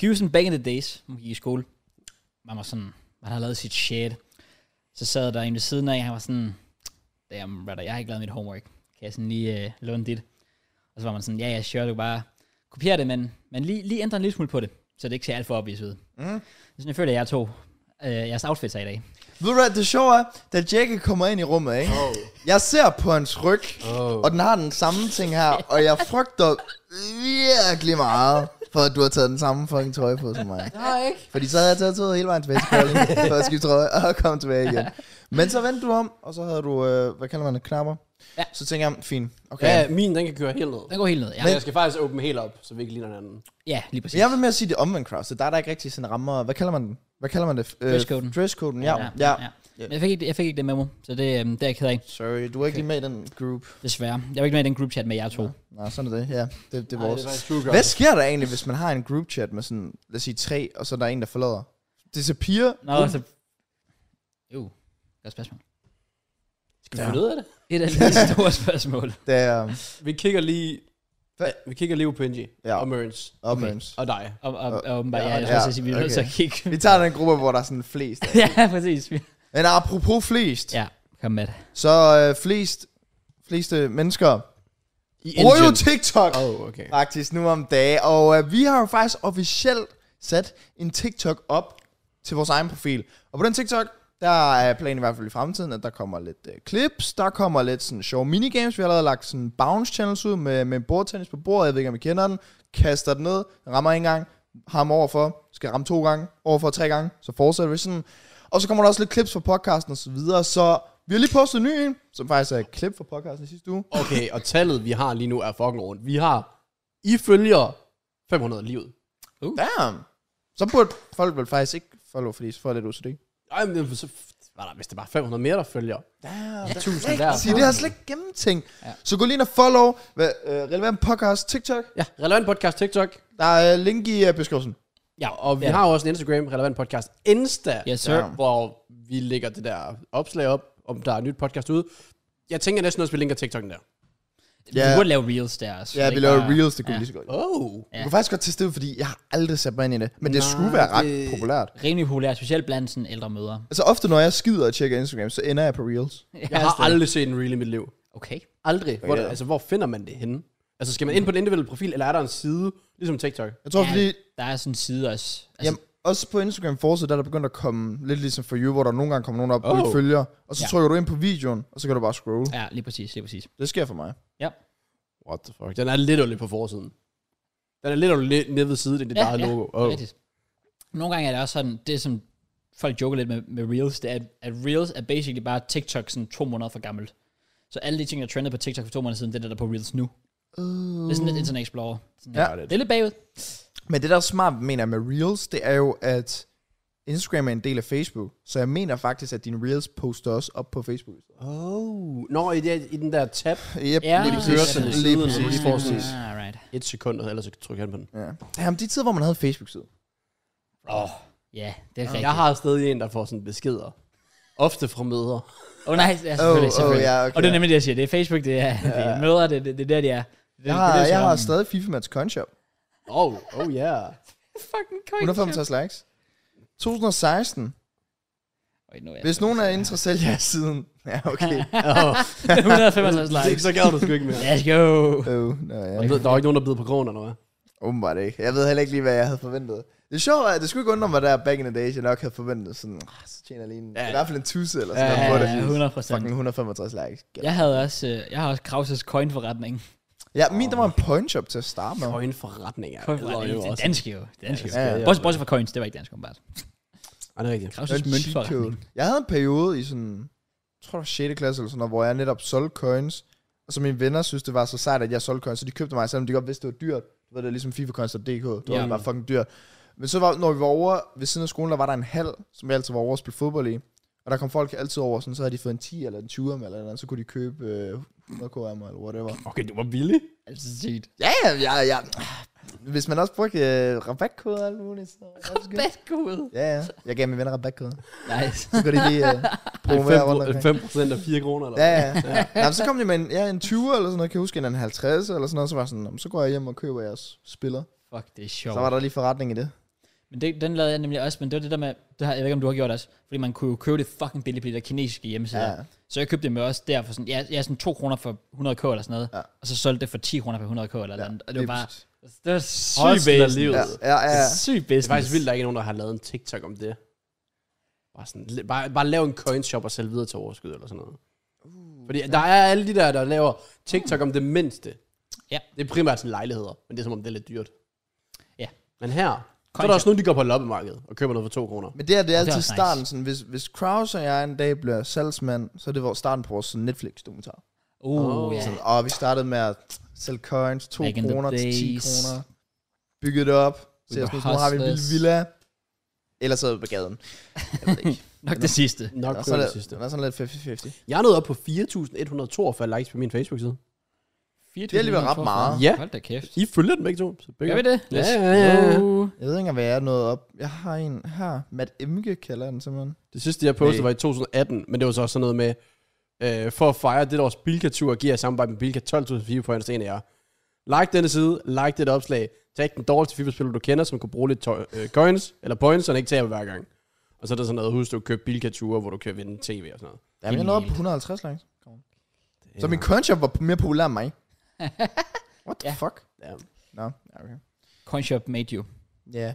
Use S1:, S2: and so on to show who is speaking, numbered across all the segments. S1: Giusen back in the days, man gik i skole, man var sådan, man havde lavet sit shit. Så sad der en ved siden af, han var sådan, damn brother, jeg har ikke lavet mit homework. Kan jeg sådan lige øh, låne dit? Og så var man sådan, ja, ja, sure, du kan bare kopiere det, men, men lige, lige ændre en lille smule på det, så det ikke ser alt for obvious ud. Det
S2: Mm.
S1: er sådan, jeg føler, at jeg tog øh, jeres outfits af i dag.
S2: Ved du hvad, det sjove er, da Jackie kommer ind i rummet, ikke?
S3: Oh.
S2: jeg ser på hans ryg,
S3: Oh.
S2: og den har den samme ting her, og jeg frygter virkelig meget, for at du har taget den samme fucking trøje på som mig.
S3: Nej, ikke?
S2: Fordi så havde jeg taget tøjet hele vejen tilbage til Kolding, for at skifte trøje og komme tilbage igen. Men så vendte du om, og så havde du, øh, hvad kalder man det, knapper?
S1: Ja.
S2: Så tænker jeg, fint, okay.
S3: Ja,
S2: Ja,
S3: min den kan køre helt ned.
S1: Den går helt ned, ja.
S3: Men jeg skal faktisk åbne helt op, så vi ikke ligner hinanden.
S1: Ja, lige præcis.
S2: jeg vil med at sige det omvendt crowd, så der er der ikke rigtig sådan rammer, hvad kalder man den? Hvad kalder man det? Øh,
S1: Dresscoden.
S2: Dresscoden, ja. ja. ja.
S1: Men jeg fik, ikke, jeg fik ikke det memo, så det, øhm, det er jeg ked af,
S2: Sorry, du er ikke lige med i den group.
S1: desværre. Jeg var ikke med i den group chat med jer to.
S2: Nej, sådan er det, ja. Det, det er
S3: Ej,
S2: vores.
S3: det er faktisk true crime.
S2: Hvad sker der egentlig, hvis man har en group chat med sådan, lad os sige tre, og så er der en, der forlader? Disappear?
S1: Nå, så... Jo, godt spørgsmål.
S3: Skal vi finde ud af det?
S1: Det er da et stort spørgsmål.
S2: Det er um,
S3: Vi kigger lige...
S2: Hvad?
S3: Vi kigger lige på Benji
S2: Ja.
S3: ja. og Mørens
S1: Okay.
S2: omvends.
S3: og dig.
S1: Og, og, og åbenbart,
S2: Ja,
S1: ja, jeg skulle
S2: ja,
S1: til at sige, vi er nødt til
S2: okay.
S1: at kigge.
S2: Vi tager den gruppe, hvor der er sådan flest.
S1: ja, præcis. Vi-
S2: Men apropos flest,
S1: Ja, kom med det.
S2: så øh, flest, fleste mennesker
S3: I
S2: bruger jo TikTok
S3: Oh, okay.
S2: faktisk nu om dage. Og øh, vi har jo faktisk officielt sat en TikTok op til vores egen profil. Og på den TikTok, der er planen i hvert fald i fremtiden, at der kommer lidt øh, clips, der kommer lidt sådan sjove minigames. Vi har allerede lagt sådan bounce channels ud med, med bordtennis på bordet. Jeg ved ikke, om I kender den. Kaster den ned, rammer en gang, ham overfor, skal ramme to gange, overfor tre gange, så fortsætter vi sådan. Og så kommer der også lidt clips fra podcasten og så videre, så vi har lige postet en ny en, som faktisk er et klip fra podcasten i sidste uge.
S3: Okay, og tallet, vi har lige nu, er fucking rundt. Vi har, I følger 500 livet.
S2: Damn. Så burde folk vel faktisk ikke follow, fordi så får jeg lidt OCD.
S3: Ej, men så var der, hvis det bare 500 mere, der følger.
S2: Damn.
S3: Ja, 1000 der.
S2: Sige, det har jeg slet ikke gennemtænkt.
S1: Ja.
S2: Ja. Så gå lige ind og follow hvad, øh, Relevant Podcast TikTok.
S3: Ja, relevant podcast TikTok.
S2: Der er øh, link i øh, beskrivelsen.
S3: Ja, og vi
S1: Ja.
S3: ja. har jo også en Instagram, relevant podcast Insta,
S1: Yes, sir.
S3: hvor vi lægger det der opslag op, om der er et nyt podcast ude. Jeg tænker næsten også, at vi linker TikTok'en der.
S1: Vi
S2: Ja.
S1: burde lave reels der også.
S2: Ja,
S1: Det
S2: vi
S1: er
S2: laver
S1: bare-
S2: reels, det kunne
S1: ja.
S2: ja. lige så godt.
S3: Oh.
S2: Du kan faktisk godt teste det, fordi jeg har aldrig sat mig ind i det. Men det Nej, skulle være ret
S3: det-
S2: det... populært.
S1: Rimelig populært, specielt blandt sådan ældre mødre.
S2: Altså ofte, når jeg skider og tjekker Instagram, så ender jeg på reels.
S3: Jeg har aldrig set en reel i mit liv.
S1: Okay.
S3: Aldrig. Hvor,
S2: Okay.
S3: altså, hvor finder man det henne? Altså, skal man ind på den individuelle profil, eller er der en side, ligesom TikTok?
S2: Jeg tror,
S1: Ja, altså-
S2: ja. fordi
S1: Der er sådan en side også. Altså,
S2: Jamen, også på Instagram forside, der er der begyndt at komme lidt ligesom for you, hvor der nogle gange kommer nogen op,
S3: Oh.
S2: oh. du følger, og så
S1: Ja.
S2: ja. trykker du ind på videoen, og så kan du bare scrolle. Ja.
S1: ja, lige præcis, lige præcis.
S2: Det sker for mig.
S3: What the fuck? Den er lidt underlig på forsiden. Den er lidt underlig nede ved siden af det
S1: Ja,
S3: ja, der ja.
S1: ja.
S3: logo.
S1: Oh.
S3: Oh.
S1: Rigtigt. Nogle gange er det også sådan, det som folk joker lidt med, med Reels, det er, at- at Reels er basically bare TikTok sådan to måneder for gammelt. Så alle de ting, der trendede på TikTok for to måneder siden, det er det, der er på Reels nu. Uh. Det er sådan lidt Internet Explorer. Sådan
S2: Mm. Ja.
S1: lidt- Det er lidt bagud.
S2: Men det, der er smart, mener jeg med Reels, det er jo, at Instagram er en del af Facebook. Så jeg mener faktisk, at dine Reels poster også op på Facebook.
S3: oh. Nå, i, det, i den der tab,
S1: Ja.
S2: Yep, lige
S1: Det
S2: præcis.
S1: kører sådan i
S2: Lige
S3: siden,
S2: præcis.
S3: lige
S2: Lige
S3: forrest.
S2: præcis.
S1: Ah, right.
S3: et sekund, ellers så trykker jeg på den.
S2: Ja. Jamen, de tider, hvor man havde Facebook-side.
S3: Oh.
S1: Ja, det er rigtigt.
S3: Jeg har stadig en, der får sådan beskeder. Ofte fra møder.
S1: Åh oh, nej, ja, selvfølgelig,
S2: Åh, åh,
S1: selvfølgelig.
S2: ja, okay.
S1: Og det er nemlig det, jeg siger. Det er Facebook, det er, det er mødre, det, det, det er der, de er. Det,
S2: Jeg har,
S1: det,
S2: jeg har stadig FIFA Match Conshop.
S3: Oh, oh yeah.
S1: fucking
S2: 165 likes. 2016.
S1: køjt.
S2: Hvis nogen er interesseret i jeres siden. Ja, okay.
S3: Oh.
S1: 165 likes.
S3: så gad du sgu ikke mere.
S1: Let's go.
S2: Oh, nå, ja.
S3: Jeg ved, Der var ikke nogen, der bidder på krogen, eller hvad?
S2: Åbenbart ikke. Jeg ved heller ikke lige, hvad jeg havde forventet. Det er sjovt, at det skulle ikke undre mig der back in the days, jeg nok havde forventet sådan, ah, så tjener jeg lige en,
S3: Ja.
S2: ja. i hvert fald en tusse eller
S3: Ja,
S2: sådan
S1: Ja,
S2: noget på det.
S1: 100 procent.
S2: Fucking 165 likes.
S1: Jeg havde også, øh, jeg har også Krauses coinforretning.
S2: Ja, min der var en point shop til at starte med.
S3: Coinforretning er
S1: Coinforretning, det er dansk jo. Det er dansk jo.
S2: Ja, ja.
S1: Bortset, bortset fra coins, det var ikke dansk, åbenbart.
S3: Ej, det er rigtigt.
S2: Det var
S1: Krauses
S2: en cheat
S1: møntforretning.
S2: code. Jeg havde en periode i sådan, jeg tror det var 6. klasse eller sådan noget, hvor jeg netop solgte coins. Og så mine venner synes, det var så sejt, at jeg solgte coins, så de købte mig, selvom de godt vidste, det var dyrt. Du ved, det er ligesom FIFA coins og DK, det var
S1: Ja.
S2: bare fucking dyrt. Men så var, når vi var over ved siden af skolen, der var der en hal, som vi altid var over at spille fodbold i. Og der kom folk altid over, sådan, så havde de fået en 10 eller en 20 eller, et eller andet, så kunne de købe øh, 100 KM eller whatever.
S3: Okay, du var billig.
S1: Altså, sygt.
S2: Ja, ja, ja, ja. Hvis man også brugte øh, rabatkode og alt muligt, så...
S1: Bad god.
S2: Ja, ja. Jeg gav mine venner rabatkode.
S1: Nice.
S2: Så kan de lige øh, promovere rundt omkring.
S3: 5 procent af 4 kroner, eller
S2: Ja, ja. ja. Nå, så kom de med en, ja, en 20 eller sådan noget, kan jeg huske, en en 50 eller sådan noget, så var jeg sådan, "Nå, men så går jeg hjem og køber jeres spiller.
S1: Fuck, det er
S2: Så
S1: sjovt.
S2: var der lige forretning i det.
S1: Men det, den lavede jeg nemlig også, men det var det der med, det har, jeg ved ikke, om du har gjort det også, fordi man kunne jo købe det fucking billigt på de der kinesiske hjemmesider.
S2: Ja.
S1: Ja. Så jeg købte dem jo også der for sådan, jeg, jeg sådan 2 kroner for 100k eller sådan noget,
S2: Ja.
S1: ja. og så solgte det for 10 kroner for 100k eller ja. andet. Og det var
S2: lige
S1: bare,
S2: præcis.
S1: det var sygt
S3: Hustler
S1: business.
S3: livet.
S2: Ja, ja, ja. ja.
S1: Sygt
S3: Det
S1: business.
S3: er faktisk vildt, at der ikke er nogen, der har lavet en TikTok om det. Bare, sådan, la- bare, bare lav en coinshop og sælg videre til overskud eller sådan noget.
S2: Uh,
S3: Fordi der er alle de der, der laver TikTok om det mindste.
S1: Ja.
S3: Det er primært sådan lejligheder, men det er som om, det er lidt dyrt.
S1: Ja.
S3: Men her, så er der
S1: Coinshop.
S3: også nogen, de går på loppemarkedet og køber noget for 2 kroner.
S2: Men det her, det er
S1: Og det er
S2: altid
S1: også nice.
S2: starten. Sådan, hvis, hvis Kraus og jeg en dag bliver salgsmand, så er det vores starten på vores sådan Netflix-dokumentar.
S1: Uh,
S3: Åh,
S1: ja.
S2: Sådan, Og vi startede med at sælge coins, 2
S1: Back in the
S2: kroner til 10
S1: days.
S2: kroner. Byggede det op. Så jeg
S1: were
S2: sådan, nu har vi en lille
S1: hustlers.
S2: villa. Eller så på gaden. Jeg ved det ikke.
S1: Nok det sidste.
S3: Nok
S2: Den er
S3: det, det
S2: sådan lidt-
S3: sidste.
S2: den er sådan lidt 50-50.
S3: Jeg er nået op på 4.142 likes på min Facebook-side.
S1: Det
S2: er alligevel ret meget.
S3: Ja.
S1: Hold da kæft.
S3: I følger den begge to. Så begge
S1: Gør vi det?
S3: Ja,
S1: Let's
S3: ja, ja.
S1: go.
S2: Jeg ved ikke engang, hvad jeg er nået op. Jeg har en her. Matt Emke kalder den simpelthen.
S3: Det sidste, jeg postede,
S2: Nej.
S3: var i 2018, men det var så også sådan noget med, øh, for at fejre det års bilkatur, og giver jeg samarbejde med Bilka 12.000 FIFA points til en af jer. Like denne side, like dette opslag, tag den dårligste FIFA-spiller, du kender, som kunne bruge lidt tøj, øh, coins, eller points, så den ikke tager hver gang. Og så er der sådan noget, husk, du køber Bilka-ture, hvor du kan vinde tv og sådan noget.
S2: Jamen, jeg nåede op på
S1: Genialt.
S2: 150 langs. Så min coinshop var mere populær end mig. What the
S1: Ja.
S2: fuck?
S3: Ja.
S2: Nå, ja, okay.
S1: Coinshop made you.
S2: Ja.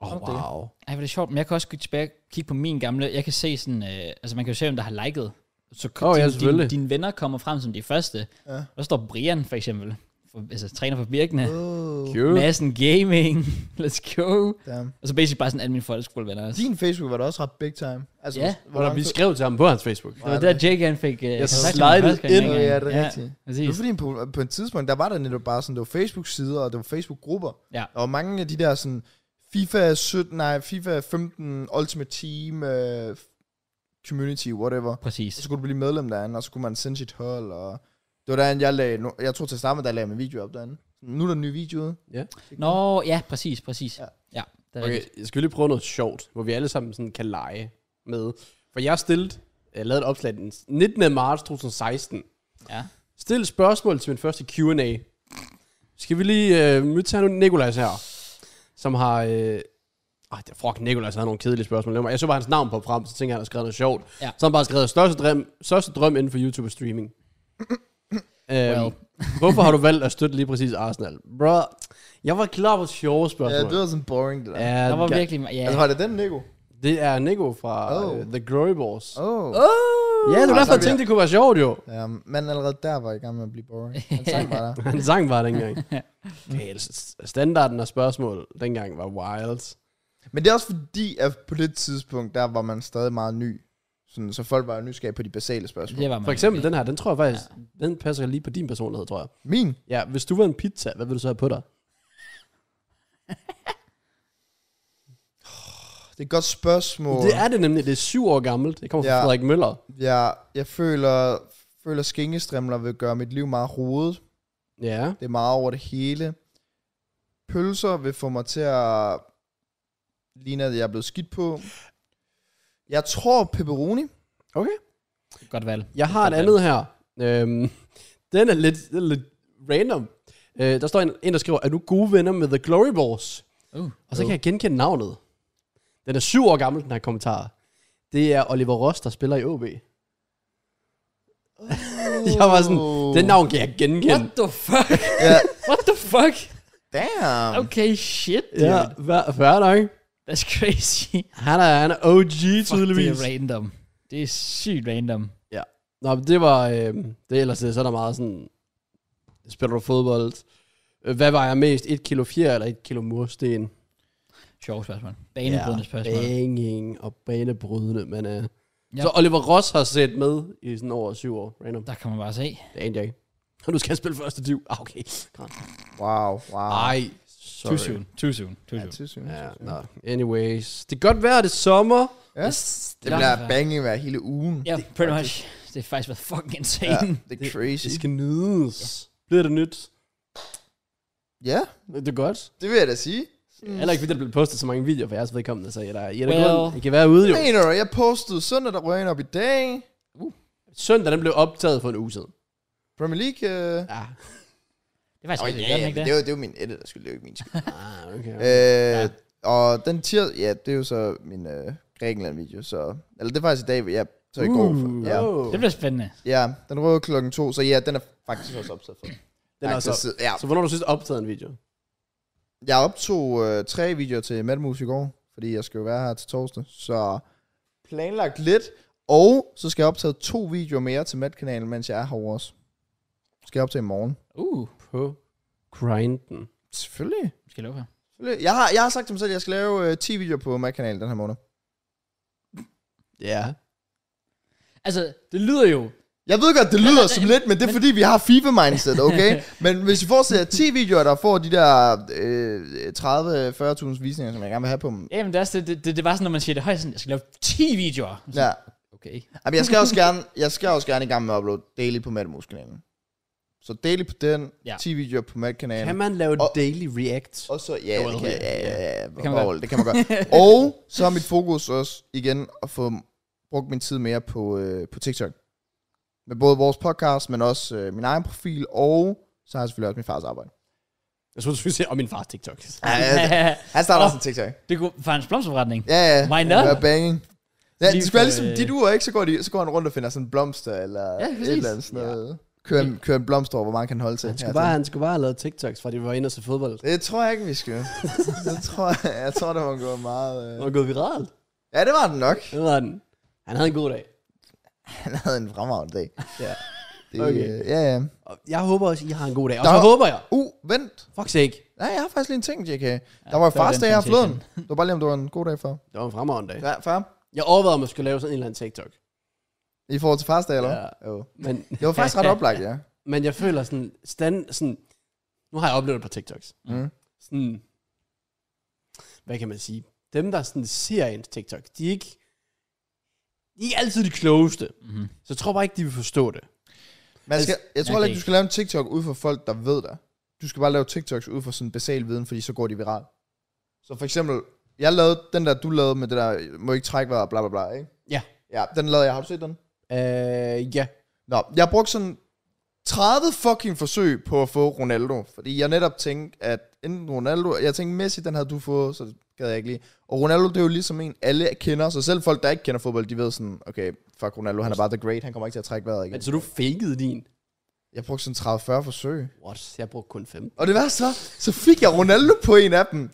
S3: Oh,
S2: Okay.
S3: wow.
S1: Ej, hvor er det sjovt, men jeg kan også gå tilbage og kigge på min gamle. Jeg kan se sådan, øh, altså man kan jo se, hvem der har liket. Så k-
S3: Åh, ja,
S1: din-
S3: selvfølgelig.
S1: din, dine venner kommer frem som de første.
S2: Ja.
S1: Ja. Og der står Brian for eksempel, for, altså træner for Birkene. Uh.
S2: Oh,
S3: Cute.
S1: Massen Gaming, let's go.
S2: damn.
S1: Og så basically bare sådan alle mine folkeskolevenner også.
S2: Din Facebook var da også ret big time. Altså,
S1: Ja.
S2: hvor
S3: Hvor der,
S2: lang
S3: vi
S2: tid-
S3: skrev til ham på hans Facebook.
S1: Det var der Jake han fik... Øh,
S3: Jeg
S1: kontakt til mig
S3: slidede
S1: første gang,
S3: ind.
S2: Ja,
S1: ikke?
S2: ja, det er rigtigt.
S1: præcis.
S2: Det var fordi, på, på et tidspunkt, der var der netop bare sådan, det var Facebook-sider, og det var Facebook-grupper.
S1: Ja.
S2: Der var mange af de der sådan, FIFA 17, nej, FIFA 15, Ultimate Team, øh, Community, whatever.
S1: Præcis.
S2: Så skulle du blive medlem derinde, og så kunne man sende sit hold, og... Det var derinde, jeg lagde, nu- jeg tror til at starte med, der lagde min video op derinde. Nu er der en ny video ude.
S1: Nå, ja, præcis, præcis.
S2: Ja.
S1: Ja, ja det er
S3: Okay,
S1: rigtigt.
S3: jeg skal vi lige prøve noget sjovt, hvor vi alle sammen sådan kan lege med. For jeg stillede, jeg lavede et opslag den 19. marts 2016.
S1: Ja.
S3: Stil spørgsmål til min første Q&A. Skal vi lige, øh, nu tager nu Nikolajs her, som har, øh, ah, det fuck, Nikolajs havde nogle kedelige spørgsmål. Jeg så bare hans navn på frem, så tænkte jeg, han har skrevet noget sjovt.
S1: Ja.
S3: Så har han bare skrevet, største drøm, største drøm inden for YouTube og streaming.
S1: Well.
S3: øhm, hvorfor har du valgt at støtte lige præcis Arsenal? Bro, jeg var klar på sjove spørgsmål.
S2: Ja, det var sådan boring, det der. Ja.
S1: Der var
S3: ga-
S1: virkelig... ma- Ja.
S2: Altså, var det den, Nico?
S3: det er Nico fra
S2: Oh.
S3: oh. The Glory Balls. Oh.
S2: Åh.
S1: Oh!
S2: Oh.
S3: Ja, det var
S2: Ah,
S3: derfor, jeg
S2: så-
S3: tænkte, det kunne være sjovt jo.
S2: Ja, men allerede der var jeg i gang med at blive boring. Han sang bare der.
S3: Han sang bare dengang. okay, altså, s- standarden af spørgsmål dengang var wild.
S2: Men det er også fordi, at på det tidspunkt, der var man stadig meget ny. Sådan, så folk var jo nysgerrige på de basale spørgsmål.
S1: Det
S2: Yep.
S1: var man
S3: For eksempel den her, den tror jeg faktisk, ja. den passer lige på din personlighed, tror jeg.
S2: Min?
S3: Ja, hvis du var en pizza, hvad ville du så have på dig?
S2: Det er et godt spørgsmål.
S3: Det er det nemlig, det er syv år gammelt. Det kommer fra
S2: Ja.
S3: ja. Frederik Møller.
S2: Jeg, jeg føler, føler skænkestrimler vil gøre mit liv meget rodet.
S3: Ja.
S2: Det er meget over det hele. Pølser vil få mig til at ligne, at jeg er blevet skidt på. Jeg tror pepperoni.
S3: Okay.
S1: Godt valg.
S3: Jeg har et andet her. Øhm, den er lidt, den er lidt random. Øh, der står en, en, der skriver, er du gode venner med The Glory Balls?
S1: Uh.
S3: Og så kan jeg genkende navnet. Den er syv år gammel, den her kommentar. Det er Oliver Ross, der spiller i OB. Jeg var sådan, den navn kan jeg genkende.
S1: Oh. What the fuck?
S2: Ja.
S1: What the fuck?
S2: Damn.
S1: Okay, shit, dude.
S3: Ja, hver, hver dag.
S1: That's crazy.
S3: Han er, han er OG,
S1: Fuck, det
S3: tydeligvis.
S1: er random. Det er sygt random.
S3: Nå, men det var, øh, det er ellers det, så er der meget sådan, spiller du fodbold? Øh, Hvad var jeg mest, et kilo fjer eller et kilo mursten?
S1: Sjovt spørgsmål. Banebrydende spørgsmål.
S3: Banging og banebrydende, men øh.
S1: Ja.
S3: ja. Så Oliver Ross har set med i sådan over syv år, random.
S1: Der kan man bare se.
S3: Det anede jeg ikke. Og du skal spille første div. Ah, okay. Godt.
S2: Wow, wow.
S3: Ej, sorry.
S1: Too soon. Too soon. Too
S2: Ja,
S1: soon.
S2: tilsyn.
S3: Ja, nå. Anyways. Det kan godt være, det er sommer.
S2: Ja.
S3: Yes.
S2: Det bliver banging hver hele ugen.
S1: Ja, pretty much. Det har faktisk været fucking insane.
S2: det er crazy.
S3: Det skal nydes. Bliver det nyt?
S2: Ja,
S3: Det er godt.
S2: det vil jeg da sige.
S3: Mm. Heller ikke, fordi der blev postet så mange videoer for jeres vedkommende, så I er der, I er der
S1: Well.
S3: well. I kan være ude jo.
S2: Mener du, jeg postede søndag, der røg ind op i dag.
S3: Søndag, den blev optaget for en uge siden.
S2: Premier League... Øh...
S3: Ja.
S1: Det er faktisk
S2: Oh,
S1: rigtig
S2: ja,
S1: godt, ikke
S2: ja, men
S1: det?
S2: det, var, det var min edit, der skulle lave ikke min skyld.
S3: Ah, okay.
S2: øh, Og den tier, ja, det er jo så min øh, Grækenland-video, så... Eller det er faktisk i dag, ja, så i går.
S3: Uh,
S2: ja.
S3: oh.
S1: Det bliver spændende.
S2: ja, den røde klokken to, så ja, den er faktisk også optaget for.
S3: Den er altså,
S2: så, ja.
S3: så hvornår har du sidst optaget en video?
S2: Jeg optog øh, tre videoer til Madmus i går, fordi jeg skal jo være her til torsdag, så planlagt lidt, og så skal jeg optage to videoer mere til Madkanalen, mens jeg er herovre også. Skal jeg optage i morgen?
S1: Uh,
S3: På grinden.
S2: Selvfølgelig.
S1: skal jeg lukke her.
S2: Selvfølgelig. Jeg har, jeg har sagt til mig selv, at jeg skal lave øh, 10 videoer på Madkanalen den her måned.
S3: Ja.
S1: Altså, det lyder jo...
S2: Jeg ved godt, det lyder som lidt, men det er fordi, vi har FIFA-mindset, okay? Men hvis I får ser 10 videoer, der får de der øh, 30-40.000 visninger, som jeg gerne vil have på dem.
S1: Jamen, det er også det, det, det, det var sådan, når man siger det højt, sådan, jeg skal lave 10 videoer.
S2: Ja.
S1: Okay.
S2: Jamen, jeg skal også gerne, jeg skal også gerne i gang med at uploade daily på Madmus-kanalen. Så daily på den,
S1: Ja.
S2: ja. 10 videoer på Mad-kanalen.
S3: Kan man lave
S2: Og-
S3: daily react?
S2: Og så, ja,
S1: Well,
S2: det kan,
S1: yeah,
S2: ja,
S1: yeah.
S2: ja, ja,
S1: Det kan man
S2: det kan man godt. og så er mit fokus også igen at få brugt min tid mere på, øh, på TikTok. Med både vores podcast, men også øh, min egen profil, og så har jeg selvfølgelig også min fars arbejde.
S3: Jeg synes, du skulle sige, og min fars TikTok.
S2: Ja, ja, han starter
S1: Åh.
S2: også en TikTok.
S1: det kunne for hans blomsterforretning.
S2: Ja, ja.
S1: Why not?
S2: Ja, banging. Ja,
S1: Lige
S2: det skal være
S1: for,
S2: ligesom
S1: øh,
S2: dit ur, ikke? Så går, de, så går han rundt og finder sådan en blomster, eller
S1: Ja,
S2: ja,
S1: præcis.
S2: et eller andet sådan noget. Kører, en, kører en blomster over, hvor mange kan han holde til.
S3: Han skulle,
S2: hertil.
S3: bare, han skulle bare have lavet TikToks, fra de var inde og se fodbold.
S2: Det tror jeg ikke, vi skal. det tror jeg, jeg tror, det var gået meget...
S3: Den
S2: Øh.
S3: var gået viral.
S2: Ja, det var den nok.
S3: Det var den. Han havde en god dag.
S2: Han havde en fremragende dag.
S3: Ja.
S2: Det,
S3: Okay.
S2: okay. Ja, ja.
S3: Og jeg håber også, I har en god dag. Og
S2: Der
S3: så
S2: var-
S3: håber jeg.
S2: Uh, vent.
S3: Fuck sake.
S2: Nej, jeg har faktisk lige en ting, JK. der var jo
S1: det var
S2: fars
S1: den
S2: dag her
S1: sensation.
S2: forleden. Det var bare lige, om det var en god dag for.
S3: Det var en fremragende dag.
S2: Ja, far.
S3: Jeg overvejede, om jeg skulle lave sådan en eller anden TikTok.
S2: I forhold til fars dag, eller hvad?
S3: Ja.
S2: Jo.
S3: Men,
S2: Det var faktisk ret oplagt, ja.
S3: men jeg føler sådan, stand, sådan... Nu har jeg oplevet et par TikToks.
S2: Mm.
S3: Sådan... Hvad kan man sige? Dem, der sådan ser ens TikTok, de er ikke... De er ikke altid de klogeste.
S1: Mm-hmm.
S3: Så jeg tror bare ikke, de vil forstå det.
S2: Man skal, jeg tror
S1: okay.
S2: heller ikke, du skal lave en TikTok ud for folk, der ved dig. Du skal bare lave TikToks ud for sådan basal viden, fordi så går de viral. Så for eksempel, jeg lavede den der, du lavede med det der, må ikke trække vejret, bla bla bla, ikke?
S3: Ja.
S2: Ja, den lavede jeg. Har du set den?
S3: Øh, ja.
S2: Nå, jeg brugte sådan 30 fucking forsøg på at få Ronaldo, fordi jeg netop tænkte, at enten Ronaldo, jeg tænkte Messi, den havde du fået, så det gad jeg ikke lige. Og Ronaldo, det er jo ligesom en, alle kender, så selv folk, der ikke kender fodbold, de ved sådan, okay, fuck Ronaldo, han er bare the great, han kommer ikke til at trække vejret igen.
S3: Men så du fakede din?
S2: Jeg brugte sådan 30-40 forsøg.
S3: What? Jeg brugte kun fem.
S2: Og det var så, så fik jeg Ronaldo på en af dem.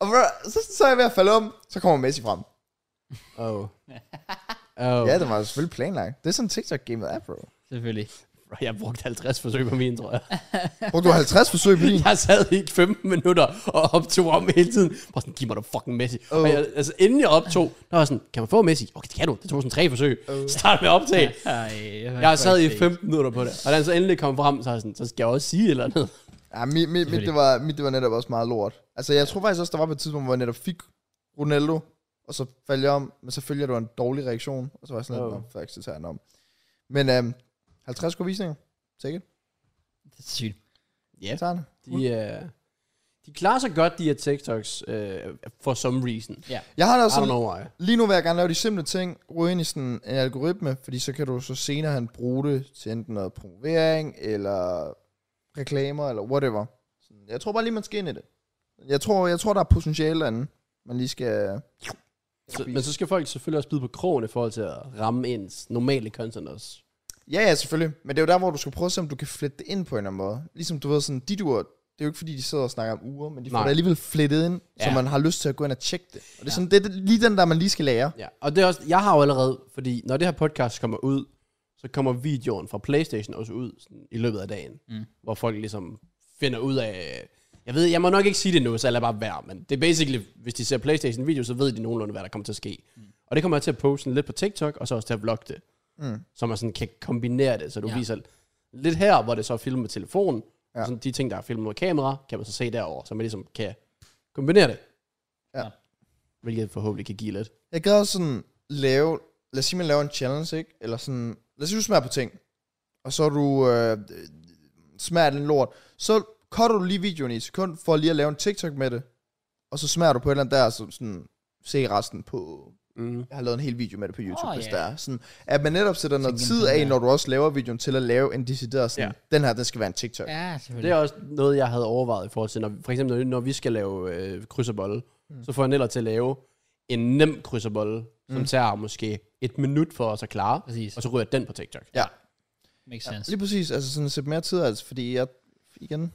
S2: Og hvor- så, så er jeg ved at falde om, så kommer Messi frem.
S3: Oh. oh.
S2: Ja, det var selvfølgelig planlagt. Det er sådan TikTok-gamet er, bro.
S1: Selvfølgelig.
S3: Jeg brugte 50 forsøg på min, tror jeg.
S2: Brugte du 50 forsøg på din?
S3: Jeg sad i 15 minutter og optog om hele tiden. Bare sådan, giv mig da fucking Messi. Oh. Og
S2: Oh.
S3: jeg, altså, inden jeg optog, der var sådan, kan man få Messi? Okay, det kan du. Det tog sådan tre forsøg. Oh. Start med at optage.
S1: Ej,
S3: Jeg sad i 15 minutter på det. Og da han så endelig kom frem, så, var jeg sådan, så skal jeg også sige et eller andet.
S2: Ja, mit, mit, mit, det var, mit, det var netop også meget lort. Altså, jeg tror faktisk også, der var på et tidspunkt, hvor jeg netop fik Ronaldo, og så faldt jeg om, men selvfølgelig, det var en dårlig reaktion, og så var jeg sådan,
S3: Oh.
S2: oh. faktisk, det tager jeg den om. Men øhm, 50 gode visninger. Take it.
S1: Det er sygt.
S3: Ja.
S2: Jeg tager den.
S3: De, uh, de klarer sig godt, de her TikToks, uh, for some reason. I
S2: Jeg har da også
S3: don't
S2: sådan,
S3: know why.
S2: lige nu vil jeg gerne lave de simple ting, ryge ind i sådan en algoritme, fordi så kan du så senere hen bruge det til enten noget promovering, eller reklamer, eller whatever. Sådan, Jeg tror bare lige, man skal ind i det. Jeg tror, jeg tror der er potentiale derinde, man lige skal...
S3: Så, men så skal folk selvfølgelig også bide på krogen i forhold til at ramme ens normale content også.
S2: Ja, ja, selvfølgelig. Men det er jo der, hvor du skal prøve at se, om du kan flette det ind på en eller anden måde. Ligesom du ved, sådan, de ur, det er jo ikke fordi, de sidder og snakker om uger, men de får
S3: Nej.
S2: det alligevel flettet ind, ja.
S3: Ja.
S2: så man har lyst til at gå ind og tjekke det. Og det er
S1: Ja.
S2: sådan, det er det- lige den der, man lige skal lære.
S3: Ja, og det er også, jeg har jo allerede, fordi når det her podcast kommer ud, så kommer videoen fra Playstation også ud sådan, i løbet af dagen, mm. hvor folk ligesom finder ud af, jeg ved, jeg må nok ikke sige det nu, så jeg lader bare være, men det er basically, hvis de ser Playstation-video, så ved de nogenlunde, hvad der kommer til at ske. Mm. Og det kommer jeg til at poste sådan lidt på TikTok, og så også til at vlogge det,
S2: Mm.
S3: så man sådan kan kombinere det, så du ja.
S1: Ja.
S3: viser lidt her, hvor det så er filmet med telefonen, ja.
S2: Ja.
S3: og sådan de ting, der er filmet med kamera, kan man så se derover, så man ligesom kan kombinere det.
S2: Ja.
S3: Hvilket forhåbentlig kan give lidt.
S2: Jeg gad også sådan lave, lad os sige, man laver en challenge, ikke? Eller sådan, lad os sige, du smager på ting, og så er du øh, øh, smager af den lort. Så cutter du lige videoen i et sekund, for lige at lave en TikTok med det, og så smager du på et eller andet der, så sådan, se resten på
S3: Mm.
S2: Jeg har lavet en hel video med det på YouTube,
S1: Åh,
S2: oh, hvis
S1: ja.
S2: der er. Sådan, at man netop sætter noget
S1: Tænk
S2: tid
S1: igen på den
S2: af,
S1: der.
S2: når du også laver videoen, til at lave en decideret sådan, ja. den her, den skal være en TikTok. Ja.
S1: Ja,
S3: Det
S1: selvfølgelig.
S3: er også noget, jeg havde overvejet i forhold til, når, for eksempel når, når vi skal lave øh, kryds og bolle, Mm. Så får han ellers til at lave en nem krydserbolle, som mm. tager måske et minut for os at klare,
S1: Præcis.
S3: og så ryger den på TikTok.
S2: Ja,
S1: Makes
S2: ja,
S1: sense.
S2: lige præcis. Altså sådan sæt mere tid, altså, fordi jeg, igen,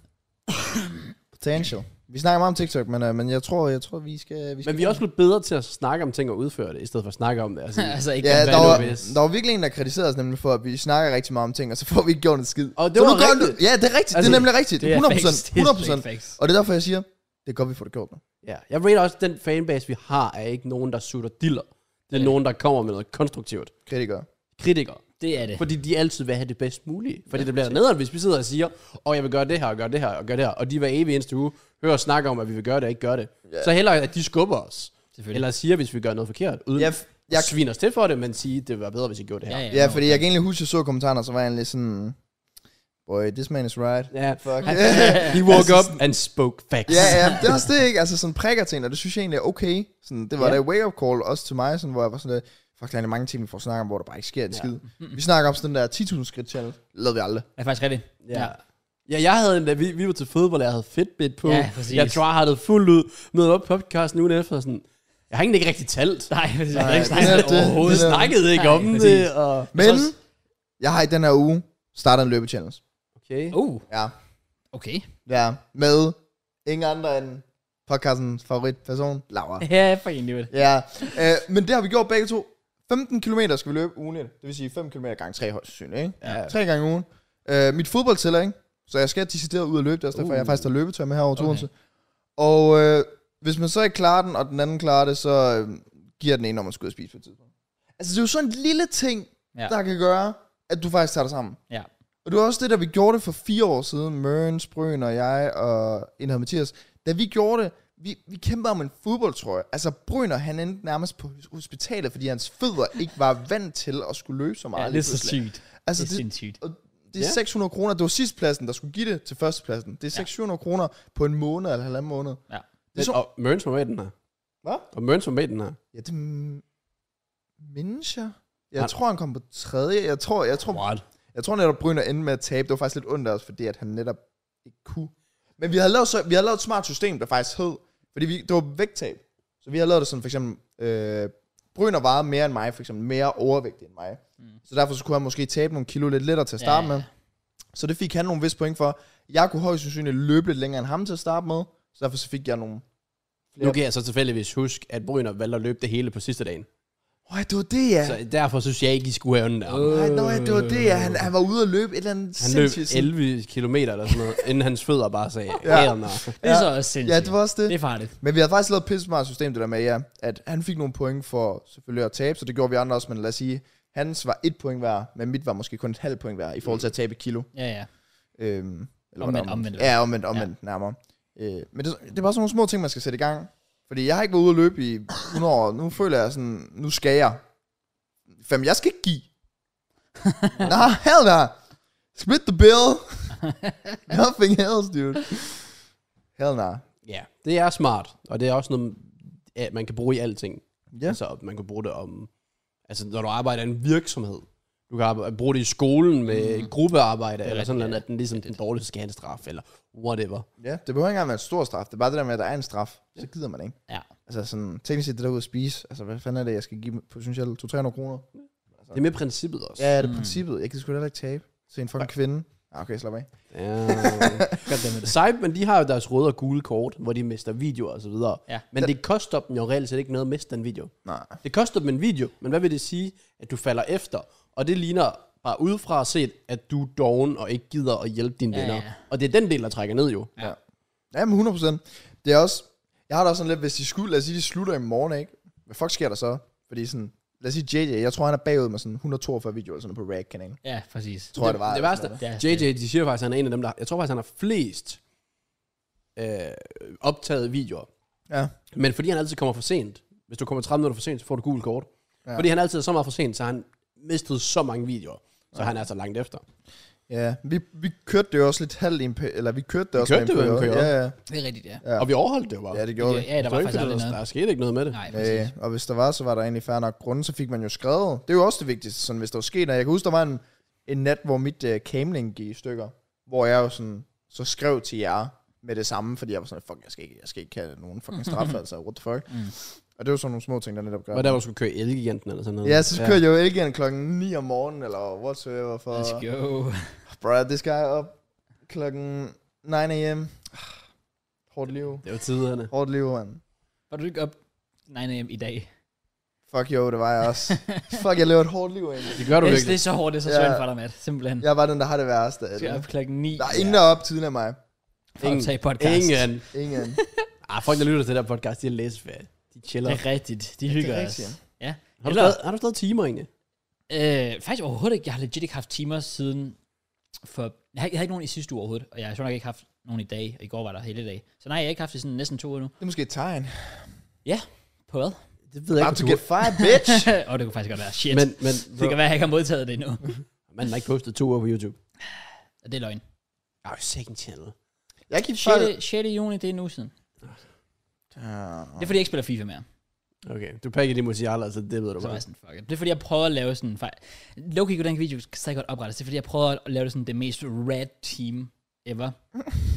S2: potential. Vi snakker meget om TikTok, men, øh, men jeg tror, jeg tror, vi skal... Vi skal
S3: Men vi er også blevet bedre til at snakke om ting og udføre det, i stedet for at snakke om det. Altså,
S1: altså ikke
S2: Ja,
S1: ja,
S2: der var,
S3: nu hvis-
S2: der var virkelig en, der kritiserede os nemlig for, at vi snakker rigtig meget om ting, og så får vi ikke gjort en skid.
S3: Og det
S2: så
S3: var
S2: nu gør
S3: rigtigt.
S2: Du, ja, det er rigtigt. Altså,
S3: Altså,
S2: det er nemlig rigtigt.
S1: det er
S2: 100
S1: facts. Det er straight
S2: 100
S1: facts.
S2: Og det er derfor, jeg siger, det er godt, vi får det gjort nu.
S3: ja. Jeg mener også, at den fanbase, vi har, er ikke nogen, der sutter diller. Det er
S1: Ja.
S3: nogen, der kommer med noget konstruktivt.
S2: Kritikere.
S3: Kritikere.
S1: det er det.
S3: Fordi de altid vil have det bedst mulige. Fordi det bliver nederen, hvis vi sidder og siger, og jeg vil gøre det her, og gøre det her, og gøre det her. Og de hver evig eneste uge hører og snakker om, at vi vil gøre det, og ikke gøre det. Yeah. Så hellere, at de skubber os.
S1: Selvfølgelig.
S3: Eller siger, hvis vi gør noget forkert. Uden
S2: Jeg,
S3: jeg,
S2: f- jeg,
S3: jeg sviner os til for det, men sige, det var bedre, hvis I gjorde det her.
S2: ja, fordi jeg kan egentlig huske, at jeg så kommentarerne, og så var jeg lidt sådan, boy, this man is right.
S3: Ja, yeah.
S2: Fuck.
S3: He woke up and spoke facts.
S2: ja, ja, det er også det, ikke? Altså sådan prikker til en, og det synes jeg egentlig er okay. Sådan, det var
S3: Ja.
S2: ja. der wake-up call også til mig, sådan, hvor jeg var sådan lidt, fuck, der er mange ting, vi får snakket om, hvor der bare ikke sker en ja. skid. Vi snakker om sådan den der 10.000 skridt challenge. Lavede vi aldrig.
S1: Det er faktisk rigtigt.
S3: Ja. Ja, jeg havde en, da vi, vi var til fodbold, jeg havde Fitbit på.
S1: Ja, præcis.
S3: jeg tror, jeg havde det fuldt ud. Mødte op på podcasten ugen efter, og sådan, jeg har egentlig ikke rigtig talt.
S1: Nej, præcis. Jeg har ikke
S2: Nej, det
S1: snakket
S2: er
S1: om det
S2: det.
S1: overhovedet.
S3: Jeg snakkede ikke
S1: Nej,
S3: om
S1: præcis.
S3: det, og...
S2: Men
S1: også-
S2: jeg har i den her uge startet en løbechallenge.
S3: Okay.
S1: Uh,
S2: Ja.
S1: okay.
S2: Ja, med ingen andre end podcastens favoritperson, Laura.
S1: Ja, for egentlig det.
S2: ja, øh, men det har vi gjort begge to. 15 km skal vi løbe ugen, det vil sige 5 km gange 3 højst sandsynligt, ikke?
S3: Ja.
S2: 3 gange ugen. Øh, mit fodbold tæller, ikke? Så jeg skal decideret ud og løbe, det er også derfor,
S3: Uh.
S2: jeg faktisk har løbetøj med herovre til
S1: Okay.
S2: Odense. Og øh, hvis man så ikke klarer den, og den anden klarer det, så øh, giver den ene om at skulle ud og spise på et tidspunkt. Altså, det er jo sådan en lille ting,
S1: Ja.
S2: ja. der kan gøre, at du faktisk tager dig sammen.
S1: Ja.
S2: Og det var også det, da vi gjorde det for fire år siden, Mørens, Brøn og jeg og en her Mathias. Da vi gjorde det, vi, vi kæmpede om en fodboldtrøje. Altså Brøner, han endte nærmest på hospitalet, fordi hans fødder ikke var vant til at skulle løbe så meget.
S1: Ja, det
S2: lige
S1: er så
S2: pludselig.
S1: sygt. Det
S2: Altså,
S1: er
S2: det,
S1: sindssygt.
S2: og det er
S3: Ja.
S2: 600 kroner. Det var sidstpladsen, der skulle give det til førstepladsen. Det
S1: Ja.
S2: er 600 kroner på en måned eller halvanden måned.
S1: Ja.
S2: Det er
S3: Men,
S2: så,
S3: og Mørns var med i den her.
S2: Hvad?
S3: Og Mørns var med i den her.
S2: Ja, det er mindes jeg. Jeg
S3: Han-
S2: tror, han kom på tredje. Jeg tror, jeg tror,
S3: What?
S2: Jeg tror netop, Brynner endte med at tabe. Det var faktisk lidt ondt af os, fordi at han netop ikke kunne. Men vi havde lavet, så, vi havde lavet et smart system, der faktisk hed, fordi vi, det var vægttab. Så vi havde lavet det sådan, for eksempel, øh, Brynner vejede mere end mig, for eksempel mere overvægtig end mig. Mm. Så derfor så kunne han måske tabe nogle kilo lidt lettere til at
S1: Ja,
S2: starte
S1: ja,
S2: med. Så det fik han nogle vis point for. Jeg kunne højst sandsynligt løbe lidt længere end ham til at starte med, så derfor så fik jeg nogle...
S3: Nu kan jeg så tilfældigvis huske, at Bryner valgte at løbe det hele på sidste dagen.
S2: Øj, det var det, ja.
S3: Ja. Så derfor synes jeg ikke, I skulle have den der.
S1: Øh,
S2: Ej, nå, ja, det var det, ja. Han, han var ude at løbe et eller andet
S3: Han løb
S2: sindssygt-
S3: 11 km eller sådan noget, inden hans fødder bare sagde,
S2: Ja.
S3: ja.
S1: Det er så også
S2: Ja,
S1: sindssygt.
S2: det var også det.
S1: Det er farligt.
S2: Men vi havde faktisk lavet et pissesmart system, det der med, ja, at han fik nogle point for selvfølgelig at tabe, så det gjorde vi andre også, men lad os sige, hans var et point hver, men mit var måske kun et halvt point hver, i forhold til at tabe et kilo.
S1: Ja, ja.
S2: Øhm, var det
S1: Omvendt, omvendt.
S2: Ja, omvendt, omvendt, ja. nærmere. Øh, men det, det er bare sådan nogle små ting, man skal sætte i gang. Fordi jeg har ikke været ude at løbe i 100 år, nu føler jeg sådan, nu skal jeg. Fem, jeg skal ikke give. Nå, hell da. Split the bill. Nothing else, dude. Hell nah.
S3: Ja, det er smart, og det er også noget, ja, man kan bruge i alting.
S2: Ja.
S3: Altså, man kan bruge det om, altså når du arbejder i en virksomhed, du kan arbejde, bruge det i skolen med mm. gruppearbejde, eller sådan noget, at den ligesom den dårligste skal have en straf, eller whatever.
S2: Ja, det behøver ikke engang være en stor straf. Det er bare det der med, at der er en straf. Så gider man ikke.
S1: Ja.
S2: Altså sådan, teknisk set det der ude at spise. Altså, hvad fanden er det, jeg skal give dem? potentielt 200-300 kroner?
S3: Det er med princippet
S2: Altså.
S3: også.
S2: Ja,
S1: Hmm.
S2: det er princippet. Jeg kan sgu da heller ikke tabe til en fucking kvinde. Ah, okay, slap af.
S3: Ja.
S1: Goddammit.
S3: Skype, men de har jo deres røde og gule kort, hvor de mister videoer og så videre.
S1: Ja.
S3: Men det koster dem jo reelt set ikke noget at miste den video.
S2: Nej.
S3: Det koster dem en video, men hvad vil det sige, at du falder efter? Og det ligner bare udefra set, at du er doven og ikke gider at hjælpe dine
S1: Ja,
S3: venner.
S1: ja.
S3: Og det er den del, der trækker ned jo.
S1: Ja.
S2: Ja, men 100%. Det er også... Jeg har da også sådan lidt, hvis de skulle, lad os sige, de slutter i morgen, ikke? Hvad fuck sker der så? Fordi sådan, lad os sige JJ, jeg tror han er bagud med sådan 142 videoer eller sådan noget på React-kanalen.
S1: Ja, præcis.
S2: Tror jeg, det var.
S3: det
S2: eller
S3: værste.
S2: sådan
S1: Ja, det-
S3: JJ, de siger faktisk, at han er en af dem, der... Jeg tror faktisk, han har flest øh, optaget videoer.
S2: noget. Ja.
S3: Men fordi han altid kommer for sent, hvis du kommer 30 minutter for sent, så får du gul kort.
S2: Ja.
S3: Ja. Fordi han altid er så meget for sent, så har han mistet så mange videoer. Så han er så langt efter.
S2: Ja, vi, vi kørte det jo også lidt halvt i en pe- eller vi kørte det også
S3: kørte
S2: med
S3: det jo i en
S2: periode. Ja, ja.
S1: Det er rigtigt, ja.
S2: Ja.
S3: Og vi overholdt det jo bare.
S2: ja, det gjorde vi.
S1: Ja, der var
S3: Så ikke,
S1: faktisk
S3: fordi
S1: aldrig
S3: der,
S1: noget.
S3: der skete ikke noget med det.
S1: Nej, præcis.
S2: Øh, og hvis der var, så var der egentlig færre nok grunde, så fik man jo skrevet. Det er jo også det vigtigste, sådan, hvis der var sket noget. Jeg kan huske, der var en, øh, en nat, hvor mit uh, camlink gik i stykker, hvor jeg jo sådan, så skrev til jer med det samme, fordi jeg var sådan, fuck, jeg skal ikke, jeg skal ikke have nogen fucking straf, altså, what the fuck.
S1: Mm.
S2: Og det var sådan nogle små ting, der netop gør.
S3: Var der, hvor du skulle køre elgiganten eller sådan noget?
S2: Ja, så kører jeg jo ikke igen klokken 9 om morgenen, eller whatsoever, for...
S1: Let's go.
S2: Bro, det skal jeg op klokken 9 a.m. Hårdt liv.
S3: Det var tiderne.
S2: Hårdt liv, mand.
S1: Var du ikke op 9 a.m. i dag?
S2: Fuck jo, det var jeg også. Fuck, jeg lever et hårdt liv egentlig.
S3: Det gør du
S1: Yes, det
S3: virkelig.
S1: er så hårdt, det er så
S2: Ja.
S1: svært for dig, Matt. Simpelthen. Ja.
S2: Jeg var den, der har det værste. af
S1: Skal
S2: det.
S1: op klokken 9.
S2: Der er ingen, der er op tidligere end mig.
S1: for at tage podcast.
S3: Ingen.
S2: Ingen.
S3: Ah, folk, der lytter til det der podcast, de er læseferie. De chiller.
S1: Det er rigtigt. De
S2: det
S1: hygger
S2: er
S1: os.
S2: rigtigt,
S1: Ja.
S3: Har du,
S1: Eller-
S3: stadig, har du stadig timer egentlig?
S1: Øh, faktisk overhovedet ikke. Jeg har legit ikke haft timer siden for... Jeg har, ikke- jeg har ikke nogen i sidste uge overhovedet, og jeg har sjovt nok ikke haft nogen i dag, og i går var der hele dag. Så nej, jeg har ikke haft det sådan næsten to uger nu.
S2: Det er måske et tegn.
S1: På hvad?
S3: Det ved
S2: About to get fired, bitch.
S1: Åh, oh, det kunne faktisk godt være. Shit.
S3: Men,
S1: Men,
S3: men
S1: det kan være, jeg ikke har modtaget det endnu.
S3: man har ikke postet to år på YouTube.
S1: Og det er løgn.
S3: Ah, oh, second channel.
S2: Jeg gik fire.
S1: 6. 6. juni, det er en uge siden. Det er fordi, jeg ikke spiller FIFA mere.
S3: Okay, du pakker de musialer, så det
S1: Så
S3: ved du
S1: var
S3: bare.
S1: jeg sådan, fuck it. Det er fordi, jeg prøver at lave sådan... Fej... Loki, den video kan stadig godt oprettes. Det er fordi, jeg prøver at lave det sådan det mest rad team ever.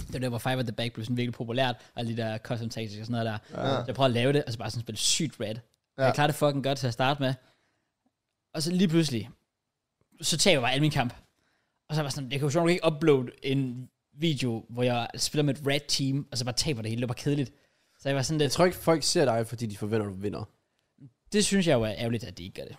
S1: det var der, hvor Five at the Back blev sådan virkelig populært, og alle de der custom tactics og sådan noget der.
S2: Ja.
S1: Så jeg prøver at lave det, og så bare sådan spille sygt red. Ja.
S2: Ja.
S1: Jeg klarer det fucking godt til at starte med. Og så lige pludselig, så taber jeg bare al min kamp. Og så var jeg sådan, jeg kan jo sjovt nok ikke uploade en video, hvor jeg spiller med et red team, og så bare taber det hele. Det var bare kedeligt. Så jeg var sådan
S3: Jeg
S1: lidt,
S3: tror ikke, folk ser dig, fordi de forventer, at du vinder.
S1: det synes jeg jo er ærgerligt, at de ikke gør det.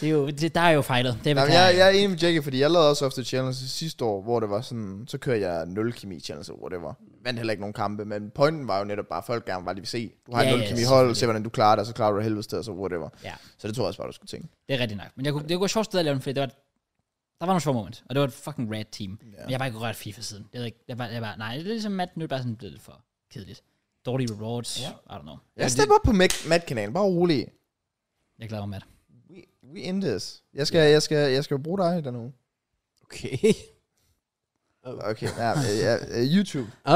S1: det er jo, det, der er jo fejlet. Det er,
S2: Jamen, jeg, jeg er enig med Jackie, fordi jeg lavede også ofte challenges sidste år, hvor det var sådan, så kører jeg 0 kemi challenge, hvor det var. Vandt heller ikke nogen kampe, men pointen var jo netop bare, at folk gerne bare lige vil se. Du har
S1: Ja,
S2: et 0
S1: ja,
S2: kemi hold,
S1: selvfølgelig.
S2: se hvordan du klarer det, og så klarer du det helvedes til, og så whatever.
S1: Ja.
S2: Så det tror jeg også bare, du skulle tænke.
S1: det er rigtigt nok. Men jeg kunne, det var et sjovt sted at lave den, fordi det var, der var nogle sjove moment, og det var et fucking red team. Ja. Men jeg har bare ikke rørt FIFA siden. Jeg ved ikke, jeg bare, jeg bare, nej, det er ligesom Matt, nu er det bare sådan blevet lidt for kedeligt. Dårlige rewards, ja. I don't know.
S2: Jeg stepper op på Matt-kanalen, bare rolig.
S1: Jeg glæder mig, Matt.
S2: We, we in this. Jeg skal, jeg skal, jeg skal jo bruge dig i den uge.
S3: Okay.
S2: Okay, ja, ja, ja, YouTube.
S3: Oh,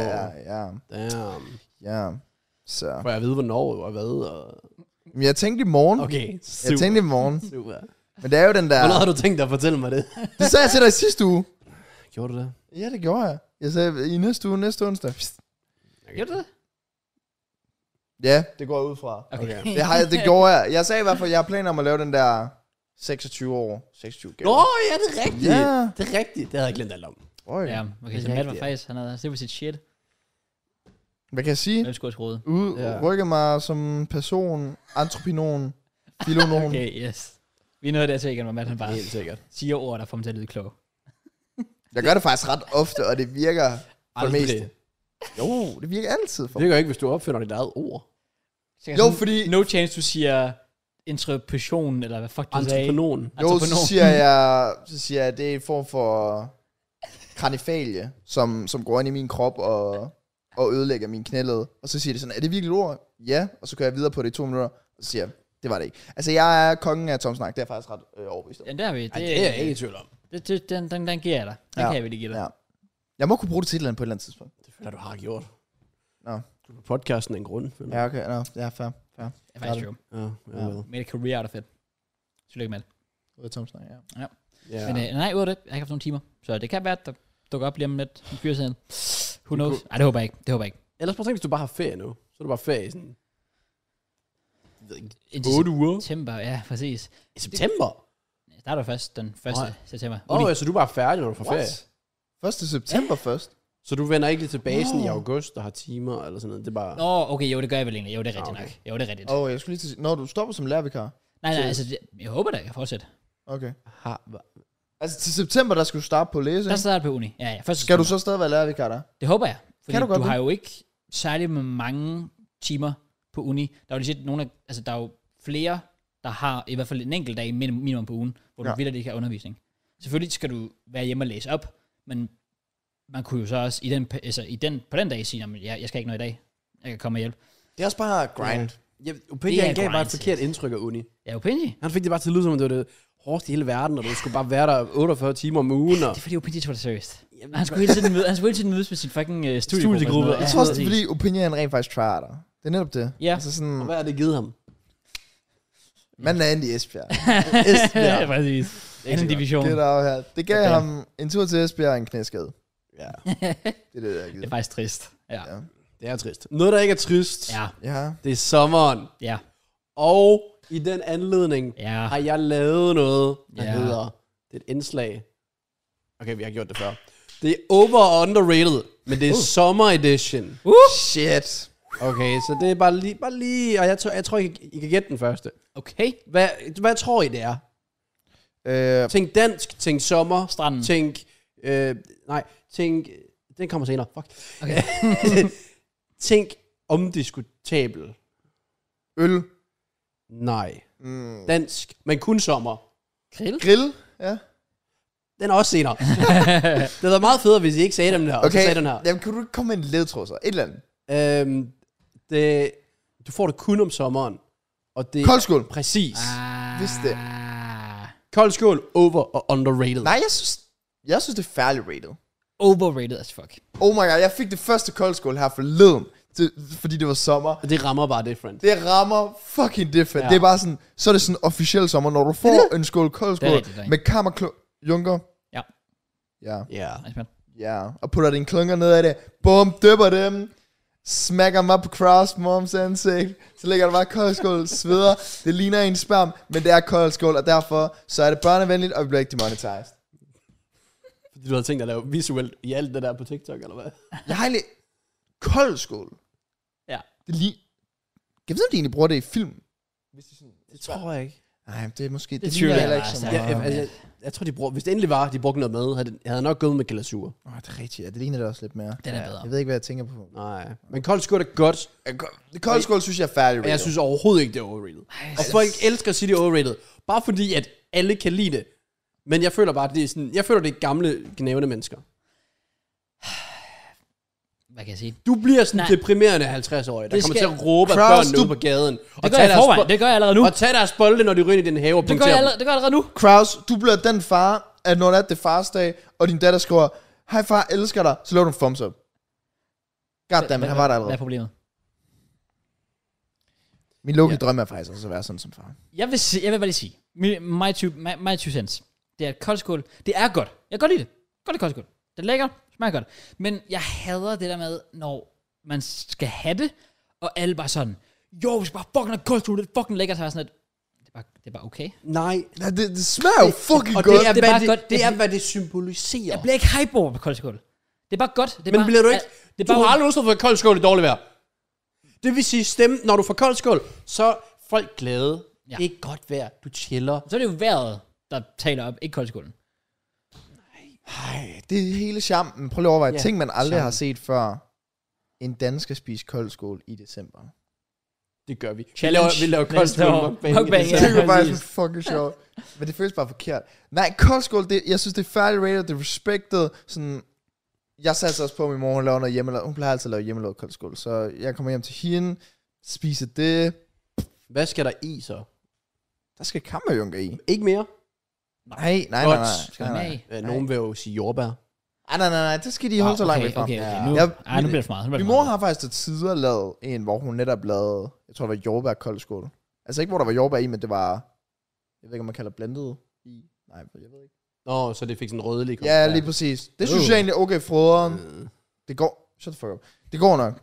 S2: Ja, ja,
S3: damn.
S2: ja. Så.
S3: Får jeg at vide, hvornår og hvad? Og...
S2: Men jeg tænkte i morgen.
S3: Okay,
S2: Jeg
S3: super.
S2: tænkte i morgen.
S3: super.
S2: Men det er jo den der...
S3: Hvornår har du tænkt dig at fortælle mig det?
S2: Det sagde jeg til dig i sidste uge.
S3: Gjorde du det?
S2: Ja, det gjorde jeg. Jeg sagde, i næste uge, næste onsdag. Psst.
S1: Gør du det?
S2: Ja, det går jeg ud fra.
S3: Okay.
S2: Det, har, jeg- det gjorde jeg. Jeg sagde i hvert fald, jeg har planer om at lave den der 26 år. 26 gave.
S3: Nå, ja, det er rigtigt.
S2: Ja.
S3: Det er rigtigt. Det havde jeg glemt alt om.
S2: Øj.
S1: Ja, okay, så
S3: Det
S1: Matt
S3: er
S1: var
S3: rigtigt, ja.
S1: faktisk, han havde set på sit shit.
S2: Hvad kan jeg sige?
S1: Hvem skulle have troet?
S2: Ud,
S3: Ja.
S2: rykke mig som person, entreprenøren, filonomen.
S1: Okay, yes. Vi er nået dertil igen, hvor Matt han bare
S3: Helt sikkert.
S1: siger ord, der får mig til at lyde klog.
S2: Jeg gør det faktisk ret ofte, og det virker for det
S3: Aldrig.
S2: meste. Jo, det virker altid for
S3: Det gør ikke, hvis du opfinder dit eget ord.
S1: Så jeg
S2: Jo,
S1: sådan,
S2: fordi-
S1: No chance, du siger entreprenøren, eller hvad fuck du sagde.
S3: Entreprenøren.
S2: Jo, så
S1: Entreprenør.
S2: siger jeg, så siger jeg, at det er en form for kranifalie, som, som går ind i min krop og, og ødelægger min knæled. Og så siger de sådan, er det virkelig et ord? Ja, og så kører jeg videre på det i to minutter, og så siger jeg, det var det ikke. Altså, jeg er kongen af Tom Snak, det er jeg faktisk ret øh, overbevist om.
S1: Ja, der er vi. Det,
S3: Ej, det er jeg ikke i tvivl om.
S1: Det, det, den, den, den giver jeg dig. Den
S2: Ja.
S1: kan jeg virkelig give dig.
S2: Ja. Jeg må kunne bruge det til et eller andet på et eller andet tidspunkt.
S3: Det føler jeg, du har gjort.
S2: Nå.
S3: Du er på podcasten af en grund, føler jeg.
S2: Ja, okay, nå, ja, fair, fair.
S1: Det er faktisk jo.
S3: Ja, jeg
S2: Ja.
S3: ved.
S1: Made a career out of it. Tillykke med det.
S2: Ud af Tom Snak, ja.
S3: Ja.
S1: Men øh, nej, ud af det. Jeg har ikke haft nogen timer. Så det kan være, at der dukker op lige om lidt. En fyrsæden. Who knows? Nej, det håber jeg ikke. Det håber jeg ikke.
S3: Ellers prøv at tænke, hvis du bare har ferie nu. Så er du bare ferie i sådan... Jeg ved ikke,
S1: Indtil
S3: 8 uger.
S1: september, ja, præcis.
S3: I september?
S1: Jeg starter først den 1.
S3: Nej.
S1: september.
S3: Åh,
S1: Uni.
S3: oh, ja, så du er bare færdig, når du får ferie.
S2: 1. september først.
S3: Så du vender ikke lige tilbage sådan i
S2: Nå.
S3: august og har timer eller sådan noget. Det er bare...
S1: Nå, okay, jo, det gør jeg vel egentlig. Jo, det er
S3: Ah,
S1: rigtigt
S3: okay.
S1: nok. Jo, det er rigtigt.
S2: Åh, oh, jeg skulle lige til at sige, når du stopper som lærervikar.
S1: Nej, nej,
S3: Så-
S1: altså, jeg, jeg håber da, jeg kan fortsætte.
S2: Okay.
S3: Ha, hva?
S2: Altså, til september, der skal du starte på at læse.
S1: Der
S2: ikke?
S1: starter på uni. Ja, ja, først
S2: Skal du så stadig være lærervikar der?
S1: Det håber jeg. Fordi
S2: Kan
S1: kan
S2: du
S1: du,
S2: godt
S1: du
S2: det?
S1: har jo ikke særlig mange timer på uni. Der er jo legit nogle af, altså der er jo flere, der har i hvert fald en enkelt dag minimum, minimum på ugen, hvor du
S2: Ja.
S1: ja. vildt ikke har undervisning. Selvfølgelig skal du være hjemme og læse op, men man kunne jo så også i den, pe- altså i den, på den dag sige, at jeg, jeg skal ikke noget i dag. Jeg kan komme og hjælpe.
S2: Det er også bare grind.
S3: Ja,
S1: Det
S3: Opinji,
S1: er
S3: han gav bare et
S1: grind.
S3: forkert indtryk af uni.
S1: Jeg er jo pinlig.
S3: Han fik det bare til at lyde som, om det var det hårdeste i hele verden, og du skulle bare være der 48 timer om ugen. Og...
S1: Det er fordi, Opinji tog det seriøst. Han skulle hele tiden, møde, han skulle hele tiden mødes med sin fucking uh, studiegruppe. og sådan
S3: Studiegruppe.
S1: noget.
S2: Jeg
S1: Ja,
S2: tror også, det er
S1: præcis.
S2: fordi opinion rent faktisk tryer dig. Det er netop det.
S1: Ja.
S2: Altså sådan,
S3: Og hvad har det givet ham?
S2: manden er endelig i Esbjerg.
S3: Esbjerg.
S1: ja, præcis. Anden division.
S2: Get out her. Det gav
S1: Okay.
S2: ham en tur til Esbjerg og en knæskade.
S3: Ja,
S2: Det er det, jeg
S1: Det er
S2: gider.
S1: faktisk trist. Ja.
S2: Ja.
S3: det er trist. Noget, der ikke er trist,
S1: Ja.
S2: Ja.
S3: det er sommeren.
S1: Ja.
S3: Og i den anledning
S1: Ja.
S3: har jeg lavet noget, der
S1: Ja.
S3: hedder... Det er et indslag. Okay, vi har gjort det før. Det er over og underrated, men det er uh. sommer edition.
S1: Uh!
S2: Shit.
S3: Okay, så det er bare lige... Bare lige og jeg tror, jeg tror I, kan- I kan gætte den første.
S1: Okay.
S3: Hvad, hvad tror I, det er?
S2: Øh,
S3: Tænk dansk, tænk sommer,
S1: Stranden.
S3: tænk... Øh, nej, tænk... Den kommer senere, fuck.
S1: Okay.
S3: tænk omdiskutabel.
S2: øl.
S3: Nej.
S2: Mm.
S3: Dansk, men kun sommer.
S1: Grill?
S2: Grill. Ja.
S3: Den er også senere. det havde været meget federe, hvis I ikke sagde dem der, okay. og så
S2: Okay.
S3: sagde den her.
S2: Jamen, kan du ikke komme med en ledtråd så? Et eller andet.
S3: Øhm, det, du får det kun om sommeren. Og det
S2: Kold skål.
S3: Præcis. Ah.
S1: Ah.
S2: Hvis det-
S3: Kold skål, over og underrated.
S2: Nej, jeg synes, jeg synes, det er fairly rated.
S1: Overrated as fuck.
S2: Oh my god, jeg fik det første koldskål her forleden, til, fordi det var sommer.
S3: Og det rammer bare different.
S2: Det rammer fucking different.
S3: Ja.
S2: Ja. Det er bare sådan, så er det sådan officiel sommer, når du får en skål koldskål
S1: rigtigt, det er
S2: med kammerklo... Junker.
S1: Ja.
S2: Ja.
S3: Ja.
S1: Nice man.
S2: Ja. Og putter din klunker ned af det. Bum, døber dem. Smakker dem op på cross moms ansigt. Så ligger der bare koldskål, sveder. Det ligner en sperm, men det er koldskål, og derfor så er det børnevenligt, og vi bliver ikke demonetized.
S3: Fordi du havde tænkt at lave visuelt i alt det der på TikTok, eller hvad?
S2: Jeg har egentlig... Koldskål.
S1: Ja.
S2: Det er lige... Jeg ved, om de egentlig bruger det i film. Hvis de sådan...
S3: Det tror jeg ikke.
S2: Nej, det er måske... Det,
S1: Det
S2: det
S1: tvivler
S2: ligner
S1: jeg
S2: heller ikke
S1: meget
S2: så
S1: stærkt.
S2: meget.
S3: Jeg, jeg, jeg, jeg, jeg tror, de bruger, hvis det endelig var, de brugte noget med, havde, det- havde jeg nok gået med glasur.
S2: Åh, oh, det er rigtigt. Ja, det ligner det også lidt mere.
S1: Den er bedre.
S2: Jeg ved ikke, hvad jeg tænker på.
S3: Nej. Men kold skål er godt,
S2: Det kolde skål synes jeg er færdig.
S3: og jeg synes overhovedet ikke, det er overrated. Og
S1: altså-
S3: folk elsker at sige, det er overrated. Bare fordi, at alle kan lide det. Men jeg føler bare, at det er sådan, jeg føler, det er gamle, gnævende mennesker.
S1: Hvad kan jeg sige?
S3: Du bliver sådan
S1: Nej.
S3: Nej. deprimerende 50 år, der
S1: Det
S3: kommer
S1: skal-
S3: til at råbe af
S2: Kraus,
S3: børnene
S2: du-
S3: ude på gaden.
S1: Det gør jeg i
S3: deres
S1: forvejen.
S3: bo-
S1: Det gør jeg allerede nu.
S3: Og tag deres bolde, når de ryger ind i din have og
S1: Det gør
S3: punkterer
S1: jeg
S3: dem.
S1: allerede, det gør jeg allerede nu.
S2: Kraus, du bliver den far, at når det er det fars dag, og din datter skriver, hej far, elsker dig, så laver du en thumbs up. Goddammit, han var der
S1: Hvad er
S2: allerede.
S1: problemet?
S2: Min lukkede ja. drøm er faktisk også at være sådan som far.
S1: Jeg vil, sige, jeg vil bare lige sige, my, my, two, my, my two cents, det er at koldskål, det er godt. Jeg kan godt lide det. Jeg kan Godt lide koldskål. Det er lækkert, smager godt. Men jeg hader det der med, når man skal have det, og alle bare sådan, jo, vi skal bare fucking have koldskål, det er fucking lækkert, så er jeg sådan lidt, det er bare, det er bare okay.
S3: Nej.
S2: Ja, det, det smager jo fucking
S3: Og
S2: godt.
S3: det er,
S1: Det er
S3: hvad
S1: bare
S3: det,
S1: godt.
S3: det, er, hvad det symboliserer.
S1: Jeg bliver ikke hype over på koldskål. Det er bare godt. Det er
S3: Men
S1: bare,
S3: bliver du ikke...
S1: Det er
S3: du
S1: bare,
S3: har aldrig udstået for kold skål i dårligt vejr. Det vil sige, stemme, når du får kold skål, så er folk glade.
S1: Ja.
S3: Ja. Det er godt vejr. Du chiller.
S1: så er det jo vejret, der taler op, ikke koldskålen.
S2: Ej, det er hele charmen. Prøv lige at overveje.
S3: Ja,
S2: Ja, Ting, man aldrig
S3: charmen.
S2: har set før. En dansker spiser koldskål i december.
S3: Det gør vi.
S1: Challenge
S3: Vi laver, vi laver kold
S1: næste
S3: skål.
S1: år.
S3: mukbang i
S1: Mukbang,
S3: december.
S1: Ja,
S2: det er
S1: præcis.
S2: bare sådan fucking sjovt. Men det føles bare forkert. Nej, koldskål, det, jeg synes, det er færdig rated, det er respected. Sådan, jeg satte også på, at min mor hun laver noget hjemmelavet. Hun plejer altid at lave hjemmelavet koldskål. Så jeg kommer hjem til hende, spiser det.
S3: Hvad skal der i så?
S2: Der skal kammerjunker i.
S3: Ikke mere.
S2: Nej, nej, nej,
S3: Godt.
S2: nej.
S1: Skal
S2: Nej,
S1: den
S2: nej,
S1: af?
S3: Øh, Nogen vil jo sige jordbær.
S2: Ej, nej, nej, nej. Det skal de holde så
S1: Ah,
S2: langt
S1: okay,
S2: væk fra.
S1: okay, okay,
S3: Ja.
S1: nu,
S2: Jeg-
S1: ej, nu bliver det for meget. nu bliver det
S2: Min
S1: for
S2: mor
S1: meget.
S2: har faktisk til tider lavet en, hvor hun netop lavede, jeg tror det var jordbær koldskål. Altså ikke, hvor der var jordbær i, men det var, jeg ved ikke, om man kalder blandet i. Nej, jeg ved ikke.
S3: Nå, så det fik sådan en rødlig
S2: Ja, lige præcis. Det synes
S3: Øh.
S2: jeg egentlig er okay, froderen. Det går, shut the fuck up. Det går nok.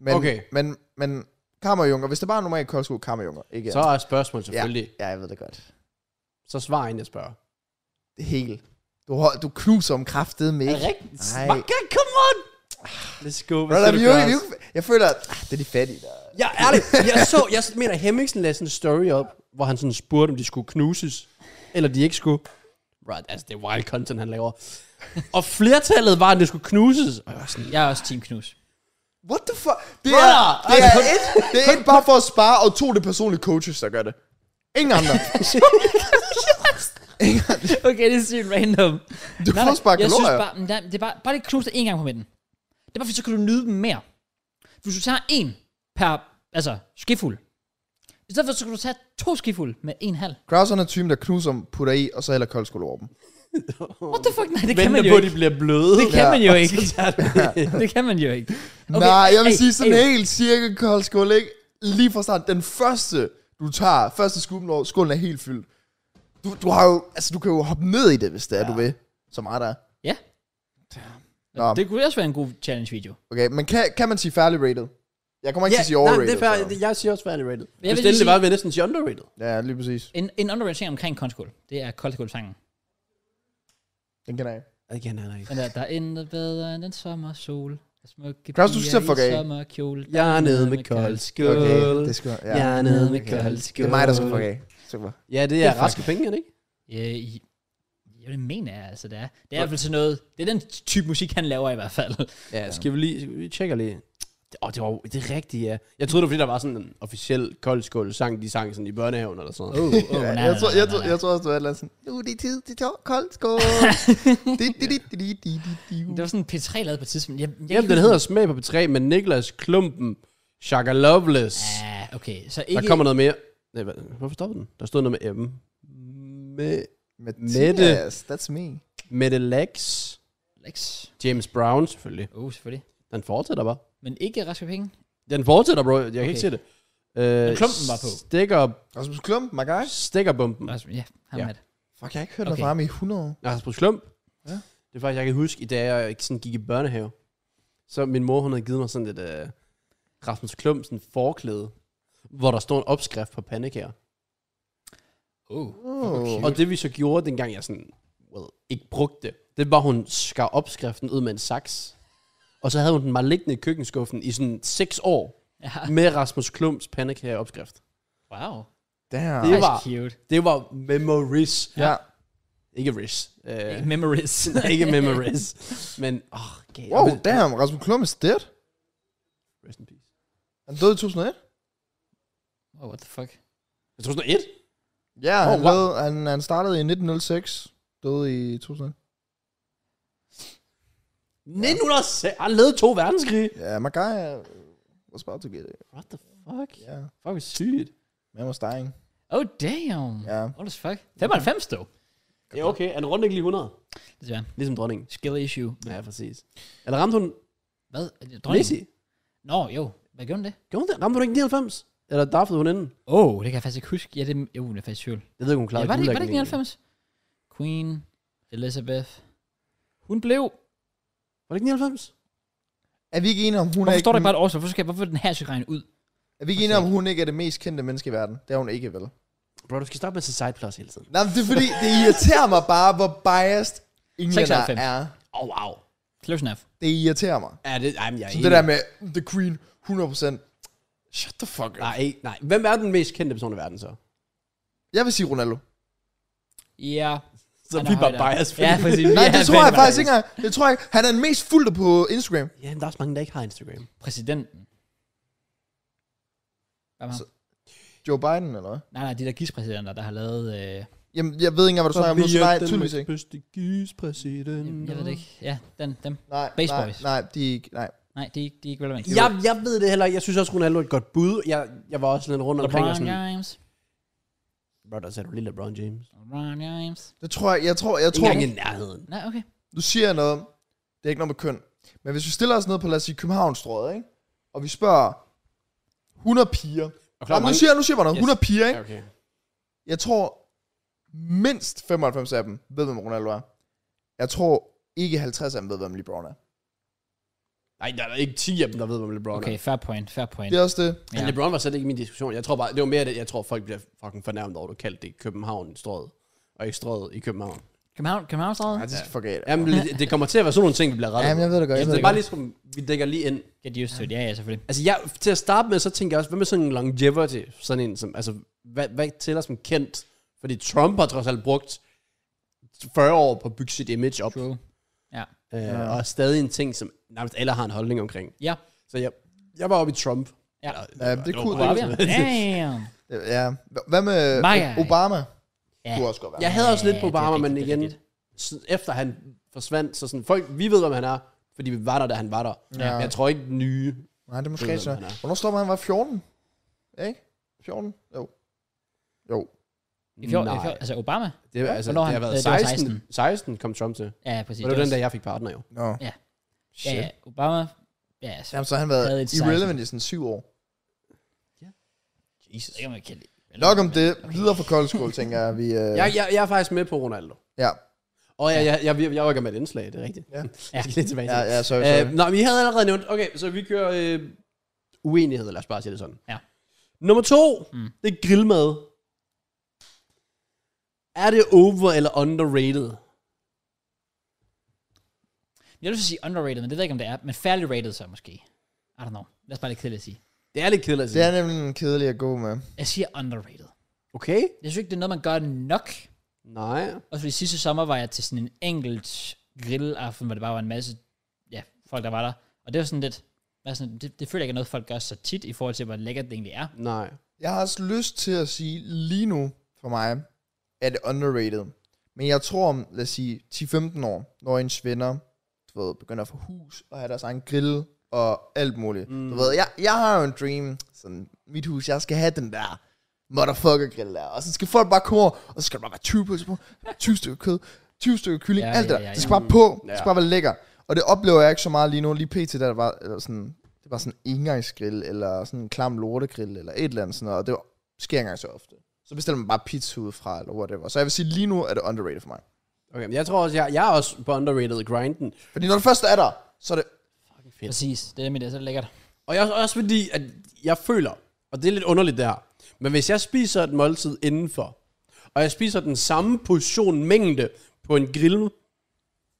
S2: Men,
S3: Okay.
S2: men, men kammerjunker, hvis det bare er normalt koldskål, kammerjunker. Ikke
S3: Så
S2: andet.
S3: er spørgsmålet selvfølgelig.
S2: Ja, jeg ved det godt.
S3: Så svar inden jeg spørger.
S2: Det er helt. Du, hold, du knuser om kraftet med.
S3: Er det rigtigt?
S2: Nej.
S3: Makker, come on! Let's go. Hvad
S2: Brother,
S3: skal
S2: vi,
S3: du
S2: er jo ikke-
S3: gøre?
S2: vi, er jo ikke- jeg føler, at ah, det er de fattige, der...
S3: Ja, ærligt. Jeg, så, jeg mener, Hemmingsen lagde sådan en story op, hvor han sådan spurgte, om de skulle knuses, eller de ikke skulle. Right, altså det er wild content, han laver. Og flertallet var, at det skulle knuses. Og jeg var sådan,
S1: Jeg er også team knus.
S2: What the fuck? Det
S3: Brother,
S2: er, det
S3: Altså,
S2: er, et, det er et bare for at spare, og to det er personlige coaches, der gør det. Ingen andre. Ingen andre.
S1: Okay, det er sygt random.
S2: Du får også bare
S1: jeg synes
S2: kalorier.
S1: bare, men der, det er bare, bare lige knus det en gang på midten. Det er bare, fordi så kan du nyde dem mere. Hvis du tager en per, altså, skifuld. I stedet for, så kan du tage to skifuld med en halv.
S2: Krauseren er typen, der knuser dem, putter i, og så hælder koldskål over dem.
S1: What the fuck? Nej, det kan man
S3: venter
S1: jo
S3: på, at de
S1: ikke.
S3: bliver bløde.
S1: Det kan
S2: Ja,
S1: man jo ikke.
S3: Så tager det.
S1: Det kan man jo ikke.
S2: Okay, Nej, jeg vil
S1: ey,
S2: sige sådan
S1: ey.
S2: en helt cirka koldskål, ikke? Lige fra start. Den første, du tager, første skubben over, skålen er helt fyldt. Du, du, har jo, altså, du kan jo hoppe ned i det, hvis det er, ja. du vil. Som mig der.
S1: Ja.
S2: Nå.
S1: Det kunne også være en god challenge-video.
S2: Okay, men kan, kan man sige fairly rated? Jeg kommer ikke til at sige
S3: nej,
S2: overrated.
S3: det er fair,
S2: så-
S3: det- jeg siger også fairly rated.
S1: vil
S3: Hvis
S1: lige
S3: det
S1: sige-
S3: var, vil jeg næsten sige underrated.
S2: Ja, lige præcis.
S1: En, en underrated ting omkring Koldskål, det er Koldskål-sangen.
S2: Den kan jeg ikke.
S3: Again, nej, nej.
S1: Den der, der er intet bedre end en sommersol. og Smukke
S2: Claus, du skal til at fuck
S1: i
S2: af.
S1: sommerkjole.
S3: Jeg er nede med koldskål.
S2: Okay, det skal ja.
S3: Jeg er nede med koldskål.
S2: Det er mig, der skal fuck af. Super.
S3: Ja, det
S1: Det
S3: er
S1: er
S3: raske penge, er det ikke?
S1: Ja, i- jeg vil mene, jeg, altså det er. Det er i hvert fald sådan noget, det er den type musik, han laver i hvert fald.
S3: Ja, skal vi lige, skal vi tjekke lige. Det- Åh, det var det er rigtigt, ja. Jeg troede, det var, fordi der var sådan en officiel koldskål sang, de sang sådan i børnehaven eller sådan noget.
S1: Oh, oh, nej, nej,
S2: jeg, tror,
S1: nej,
S2: jeg,
S1: nej,
S2: tror,
S1: nej.
S2: jeg tror også, det var et eller andet sådan, nu er det tid til tår- koldt skål. Di- di- di- di- di- di- di- di-
S1: Det var sådan en P3 lavet på et tidspunkt. Jeg, jeg kan
S3: Jamen,
S1: ikke
S3: den
S1: huske-
S3: hedder Smag på P3 med Niklas Klumpen, Shaka Loveless.
S1: Ja, okay. Så
S3: Der
S1: ikke...
S3: kommer noget mere. Nej, hvad, hvorfor stoppede den? Der stod noget med M. Med
S2: Mathias, that's me.
S3: Mette Lex.
S1: Alex.
S3: James Brown, selvfølgelig.
S1: Oh, selvfølgelig.
S3: Den fortsætter bare.
S1: Men ikke Raske Penge.
S3: Den fortsætter, bro. Jeg kan okay.
S1: Okay.
S3: ikke se det. Øh,
S1: Men klumpen var på.
S3: Stikker,
S2: Rasmus Klump, my guy.
S3: stikkerbomben.
S1: Rasmus- Ja, ham
S3: Ja.
S1: ja. er det.
S2: Fuck, jeg har ikke hørt noget
S1: Okay.
S2: fra ham i 100 år.
S3: Rasmus Klump.
S2: Ja.
S3: Ja. Det er faktisk, jeg kan huske, i dag jeg ikke sådan gik i børnehave. Så min mor, hun havde givet mig sådan et øh, Rasmus Klump sådan forklæde, hvor der stod en opskrift på pandekager.
S1: Oh.
S2: Oh.
S3: Og det vi så gjorde, dengang jeg sådan, well, ikke brugte det, det var, hun skar opskriften ud med en saks. Og så havde hun den bare liggende i køkkenskuffen i sådan seks år,
S1: Ja.
S3: med Rasmus Klumps pandekager opskrift.
S1: Wow.
S2: Damn.
S1: Det var
S3: Det var-
S1: cute.
S3: Det var memories.
S2: Ja.
S3: Ikke ris. Øh,
S1: Ikke Memories.
S3: ikke memories. Men, åh, oh, okay.
S2: Wow, damn. Rasmus Klump is dead.
S3: Rest in peace.
S2: Han døde i 2001.
S1: oh, what the fuck?
S3: Jeg tror sådan et.
S2: Ja,
S3: Oh,
S2: han,
S3: wow.
S2: døde, han, han startede i 1906. Døde i 2001.
S3: 1906. Han lavede to verdenskrig.
S2: Ja, yeah, my guy uh, was about to get it.
S3: What the fuck?
S2: Ja, Mm. yeah.
S3: Fuck, hvor sygt.
S2: man was dying.
S1: Oh, damn.
S2: Ja.
S1: What the fuck? 95 dog.
S3: Ja, okay. Han rundt ikke lige 100.
S1: Desværre.
S3: Ligesom dronningen.
S1: Skill issue.
S3: Ja, præcis. Eller ramte hun
S1: Hvad?
S3: Messi?
S1: Dronningen? Nå, jo. Hvad gjorde den det?
S3: Gjorde hun det? Ramte hun ikke 99? Eller daffede hun inden?
S1: Oh, det kan jeg faktisk ikke huske. Ja, det, jo, det er faktisk i tvivl.
S3: Jeg ved ikke, hun
S1: Ja,
S3: klarede
S1: var, det, ikke- var det ikke
S3: guldlægningen.
S1: 99? Queen, Elizabeth. Hun blev...
S3: Var det ikke 99?
S2: Er vi ikke enige om, hun er
S1: Hvorfor
S2: ikke...
S1: står der ikke bare et årsag? Hvorfor, skal, hvorfor er den her skal regne ud?
S2: Er vi ikke enige om, hun ikke er det mest kendte menneske i verden? Det er hun ikke, vel?
S3: Bro, du skal stoppe med at sige side plus hele tiden.
S2: Nej, men det er fordi, det irriterer mig bare, hvor biased englænder
S1: 96.
S2: er.
S3: Åh, oh, wow.
S1: Close enough.
S2: Det irriterer mig.
S3: Ja, det, ej, men jeg er
S2: Så
S3: enig.
S2: det der med The Queen, 100%. Shut the fuck up.
S3: Nej, nej. Hvem er den mest kendte person i verden så?
S2: Jeg vil sige Ronaldo.
S1: Ja.
S3: Så
S1: Han er
S3: vi er bare
S1: høj der.
S3: biased.
S1: Ja, præcis. Vi
S2: Nej,
S1: er
S2: det tror jeg
S1: fandme-
S2: faktisk ikke engang. Det tror jeg ikke. Han er den mest fulgte på Instagram.
S3: Ja, men der er også mange, der ikke har Instagram.
S1: Præsidenten. Hvad med ham?
S2: Så- Joe Biden, eller hvad?
S1: Nej, nej, de der gispræsidenter, der har lavet... Øh,
S2: Jamen, jeg ved ikke engang, hvad du snakker om. nu, så Nej, tydeligvis ikke.
S3: bedste gispræsident.
S1: jeg ved det ikke. Ja, den, dem.
S2: Nej,
S1: Base
S2: nej,
S1: Boys.
S2: nej, de er ikke, nej.
S1: Nej, de, er ikke- de er ikke relevant.
S3: Jeg, jeg ved det heller ikke. Jeg synes også, Ronaldo er et godt bud. Jeg, jeg var også lidt rundt omkring.
S1: LeBron
S3: og sådan,
S1: James.
S3: Bro, der sagde du lige LeBron James.
S1: LeBron James.
S2: Det tror jeg, jeg tror, jeg
S3: Ikke
S2: tror,
S3: engang i nærheden.
S1: Nej, okay.
S2: nu siger jeg noget, det er ikke noget med køn, men hvis vi stiller os ned på, lad os sige, Københavnstrøget, ikke? Og vi spørger 100 piger.
S3: Og
S2: Klar, nu, siger, jeg- nu siger jeg bare noget,
S3: Yes.
S2: 100 piger, ikke?
S3: okay.
S2: Jeg tror, mindst 95 af dem ved, hvem Ronaldo er. Jeg tror ikke 50 af dem ved, hvem LeBron er.
S3: Nej, der er ikke 10 af dem, der ved, hvem LeBron
S1: Okay,
S3: er.
S1: fair point, fair point.
S2: Det er også det.
S3: Men
S1: Ja.
S3: LeBron var slet ikke i min diskussion. Jeg tror bare, det var mere det, jeg tror, folk bliver fucking fornærmet over, at du kaldte det København strøget. Og ikke strøget i København.
S1: København, København
S2: Ja,
S1: stadig?
S2: det skal fuck af det.
S3: Jamen, det, det kommer til at være sådan nogle ting, vi bliver rettet.
S2: Jamen, jeg ved det godt. Jeg
S3: Jamen,
S2: ved
S3: det
S2: det
S3: er bare
S2: godt.
S3: ligesom, vi dækker lige ind.
S1: Get used to it. Ja, ja, selvfølgelig.
S3: Altså, jeg, til at starte med, så tænker jeg også, hvad med sådan en longevity? Sådan en, som, altså, hvad, hvad tæller som kendt? Fordi Trump har trods alt brugt 40 år på at bygge sit image op.
S1: True.
S3: Øh,
S2: Ja.
S3: ja. Og er stadig en ting, som nærmest alle har en holdning omkring.
S1: Ja.
S3: Så jeg, jeg var oppe i Trump.
S1: Ja.
S2: Ja, det
S3: var
S2: kunne-
S3: bare-
S1: Barbie. Damn.
S2: Øh, Ja. Hvad med
S1: Maja.
S2: Obama?
S1: Ja.
S2: Kunne også godt være.
S3: Jeg havde også lidt
S1: Ja,
S3: på
S1: det er
S3: Obama,
S1: rigtigt,
S3: men
S1: det er
S3: igen,
S1: rigtigt.
S3: s- efter han forsvandt, så sådan, folk, vi ved, hvem han er, fordi vi var der, da han var der.
S2: Ja.
S3: Men jeg tror ikke den
S2: Nej,
S3: nye.
S2: det er
S3: Ved,
S2: måske
S3: hvem
S2: så.
S3: han er.
S2: Hvornår stopper han? Var 14? Ikke? 14? Jo. Jo.
S1: I fjor, i fjor,
S3: Nej,
S1: altså Obama?
S3: det, altså, det
S1: Hvornår
S3: har
S1: han- øh,
S3: været
S1: det var
S3: 16. 16 kom Trump til.
S1: Ja, præcis.
S3: Og det var den,
S1: også-
S3: der jeg fik partner jo.
S2: Nå. No.
S1: Ja. Ja, ja, Obama. Ja, så
S2: Jamen, så har han været
S1: Havde et
S2: irrelevant i sådan syv år.
S1: Jesus. Det kan man kende.
S2: Nok om det. Videre fra koldskål, tænker jeg. Vi, øh,
S3: Jeg, jeg, jeg er faktisk med på Ronaldo.
S2: ja.
S3: Og ja, jeg, jeg, jeg, jeg rykker med et indslag, det er rigtigt.
S2: Ja.
S3: Jeg skal lidt tilbage til
S2: Ja,
S3: det.
S2: ja, sorry, sorry.
S3: Øh, nej, vi havde allerede nævnt, okay, så vi kører øh, uenighed, lad os bare sige det sådan.
S1: Ja.
S3: Nummer to,
S1: Mm.
S3: mm. det er grillmad. Er det over eller underrated?
S1: Jeg vil sige underrated, men det ved jeg ikke, om det er. Men fairly rated så måske. I don't know. Lad os bare lidt kedeligt at sige.
S3: Det er lidt kedeligt at
S2: Det
S3: sige.
S2: er nemlig en kedelig at gå med.
S1: Jeg siger underrated.
S3: Okay?
S1: Jeg synes ikke, det er noget, man gør nok.
S3: Nej.
S1: Og fordi sidste sommer var jeg til sådan en enkelt grillaften, hvor det bare var en masse ja, folk, der var der. Og det var sådan lidt... var Sådan, det, det føler jeg ikke er noget, folk gør så tit, i forhold til, hvor lækkert det egentlig er.
S3: Nej.
S2: Jeg har også lyst til at sige, lige nu for mig, er det underrated. Men jeg tror om, lad os sige, 10-15 år, når ens venner du ved, begynder at få hus og have deres egen grill og alt muligt. Mm. Du ved, jeg, jeg har jo en dream, sådan mit hus, jeg skal have den der motherfucker grill der. Og så skal folk bare komme over, og så skal der bare være 20 pølser på, 20 stykker kød, 20 stykker kylling,
S1: Ja,
S2: ja, alt
S1: ja,
S2: det der.
S1: ja, ja.
S2: Det skal bare på,
S3: Ja.
S2: det skal bare være lækker. Og det oplever jeg ikke så meget lige nu. Lige pt, der var eller sådan, det var sådan en engangsgrill, eller sådan en klam lortegrill, eller et eller andet sådan noget, og det var- sker ikke engang så ofte. Så bestiller man bare pizza udefra, eller whatever. Så jeg vil sige, lige nu er det underrated for mig.
S3: Okay, men jeg tror også, jeg, jeg er også på underrated grinden.
S2: Fordi når det først er der, så er det...
S3: Fedt.
S1: Præcis. Det er nemlig det, så er det lækkert.
S3: Og jeg, også fordi, at jeg føler, og det er lidt underligt det her, men hvis jeg spiser et måltid indenfor, og jeg spiser den samme portion mængde på en grill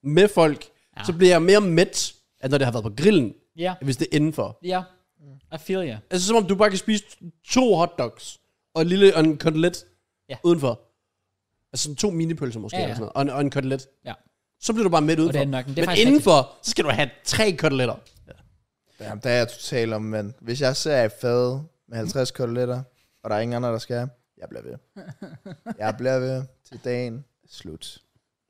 S3: med folk, ja. så bliver jeg mere mæt, at når det har været på grillen,
S1: Ja,
S3: end hvis det er indenfor.
S1: ja. I feel you.
S3: Altså som om du bare kan spise to hotdogs og en lille og en kotelet
S1: Ja.
S3: ja. udenfor. Altså sådan to minipølser måske,
S1: Ja, ja.
S3: ja, ja. Eller sådan noget, og, en, og en kotelet.
S1: Ja.
S3: Så bliver du bare mæt udenfor.
S1: er nok- det er
S3: men
S1: faktisk
S3: indenfor, så skal du have tre koteletter.
S2: Jamen, der er jeg totalt omvendt. Hvis jeg ser et fad med 50 koteletter, og der er ingen andre, der skal, jeg bliver ved. Jeg bliver ved til dagen er slut.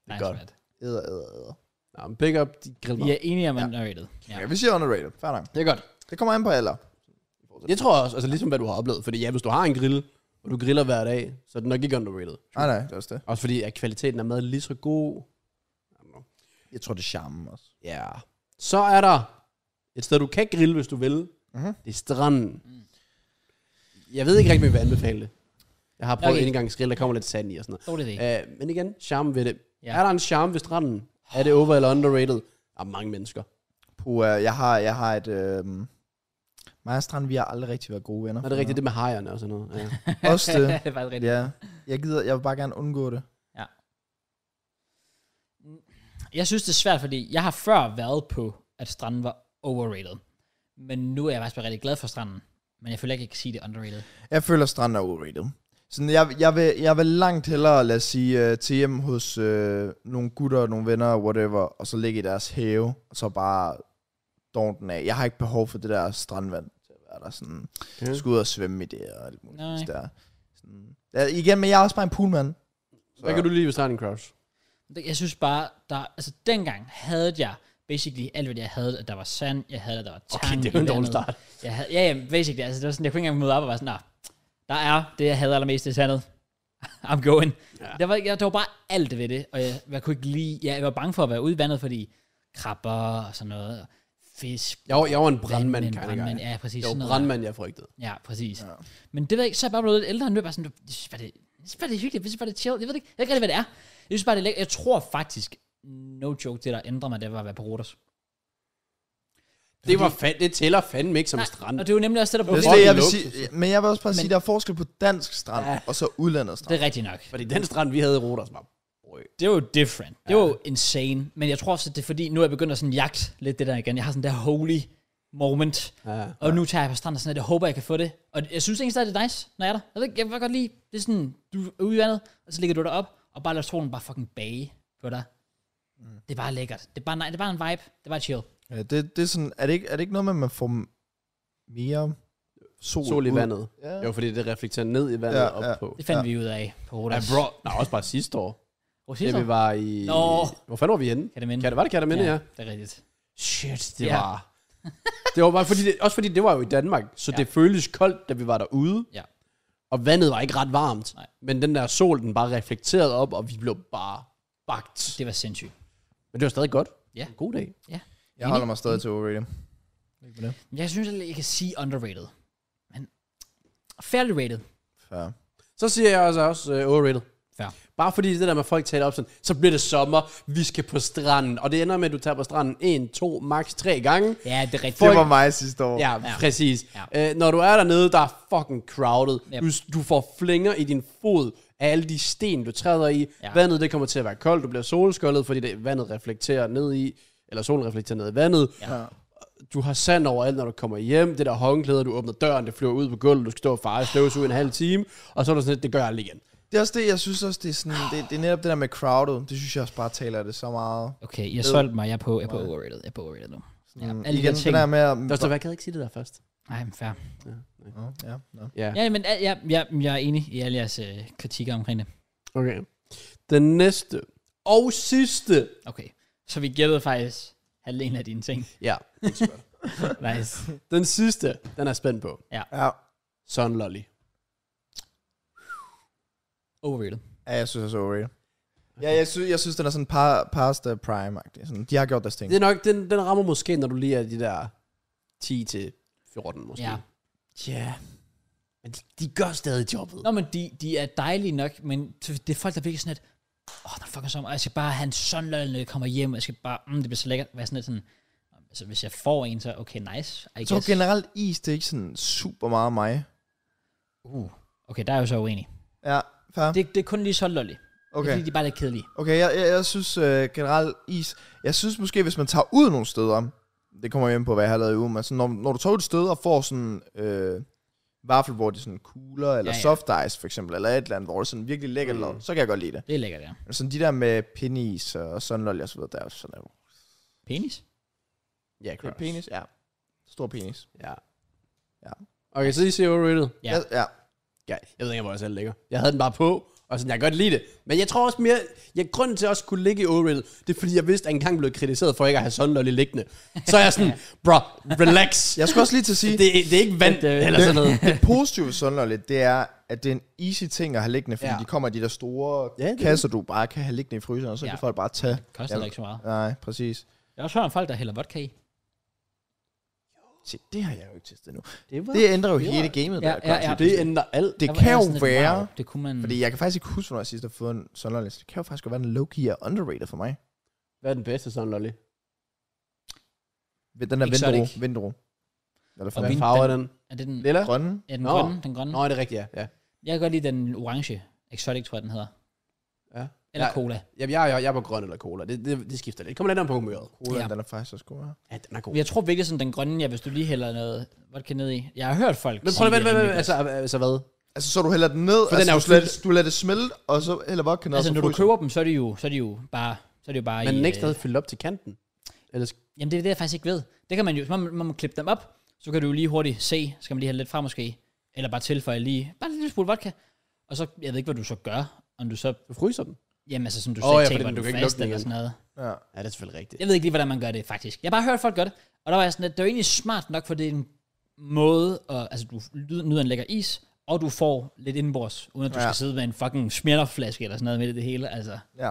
S1: Nice,
S3: godt.
S1: man.
S2: Æder, æder, æder.
S3: Nå, men pick up de griller.
S1: Vi er enige om underrated. Ja.
S2: Ja, vi siger underrated. Fair nok.
S3: Det er godt.
S2: Det kommer an på alder.
S3: Jeg tror også, altså ligesom hvad du har oplevet, fordi ja, hvis du har en grill, og du griller hver dag, så er det nok ikke underrated.
S2: Ah, Nej, nej, det er også det.
S3: Også fordi, at kvaliteten er mad lige så god.
S2: Jeg tror, det er charmen også.
S3: Ja. Yeah. Så er der et sted, du kan grille, hvis du vil.
S2: Mhm.
S3: Mm-hmm. Det er stranden. Jeg ved ikke rigtig, om jeg vil anbefale det. Jeg har prøvet
S1: Okay.
S3: okay. en gang grill, der kommer lidt sand i og sådan
S1: Dårlig idé.
S3: noget. Uh, men igen, charme ved det.
S1: Ja.
S3: Ja. Er der en charme ved stranden? Er det over eller underrated? Der er mange mennesker.
S2: Puh, jeg har, jeg har et... Øh, mig og Strand, vi har aldrig rigtig været gode venner.
S3: Er det rigtigt det med hejerne og sådan noget? Ja.
S2: Ja. Også det.
S1: det er faktisk rigtigt.
S2: Ja. Jeg, gider, jeg vil bare gerne undgå det.
S1: Jeg synes, det er svært, fordi jeg har før været på, at stranden var overrated. Men nu er jeg faktisk bare rigtig glad for stranden. Men jeg føler ikke, jeg kan sige det er underrated.
S2: Jeg føler, Strand er overrated. Sådan, jeg, jeg, vil, jeg vil langt hellere, lad os sige, øh, til hjem hos øh, nogle gutter, nogle venner, whatever, og så ligge i deres have, og så bare dårne den af. Jeg har ikke behov for det der strandvand til at være der sådan.
S3: Okay.
S2: Skal ud og svømme i det og alt muligt.
S1: Nej.
S2: Der. Sådan. Ja, igen, men jeg er også bare en poolmand.
S3: Hvad kan du lide ved stranden, Kraus?
S1: Det- Jeg synes bare, der, altså dengang havde jeg basically alt, hvad jeg havde, at der var sand, jeg havde, at der var tang.
S3: Okay, det er
S1: i
S3: jo en dårlig
S1: vandet.
S3: start.
S1: Jeg havde, ja, ja, basically, altså det var sådan, jeg kunne ikke engang møde op og være sådan, nah, der er det, jeg havde allermest, det er sandet. I'm going. Ja.
S3: Ja.
S1: Der, var, jeg, der var bare alt ved det, og jeg, jeg kunne ikke lide, ja, jeg var bange for at være ude i vandet, fordi krabber og sådan noget, og fisk,
S3: Jeg var, jeg var en brandmand,
S1: vandmænd,
S3: kan jeg
S1: brandmænd,
S3: brandmand,
S1: ja, præcis.
S3: Jeg
S1: sådan
S3: var
S1: noget.
S3: brandmand, jeg frygtede.
S1: Ja, præcis. Ja. Men det ved jeg ikke, så er jeg bare blevet lidt ældre, og nu er jeg bare sådan, du- jeg synes bare, det, jeg synes bare, det er hyggeligt, jeg synes bare, det er chill, jeg ved det ikke, jeg ved ikke rigtig, hvad det er. Jeg synes bare, det er lækkert. Jeg tror faktisk, no joke, det der ændrer mig, det var at være på Rotas.
S3: Det, var fa- det tæller fandme ikke som strand.
S1: Og det er jo nemlig også det, der
S2: Det
S1: blev
S2: er det,
S3: Fucking
S2: jeg vil
S3: luksus.
S2: sige. Men jeg vil også bare
S1: Men-
S2: sige, at der er forskel på dansk strand,
S3: Ja.
S2: ja. og så udlandet
S1: Det
S2: strand.
S1: er rigtigt nok.
S3: Fordi den strand, vi havde i Rodas, var...
S1: Det er jo different. Det er jo insane. Men jeg tror også, at det er fordi, nu er jeg begyndt at sådan jagte lidt det der igen. Jeg har sådan der holy moment.
S3: Ja.
S1: Og nu tager jeg på stranden og sådan, at jeg håber, jeg kan få det. Og jeg synes egentlig stadig, det er nice, når jeg er der. Jeg, ved, ikke, jeg vil godt lide, det er sådan, du er ude i vandet, og så ligger du derop, og bare lader solen bare fucking bage på dig. Mm. Det er bare lækkert. Det er bare, nej, det er bare en vibe. Det er bare chill.
S2: Ja, det, det er, sådan, er, det ikke, er det ikke noget med, at man får mere sol,
S3: Sol i
S2: ud?
S3: vandet.
S2: Ja.
S3: Jo, fordi det reflekterer ned i vandet
S2: Ja,
S3: ja, op
S2: ja.
S3: på.
S1: Det fandt ja. vi ud af på
S3: Ja,
S1: Rodas.
S3: bro. Nej, også bare sidste år.
S1: Rodas.
S3: Det vi var i...
S1: Nå.
S3: Hvor fanden var vi henne?
S1: Kan det minde?
S3: Kan det, var det Kataminde, ja. ja.
S1: Det er rigtigt.
S3: Shit, det
S1: Ja.
S3: var... det var bare fordi det, også fordi det var jo i Danmark, så
S1: Ja.
S3: ja. det føltes koldt, da vi var derude.
S1: Ja.
S3: Og vandet var ikke ret varmt.
S1: Nej.
S3: Men den der sol, den bare reflekterede op, og vi blev bare bagt.
S1: Det var sindssygt.
S3: Men det var stadig godt.
S1: Ja.
S3: En god dag.
S2: Jeg holder mig stadig til overrated.
S1: Men Jeg synes, at jeg kan sige underrated. Men fairly rated.
S2: Fair.
S3: Så siger jeg altså også uh, overrated.
S1: Fair.
S3: Bare fordi det der med, at folk taler op sådan, så bliver det sommer, vi skal på stranden. Og det ender med, at du tager på stranden en, to, max tre gange.
S1: Ja, det er rigtigt.
S2: Det var mig sidste år.
S3: Ja,
S1: Ja.
S3: ja. præcis. Ja. Øh, når du er dernede, der er fucking crowded.
S1: Yep.
S3: Yep. Du, du får flænger i din fod af alle de sten, du træder i.
S1: Ja.
S3: Ja. Vandet, det kommer til at være koldt. Du bliver solskoldet, fordi det, vandet reflekterer ned i, eller solen reflekterer ned i vandet.
S1: Ja.
S3: Du har sand overalt, når du kommer hjem. Det der håndklæde, du åbner døren, det flyver ud på gulvet. Du skal stå og fare støvs ud en halv time. Og så er du sådan lidt, det gør jeg aldrig igen.
S2: Det er også det, jeg synes også, det er sådan, det, det er netop det der med crowded, det synes jeg også bare taler det så meget.
S1: Okay, jeg solgte mig. Jeg er på, jeg er på overrated. Jeg er på overrated nu. Ja,
S2: Mm,
S1: alle de
S2: igen,
S1: der ting.
S2: det der med at...
S3: Der står, jeg kan ikke sige det der først.
S1: Nej, men fair.
S2: Nå, ja, no.
S3: Ja.
S1: Ja, men al- ja, ja, jeg er enig i alle jeres øh, kritikker omkring det.
S3: Okay. Den næste og sidste.
S1: Okay, så vi gættede faktisk halvdelen af dine ting.
S3: Ja.
S1: nice.
S3: Den sidste, den er spændt på.
S2: ja.
S3: Sun Lolly.
S1: Overrated.
S2: ja, jeg synes også overrated. Ja, jeg synes, jeg synes den er sådan par, past uh, prime -agtig. Sådan, de har gjort deres ting.
S3: Det er nok, den, den rammer måske, når du lige er de der 10 til 14 måske.
S1: Ja.
S3: Ja. Men de, de gør stadig jobbet.
S1: Nå, men de, de er dejlige nok, men det er folk, der virkelig sådan lidt, åh, oh, der er fucking sommer, og jeg skal bare have en sundløg, når jeg kommer hjem, og jeg skal bare, mm, det bliver så lækkert, være sådan lidt sådan, altså hvis jeg får en, så okay, nice, I
S2: Så
S1: guess.
S2: generelt is, det er ikke sådan super meget mig.
S1: Uh, okay, der er jeg jo så uenig.
S2: Ja, fair.
S1: Det, det er kun lige sundløg, okay.
S2: Okay,
S1: fordi de er bare lidt kedelige.
S2: okay jeg, jeg, jeg synes øh, generelt is... Jeg synes måske, hvis man tager ud nogle steder, det kommer hjem på, hvad jeg har lavet i ugen, men sådan, når, når du tager ud et sted og får sådan... Øh, vaffel, hvor det er sådan kugler, eller
S1: Ja,
S2: ja,
S1: ja.
S2: ja. soft ice for eksempel, eller et eller andet, hvor det er sådan virkelig lækkert
S3: Mm.
S2: lavet, så kan jeg godt lide det.
S1: Det er lækkert, ja.
S2: Men sådan de der med penis og sunlolly og så videre, der er jo sådan noget.
S1: Penis?
S3: Ja, Kraus.
S2: ja. Stor penis.
S3: Ja.
S2: Ja.
S3: Okay, så I siger overrated.
S1: Ja.
S2: Ja. ja.
S3: Ja, jeg ved ikke, hvor jeg selv ligger. Jeg havde den bare på, og sådan, jeg kan godt lide det. Men jeg tror også mere, jeg, grunden til at også kunne ligge i overrated, det er fordi, jeg vidste, at jeg engang blev kritiseret for ikke at have sådan noget liggende. Så er jeg sådan, bro, relax.
S2: Jeg skulle også lige til at sige,
S3: Det, det er ikke vand
S1: Det- det-
S3: eller sådan noget.
S2: det positive ved sunlolly, det er, at det er en easy ting at have liggende, fordi
S3: Ja.
S2: ja. de kommer i de der store
S3: Ja,
S2: ja,
S3: det er
S2: kasser, du bare kan have liggende i fryseren, og så
S1: Ja.
S2: ja. kan folk bare tage.
S1: Det koster
S2: Ja.
S1: ja. ikke så meget.
S2: Nej, præcis.
S1: Jeg har også hørt om folk, der hælder vodka i.
S2: Se, det har jeg jo ikke testet nu.
S3: Det, var,
S2: Det ændrer jo
S3: det
S2: hele
S3: var-
S2: gamet.
S1: Ja,
S2: der,
S1: ja, ja.
S2: Concept.
S3: det ændrer
S2: det
S3: alt.
S1: Der var
S2: kan
S1: jeg
S2: jo
S1: sådan lidt,
S2: være,
S1: wow, Det kunne man...
S2: fordi jeg kan faktisk ikke huske, hvornår jeg sidst har fået en sunlolly, så det kan jo faktisk godt være, at den low-key er underrated for mig.
S3: Hvad er den bedste sådan, Lolly?
S2: Ved Den der
S1: Exotic.
S2: vindru. Vindru. Eller
S1: Og
S2: for
S1: vin-
S2: den
S3: Farver er
S1: den-
S3: den?
S1: Er det den,
S3: Lilla?
S2: grønne.
S1: er den
S3: Nå.
S1: grønne? Den grønne?
S3: Nå, det er rigtigt, ja. ja.
S1: Jeg kan godt lide den orange. Exotic, tror jeg, den hedder.
S3: Ja.
S1: Eller
S3: Ja.
S1: cola.
S3: Jamen, jeg, jeg, jeg er på grøn eller cola. Det, det, det skifter lidt. Det kommer lidt an på humøret.
S2: Cola,
S1: Ja.
S2: den er faktisk også god. ja.
S3: Ja, den er god.
S1: Men Jeg tror virkelig sådan den grønne, ja, hvis du lige hælder noget vodka ned i. Jeg har hørt folk
S3: Men prøv
S1: sige,
S3: lige, vent,
S1: det er
S3: vent, vent.
S1: rimelig
S3: Altså, altså hvad?
S2: Altså, så du hælder den ned,
S3: den er
S2: altså,
S3: jo
S2: du, lader,
S3: fyldt.
S2: du lader det smelte, og så hælder vodka
S1: godt.
S2: ned.
S1: Altså,
S2: og
S1: når
S2: så
S1: du
S2: fryser.
S1: køber dem, så er det jo, så er det jo bare... Så er det jo bare
S3: Men
S1: i,
S3: den ikke
S1: øh,
S3: stadig fyldt op til kanten. Ellers,
S1: Jamen, det er det, jeg faktisk ikke ved. Det kan man jo... Når man, når man klipper dem op, så kan du jo lige hurtigt se. Så kan man lige have lidt frem måske. Eller bare tilføje lige... Bare lige en lille smule vodka. Og så... Jeg ved ikke, hvad du så gør. Om du så...
S3: du fryser den.
S1: Jamen, altså, som du
S3: Åh,
S1: oh,
S3: ja,
S1: sagde,
S3: fordi
S1: taber
S3: du
S1: den
S3: kan ikke
S1: fast
S3: lukke den
S1: eller
S3: igen.
S1: sådan noget.
S2: Ja.
S3: Ja, det er selvfølgelig rigtigt.
S1: Jeg ved ikke lige, hvordan man gør det, faktisk. Jeg har bare hørt folk gøre det, og der var jeg sådan, at det var egentlig smart nok, for det er en måde, at, altså du nyder nyder en lækker is, og du får lidt indenbords, uden at du ja.
S2: Ja.
S1: skal sidde med en fucking smirnofflaske eller sådan noget midt i det hele. Altså,
S2: ja.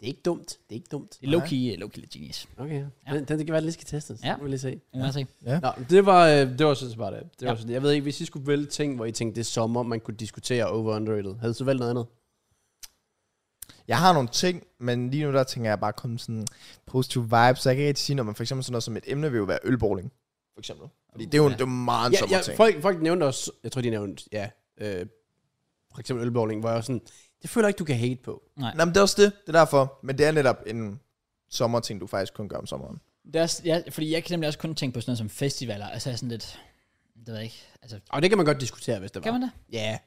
S3: Det er ikke dumt. Det er ikke dumt.
S1: det er low-key, low-key lidt genius.
S3: Okay, ja. den, den skal være, den lige skal testes.
S1: Ja.
S3: Ja. Nu vil lige se.
S1: Ja. Altså,
S3: Nå, det var, øh, det var sådan set bare det. det, var
S1: Ja.
S3: sådan, det. Jeg ved ikke, hvis I skulle vælge ting, hvor I tænkte, det er sommer, man kunne diskutere over underrated. Havde I så valgt noget andet?
S2: Jeg har nogle ting, men lige nu der tænker jeg bare kun sådan positive vibes, så jeg kan ikke rigtig sige noget, men for eksempel sådan noget som et emne vil jo være ølbowling. For eksempel. Fordi det er jo,
S1: Ja.
S2: ja. det er jo meget en
S3: Ja,
S2: sommerting.
S3: ja, folk, folk nævnte også, jeg tror, de nævnte, ja, øh, for eksempel ølbowling, hvor jeg var sådan, det føler jeg ikke, du kan hate på.
S2: Nå, men det er også det. Det er derfor. Men det er netop en sommerting, du faktisk kun gør om sommeren.
S1: det er, også- ja, fordi jeg kan nemlig også kun tænke på sådan noget som festivaler, altså jeg er sådan lidt, det ved jeg ikke, altså,
S3: Og det kan man godt diskutere, hvis det
S1: kan
S3: var.
S1: man det?
S3: Ja.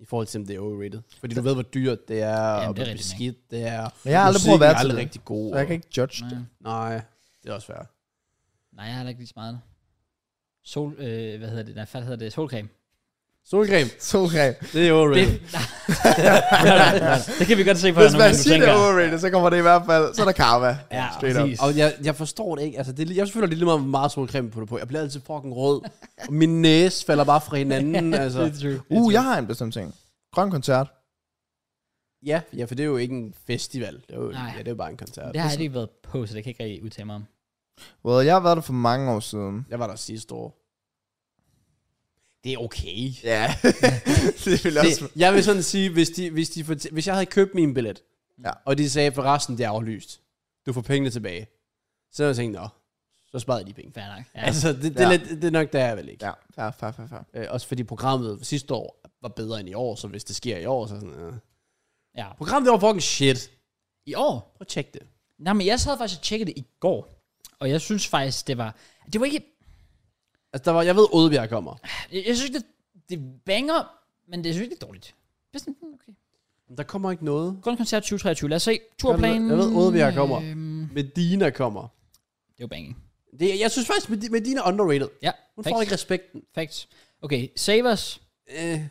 S3: I forhold til, om det er overrated. Fordi du ved, hvor dyrt det er,
S1: det er
S3: og hvor
S1: rigtigt,
S3: beskidt det er.
S2: Men jeg har aldrig prøvet at
S3: Musikken
S2: være
S3: er
S2: til
S3: aldrig
S2: det,
S3: rigtig god.
S2: så jeg kan ikke judge det.
S1: Nej,
S3: Nej, det er også svært.
S1: nej jeg har heller ikke lige så meget. Sol, øh, hvad hedder det, nej, hvad hedder det, solcreme.
S3: Solcreme,
S2: Solcreme.
S3: det er
S1: Det,
S3: overrated.
S1: nej, nej, nej, nej, det kan vi godt se på dig,
S2: Hvis
S1: når
S2: man
S1: man
S2: siger, det
S1: tænker.
S2: er overrated, så kommer det i hvert fald. Så er der karma.
S1: Ja,
S2: Straight up.
S1: præcis.
S3: Og jeg, jeg forstår det ikke. Altså, det, er li- jeg føler, det er lige meget, hvor meget solcreme på det på. Jeg bliver altid fucking rød. og min næse falder bare fra hinanden. altså.
S1: Det er true.
S2: Uh, jeg har en bestemt ting. Grøn koncert.
S3: Ja, ja, for det er jo ikke en festival. Det er jo,
S1: Nej.
S3: ja, det er jo bare en koncert. Ligesom-
S1: Det har jeg ikke været på, så det kan jeg ikke rigtig udtale mig om.
S2: Well, jeg har været der for mange år siden.
S3: Jeg var der sidste år.
S1: det er okay.
S2: Ja, det vil også...
S3: Det, jeg vil sådan sige, hvis, de, hvis, de, fortæ- hvis jeg havde købt min billet,
S2: Ja.
S3: og de sagde, for resten det er aflyst, du får pengene tilbage, så havde jeg tænkt, nå, så sparede de penge.
S1: Fair nok. Ja.
S3: Ja.
S1: Altså,
S3: Altså, det, det,
S2: Ja.
S3: er lidt, det er nok der, jeg vil ikke.
S2: Ja, fair, fair, fair, fair.
S3: Øh, også fordi programmet sidste år var bedre end i år, så hvis det sker i år, så sådan, øh.
S1: ja.
S3: Programmet det var fucking shit.
S1: I år?
S3: Prøv at tjekke det.
S1: Nej, men jeg sad faktisk og tjekkede det i går. Og jeg synes faktisk, det var... Det var ikke...
S3: Altså, der var, jeg ved, Odebjerg kommer.
S1: Jeg, jeg synes, det, det banger, men det er ikke dårligt. Det er sådan, hmm, okay.
S3: Men Der kommer ikke noget.
S1: Grundkoncert 2023. Lad os se. Tourplanen.
S3: Jeg ved- jeg ved, Odebjerg kommer.
S1: Øhm,
S3: Medina kommer.
S1: det var banging.
S3: Det, jeg synes faktisk, Medi- Medina er underrated.
S1: Ja,
S3: Hun
S1: facts.
S3: får ikke respekten.
S1: Facts. Okay, Savers.
S3: Øh,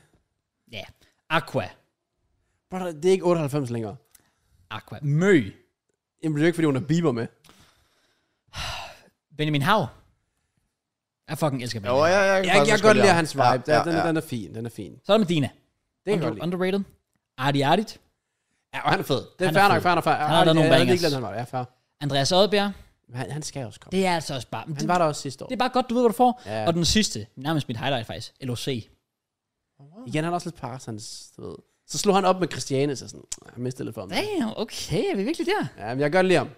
S1: Ja. Aqua.
S3: brother, det er ikke 98 længere.
S1: Aqua. Mø.
S3: Jamen, det er jo ikke, fordi hun er Bieber med.
S1: Benjamin Hav. Jeg fucking elsker
S2: Jo,
S1: Benjamin
S2: ja,
S1: Hav.
S2: jeg,
S3: Jeg, jeg kan godt lide hans vibe. Ja,
S2: Ja,
S3: ja,
S2: ja,
S3: den,
S2: ja.
S3: den er fin, den er fin.
S1: Så er der Medina.
S3: Det kan jeg
S1: Under,
S3: godt lide.
S1: underrated. Arti Artit.
S3: Ja, og han er fed. Det
S1: Han
S3: er
S1: er
S3: fair nok,
S1: fed.
S3: fair nok, fair.
S1: har lavet nogle bangers.
S3: Jeg er han var. Ja, fair.
S1: Andreas Oddbjerg.
S3: Men Han, han skal også komme.
S1: Det er altså også bare... Det,
S3: Han var der også sidste år.
S1: det er bare godt, du ved, hvad du får.
S3: Ja.
S1: Og den sidste, nærmest mit highlight faktisk, LOC.
S3: Mm. Igen, han er også lidt Parsons, du ved. Så slog han op med Christiane, så sådan, "Ah, jeg mistede lidt for ham.
S1: Damn, okay, er vi virkelig der?
S3: Ja, men jeg kan godt lide ham.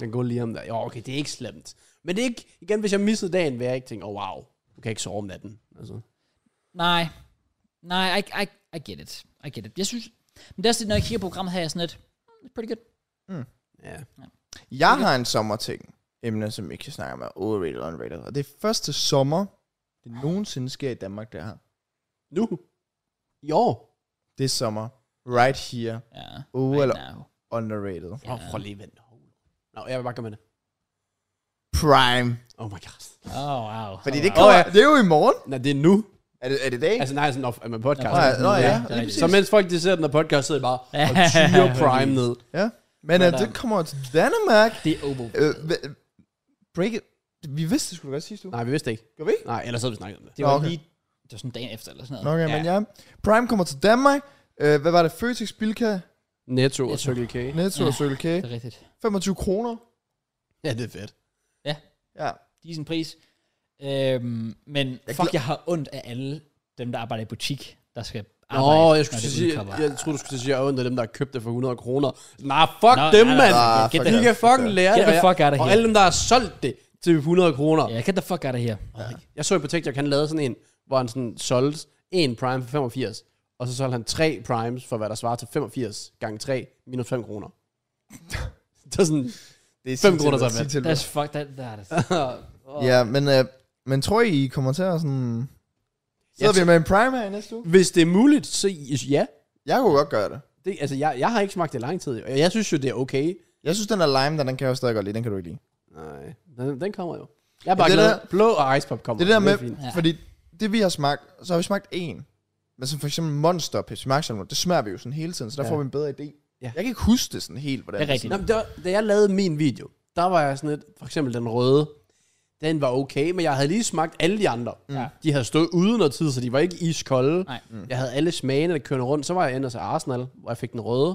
S3: Den går lige om der. Jo, okay, det er ikke slemt. Men det er ikke, igen, hvis jeg missede dagen, vil jeg ikke tænke, åh, oh, wow, du kan ikke sove om natten. Altså.
S1: Nej, nej, I, I, I get it, I get it. Jeg synes, men det er også det, når jeg kigger på programmet her, jeg er sådan lidt, mm, pretty good.
S3: Ja.
S2: Jeg har en sommerting, emne, som vi kan snakke om, er overrated og underrated. Og det er første sommer, det nogensinde sker i Danmark, det her.
S3: Nu? I år?
S2: Det er sommer. Right here.
S1: Ja,
S2: Uh,
S1: right
S2: eller
S1: now.
S2: underrated.
S3: Ja. Oh, prøv lige at vente. Nå, jeg vil bare komme med det.
S2: Prime.
S3: Oh my god.
S1: Oh, wow.
S2: Fordi
S1: Oh,
S2: det
S1: wow.
S2: kommer,
S3: Åh, ja.
S2: det er jo i morgen.
S3: Nej, det er nu.
S2: Er det, er det i dag?
S3: Altså, nej, sådan, når- at man podcast.
S2: Nå, ja,
S1: det er nu,
S2: nå, ja,
S1: ja. Det er
S2: lige
S1: rigtigt.
S2: præcis.
S3: Så mens folk, de ser den, og podcast sidder de bare og tyrer Prime ned.
S2: Ja. Men
S1: Nå,
S2: øh,
S1: der-
S2: det kommer til Danmark.
S1: Det er oval.
S2: Øh, hva- break it. Vi vidste det skulle godt sidste uge.
S3: Nej, vi vidste det ikke.
S2: Gør vi ikke?
S3: Nej, ellers havde vi snakket om det.
S1: Det
S2: Nå,
S1: var
S2: okay.
S1: lige, det var sådan dagen efter eller sådan
S2: Nå,
S1: noget.
S2: Okay,
S3: Ja.
S2: men ja. Prime kommer til Danmark. Øh, hvad var det? Føtex, Bilka,
S3: Netto og
S1: Netto.
S3: Circle K.
S2: Netto og
S1: Ja.
S2: Circle K.
S1: Det er rigtigt.
S2: 25 kroner.
S3: Ja, det er fedt.
S2: Ja.
S1: Decent pris. Øhm, men
S2: Jeg
S1: fuck,
S2: glæ-
S1: jeg har ondt af alle dem, der arbejder i butik, der skal
S3: Nå,
S1: arbejde,
S3: jeg skulle
S1: når det
S3: sige,
S1: udkommer.
S3: jeg troede, du skulle sige, at jeg er ondt af dem, der har købt det for 100 kroner. Nej, fuck
S1: Nå,
S3: dem,
S1: nej, nej,
S3: mand.
S1: nej,
S2: Ah,
S1: Get
S2: fuck
S1: the,
S3: De kan fucking lære
S1: get
S3: det.
S1: the
S3: og jeg-
S1: fuck out of
S3: Og
S1: here.
S3: alle dem, der har solgt det til 100 kroner.
S1: Ja, get the fuck out of here.
S3: Jeg så på TikTok, han lavede sådan en, hvor han sådan solgte en Prime for 85, og så solgte han tre Primes for, hvad der svarer til 85 gange 3 minus 5 kroner. det er sådan,
S2: Det er sin
S3: Fem
S2: tilbud,
S3: kroner, så er
S2: sin
S3: det.
S2: tilbud.
S1: That's fuck, that, that is...
S2: Ja, men, øh, men tror I, I kommer til at sådan... Sidder
S3: Jeg
S2: vi med en prime her i næste uge?
S3: hvis det er muligt, så ja.
S2: Jeg kunne godt gøre det.
S3: Det, altså, jeg, jeg har ikke smagt det i lang tid, og jeg synes jo, det er okay.
S2: Jeg synes, den der lime, der, den kan jeg jo stadig godt lide. Den kan du ikke lide.
S3: Nej, den, den kommer jo. Jeg er bare
S2: Det
S3: glad.
S2: der-
S3: Blå og ice pop kommer.
S2: Det der
S3: er
S2: med,
S3: fint.
S1: Ja.
S2: ja. fordi det vi har smagt, så har vi smagt én. Men som for eksempel Monster Pepsi Max, eller noget, det smager vi jo sådan hele tiden, så der
S3: Ja.
S2: ja. får vi en bedre idé.
S3: Ja.
S2: Ja. Jeg kan ikke huske det sådan helt, hvordan
S1: Det er rigtigt.
S3: Nå, men der, da jeg lavede min video, der var jeg sådan lidt, for eksempel den røde, den var okay, men jeg havde lige smagt alle de andre.
S1: Ja.
S3: De havde stået ude noget tid, så de var ikke iskolde.
S1: Nej.
S3: Mm. Jeg havde alle smagene, der kørte rundt. Så var jeg ender til Arsenal, hvor jeg fik den røde,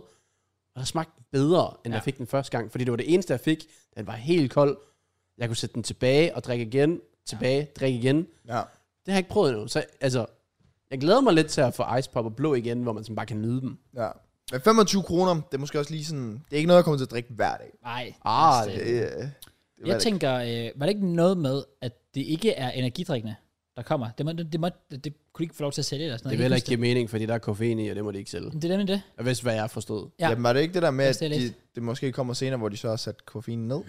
S3: og der smagte den bedre, end
S1: Ja.
S3: ja. jeg fik den første gang, fordi det var det eneste, jeg fik. Den var helt kold. Jeg kunne sætte den tilbage og drikke igen, tilbage, ja. drikke igen. Det
S2: Ja.
S3: har jeg ikke prøvet endnu. Så altså, jeg glæder mig lidt til at få ice pop og blå igen, hvor man sådan bare kan nyde dem.
S2: ja. Men 25 kroner, det er måske også lige sådan... Det er ikke noget, jeg kommer til at drikke hver dag.
S1: Nej.
S3: Ah,
S1: det,
S2: Det, øh, det var
S1: jeg
S2: det ikke.
S1: tænker, øh, var det ikke noget med, at det ikke er energidrikkende, der kommer? Det, må, det, det, må, det, det kunne de ikke få lov til at sælge eller sådan
S3: Det
S1: noget.
S3: vil heller
S1: Jeg
S3: ikke give mening, fordi der er koffein i, og det må de ikke sælge.
S1: huske det. Det er nemlig det.
S3: Jeg vidste, hvad jeg forstod.
S1: Ja.
S2: Jamen var det ikke det der med,
S1: Jeg
S2: at
S1: ser
S2: de,
S1: lidt.
S2: det måske kommer senere, hvor de så har sat koffeinen ned?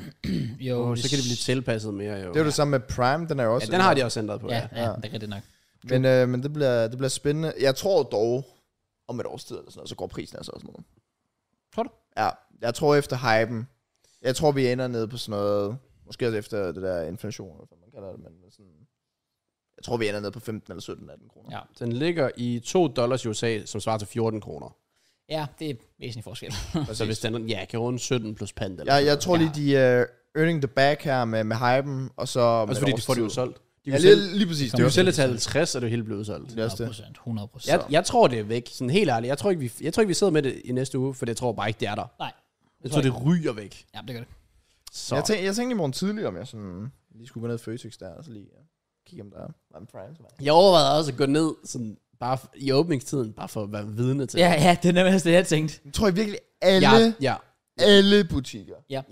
S1: Jo,
S3: Oh, så
S1: hvis-
S3: kan det blive tilpasset mere, jo.
S2: Det er jo det samme med Prime, den er jo også...
S3: ja, den har de også ændret på,
S1: Ja,
S3: ja.
S1: ja,
S2: Ja.
S1: det er rigtigt nok.
S2: Men, øh, men det, bliver, det bliver spændende. Jeg tror dog, om et års tid eller sådan noget, så går prisen altså også ned.
S3: Tror du?
S2: Ja, jeg tror efter hypen. Jeg tror, vi ender ned på sådan noget, måske også efter det der inflation, eller hvad man kalder det, men sådan... Jeg tror, vi ender ned på 15 eller 17, 18 kroner.
S1: Ja.
S3: Den ligger i 2 dollars i USA, som svarer til 14 kroner.
S1: Ja, det er væsentlig forskel.
S3: Så hvis den, ja, kan runde 17 plus pant. Eller
S2: Jeg, jeg
S3: sådan
S2: tror lige, de er uh, earning the back her med, med hypen, og så...
S3: noget. Også fordi de får det udsolgt. De
S2: Ja,
S3: kan
S2: lige,
S3: sælge,
S2: lige præcis.
S1: Det
S2: Det
S3: de
S2: er
S3: kan
S2: også
S3: sælge til 50, og det er hele blevet udsolgt.
S2: det er også det.
S1: 100%. 100 procent.
S3: Jeg, jeg tror, det er væk. Sådan helt ærligt. Jeg tror, ikke, vi, jeg tror ikke, vi sidder med det i næste uge, for jeg tror bare ikke, det er der.
S1: Nej.
S3: Jeg tror, det ryger væk.
S1: Ja, det gør det.
S3: Så
S2: Jeg, tænkte, jeg tænkte i morgen tidlig, om jeg sådan lige skulle gå ned i Føtex der, og så lige ja, kigge, om der er Amazon Prime til mig.
S3: Jeg overvejede også at gå ned sådan, bare f- i åbningstiden, bare for at være vidne til.
S1: Ja, ja, det er nemlig også det, jeg tænkte.
S2: Jeg tror jeg virkelig, alle,
S3: jeg, ja,
S2: alle butikker.
S3: ja.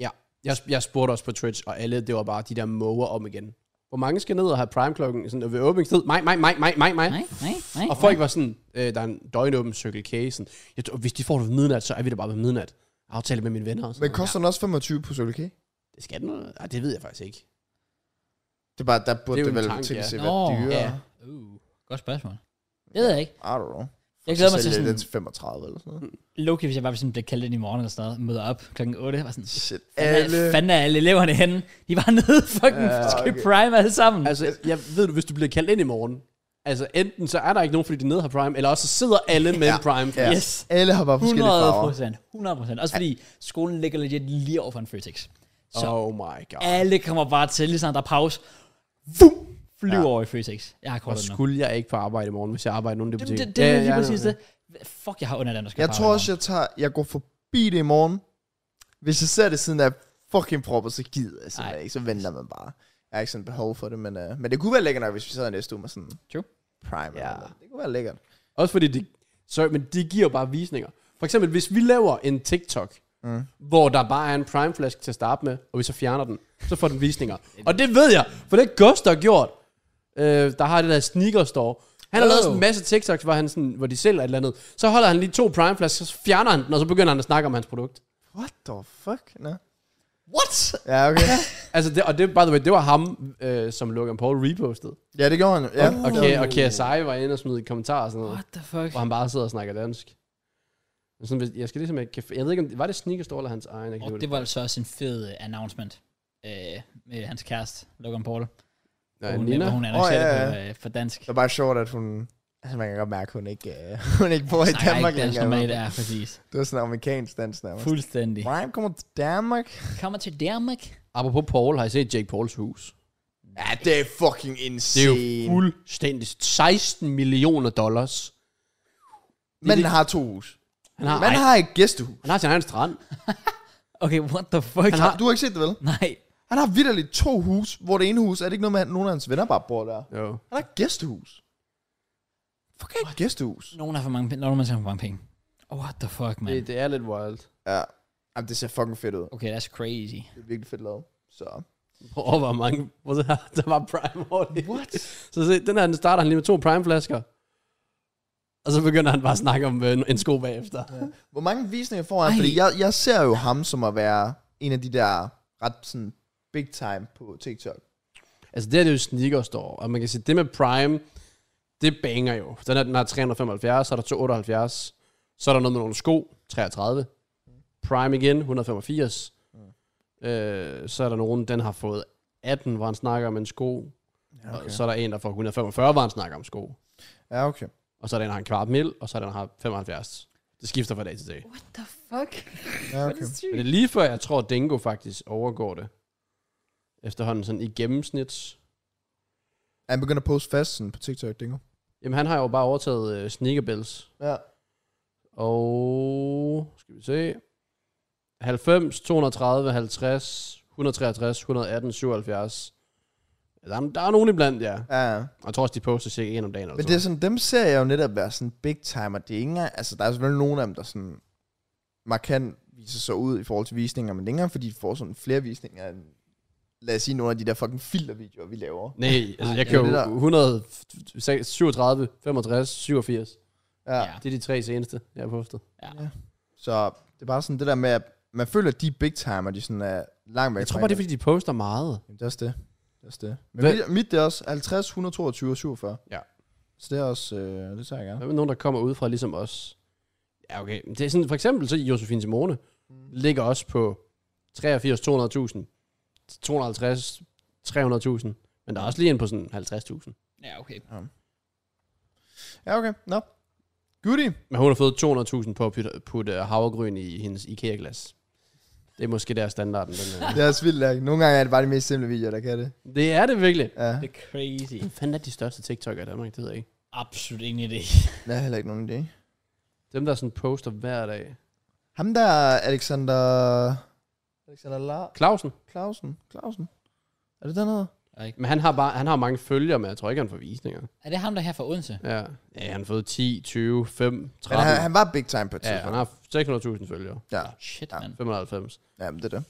S3: Jeg, jeg spurgte også på Twitch, og alle, det var bare de der måger om igen. Hvor mange skal ned og have prime klokken sådan, ved åbningstid? Mig, mig, mig, mig, mig, mig.
S1: Nej, nej, nej.
S3: Og folk var sådan, øh, der er en døgnåben Circle K, sådan, jeg tror, hvis de får det ved midnat, så er vi der bare ved midnat. Aftale med mine venner og sådan
S2: Men
S3: noget.
S2: koster den også 25 på Circle K?
S3: Ja, det skal den, eller? Ej, det ved jeg faktisk ikke.
S2: Det er bare, der burde
S3: Det er jo
S2: det, vel
S3: en tanke,
S2: til at
S3: ja.
S2: se, hvad
S1: Nå,
S2: dyrere.
S3: ja.
S1: Uh, godt spørgsmål. Det ved jeg ikke.
S2: I don't know.
S1: Jeg glæder mig
S2: Så
S1: til
S2: sælger
S1: sådan,
S2: den til 35 eller sådan noget.
S1: Loki, hvis jeg bare sådan bliver kaldt ind i morgen eller sådan noget, møder op klokken 8, var sådan,
S2: Shit,
S1: alle...
S2: alle...
S1: fanden er alle eleverne henne? De var nede fucking
S2: Ja,
S1: ja,
S2: okay.
S1: okay. skal prime alle sammen. Altså,
S3: Altså, jeg ved du, hvis du bliver kaldt ind i morgen, altså enten så er der ikke nogen, fordi de nede har prime, eller også så sidder alle med
S2: Ja.
S3: ja. prime.
S2: Ja.
S1: yes.
S2: Alle har bare forskellige
S1: 100
S2: farver.
S1: procent. 100 procent. Også fordi skolen ligger legit lige over for en Føtex. Så
S3: Oh my god.
S1: alle kommer bare til, lige snart der er pause. Vum! Flyver
S2: Ja.
S1: ja. over i Føtex. Jeg har
S3: Og
S1: kortet nu.
S3: skulle jeg ikke på arbejde i morgen, hvis jeg arbejder i nogen af de
S1: Det,
S3: butikker?
S1: det, det er lige
S3: jeg
S1: præcis
S3: ved
S1: det. Fuck, jeg har under den, der skal
S2: Jeg
S1: på
S2: tror
S1: arbejde
S2: også, jeg, tager, jeg går forbi det i morgen. Hvis jeg ser det siden af fucking propper, så gider jeg simpelthen
S1: Nej.
S2: ikke. Så venter man bare. Jeg har ikke sådan behov for det, men, øh, men det kunne være lækkert nok, hvis vi sad i næste uge med sådan
S1: True.
S2: prime.
S3: Ja.
S2: Ja. Eller noget. det kunne være lækkert.
S3: Også fordi de, sorry, men de giver bare visninger. For eksempel, hvis vi laver en TikTok, mm. hvor der bare er en prime flask til at starte med, og vi så fjerner den, så får den visninger. og det ved jeg, for det er Ghost, der har gjort. Øh, der har det der sneaker store. Han har
S1: Oh.
S3: lavet sådan en masse TikToks, hvor, han sådan, hvor de sælger et eller andet. Så holder han lige to prime flasker, så fjerner han den, og så begynder han at snakke om hans produkt.
S2: What the fuck? No.
S1: What?
S2: Ja, okay.
S3: Altså det, og det, by the way, det var ham, øh, som Logan Paul repostede.
S2: ja, det gjorde han. jo. Ja.
S3: Og, K- og KSI var inde og smide kommentarer og sådan noget.
S1: What the fuck?
S3: hvor han bare sidder og snakker dansk. Men Sådan, hvis- jeg skal ligesom ikke, jeg ved ikke, om det, var det Sneakers store eller hans egen? Jeg kan ikke
S1: Og
S3: huske
S1: det var altså også en fed øh, announcement øh, med hans kæreste, Logan Paul.
S3: Nej,
S1: hvor hun, øh,
S3: Nina.
S1: hvor hun annoncerede
S2: Åh, ja,
S1: oh,
S2: ja.
S1: det på, øh, for dansk.
S2: Det er bare sjovt, at hun... Altså, man kan godt mærke, at hun ikke, øh, hun ikke bor i
S1: Snakker
S2: Danmark
S1: ikke dansk
S2: længere.
S1: normalt, ja, præcis.
S2: Det var sådan en amerikansk dans nærmest.
S1: Fuldstændig.
S2: Prime kommer til Danmark.
S1: Kommer til Danmark.
S3: Apropos Paul, har I set Jake Pauls hus?
S2: Ja, det er fucking
S3: Det er
S2: insane.
S3: jo fuldstændig 16 millioner dollars.
S2: Men han har to hus.
S3: Han har,
S2: Man
S3: ej,
S2: har et gæstehus.
S3: han har sin egen strand.
S1: Okay, what the fuck?
S3: Han har-
S2: Du har ikke set det, vel?
S1: Nej.
S2: Han har vidderligt to hus, hvor det ene hus, er det ikke noget med, at nogen af hans venner bare bor der?
S3: Jo.
S2: Han har et gæstehus. Fuck, jeg har et gæstehus.
S1: Nogen har for mange penge. Nogen har for mange penge. Oh, what the fuck, man?
S3: Det, det, er lidt wild.
S2: Ja. Jamen, det ser fucking fedt ud.
S1: Okay, that's crazy.
S2: Det er virkelig fedt lavet. Så.
S3: Prøv hvor mange, hvor der, der var prime over det.
S2: What?
S3: Så se, den her, den starter han lige med to prime flasker. Og så begynder han bare at snakke om øh, en sko bagefter. Ja.
S2: Hvor mange visninger får han?
S1: Ej.
S2: Fordi jeg, jeg ser jo ham som at være en af de der ret sådan big time på TikTok.
S3: Altså det her, det er jo sneakers store, og man kan sige, det med Prime, det banger jo. Den er, den har 375, så er der 278, så er der noget med nogle sko, 33. Prime igen, 185. Øh, så er der nogen, den har fået 18, hvor han snakker om en sko. Ja, okay. Og så er der en, der får 145, hvor han snakker om sko.
S2: Ja, okay.
S3: Og så er der en, der har en kvart mil, og så er der en, der har 75. Det skifter fra dag til dag.
S1: What the fuck?
S2: Ja, okay.
S3: Men det er lige før, jeg tror, at Dingo faktisk overgår det. Efterhånden sådan i gennemsnit.
S2: Han begynder at poste fast sådan på TikTok, Dingo.
S3: Jamen han har jo bare overtaget øh, Sneakerbells.
S2: Ja.
S3: Og skal vi se. 90, 230, 50, 163, 118, 77. Der er, der er nogen iblandt, ja.
S2: Ja, ja.
S3: Og jeg tror også, de poster cirka en om dagen. Eller
S2: Men
S3: sådan
S2: det er sådan, dem ser jeg jo netop være sådan big timer. Det er ikke engang, altså der er selvfølgelig nogle af dem, der sådan markant viser sig ud i forhold til visninger, men det er ikke engang, fordi de får sådan flere visninger end, lad os sige, nogle af de der fucking filtervideoer, vi laver.
S3: noget. Nej, altså, jeg
S2: det er
S3: kører
S2: det
S3: jo
S2: der.
S3: 100, 37, 65, 87.
S2: Ja.
S1: Ja.
S2: ja.
S3: Det er de tre seneste, jeg har postet.
S2: Så det er bare sådan det der med, at man føler, at de er big timer, de sådan er langt væk.
S3: Jeg tror
S2: fra
S3: bare, det
S2: hinanden.
S3: er, fordi de poster meget.
S2: Jamen, det er også det. Det er også det. Men
S3: Hvad-
S2: mit, mit, det er også 50, 122 og 47.
S3: Ja.
S2: Så det er også, øh, det tager jeg gerne.
S3: Hvad med nogen, der kommer ud fra ligesom os? Ja, okay. Men Det er sådan, for eksempel så Josefine Simone ligger også på 83, 200.000, 250, 300.000, men der er også lige en på sådan 50.000.
S1: Ja, okay.
S2: Ja, okay. Nå. Goodie.
S3: Men hun har fået 200.000 på at putte, putte havregryn i hendes IKEA-glas. Det er måske der standarden. Den,
S2: Det er også vildt. Larry. Nogle gange er det bare de mest simple videoer, der kan det.
S3: er. det er det virkelig.
S2: Ja.
S1: Det er crazy.
S3: Hvem fanden er de største TikTok'ere i Danmark? Det ved jeg ikke.
S1: Absolut ingen idé.
S2: Det er heller ikke nogen idé.
S3: Dem, der sådan poster hver dag.
S2: Ham der, Alexander... Alexander La
S3: Clausen?
S2: Clausen. Clausen. Er det den hedder?
S1: Ikke?
S3: Men han har, bare, han har mange følger, men jeg tror ikke, han får visninger.
S1: Er det ham, der er her fra Odense?
S3: Ja, ja han har fået 10, 20, 5,
S2: Men
S3: 13.
S2: han, han var big time på et
S3: ja, han
S2: tidspunkt.
S3: har 600.000 følgere.
S2: Ja,
S1: Shit,
S2: Ja.
S1: mand.
S3: 590.
S2: ja men det er det.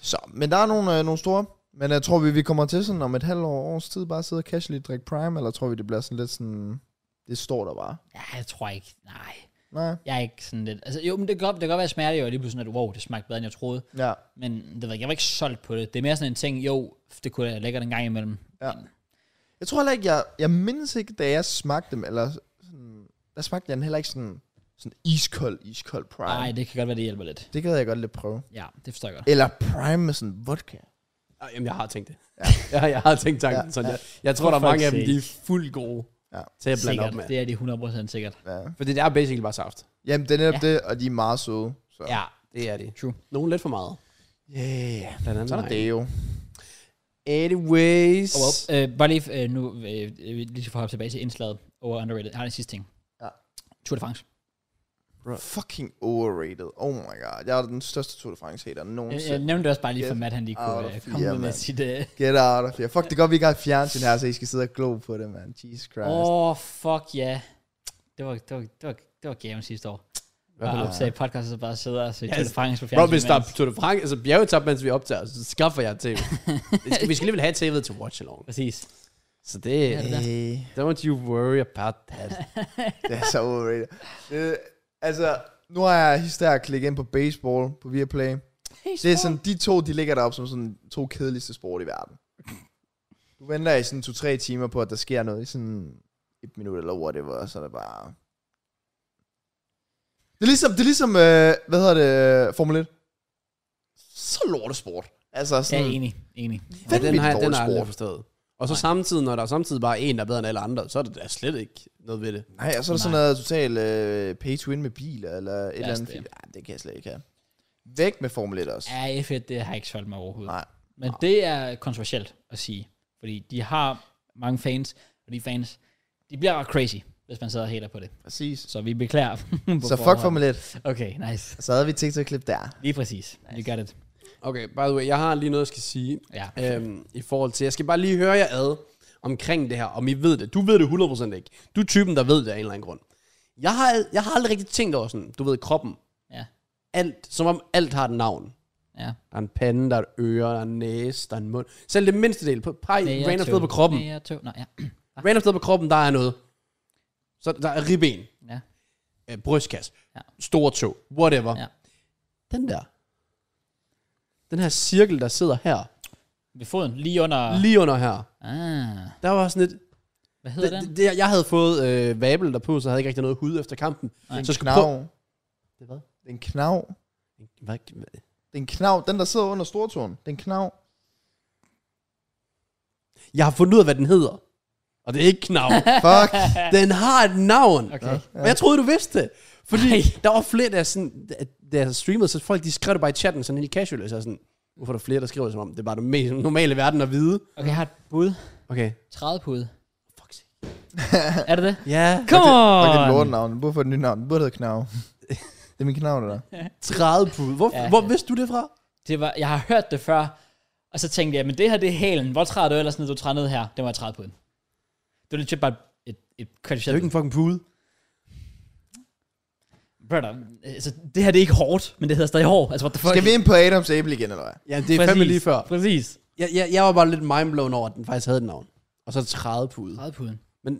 S2: Så, men der er nogle, øh, nogle store. Men jeg tror vi, vi kommer til sådan om et halvt år, års tid, bare sidde og casually drikke Prime, eller tror vi, det bliver sådan lidt sådan, det står der bare.
S1: Ja, jeg tror ikke. Nej.
S2: Nej.
S1: Jeg er ikke sådan lidt... Altså, jo, men det kan godt, det kan godt være smerte, og lige pludselig, at wow, det smagte bedre, end jeg troede.
S2: Ja.
S1: Men det ved jeg, jeg var ikke solgt på det. Det er mere sådan en ting, jo, det kunne være lækkert en gang imellem.
S2: Ja.
S1: Men,
S2: Jeg tror heller ikke, jeg, jeg mindes ikke, da jeg smagte dem, eller sådan, der smagte jeg den heller ikke sådan, sådan iskold, iskold Prime.
S1: nej, det kan godt være, det hjælper lidt.
S2: Det gad jeg godt lidt prøve.
S1: Ja, det forstår jeg godt.
S2: Eller Prime med sådan vodka.
S3: Ah, Jamen, jeg har tænkt det. Ja. jeg, jeg har tænkt tanken.
S2: Ja,
S3: Ja, sådan,
S2: ja.
S3: Jeg, jeg tror, der er
S1: For
S3: mange af dem,
S1: fuck's
S3: de er fuldt gode
S2: Ja.
S3: ja. til at blande
S1: sikkert.
S3: op med.
S1: Det er de 100% sikkert.
S2: Ja.
S3: Fordi det er basically bare saft.
S2: Jamen, det er netop ja. det, og de er meget søde. Så.
S3: Ja, det er det.
S1: True.
S3: Nogle lidt for meget.
S2: Yeah.
S3: Blandt andet
S2: Så er der
S3: mig.
S2: Deo.
S3: Anyways.
S1: Oh, well. øh, bare lige øh, nu, øh, øh, lige for at hoppe tilbage til indslaget over underrated. Jeg har en sidste ting.
S2: Ja.
S1: Tour de France.
S2: Fucking overrated. Oh my god. Jeg er den største Tour de France-hater
S1: Jeg, Øh, jeg
S2: nogensinde.
S1: nævnte det også bare lige for
S2: Yes.
S1: Matt, han lige kunne
S2: Out
S1: øh,
S2: of
S1: komme
S2: here,
S1: ud med
S2: mand.
S1: sit... øh,
S2: Get out of here. Fuck, det er godt, vi ikke har et fjernsyn her, så I skal sidde og glo på det, man. Jesus Christ.
S1: Åh, oh, fuck ja. Yeah. Det var, det var, det var, det var gaven sidste år. Bare optage podcast, og så bare sidde og se Tour de
S3: altså,
S1: France på
S3: Bro,
S1: fjernsynet.
S3: hvis der er
S1: mens-
S3: Tour de France, altså bjergetab, mens vi optager, så skaffer jeg TV. vi, skal, vi skal alligevel have TV'et til watch along.
S1: Præcis.
S3: Så det...
S1: Ja, det er
S2: Hey.
S3: Don't you worry about that.
S2: Det er så overrated. Det, altså, nu har jeg historie at klikke ind på baseball på Viaplay. Det er sådan, de to, de ligger deroppe som sådan to kedeligste sport i verden. Du venter i sådan to-tre timer på, at der sker noget i sådan et minut eller whatever, og så er det bare... Det er ligesom, det er ligesom øh, hvad hedder det, øh, Formel 1. Så lortesport. Altså
S1: Ja,
S2: sådan, ja,
S1: enig, enig.
S3: Ja, den
S2: Vanvittigt
S3: har jeg, den
S2: dårlig
S3: har jeg aldrig
S2: sport.
S3: forstået. Og så samtidig, når der er samtidig bare en, der er bedre end alle andre, så er det da slet ikke noget ved det.
S2: nej, og så er der sådan
S1: Nej.
S2: noget totalt øh, pay to win med biler, eller et eller andet.
S1: det.
S2: Det. Ja, det kan jeg slet ikke have. Væk med Formel 1 også.
S1: Ja, F1, det har jeg ikke solgt mig overhovedet.
S2: Nej.
S1: Men det er kontroversielt at sige, fordi de har mange fans, og de fans, de bliver ret crazy, hvis man sidder og hater på det.
S2: Præcis.
S1: Så vi beklager. på
S2: Så fuck
S1: forhånd.
S2: Formel 1.
S1: Okay, nice.
S2: Så havde vi et TikTok-klip der.
S1: Lige præcis. You got it.
S3: Okay, by the way, jeg har lige noget, jeg skal sige.
S1: Ja.
S2: Øh,
S3: Øhm, I forhold til, jeg skal bare lige høre jer ad omkring det her, om I ved det. Du ved det 100% ikke. Du er typen, der ved det af en eller anden grund. Jeg har, al- jeg har aldrig rigtig tænkt over sådan, du ved, kroppen.
S1: Ja.
S3: Alt, som om alt har et navn.
S1: Ja.
S3: Der er en pande, der er et øre, der er en næse, der er en mund. Selv det mindste del, på, pej, random sted på kroppen.
S1: Nære tøv. Nå, ja.
S3: Random sted på kroppen, der er noget. Så der er ribben,
S1: ja.
S3: øh, brystkasse,
S1: Ja.
S3: ja. store tog, whatever.
S1: Ja.
S3: Ja. Den der. Den her cirkel, der sidder her.
S1: Ved foden, lige under...
S3: Lige under her.
S1: Ah,
S3: Der var sådan et...
S1: hvad hedder den?
S3: Det, det, jeg havde fået øh, vabel derpå, så havde jeg ikke rigtig noget hud efter kampen.
S1: Nej.
S3: Så jeg skulle prøve...
S2: Knav.
S3: Det hvad?
S2: Den knav.
S3: Hvad?
S2: Den knav. Den, der sidder under stortåen. Den knav.
S3: Jeg har fundet ud af, hvad den hedder. Og det er ikke knav.
S2: Fuck.
S3: den har et navn.
S1: Okay.
S3: Og jeg troede, du vidste det. Fordi der var flere, der sådan... Da jeg streamede, så folk de skrev det bare i chatten sådan helt casual. Så jeg sådan... Hvorfor er der flere, der skriver det, som om? Det er bare det mest normale i verden at vide.
S1: Okay, jeg har et bud.
S3: Okay.
S1: 30 pude.
S3: Fuck
S1: Er det det?
S3: Ja.
S1: Come
S2: Fuck, det er et
S1: on!
S2: lortenavn. Den burde få et nyt navn. Den burde hedde knav. det er min knav, det der.
S3: 30 pud. Hvor,
S1: Ja.
S3: ja. hvor vidste du det fra?
S1: Det var, jeg har hørt det før, og så tænkte jeg, men det her, det er hælen. Hvor træder du ellers ned? Du træder ned her. Det var jeg træet på den. Det var legit bare et, et
S3: Det er jo
S1: kvalificeret
S3: ikke en fucking pude.
S1: Brother, altså, det her det er ikke hårdt, men det hedder stadig hård. Altså, what the fuck?
S2: Skal vi ind på Adams æble igen, eller hvad?
S3: Ja, det er fandme lige før.
S1: Præcis.
S3: Jeg, jeg, jeg var bare lidt mindblown over, at den faktisk havde et navn. Og så 30 pude.
S1: Trædepuden.
S3: Men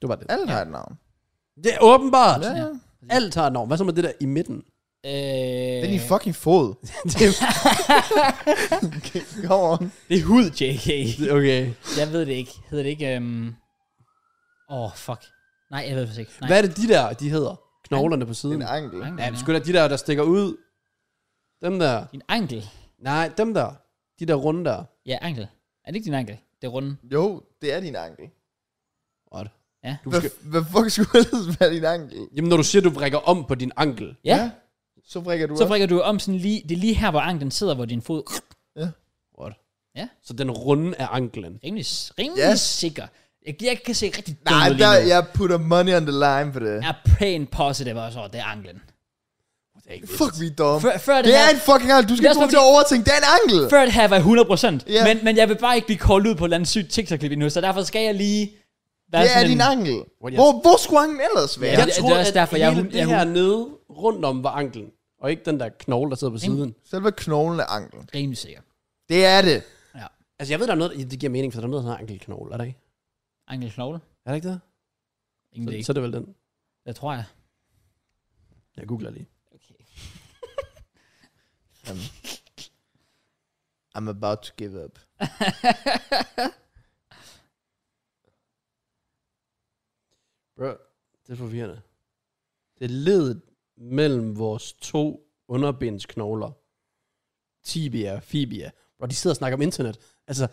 S3: det var det.
S2: Alle har et navn.
S3: Det er åbenbart.
S2: Ja.
S3: Alt har et navn. Hvad så med det der i midten?
S1: Øh,
S2: Den er i fucking fod.
S3: det er,
S2: Come on.
S1: det er hud, JK.
S3: okay.
S1: Jeg ved det ikke. Hedder det ikke... Åh, um... oh, fuck. Nej, jeg ved det faktisk ikke. Nej.
S3: Hvad er det de der, de hedder? Knoglerne på
S2: Det er
S3: siden.
S2: en ankel.
S3: Ja, det skulle da de der, der stikker ud. Dem der.
S1: Din ankel.
S3: Nej, dem der. De der runde der.
S1: Ja, ankel. Er det ikke din ankel? Det er runden.
S2: Jo, det er din ankel.
S3: What?
S1: Ja.
S3: Du
S2: Hvad,
S3: skal,
S2: hvad fuck skulle ellers være din ankel?
S3: jamen, når du siger, du vrikker om på din ankel.
S1: Ja.
S2: Så vrikker du
S1: Så
S2: op.
S1: vrikker du om sådan lige... Det er lige her, hvor anklen sidder, hvor din fod...
S3: What?
S1: Ja.
S3: Så den runde er anklen.
S1: Rimelig, rimelig
S2: Yes.
S1: sikker. Jeg, jeg kan se rigtig dum
S2: Nej,
S1: ud lige
S2: der,
S1: nu.
S2: jeg putter money on the line for det.
S1: Jeg er pænt positive også over, det er anklen.
S3: What
S1: er ikke
S2: Fuck, vi er dumme.
S1: Før, før det,
S2: Det
S1: her,
S2: er en fucking ankel. Du skal
S1: Det er
S2: ikke
S1: også
S2: bruge til at overtænke. Det er en ankel.
S1: før det her var 100%.
S2: Ja.
S1: Yeah. Men, men jeg vil bare ikke blive koldt ud på et eller andet sygt TikTok-klip endnu, så derfor skal jeg lige... Være
S2: Det er
S1: sådan
S2: din
S1: en,
S2: ankel.
S3: What,
S2: Hvor, hvor skulle anklen ellers være?
S1: Ja.
S3: Jeg
S1: det-
S3: tror,
S1: det er også
S3: at
S1: derfor, jeg-
S3: hele
S1: jeg-
S3: det her nede rundt om var anklen, og ikke den der knogle, der sidder på siden.
S2: Selve knoglen af anklen.
S1: Rimelig sikker. Det
S2: Det er det.
S1: Ja.
S3: Altså, jeg ved, der er noget, det giver mening, for der er noget, der hedder ankelknogle, er der ikke?
S1: Ankel Knogle.
S3: Er der ikke det?
S1: Ingen
S3: Så,
S1: idé.
S3: så er det vel den.
S1: Det tror jeg.
S3: Jeg googler lige.
S1: Okay.
S2: I'm, I'm about to give up.
S3: Bro, det er forvirrende. Det er ledet mellem vores to underbensknogler. Tibia og fibia. Bro, de sidder og snakker om internet. Altså,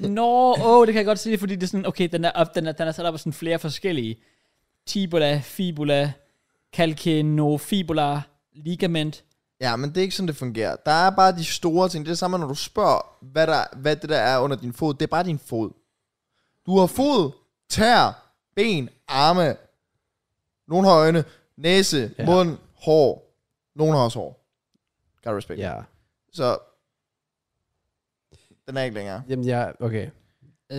S1: Nå, åh, oh, det kan jeg godt se, fordi det er sådan, okay, den er, op, den er, den er sat op af sådan flere forskellige. Tibula, fibula, calcanofibula, ligament.
S2: Ja, men det er ikke sådan, det fungerer. Der er bare de store ting. Det er det samme, når du spørger, hvad, der, hvad det der er under din fod. Det er bare din fod. Du har fod, tær, ben, arme. Nogen har øjne, næse,
S3: Ja.
S2: ja. mund, hår. Nogen har også hår. Got respect.
S3: ja.
S2: Så den er ikke længere.
S3: Jamen, jeg, okay.
S1: Øh,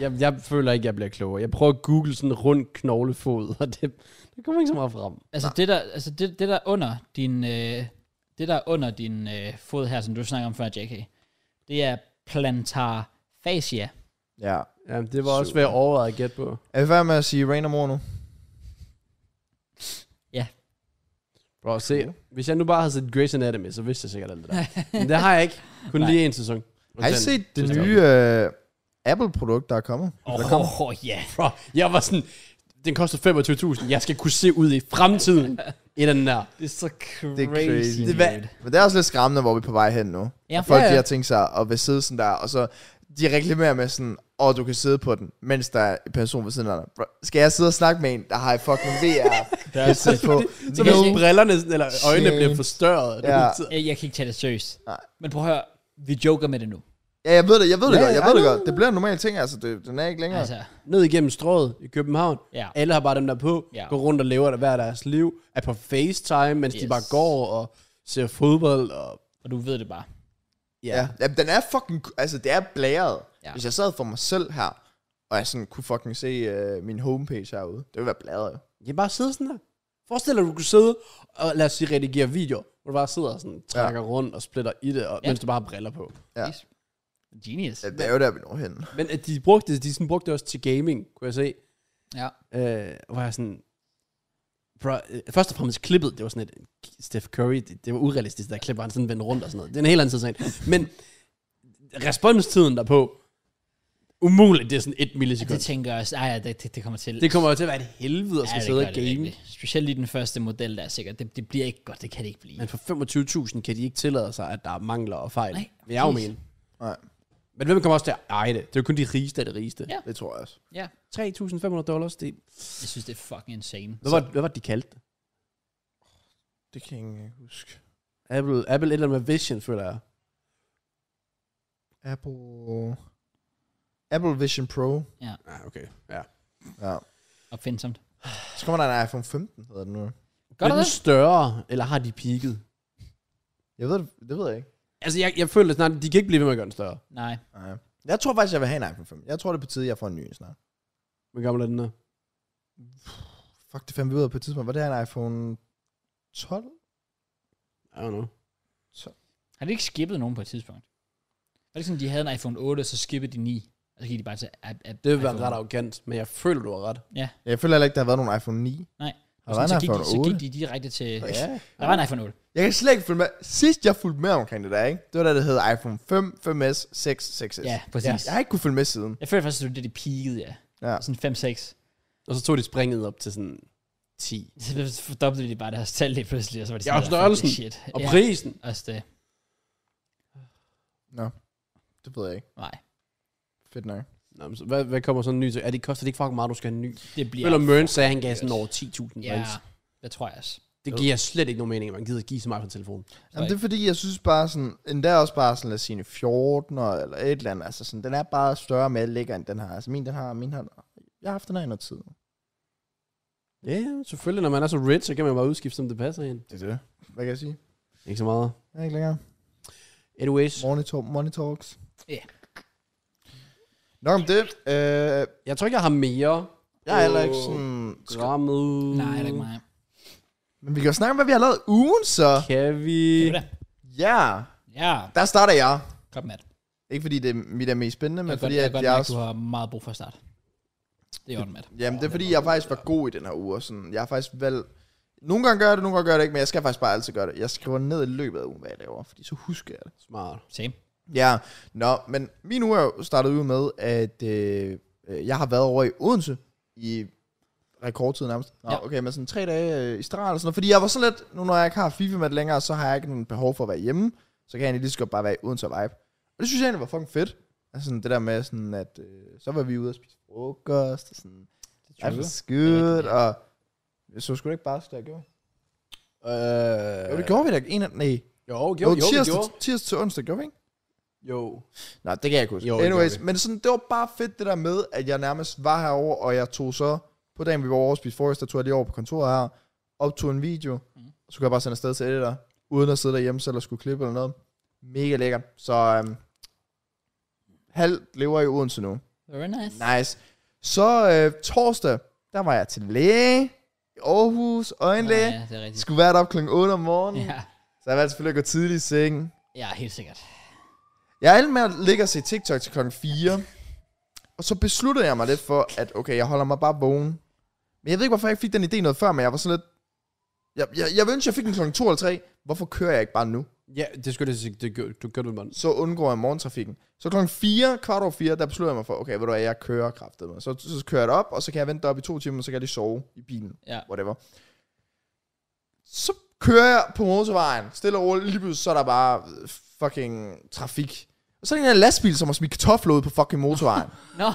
S3: Jeg, jeg føler ikke, jeg bliver klogere. Jeg prøver at google sådan rund knoglefod, og det, det kommer ikke så meget frem.
S1: altså, det der, altså det, det der under din, øh, det der under din øh, fod her, som du snakker om før, JK, det er plantar fascia.
S2: Ja.
S3: Ja, det var også ved at overveje at gætte på.
S2: Er vi færdige med at sige Rain mor nu?
S3: Bro, se. Hvis jeg nu bare havde set Grey's Anatomy, så vidste jeg sikkert alt det der. Men det har jeg ikke. Kun
S1: Nej.
S3: lige en sæson.
S2: Har I set det
S3: Sidste
S2: nye øh, Apple-produkt, der er kommet?
S1: Åh, oh, oh, ja.
S3: Bro, jeg var sådan, den koster 25.000. Jeg skal kunne se ud i fremtiden i den der.
S1: Det er så crazy.
S2: Det er crazy.
S1: dude.
S2: Det Men det er også lidt skræmmende, hvor vi er på vej hen nu.
S1: Ja.
S2: Folk
S1: Ja,
S2: ja,
S1: ja.
S2: de har tænkt sig at vil sidde sådan der, og så de reklamerer med sådan, åh, oh, du kan sidde på den, mens der er en person ved siden af dig. Bro, skal jeg sidde og snakke med en, der har et fucking VR?
S1: Der er
S2: headset på?
S3: Så
S1: kan jeg se.
S3: hvis brillerne, sådan- eller øjnene
S2: Shit.
S3: bliver forstørret.
S2: Ja.
S3: Du-
S1: Øh, Jeg, jeg kan ikke tage det seriøst.
S2: Nej.
S1: Men prøv at høre, vi joker med det nu.
S2: Ja, jeg ved det, jeg ved det
S3: Ja,
S2: godt, jeg
S3: ja,
S2: ved det
S3: I
S2: godt.
S3: know.
S2: Det bliver en normal ting, altså, det, den er ikke længere.
S1: Altså,
S3: Ned igennem strået i København.
S1: ja.
S3: Alle har bare dem der på,
S1: Ja.
S3: går rundt og lever der hver deres liv, er på FaceTime, mens de
S1: Yes.
S3: bare går og ser fodbold. Og,
S1: Og du ved det bare.
S3: ja.
S2: ja. ja. den er fucking, altså, det er blæret.
S1: Ja.
S2: Ja. Hvis jeg sad for mig selv her, og jeg sådan kunne fucking se øh, min homepage herude, det ville være blæret, jo.
S3: Jeg bare sidde sådan der. Forestil dig, at du kunne sidde og lad os sige, redigere videoer, hvor du bare sidder og sådan, trækker ja. rundt og splitter i det, og,
S1: Ja.
S3: ja. mens du bare har briller på.
S2: Ja.
S1: Yes. Genius.
S2: Ja, Det er jo der, vi når hen.
S3: Men at de brugte, de sådan brugte det også til gaming, kunne jeg se.
S1: Ja.
S3: øh, hvor jeg sådan... Bro, øh, først og fremmest klippet, det var sådan et... Steph Curry, det, det var urealistisk, der klip, hvor han sådan vendte rundt og sådan noget. Det er en helt anden tidssag. Men responstiden derpå, umuligt, det er sådan et
S1: Ja, Altså, det
S3: millisekund.
S1: tænker jeg også. Ej, ja, det, det, det kommer til.
S3: Det kommer jo til at være et helvede at
S1: ja,
S3: skal
S1: det
S3: sidde
S1: gør det
S3: og game.
S1: virkelig. Specielt lige den første model, der er sikkert. Det, det bliver ikke godt. Det kan det ikke blive.
S3: Men for 25.000 kan de ikke tillade sig, at der er mangler og fejl.
S1: Nej,
S3: vil jeg jo
S1: præcis.
S3: mene.
S2: Nej,
S3: Men hvem kommer også til at eje det? Det er jo kun de rigeste af de rigeste.
S1: Ja.
S2: det tror jeg også.
S1: Ja.
S3: 3.500 dollars, det...
S1: Jeg synes, det er fucking insane.
S3: Hvad var, hvad var det, de kaldte det?
S2: Det kan jeg ikke engang huske.
S3: Apple, Apple et eller andet med Vision, føler jeg.
S2: Apple... Apple Vision Pro.
S3: Ah, okay. Ja.
S2: Ja.
S1: Opfindsomt.
S2: Så kommer der en iPhone 15, hedder den nu.
S1: Gør
S3: Gør
S1: der
S3: er den
S1: det?
S3: større, eller har de peaked?
S2: Jeg ved det, det ved jeg ikke.
S3: Altså, jeg, jeg føler snart, de kan ikke blive ved med at gøre den større.
S1: Nej.
S2: Nej. Jeg tror faktisk, jeg vil have en iPhone 5. Jeg tror, det er på tide, jeg får en ny en snart.
S3: Hvor gammel er den der?
S2: Fuck, det fandt vi ud af på et tidspunkt. Var det her en iPhone 12?
S3: I don't know.
S1: Har de ikke skippet nogen på et tidspunkt? Var det ikke sådan, de havde en iPhone 8, og så skippede de 9? Og så gik de bare til app, app,
S3: Det vil være ret arrogant, men jeg føler, du har ret.
S2: Jeg føler heller ikke, der har været nogen iPhone 9.
S1: Nej.
S2: Har der været
S1: så,
S2: en
S1: gik de,
S2: iPhone
S1: så
S2: 8?
S1: gik de direkte til...
S2: Ja.
S1: Der var en iPhone 8.
S2: Jeg kan slet ikke følge med. Sidst jeg fulgte med omkring det der, ikke? Det var da det hed iPhone 5, 5S, 6, 6S.
S1: Ja, præcis.
S2: Jeg har ikke kunne følge med siden.
S1: Jeg føler faktisk, at det var det, de peakede, ja.
S2: Ja.
S1: Sådan 5-6.
S3: Og så tog de springet op til sådan 10.
S1: Så fordoblede de bare deres tal lige pludselig, og så var de
S3: Ja, og
S1: sådan, "Fuck, det er
S3: størrelsen.
S1: Shit.
S3: Og
S1: Ja,
S3: prisen.
S1: også det.
S2: Det ved jeg ikke.
S1: Nej,
S2: Fedt nok.
S3: Nå, men så, hvad, hvad kommer sådan en ny til? Er det koster det ikke fucking meget, du skal have en ny?
S1: det bliver...
S3: Ja, Eller Mørn sagde, at han gav sådan
S1: dyrt.
S3: over
S1: Ja,
S3: 10.000 yeah.
S1: det tror jeg også.
S3: Det giver slet ikke nogen mening, at man gider give så meget på en telefon.
S2: Jamen, det er fordi, jeg synes bare sådan, endda også bare sådan, lad os sige, en 14 eller et eller andet, altså sådan, den er bare større med lækker, end den her. Altså min, den har, min har, jeg har haft den her i noget tid.
S3: Ja, yeah, selvfølgelig. Når man er så rich, så kan man bare udskifte, som det passer ind.
S2: Det er det. Hvad kan jeg sige?
S3: Ikke så meget.
S2: Jeg er ikke længere.
S3: Anyways.
S2: Monitor, monitorks.
S1: Ja.
S2: Nok om det. Øh,
S3: Jeg tror ikke, jeg har mere.
S2: jeg er heller ikke sådan...
S3: Skrammet.
S1: Nej, det er ikke mig.
S2: Men vi kan jo snakke om, hvad vi har lavet ugen, så.
S3: Kan
S1: Det
S3: vi...
S1: er det.
S2: Ja,
S1: Ja,
S2: der starter jeg.
S1: kom med.
S2: Ikke fordi det er mit er mest spændende,
S1: Jeg
S2: men
S1: kan godt,
S2: fordi
S1: jeg
S2: at
S1: kan godt
S2: jeg
S1: mærke, du
S2: også...
S1: har meget brug for at starte. Det er ordentligt, Matt.
S2: Jamen, det er fordi, jeg faktisk var god i den her uge. og Sådan. Jeg har faktisk valgt... Nogle gange gør jeg det, nogle gange gør jeg det ikke, men jeg skal faktisk bare altid gøre det. Jeg skriver ned i løbet af ugen, hvad jeg laver, fordi så husker jeg det.
S3: Smart.
S1: Same.
S2: Ja, nå, men min uge er jo startet ud med, at øh, øh, jeg har været over i Odense i rekordtid nærmest. Nå,
S1: Ja.
S2: ja. okay, men sådan tre dage øh, i streg eller sådan noget. Fordi jeg var sådan lidt, nu når jeg ikke har FIFA med det længere, så har jeg ikke nogen behov for at være hjemme. Så kan jeg egentlig lige så godt bare være i Odense og vibe. Og det synes jeg egentlig var fucking fedt. Altså sådan det der med sådan, at øh, så var vi ude og spise frokost, og sådan,
S1: er
S2: det var
S1: true.
S2: skidt, og jeg så sgu da ikke bare, det jeg gjorde.
S3: Øh,
S2: Jo, det gjorde vi da ikke. En af, nej,
S3: Jo, jo,
S2: jo,
S3: jo, jo,
S2: tirsdag,
S3: vi gjorde.
S2: tirsdag til onsdag gjorde vi ikke?
S3: Jo.
S2: Nej, det kan jeg ikke huske.
S3: Jo,
S2: Jo,
S3: det
S2: Anyways,
S3: gør vi.
S2: men sådan, det var bare fedt det der med, at jeg nærmest var herover og jeg tog så, på dagen vi var over og spiste frokost, der tog jeg lige over på kontoret her, optog en video,
S1: Mm.
S3: Mhm.
S2: mm. så kunne jeg bare sende afsted til editor, uden at sidde derhjemme selv og skulle klippe eller noget. Mega lækkert. Så øhm, halvt lever i Odense nu.
S1: Very nice.
S2: Nice. Så øh, torsdag, der var jeg til læge i Aarhus, øjenlæge.
S1: Ja, det er rigtigt.
S2: Skulle være deroppe klokken 8 om morgenen.
S1: Ja,
S2: Så jeg valgte selvfølgelig at gå tidligt i sengen.
S1: ja helt sikkert.
S2: Jeg endte med at ligge og se TikTok til klokken 4. Og så besluttede jeg mig lidt for, at okay, jeg holder mig bare vågen. Men jeg ved ikke, hvorfor jeg ikke fik den idé noget før, men jeg var sådan lidt... Jeg, jeg, jeg ønsker, jeg fik den klokken 2 eller 3. Hvorfor kører jeg ikke bare nu?
S3: Ja, det skulle jeg sige. Det gjorde, du gjorde det, mand.
S2: Så undgår jeg morgentrafikken. Så klokken 4, kvart over 4, der besluttede jeg mig for, okay, ved du hvad, jeg kører kraftet med. Så, så kører jeg det op, og så kan jeg vente op i to timer, og så kan jeg lige sove i bilen.
S1: Ja.
S2: Whatever. Så kører jeg på motorvejen, stille og roligt, lige pludselig, så er der bare øh, fucking trafik. Og så er der en eller anden lastbil, som har smidt kartofler ud på fucking motorvejen.
S1: Nå,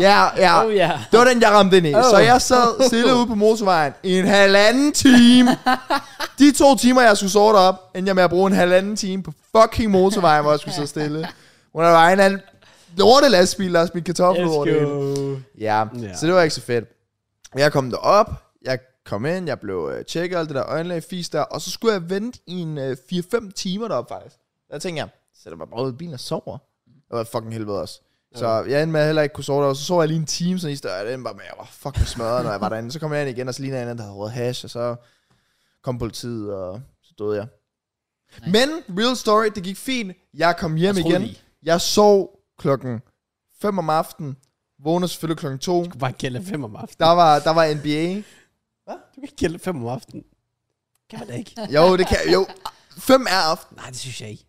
S2: Ja, ja.
S1: oh ja.
S2: Det var den, jeg ramte ind i.
S3: Oh.
S2: Oh. Så jeg sad stille ude på motorvejen i en halvanden time. De to timer, jeg skulle sorte op, endte jeg med at bruge en halvanden time på fucking motorvejen, hvor jeg skulle sidde stille. Hvor der var en eller anden lorte lastbil, der smidt kartofler
S1: Let's
S2: over det hele.
S3: Øh,
S1: go.
S2: Ja,
S3: Ja.
S2: yeah. så det var ikke så fedt. Jeg kom derop, jeg kom ind, jeg blev øh, tjekket, alt det der øjenlæge fis der, og så skulle jeg vente i en øh, 4-5 timer derop faktisk. Der tænkte jeg, sætter mig bare ud i bilen og sover. Det var fucking helvede også. Så jeg endte med at heller ikke kunne sove der, og så sov jeg lige en time, sådan i stedet, og det endte bare med, at jeg var fucking smadret, når jeg var derinde. Så kom jeg ind igen, og så lignede jeg en anden, der havde røget hash, og så kom politiet, og så døde jeg.
S1: Nej.
S2: Men, real story, det gik fint. Jeg kom hjem
S1: Jeg troede
S2: igen.
S1: lige.
S2: Jeg sov klokken 5 om aftenen, vågnede selvfølgelig klokken 2.
S3: Du kan bare gælde fem om aftenen.
S2: Der var, der var NBA.
S3: Du kan ikke gælde fem om aftenen. Kan man da ikke?
S2: Jo, det kan jo. Fem er aften.
S3: Nej, det synes jeg ikke.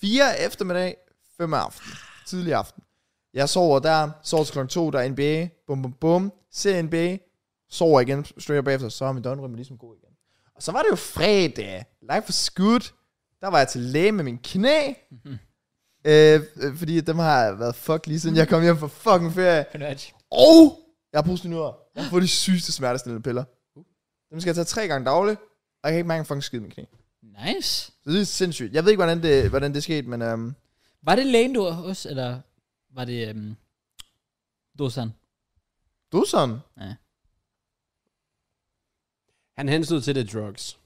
S2: Fire er eftermiddag, fem er aften. Tidlig aften. Jeg sover der, sover til klokken to, der er NBA. Bum, bum, bum. Ser NBA. Sover igen straight up efter, så er min døgnrymme ligesom god igen. Og så var det jo fredag. Live for skud. Der var jeg til læge med min knæ. Øh, øh, fordi dem har været fuck lige siden jeg kom hjem fra fucking ferie.
S1: Converge.
S2: Og jeg har postet Jeg har fået de sygeste smertestillende piller. Dem skal jeg tage tre gange dagligt. Og jeg kan ikke mærke en fucking skid i min knæ.
S1: Nice.
S2: Så det er sindssygt. Jeg ved ikke, hvordan det, hvordan det skete, men øhm,
S1: Var det lægen, du var hos, eller var det... Um, Dosan?
S2: du er sådan.
S1: Ja.
S3: Han henstod til det drugs.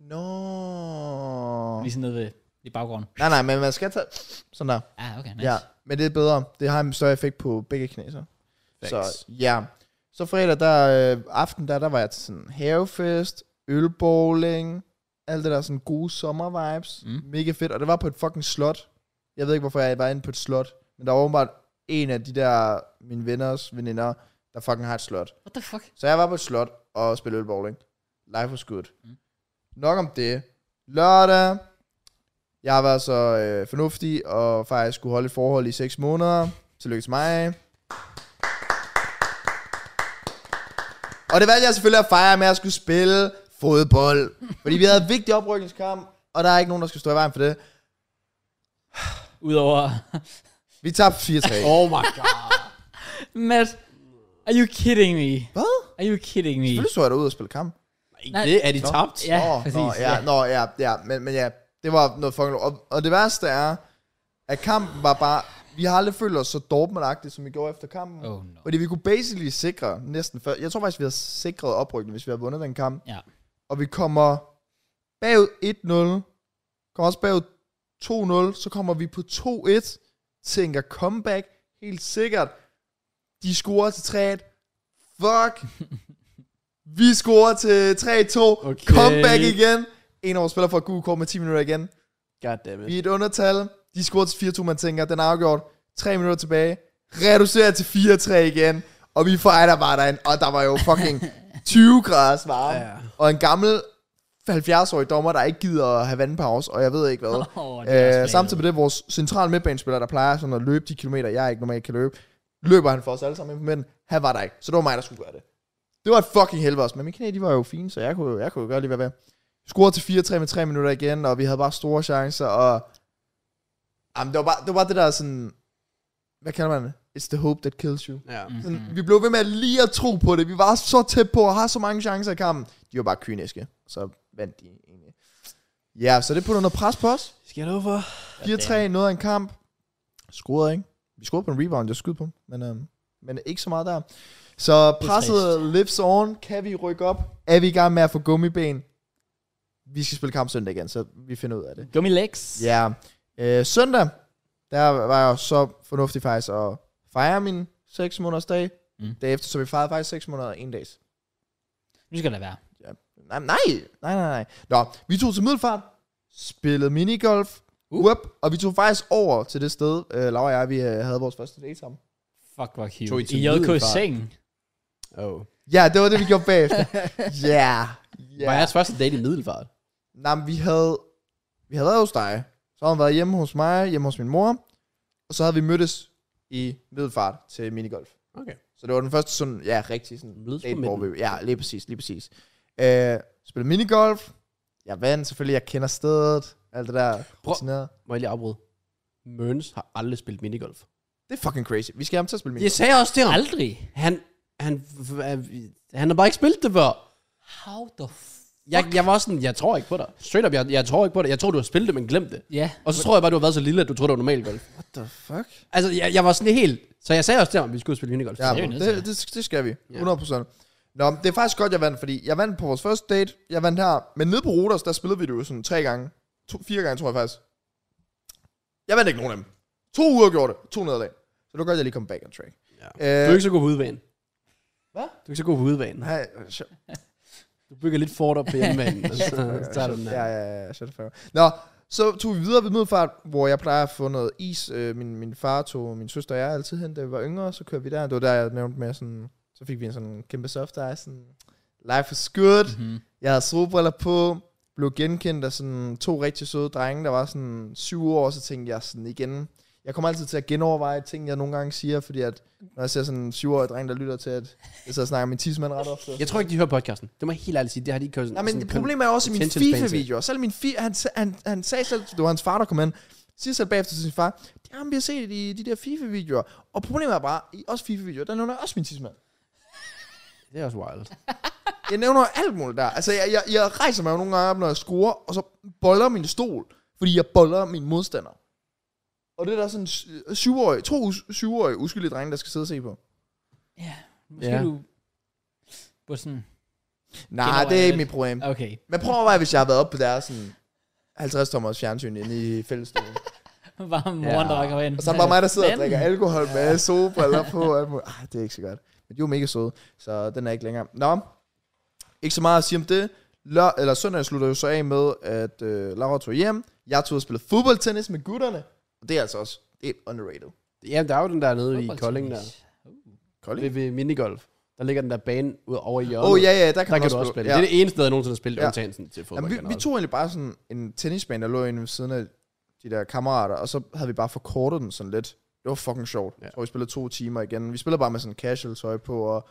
S2: Nå.
S1: Lige sådan nede ved, i baggrunden.
S2: Nej, nej, men man skal tage sådan der.
S1: Ah, okay, nice.
S2: Nice. Ja, men det er bedre. Det har en større effekt på begge knæ, så.
S3: Facts.
S2: Så ja. Så fredag der, øh, aften der, der var jeg til sådan havefest, ølbowling, alt det der sådan gode sommervibes.
S1: Mm.
S2: Mm. Mega fedt. Og det var på et fucking slot. Jeg ved ikke, hvorfor jeg var inde på et slot. Men der var åbenbart en af de der, mine venners veninder, der fucking har et slot.
S1: What the fuck?
S2: Så jeg var på et slot og spillede ølbowling. Life was good.
S1: Mm.
S2: Mm. Nok om det. Lørdag. Jeg var så øh, fornuftig og faktisk skulle holde et forhold i 6 måneder. Tillykke til mig. Og det valgte jeg selvfølgelig at fejre med at skulle spille fodbold. Fordi vi havde en vigtig oprykningskamp, og der er ikke nogen, der skal stå i vejen for det.
S1: Udover...
S2: Vi tabte 4-3.
S3: Oh my god.
S1: Matt, are you kidding me?
S2: Hvad?
S1: Are you kidding me?
S2: Selvfølgelig så jeg derude og spille kamp.
S1: Nej.
S3: Nej. Det er de tabt.
S1: Ja,
S2: Nå,
S1: præcis.
S2: Nå, ja, nå, ja, ja men, men ja, det var noget fucking lort. og, og det værste er, at kampen var bare Vi har aldrig følt os så dortmund som vi gjorde efter kampen.
S1: Oh no.
S2: Fordi vi kunne basically sikre næsten før. Jeg tror faktisk, vi har sikret oprykning, hvis vi har vundet den kamp.
S1: Ja.
S2: Og vi kommer bagud 1-0. Kommer også bagud 2-0. Så kommer vi på 2-1. Tænker comeback. Helt sikkert. De scorer til 3-1. Fuck. vi scorer til 3-2.
S3: Okay.
S2: Okay. Comeback igen. En af vores spillere får et gult kort med 10 minutter igen.
S3: Goddammit.
S2: Vi er et undertal. De scorer til 4-2, man tænker, den er afgjort. 3 minutter tilbage. Reducerer til 4-3 igen. Og vi fejler bare derinde. Og der var jo fucking 20 graders varme.
S3: Ja.
S2: Ja. Og en gammel 70-årig dommer, der ikke gider at have vandpause, og jeg ved ikke hvad.
S1: Oh,
S2: Øh, samtidig med det, vores centrale midtbanespiller, der plejer sådan at løbe de kilometer, jeg ikke normalt kan løbe, løber han for os alle sammen ind på midten. Han var der ikke, så det var mig, der skulle gøre det. Det var et fucking helvede også, men mine knæ, de var jo fine, så jeg kunne, jo- jeg kunne jo gøre lige hvad ved. Scorede til 4-3 med 3 minutter igen, og vi havde bare store chancer, og... Jamen, det var bare det, var bare det der sådan... Hvad kalder man det? It's the hope that kills you.
S3: Ja.
S1: Mm-hmm.
S2: Sådan, Vi blev ved med at lige at tro på det. Vi var så tæt på og har så mange chancer i kampen. De var bare kyniske, så vandt de egentlig. Ja, så det putter noget pres på os.
S3: Skal jeg love for?
S2: 4-3, noget af en kamp. Skruede, ikke? Vi skruede på en rebound, jeg skød på, men, øh, men ikke så meget der. Så
S1: er
S2: presset lives on. Kan vi rykke op? Er vi i gang med at få gummiben? Vi skal spille kamp søndag igen, så vi finder ud af det.
S1: Gummy legs.
S2: Ja. Øh, søndag, der var jeg jo så fornuftig faktisk at fejre min 6 måneders dag.
S1: Mm.
S2: Mm. Derefter, så vi fejrede faktisk 6 måneder og en dags.
S1: Nu skal det være.
S2: Nej, nej, nej, nej, nej. Nå, vi tog til Middelfart, spillede minigolf, uh. up, og vi tog faktisk over til det sted, øh, Laura og jeg, vi øh, havde vores første date sammen.
S1: Fuck, hvor
S3: Tog
S1: cute.
S3: I til
S1: I JK's
S3: Middelfart?
S1: seng.
S2: Mm.
S3: Oh.
S2: Ja, det var det, vi gjorde bagefter. Ja.
S3: Yeah.
S2: Ja.
S3: Var jeres første date i Middelfart?
S2: Nej, men vi havde, vi havde været hos dig. Så havde hun været hjemme hos mig, hjemme hos min mor. Og så havde vi mødtes i Middelfart til minigolf.
S3: Okay.
S2: Så det var den første sådan, ja, rigtig sådan
S3: Mødes på
S2: date, hvor
S3: midten.
S2: vi, ja, lige præcis, lige præcis. Øh, spillede minigolf. Jeg vandt selvfølgelig, jeg kender stedet. Alt det der.
S3: Prøv-
S2: Sådan noget.
S3: Må jeg lige afbryde? Møns har aldrig spillet minigolf.
S2: Det er fucking crazy. Vi skal have ham til at spille minigolf.
S3: Jeg sagde også til ham.
S1: Aldrig.
S3: Han, han, han har bare ikke spillet det før.
S1: How the f...
S3: Jeg, jeg var sådan, jeg tror ikke på dig. Straight up, jeg, jeg tror ikke på dig. Jeg tror, du har spillet det, men glemt det.
S1: Ja.
S3: Og så tror jeg bare, du har været så lille, at du troede, det var normal golf.
S2: What the fuck?
S3: Altså, jeg, jeg var sådan helt... Så jeg sagde også til ham, at vi skulle spille minigolf.
S2: Ja,
S1: det er vi nødt til.
S2: det, det, det skal vi. 100%. Nå, men det er faktisk godt, jeg vandt, fordi jeg vandt på vores første date. Jeg vandt her. Men nede på Roters, der spillede vi det jo sådan tre gange. To, fire gange, tror jeg faktisk. Jeg vandt ikke nogen af dem. To uger gjorde det. To nederlag. Så det var godt, jeg lige kom back on track.
S3: Du
S2: Ja.
S3: er
S2: Øh,
S3: ikke så god på udvanen.
S2: Hvad?
S3: Du er ikke så god på udvanen.
S2: nej, shut,
S3: Du bygger lidt fort op på hjemmebanen, og så tager du den
S2: ja,
S3: der.
S2: ja, ja, shut the fuck up. Nå, så tog vi videre ved Middelfart, hvor jeg plejer at få noget is. Øh, Min, min far tog min søster og jeg altid hen, da vi var yngre, så kørte vi der. Det var der, jeg nævnte med sådan, så fik vi en sådan kæmpe soft ice, sådan, life is good.
S1: Mm-hmm.
S2: Jeg havde solbriller på, blev genkendt af sådan to rigtig søde drenge, der var sådan syv år, så tænkte jeg sådan igen, jeg kommer altid til at genoverveje ting, jeg nogle gange siger, fordi at, når jeg ser sådan en syvårig dreng, der lytter til, at jeg så snakker om min tidsmand ret ofte.
S3: Jeg tror ikke, de hører podcasten. Det må jeg helt ærligt sige. Det har de ikke kørt sådan.
S2: Nej, men
S3: sådan
S2: det problemet er også i mine
S3: attention span til.
S2: FIFA-videoer. Selv min fi- han, sa- han, han sagde selv, det var hans far, der kom ind. Siger selv bagefter til sin far, det er ham, vi har set i de der FIFA-videoer. Og problemet er bare, i også FIFA-videoer, der nævner jeg også min tidsmand.
S3: Det er også wild.
S2: Jeg nævner alt muligt der. Altså, jeg, jeg, jeg rejser mig jo nogle gange op, når jeg scorer, og så boller min stol, fordi jeg boller min modstander. Og det er der sådan sy- syvårige, to us- syvårige uskyldige drenge, der skal sidde og se på.
S1: Ja. Måske
S3: Ja.
S1: du... På sådan...
S2: Nej,
S1: Genoverveje
S2: det er ikke
S1: lidt.
S2: mit problem.
S1: Okay.
S2: Men prøv at være, hvis jeg har været oppe på deres sådan 50-tommers fjernsyn inde i fællesstuen.
S1: Bare moren,
S3: Ja.
S1: der kommer ind.
S2: Og så er det bare mig, der sidder og
S1: Manden.
S2: drikker alkohol med solbriller på. og alt muligt. Ej, det er ikke så godt. Men de var mega søde, så den er ikke længere. Nå, ikke så meget at sige om det. Lør, eller søndag slutter jo så af med, at øh, Laura tog hjem. Jeg tog og spillede fodboldtennis med gutterne. Og det er altså også det er underrated.
S3: Jamen, der er jo den der nede i Kolding der. Ved,
S2: Kolding?
S3: ved minigolf. Der ligger den der bane ud over i hjørnet.
S2: Åh, oh, ja, ja, der kan
S3: Der
S2: man
S3: kan
S2: også
S3: du også spille.
S2: spille.
S3: Det
S2: Ja.
S3: er det eneste sted, jeg nogensinde har spillet,
S2: Ja.
S3: undtagen sådan til fodbold
S2: Jamen, vi, vi tog egentlig bare sådan en tennisbane, der lå inde ved siden af de der kammerater, og så havde vi bare forkortet den sådan lidt. Det var fucking sjovt.
S3: Ja.
S2: Ja. Så vi spillede to timer igen. Vi spillede bare med sådan casual tøj på, og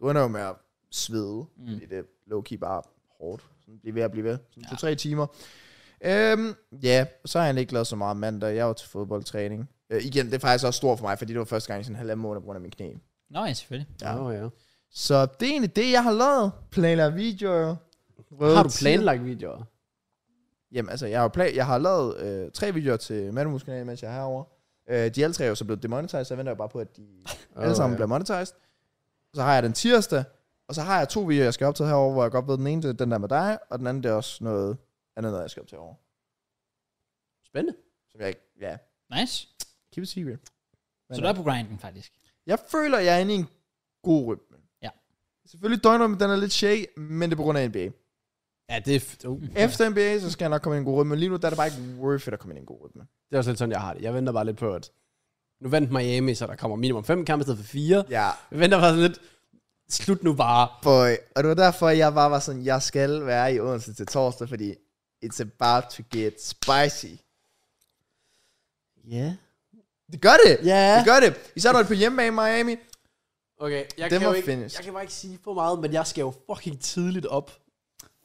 S2: du ender jo med at svede,
S1: Mm.
S2: mm. fordi det er low-key bare hårdt. Sådan blive ved at blive ved. Sådan
S1: Ja.
S2: to-tre timer. Øhm, ja, så har jeg egentlig ikke lavet så meget mandag. Jeg var til fodboldtræning. Øh, igen, det er faktisk også stort for mig, fordi det var første gang i sådan en halvanden måned på grund af min knæ.
S1: Nå ja, selvfølgelig.
S3: Ja.
S2: Ja.
S3: Oh, ja.
S2: Så det er egentlig det, jeg har lavet. Planer videoer.
S3: Har du
S2: Røde tider.
S3: planlagt videoer?
S2: Jamen, altså, jeg har, jo pla- jeg har lavet øh, tre videoer til Madmus kanal, mens jeg er herovre. Øh, de alle tre er jo så blevet demonetized, så jeg venter jo bare på, at de
S3: Oh,
S2: alle sammen bliver monetized. Så har jeg den tirsdag, og så har jeg to videoer, jeg skal optage herover, hvor jeg godt ved, den ene det er den der med dig, og den anden det er også noget andet, noget, jeg skal optage herover.
S3: Spændende.
S2: Som jeg ikke, ja,
S1: Nice.
S2: keep it secret. Men, øh,
S1: Så du er på grinden, faktisk.
S2: Jeg føler, jeg er inde i en god rytme.
S1: Ja.
S2: Selvfølgelig døgnrummet, den er lidt shake, men det er på grund af NBA.
S3: Ja, det er, f- uh,
S2: Efter NBA, så skal jeg nok komme i en god rytme. Lige nu der er det bare ikke worth it at komme ind i en god rytme.
S3: det er også lidt sådan, jeg har det. Jeg venter bare lidt på, at nu vandt Miami, så der kommer minimum fem kampe i stedet for fire.
S2: Ja.
S3: Jeg venter bare sådan lidt, slut nu bare.
S2: Boy. Og det var derfor, jeg bare var sådan, jeg skal være i Odense til torsdag, fordi it's about to get spicy.
S3: Ja.
S2: Det gør det!
S3: Ja.
S2: Det gør det! Især når det er på hjemmebane i Miami.
S3: Okay,
S2: Den
S3: jeg kan, jo
S2: var
S3: ikke,
S2: finished.
S3: jeg kan bare ikke sige for meget, men jeg skal jo fucking tidligt op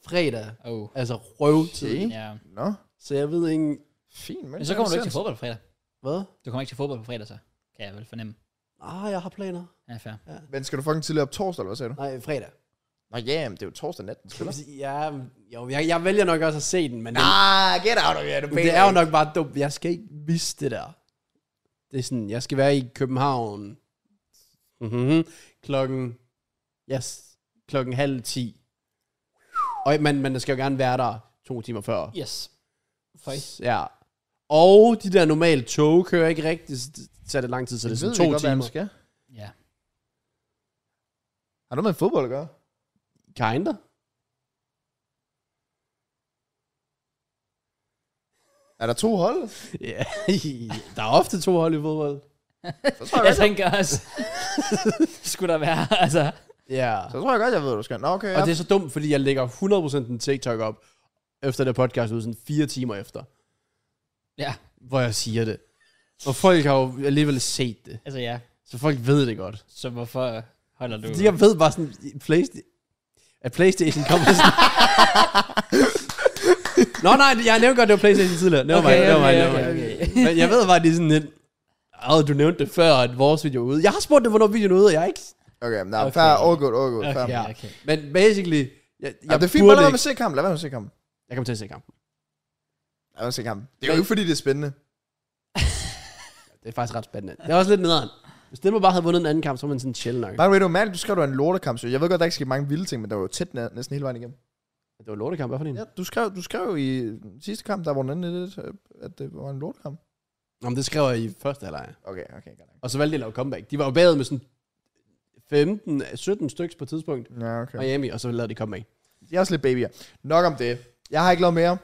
S3: fredag.
S1: Oh.
S3: Altså røvtid.
S2: Okay.
S3: Okay.
S1: Ja.
S2: Nå,
S3: Så jeg ved ikke...
S2: fint.
S1: Men så kommer du ikke til fodbold på fredag.
S3: Hvad?
S1: Du kommer ikke til fodbold på fredag, så. Kan jeg vel fornemme.
S3: Ah, jeg har planer.
S1: Ja, fair.
S2: Men skal du fucking tidligere op torsdag, eller hvad sagde du?
S3: Nej, fredag.
S2: Nå ja, men det er jo torsdag nat, den spiller.
S3: Ja, jo, jeg, jeg vælger nok også at se den, men den,
S2: Ah, get out of here, du
S3: det er jo nok bare dumt. Jeg skal ikke misse det der. Det er sådan, jeg skal være i København mm-hmm. klokken, yes, klokken halv ti. Og man, man skal jo gerne være der to timer før.
S1: Yes. Føj.
S3: Ja. Og de der normale tog kører ikke rigtigt, så det tager det lang tid, så det er
S2: Det ved vi
S3: sådan to
S2: godt, hvad han
S3: timer.
S2: skal.
S1: Ja.
S2: Har du med fodbold at gøre?
S3: Kinda.
S2: Er der to hold?
S3: Ja, der er ofte to hold i fodbold.
S2: Så
S1: Jeg
S2: tror jeg, godt,
S1: tænker også, skulle der være, altså...
S3: Ja.
S2: så tror jeg godt, jeg ved, hvad du skal. Nå, okay.
S3: Og
S2: ja.
S3: det er så dumt, fordi jeg lægger 100% en TikTok op, efter det podcast ud, sådan fire timer efter,
S1: Ja,
S3: hvor jeg siger det. Og folk har jo alligevel set det,
S1: altså ja.
S3: så folk ved det godt.
S1: Så hvorfor holder du...
S3: Fordi jeg ved bare sådan, Playsta- at Playstation kommer sådan... Nå nej, jeg nævnte godt, det var Playstation tidligere. Never
S1: Okay,
S3: mind, never mind,
S1: okay,
S3: never
S1: okay,
S3: mind.
S1: okay.
S3: Men jeg ved bare, det er sådan lidt... Åh, du nævnte det før, at vores video er ude. Jeg har spurgt dig, hvornår videoen er ude, og jeg er ikke...
S2: Okay,
S1: Okay.
S2: nej, okay. fair, all good, all good, fair.
S1: Okay,
S3: Ja.
S1: okay.
S3: Men basically... Jeg,
S2: Ja,
S3: jeg
S2: det er fint, bare lad være
S3: burde
S2: med
S3: ikke-
S2: at se kampen, lad være med at se kampen.
S3: Jeg kommer til at se kampen.
S2: Lad være med at se kampen. Det er jo
S3: Men-
S2: ikke, fordi det er spændende.
S3: Det er faktisk ret spændende. Det er også lidt nederen. Hvis den bare havde vundet en anden kamp, så var man sådan chill nok.
S2: By the way, det var mærkeligt, du skrev, du er en lortekamp, så jeg ved godt, der ikke skete mange vilde ting, men der var jo tæt næ- næsten hele vejen igennem.
S3: Det var en lortekamp, hvad for en?
S2: Ja, du skrev, du skrev jo i sidste kamp, der var den anden lidt, øh, at det var en lortekamp.
S3: Nå, men det skrev jeg i første halvleg.
S2: Okay, okay, godt nok.
S3: Og så valgte de at lave comeback. De var jo bagud med sådan 15-17 stykker på et tidspunkt.
S2: Ja, okay.
S3: Miami, og så lavede de comeback.
S2: Jeg er også lidt babyer. Nok om det. Jeg har ikke lavet mere.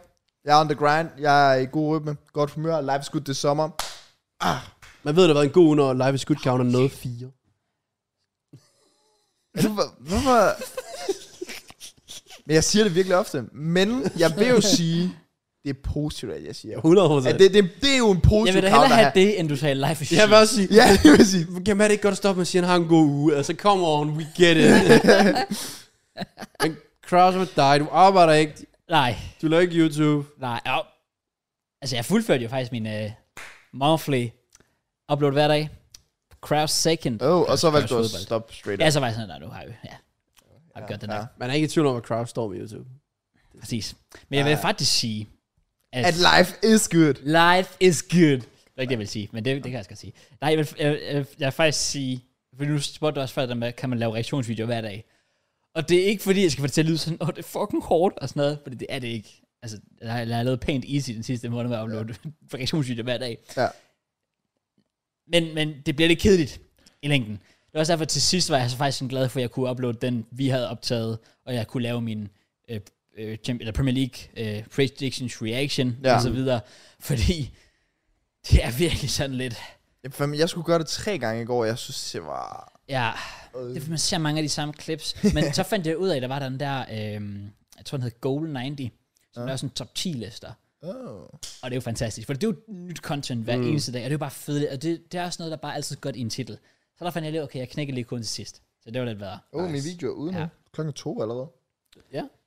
S2: Jeg er on the grind. Jeg er i god rytme. Godt humør. Life is good this summer.
S3: Man ved, det har været en god uge, når Live is Good Counter nåede 4.
S2: Er du, hvor- hvorfor? Men jeg siger det virkelig ofte. Men jeg vil jo sige, det er positivt, at jeg siger.
S3: 100 procent.
S2: At det, det, det er jo en
S1: Jeg
S2: positiv
S1: vil da
S2: counter
S1: hellere have
S2: her.
S1: det, end du sagde live is
S3: Jeg
S1: shit.
S3: vil også sige,
S2: Ja, det vil jeg sige.
S3: kan man ikke godt stoppe med at sige, at han har en god uge? Altså, come on, we get it. Men Kraus med dig, du arbejder ikke,
S1: Nej,
S3: du laver ikke YouTube.
S1: nej. Jo. Altså, jeg fuldførte jo faktisk min uh, monthly upload hver dag. Crowd second.
S2: Oh, og så valgte du at
S1: fodbold.
S2: stoppe straight
S1: Ja,
S2: up.
S1: så var jeg sådan, nej, nu har jeg jo, ja. Har ja, gjort det nok.
S2: ja.
S1: Ja.
S3: Man er ikke i tvivl om, at Kraus står med YouTube.
S1: Præcis. Men jeg vil faktisk sige, at,
S2: At life is good.
S1: life is good. Det er ikke det, jeg vil sige, men det, det kan jeg også godt sige. Nej, jeg vil, jeg, jeg, jeg vil faktisk sige, for nu spurgte du også før, det med, kan man lave reaktionsvideoer hver dag? Og det er ikke fordi, jeg skal få det til at lyde sådan, åh, det er fucking hårdt og sådan noget, fordi det er det ikke. Altså, jeg har, jeg har lavet pænt easy den sidste måned med at uploade ja. reaktionsvideoer hver dag.
S2: Ja.
S1: Men, men det bliver lidt kedeligt i længden. Det var også derfor, at til sidst var jeg så faktisk sådan glad for, at jeg kunne uploade den, vi havde optaget, og jeg kunne lave min øh, øh, champ- eller Premier League øh, predictions reaction ja.
S2: Ja.
S1: og så videre. Fordi det er virkelig sådan lidt...
S2: Jeg, fandme, jeg skulle gøre det tre gange i går, og jeg synes, det var...
S1: Ja,
S2: Øh.
S1: det, er, man ser mange af de samme clips. Men så fandt jeg ud af, at der var den der, øh, jeg tror den hed Goal 90, som ja. er sådan top 10 lister.
S2: Oh.
S1: Og det er jo fantastisk, for det er jo nyt content hver mm. eneste dag, og det er jo bare fedt. Og det, det er også noget, der bare er altid godt i en titel. Så der fandt jeg lige, okay, jeg knækker lige kun til sidst. Så det var lidt bedre.
S2: Oh, nice. min video er ude nu.
S1: Ja.
S2: Ja. Klokken to allerede.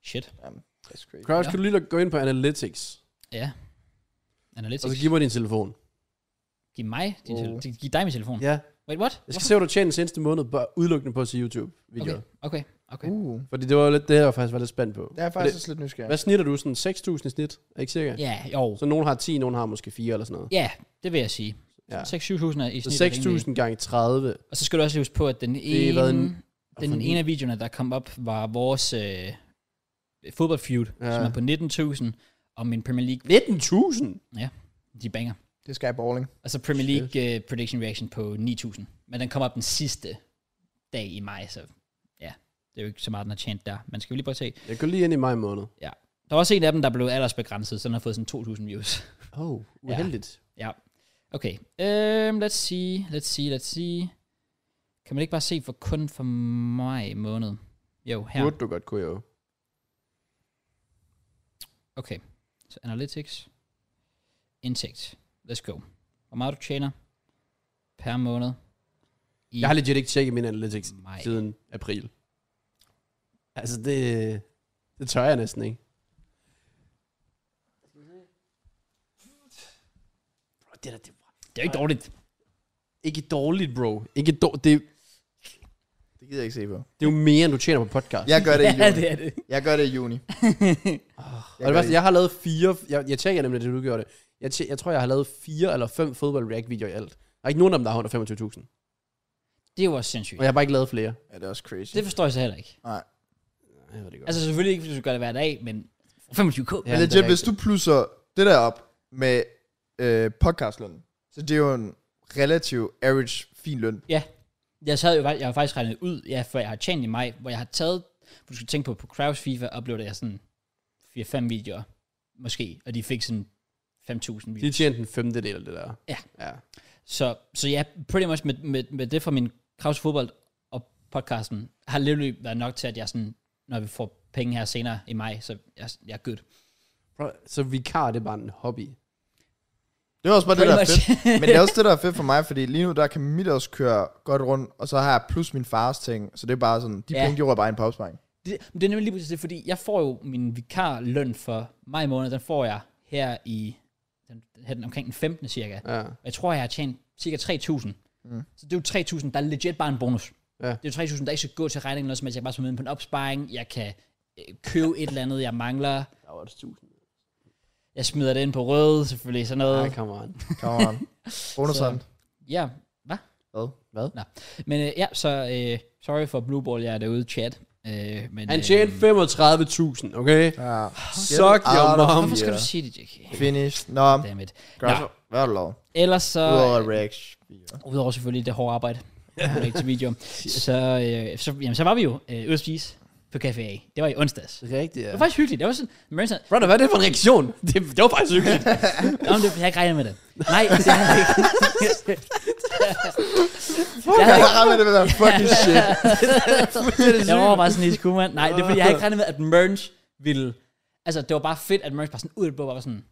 S1: Shit.
S2: Jamen, that's crazy.
S3: Kraus, kan du lige gå ind på Analytics,
S1: Ja. Analytics.
S3: og så giv mig din telefon.
S1: Giv mig din
S2: Oh.
S1: telefon. Giv dig min telefon.
S3: Ja.
S1: Wait, what?
S3: Jeg skal se, hvad du tjener den seneste måned, bare udelukkende på at se YouTube-videoer.
S1: Okay, okay, okay.
S2: Uh.
S3: Fordi det var jo lidt det, jeg faktisk var lidt spændt på.
S2: Jeg er
S3: For
S2: faktisk også lidt nysgerrig.
S3: Hvad snitter du? Sådan 6.000 i snit? Er ikke cirka?
S1: Ja, jo.
S3: Så nogen har 10, nogen har måske 4 eller sådan noget.
S1: Ja, det vil jeg sige.
S3: Ja.
S1: Ja. 6-7.000 er i
S3: Så
S1: snit. alene.
S3: 6.000 gange 30.
S1: Og så skal du også huske på, at den
S3: Det har
S1: ene,
S3: været
S1: en,
S3: for
S1: den
S3: en-
S1: ene af videoerne, der kom op, var vores øh, fodboldfeud,
S3: Ja.
S1: ja. som er på 19.000, og min Premier League,
S3: 19.000?
S1: de banger.
S2: Det er Sky Balling.
S1: Og så Premier League uh, prediction reaction på 9.000. Men den kom op den sidste dag i maj, så ja, det er jo ikke så meget, den har tjent der. Men skal vi lige prøve at se.
S3: Jeg går lige ind i maj måned.
S1: Der var også en af dem, der blev aldersbegrænset, så den har fået sådan 2.000 views.
S3: Oh, uheldigt.
S1: ja. Okay. Um, let's see, let's see, let's see. Kan man ikke bare se for kun for maj måned? Jo,
S3: Ja.
S1: her.
S3: Burde du godt kunne jo.
S1: Okay. Så analytics. Indtægt. Let's go. Hvor meget du tjener per måned. I
S3: Jeg har legit ikke tjekket min analytics
S1: maj.
S3: siden april. Altså, det, det tør jeg næsten ikke. Bro, det er da det,
S1: Det er jo ikke dårligt.
S3: ikke dårligt, bro. Ikke dårligt. Det,
S2: Det gider jeg ikke se på.
S3: det er jo mere, end du tjener på podcast.
S2: Jeg gør det i
S1: Ja,
S2: juni.
S1: det er det.
S2: Jeg gør det i juni.
S3: Og det værste, jeg har lavet fire, jeg, jeg tjekker nemlig, det du gjorde det. Jeg, tje, jeg tror, jeg har lavet fire eller fem fodbold react videoer i alt. Der er ikke nogen af dem, der har under 25.000.
S1: Det er jo også sindssygt.
S3: Og jeg har bare ikke lavet flere.
S2: Ja, det er også crazy.
S1: Det forstår jeg så heller ikke.
S2: Nej.
S3: Jeg ved det godt.
S1: Altså selvfølgelig ikke, hvis du gør det hver dag, men 25k.
S3: Ja,
S2: Men
S3: det er
S2: legit, hvis
S3: rigtigt.
S2: du plusser det der op med øh, podcastlønnen, så det er jo en relativ average fin løn.
S1: Jeg, sad jo, jeg har faktisk regnet ud, ja, før jeg har tjent i maj, hvor jeg har taget, for du skal tænke på, på Kraus FIFA uploadede jeg sådan 4-5 videoer, måske, og de fik sådan 5.000
S3: De
S1: views.
S3: tjente en femtedel af det der.
S1: Ja.
S3: ja.
S1: Så, så ja, pretty much med, med, med det fra min Kraus fodbold og podcasten, har literally været nok til, at jeg sådan, når vi får penge her senere i maj, så jeg, jeg er good.
S3: Bro, så vikar, det er bare en hobby.
S2: Det er også bare det,
S1: Pretty
S2: der er
S1: much.
S2: fedt. Men det er også det, der er fedt for mig, fordi lige nu, der kan mit også køre godt rundt, og så har jeg plus min fars ting, så det er bare sådan, de
S1: Ja.
S2: penge, de rører bare ind på opsparing.
S1: Det, men det er nemlig lige præcis det, fordi jeg får jo min vikarløn for maj måned, den får jeg her i den, her den, omkring den 15. cirka.
S3: Ja.
S1: Og jeg tror, jeg har tjent cirka 3.000. Mm. Så det er jo 3.000, der er legit bare en bonus.
S3: Ja.
S1: Det er jo 3.000, der ikke skal gå til regningen, eller noget som helst. Jeg kan bare smide ind på en opsparing, jeg kan øh, købe et eller andet, jeg mangler.
S3: Der var det 1000.
S1: Jeg smider det ind på røde, selvfølgelig, sådan noget.
S3: Nej, come on.
S2: Come on. Bonusen.
S1: Ja, hvad?
S2: Hvad?
S1: Hvad? Nå. Men øh, ja, så øh, sorry for Blue Ball, jeg er derude chat. Øh, men,
S3: Han
S1: øh,
S3: tjente 35.000, okay?
S2: Ja.
S3: Suck your
S2: out of
S3: mom.
S1: Hvorfor skal
S2: here.
S1: du sige det, JK?
S2: Finish. Nå,
S1: Dammit.
S2: Grasso, hvad har du lavet?
S1: Ellers så...
S2: Udover Rex.
S1: Udover selvfølgelig det hårde arbejde. Ikke til video. så, øh, så, jamen, så var vi jo øh, ude at spise på Café A. Det var i onsdags.
S3: Rigtigt, ja.
S1: Det var faktisk hyggeligt. Det var sådan, Maren sagde,
S3: Brother, hvad er det for en reaktion? Det, det var faktisk hyggeligt.
S1: Nå, men det, jeg har ikke regnet med det. Nej, det har jeg ikke. jeg,
S2: Jeg
S1: havde ikke
S2: har ramt det med den fucking shit.
S1: jeg var bare sådan i skummen. Nej, det er fordi, jeg har ikke regnet med, at Merns ville... Altså, det var bare fedt, at Merns bare sådan ud af det blå var sådan,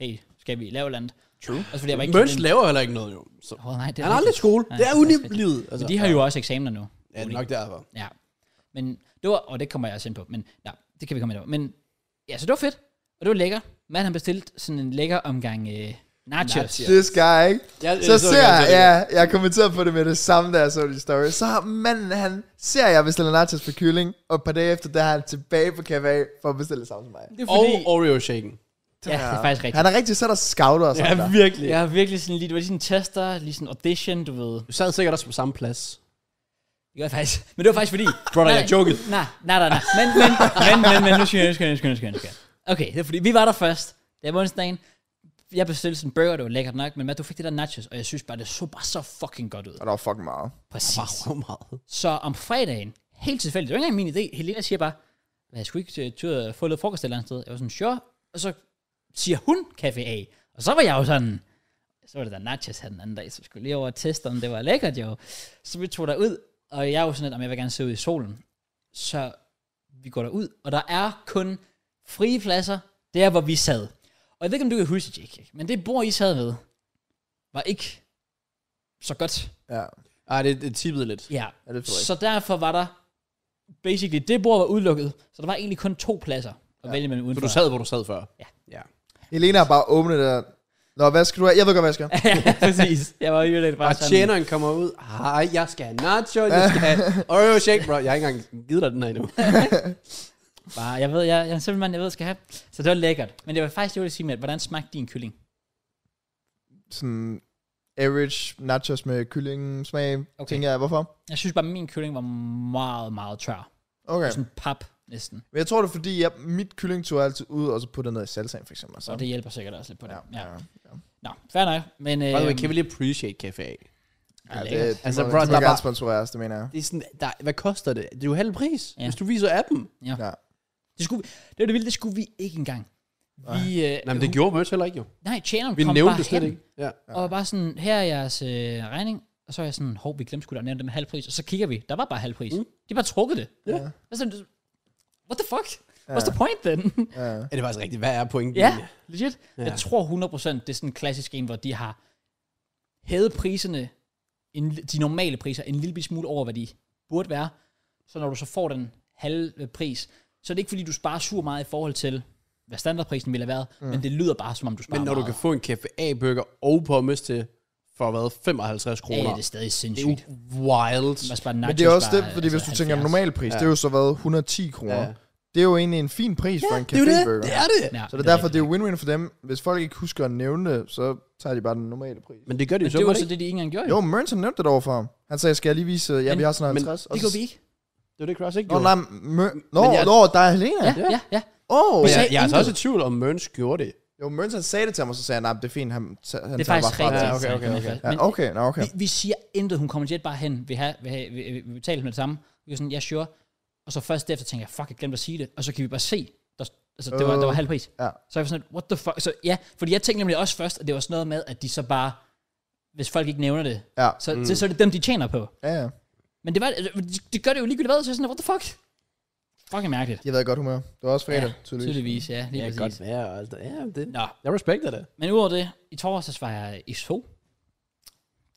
S1: hey, skal vi lave et eller andet? True. Altså, fordi jeg var ikke
S3: Møns laver heller ikke noget, jo. Så.
S1: Åh, nej, det er
S3: Han har aldrig
S1: rigtigt.
S3: skole.
S1: Nej,
S3: Det er
S1: det er rigtigt.
S3: unilivet. Altså.
S1: Men de har jo også eksamener nu.
S3: Ja, det er nok derfor.
S1: Ja. Men det var, og det kommer jeg også ind på, men ja, det kan vi komme ind på. Men ja, så det var fedt, og det var lækker. Mand han bestilte sådan en lækker omgang øh, nachos.
S3: Nachos.
S1: nachos.
S2: Det skal jeg ikke.
S3: Jeg,
S2: Så ser jeg, ja, jeg kommenterede på det med det samme, da jeg så de story. Så har manden, han ser jeg bestiller nachos for kylling, og et par dage efter, der er han tilbage på KVA for at bestille det samme som mig.
S1: Det er
S3: Og
S1: fordi, og,
S3: Oreo shaken.
S1: ja, det er faktisk rigtigt.
S2: Han er rigtig sat og scouter og sådan der.
S3: virkelig.
S1: Jeg har virkelig sådan lige, det var lige sådan en tester, lige sådan en audition, du ved.
S3: Du sad sikkert også på samme plads.
S1: Det gør jeg faktisk. Men det var faktisk fordi...
S3: Brother, jeg jokede.
S1: Nej, nej, nej, nej. Men, men, men, men, men, nu skal jeg, nu skal jeg, nu skal jeg, nu skal jeg, nu skal jeg. Okay, det er fordi, vi var der først. Det var onsdagen. Jeg bestilte sådan en burger, det var lækkert nok, men Matt, du fik det der nachos, og jeg synes bare, det så bare så fucking godt ud.
S2: Og der var fucking meget.
S1: Præcis.
S3: Bare så meget.
S1: Så om fredagen, helt tilfældigt, det var ikke engang min idé, Helena siger bare, hvad, jeg skulle ikke til- til at få lidt frokost et eller andet sted. Jeg var sådan, sure. Og så siger hun Café A. Og så var jeg jo sådan, så var det der nachos her den anden dag, så vi skulle lige over og teste, om det var lækkert jo. Så vi tog derud, og jeg er jo sådan lidt, om jeg vil gerne se ud i solen. Så vi går derud, og der er kun frie pladser, der hvor vi sad. Og jeg ved ikke, om du kan huske, det, Jake, men det bord, I sad ved, var ikke så godt.
S2: Ja,
S3: Ej, det, det tippede lidt.
S1: Ja,
S2: ja det tror jeg ikke.
S1: så derfor var der, basically, det bord var udelukket, så der var egentlig kun to pladser at ja. vælge mellem
S3: Så
S1: udenfor.
S3: du sad, hvor du sad før.
S1: Ja.
S3: ja.
S2: Helena har bare åbnet det der. Nå, hvad skal du have? Jeg ved godt, hvad jeg skal.
S1: ja, præcis. Jeg var jo lidt bare
S3: Og
S1: sådan.
S3: tjeneren kommer ud. Hej, jeg skal have nacho, jeg skal have Oreo shake. Bro, jeg har ikke engang givet dig den her endnu.
S1: Bare, jeg ved, jeg, jeg er simpelthen, jeg ved, jeg skal have. Så det var lækkert. Men det var faktisk, det jeg ville sige med, hvordan smagte din kylling?
S2: Sådan average nachos med kylling smag, okay.
S1: Okay.
S2: tænker jeg. Hvorfor?
S1: Jeg synes bare, at min kylling var meget, meget tør.
S2: Okay.
S1: Sådan pap næsten.
S2: Men jeg tror det er fordi, jeg, mit kylling tog altid ud, og så putter noget i salsaen for eksempel. Så
S1: Så det hjælper sikkert også lidt på det.
S2: ja, ja. ja.
S1: Nå, fair nok. Men, øh,
S3: By the way, kan vi lige appreciate Café A?
S2: Ja,
S1: lækkert.
S2: det,
S3: Altså,
S2: altså, må,
S3: bro,
S2: bro, de
S3: der
S2: må
S3: er
S2: gerne
S3: bare-
S2: sponsoreres, det mener jeg.
S3: Det er sådan, der, hvad koster det? Det er jo halv pris,
S1: Ja.
S3: hvis du viser appen.
S1: det, skulle, vi- det var det vilde, det skulle vi ikke engang. Vi, øh,
S3: Nej, men det gjorde Merch heller ikke jo.
S1: nej, tjeneren
S3: Vi
S1: kom
S3: nævnte
S1: bare
S3: det slet
S1: hen,
S3: ikke. Ja.
S1: og var bare sådan, her er jeres øh, regning, og så er jeg sådan, hov, vi glemte sgu da at nævne det med halv pris, og så kigger vi, der var bare halv pris. Mm. De bare trukket det.
S3: Uh. Ja.
S1: Altså, what the fuck? What's the point then?
S2: Ja.
S3: Er det faktisk rigtigt? Hvad er pointen?
S1: Ja,
S3: egentlig?
S1: legit.
S3: Ja.
S1: Ja. Jeg tror 100% det er sådan en klassisk en, hvor de har hævet priserne, en, li- de normale priser, en lille bitte smule over, hvad de burde være. Så når du så får den halve øh, pris, så er det ikke fordi, du sparer super meget i forhold til, hvad standardprisen ville have været, mm. men det lyder bare, som om du sparer
S3: Men når du
S1: meget.
S3: kan få en Café A-burger og pommes til for hvad, 55 kroner.
S1: Ja, ja, det er stadig
S3: det er jo
S1: sindssygt.
S3: wild.
S1: Man sparer nachos
S2: Men det er også det,
S1: bare, altså
S2: fordi hvis du tænker
S1: 70.
S2: normal pris,
S3: Ja.
S2: ja. det er jo så været 110 kroner.
S3: Ja.
S2: Ja. Det er jo egentlig en fin pris for en
S3: det er jo det.
S2: caféburger.
S3: Det er det.
S1: Ja,
S2: Så det er derfor, det
S1: rigtigt.
S2: er win-win for dem. Hvis folk ikke husker at nævne det, så tager de bare den normale pris.
S3: Men det gør de jo
S1: Men
S3: så
S1: det var
S3: godt
S1: så
S3: ikke.
S1: det, de ikke engang gjorde.
S2: Jo, Mørnsen nævnte det over for ham. Han sagde, skal jeg lige vise, øh, ja,
S1: Men-
S2: vi har sådan
S3: men
S2: 50. og
S1: det
S2: så-
S1: gjorde vi ikke.
S3: Det var det Cross ikke
S2: Nå, nej, Mør- Nå,
S3: Men jeg-
S2: nå, der er Helena.
S1: Ja, ja, ja.
S2: Åh, ja.
S3: Men jeg,
S1: sagde
S3: jeg er altså
S1: intet.
S3: også i tvivl om Mørns gjorde det.
S2: Jo, Mørnsen sagde det til ham, og så sagde han, nej, det er fint, han, t- han
S1: Det er
S2: tager
S1: faktisk
S2: bare fra
S1: rigtigt.
S2: det.
S3: okay, okay,
S1: Men-
S3: okay.
S2: Ja,
S1: men-
S2: okay, nå, okay.
S1: Vi, vi siger intet, hun kommer jet bare hen, vi har, vi, har, vi, vi, vi taler med det samme. Vi er sådan, ja, yeah, sure. Og så først derefter tænker jeg, fuck, jeg glemte at sige det. Og så kan vi bare se, der, altså, det, var, der var halv pris.
S2: Øh, Ja.
S1: Så er jeg sådan, lidt, what the fuck? Så ja, fordi jeg tænkte nemlig også først, at det var sådan noget med, at de så bare, hvis folk ikke nævner det,
S2: Ja,
S1: så, mm. så, så er det dem, de tjener på.
S2: ja, ja.
S1: Men det, var, det, det gør det jo ligegyldigt hvad, så er jeg sådan, what the fuck? Fucking mærkeligt.
S2: De har været i godt humør. Det var også fredag, tydeligvis.
S1: Tydeligvis, ja. Lige
S3: Ja,
S1: præcis.
S3: godt være. og alt det. Ja, det.
S1: Nå,
S3: Jeg respekter det.
S1: men udover det, i torsdags var jeg i so.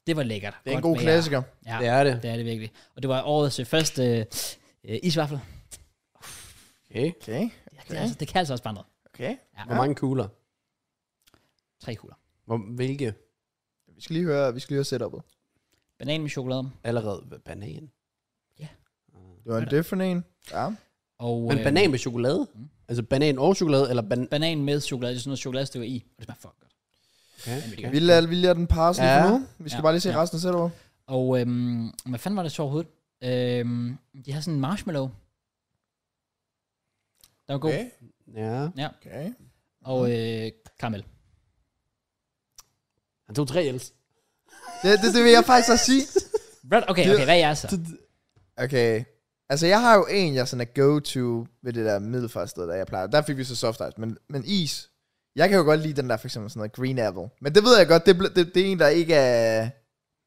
S1: Det var lækkert.
S2: Det er en
S1: Godt
S2: god
S1: vejr.
S2: klassiker.
S1: Ja.
S3: Det er det.
S1: Det er det virkelig. Og det var årets øh, første øh, isvaffel.
S3: Okay.
S2: Okay,
S1: Ja, det, er altså, det kan altså også bare noget.
S2: okay.
S3: Hvor mange kugler?
S1: Tre kugler.
S3: Hvor, hvilke?
S2: Vi skal lige høre, vi skal lige høre setup'et.
S1: Banan med chokolade.
S3: Allerede banan.
S2: Det var en different en. Ja.
S1: Og,
S3: Men banan med chokolade?
S1: Mm.
S3: Altså banan og chokolade, eller banan?
S1: Banan med chokolade. Det er sådan noget chokoladestykker i. Og det smager fucking godt.
S3: Okay.
S1: okay.
S2: Vi lader, vi lader den passe lige
S3: Ja.
S2: for nu. Vi skal
S1: Ja.
S2: bare lige se
S1: Ja.
S2: resten af setup'et.
S1: Og øhm, hvad fanden var det så overhovedet? Øhm, de har sådan en marshmallow. Der var god. Okay.
S3: Ja.
S2: okay.
S1: Og øh, karamel.
S3: Han tog tre els.
S2: Det, det, det vil jeg faktisk også sige.
S1: Right, okay, okay, hvad er jeg så?
S2: Okay. Altså, jeg har jo en, jeg sådan er go-to ved det der middelfartsted, der jeg plejer. Der fik vi så soft ice, men, men is. Jeg kan jo godt lide den der, for eksempel sådan noget green apple. Men det ved jeg godt, det, bl- det, det er en, der ikke er,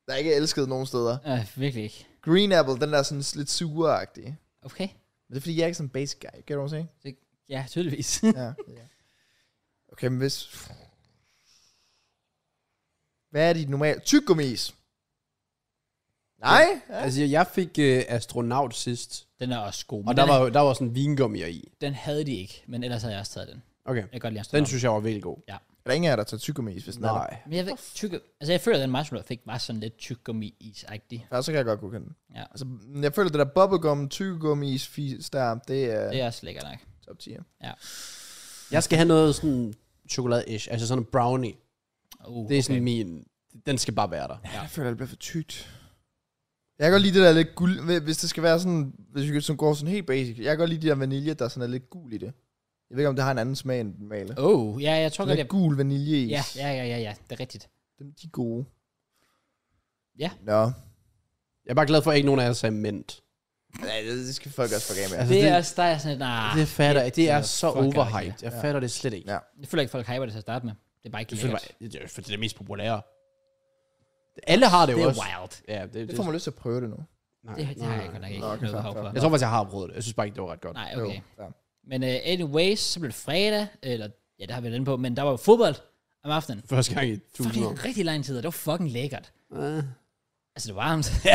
S2: der ikke er elsket nogen steder.
S1: Øh, virkelig ikke.
S2: Green apple, den der er sådan lidt sureagtig.
S1: Okay.
S2: Men det er fordi, jeg er ikke sådan en basic guy. Kan du hvad jeg
S1: Ja, tydeligvis.
S2: siger? Ja. Okay, men hvis... Hvad er dit normale... Tyggegummis? Nej? Ja.
S3: Altså, jeg- jeg fik øh, astronaut sidst.
S1: den er også god.
S3: Og
S1: Men
S3: der
S1: den,
S3: var,
S1: er-
S3: jo- der var sådan vingummier i.
S1: den havde de ikke, men ellers havde jeg også taget den.
S3: Okay.
S1: Jeg kan godt lide at
S3: Den synes jeg var virkelig god.
S2: Er der ingen af jer, der tager tyggegummis, hvis den er der?
S3: Nej.
S1: Men jeg ved, tykke, altså jeg føler, at den marshmallow jeg fik var sådan lidt tyggegummi-is-agtig.
S2: Ja, så kan jeg godt godkende den.
S1: Ja.
S2: Altså, jeg føler, det der bubblegum, tyggegummis, fis der, det er
S1: Det
S2: ja.
S1: er også lækkert nok.
S2: top 10.
S3: Jeg skal have noget sådan chokolade-ish. Altså sådan en brownie.
S1: Uh,
S3: Det er sådan min... Den skal bare være der.
S1: Ja.
S2: Jeg føler, det bliver for tykt. Jeg kan godt lide det der lidt guld, hvis det skal være sådan, hvis vi sådan går sådan helt basic. Jeg kan godt lide de der vanilje, der sådan er lidt gul i det. Jeg ved ikke, om det har en anden smag end den male.
S1: Oh, ja, jeg tror
S2: Sådan
S1: godt,
S2: lidt
S1: jeg...
S2: gul vaniljeis.
S1: Ja, ja, ja, ja, ja, det er rigtigt.
S2: Dem, de er gode.
S1: Ja.
S2: Nå.
S3: Jeg er bare glad for, at ikke nogen af jer sagde mint.
S2: Nej, det det skal folk også få game af.
S3: Altså,
S1: Altså, det,
S3: det-
S1: er også, der er sådan et, nah,
S3: Det fatter jeg. Det er så
S1: fuck
S3: overhyped. Jeg
S2: Ja.
S3: fatter det slet ikke.
S2: Ja.
S1: jeg føler ikke, folk hyper det til at starte med. Det er bare ikke
S3: Jeg føler
S1: lækkert.
S3: bare, det er jo fordi det er det mest populære. Alle har det jo
S1: Det er
S3: også.
S1: wild.
S3: Ja, det,
S2: Det får mig lyst til at prøve det nu.
S3: nej,
S1: Det, det har
S3: nej.
S1: jeg godt nok ikke
S2: Nå, okay,
S1: noget
S2: fair,
S1: behov
S2: fair,
S1: for.
S3: Jeg tror faktisk, jeg har prøvet det. Jeg synes bare ikke, det var ret godt.
S1: Nej, okay.
S2: Jo, ja.
S1: Men uh, anyways, så blev det fredag, eller ja, der har vi den på, men der var jo fodbold om aftenen.
S3: Første gang i 1000
S1: Fucking
S3: år.
S1: rigtig lang tid, og det var fucking lækkert.
S3: Øh.
S1: Altså, det var varmt.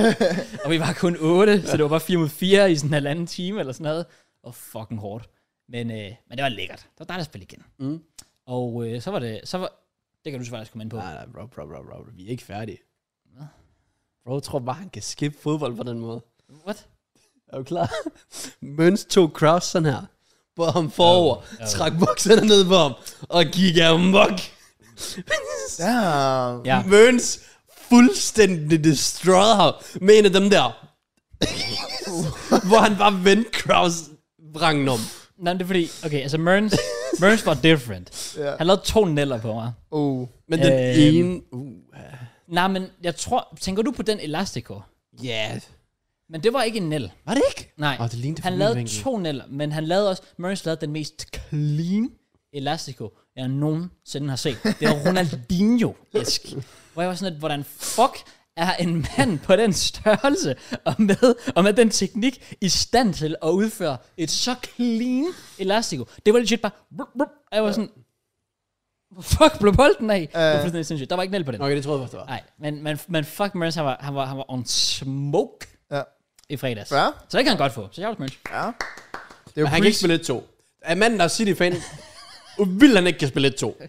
S1: og vi var kun 8, så det var bare 4 mod 4 i sådan en halvanden time eller sådan noget. Og fucking hårdt. Men, øh, men det var lækkert. Det var dejligt at spille igen.
S3: Mm.
S1: Og øh, så var det... Så var, det kan du selvfølgelig også komme ind på.
S3: Nej, nej, bro, bro, bro, bro. Vi er ikke færdige. Bro tror bare, han kan skippe fodbold på den måde.
S1: What?
S3: Er du klar? Møns tog cross sådan her. Både ham forover,
S1: Ja, ja.
S3: trak bukserne ned på ham, og gik amok.
S2: Ja.
S1: Ja.
S3: Ja. Møns fuldstændig destroyed ham med en af dem der. hvor han bare vendte Kraus vrangen om.
S1: Nej, men det er fordi, okay, altså Merns, Merns var different.
S2: Ja.
S1: Han lavede to neller på mig.
S2: Uh.
S3: Men den
S1: Øhm.
S3: ene... Uh,
S1: Nej, men jeg tror, tænker du på den Elastico?
S3: yeah.
S1: Men det var ikke en nel.
S3: Var det ikke?
S1: Nej,
S3: Åh, det lignede
S1: han
S3: fra min
S1: lavede
S3: vinkel.
S1: to neller, men han lavede også, Merns lavede den mest clean Elastico, jeg nogensinde har set. Det var Ronaldinho-esk. hvor jeg var sådan lidt, hvordan fuck er en mand på den størrelse og med, og med den teknik i stand til at udføre et så clean Elastico? Det var legit bare, brup, brup, og jeg var sådan, hvor fuck blev bolden af? Det var fuldstændig sindssygt. Der var ikke nel på den.
S3: Okay, det troede jeg faktisk, det var.
S1: Nej, men, men, men fuck Merns, han var, han, var, han var on smoke
S2: Ja.
S1: i fredags.
S2: Ja.
S1: Så det kan han godt få. Så jeg Merns.
S2: ja. Det er
S3: Men han kan ikke spille 1-2. Er manden, der er City-fan, vil han ikke kan spille 1-2.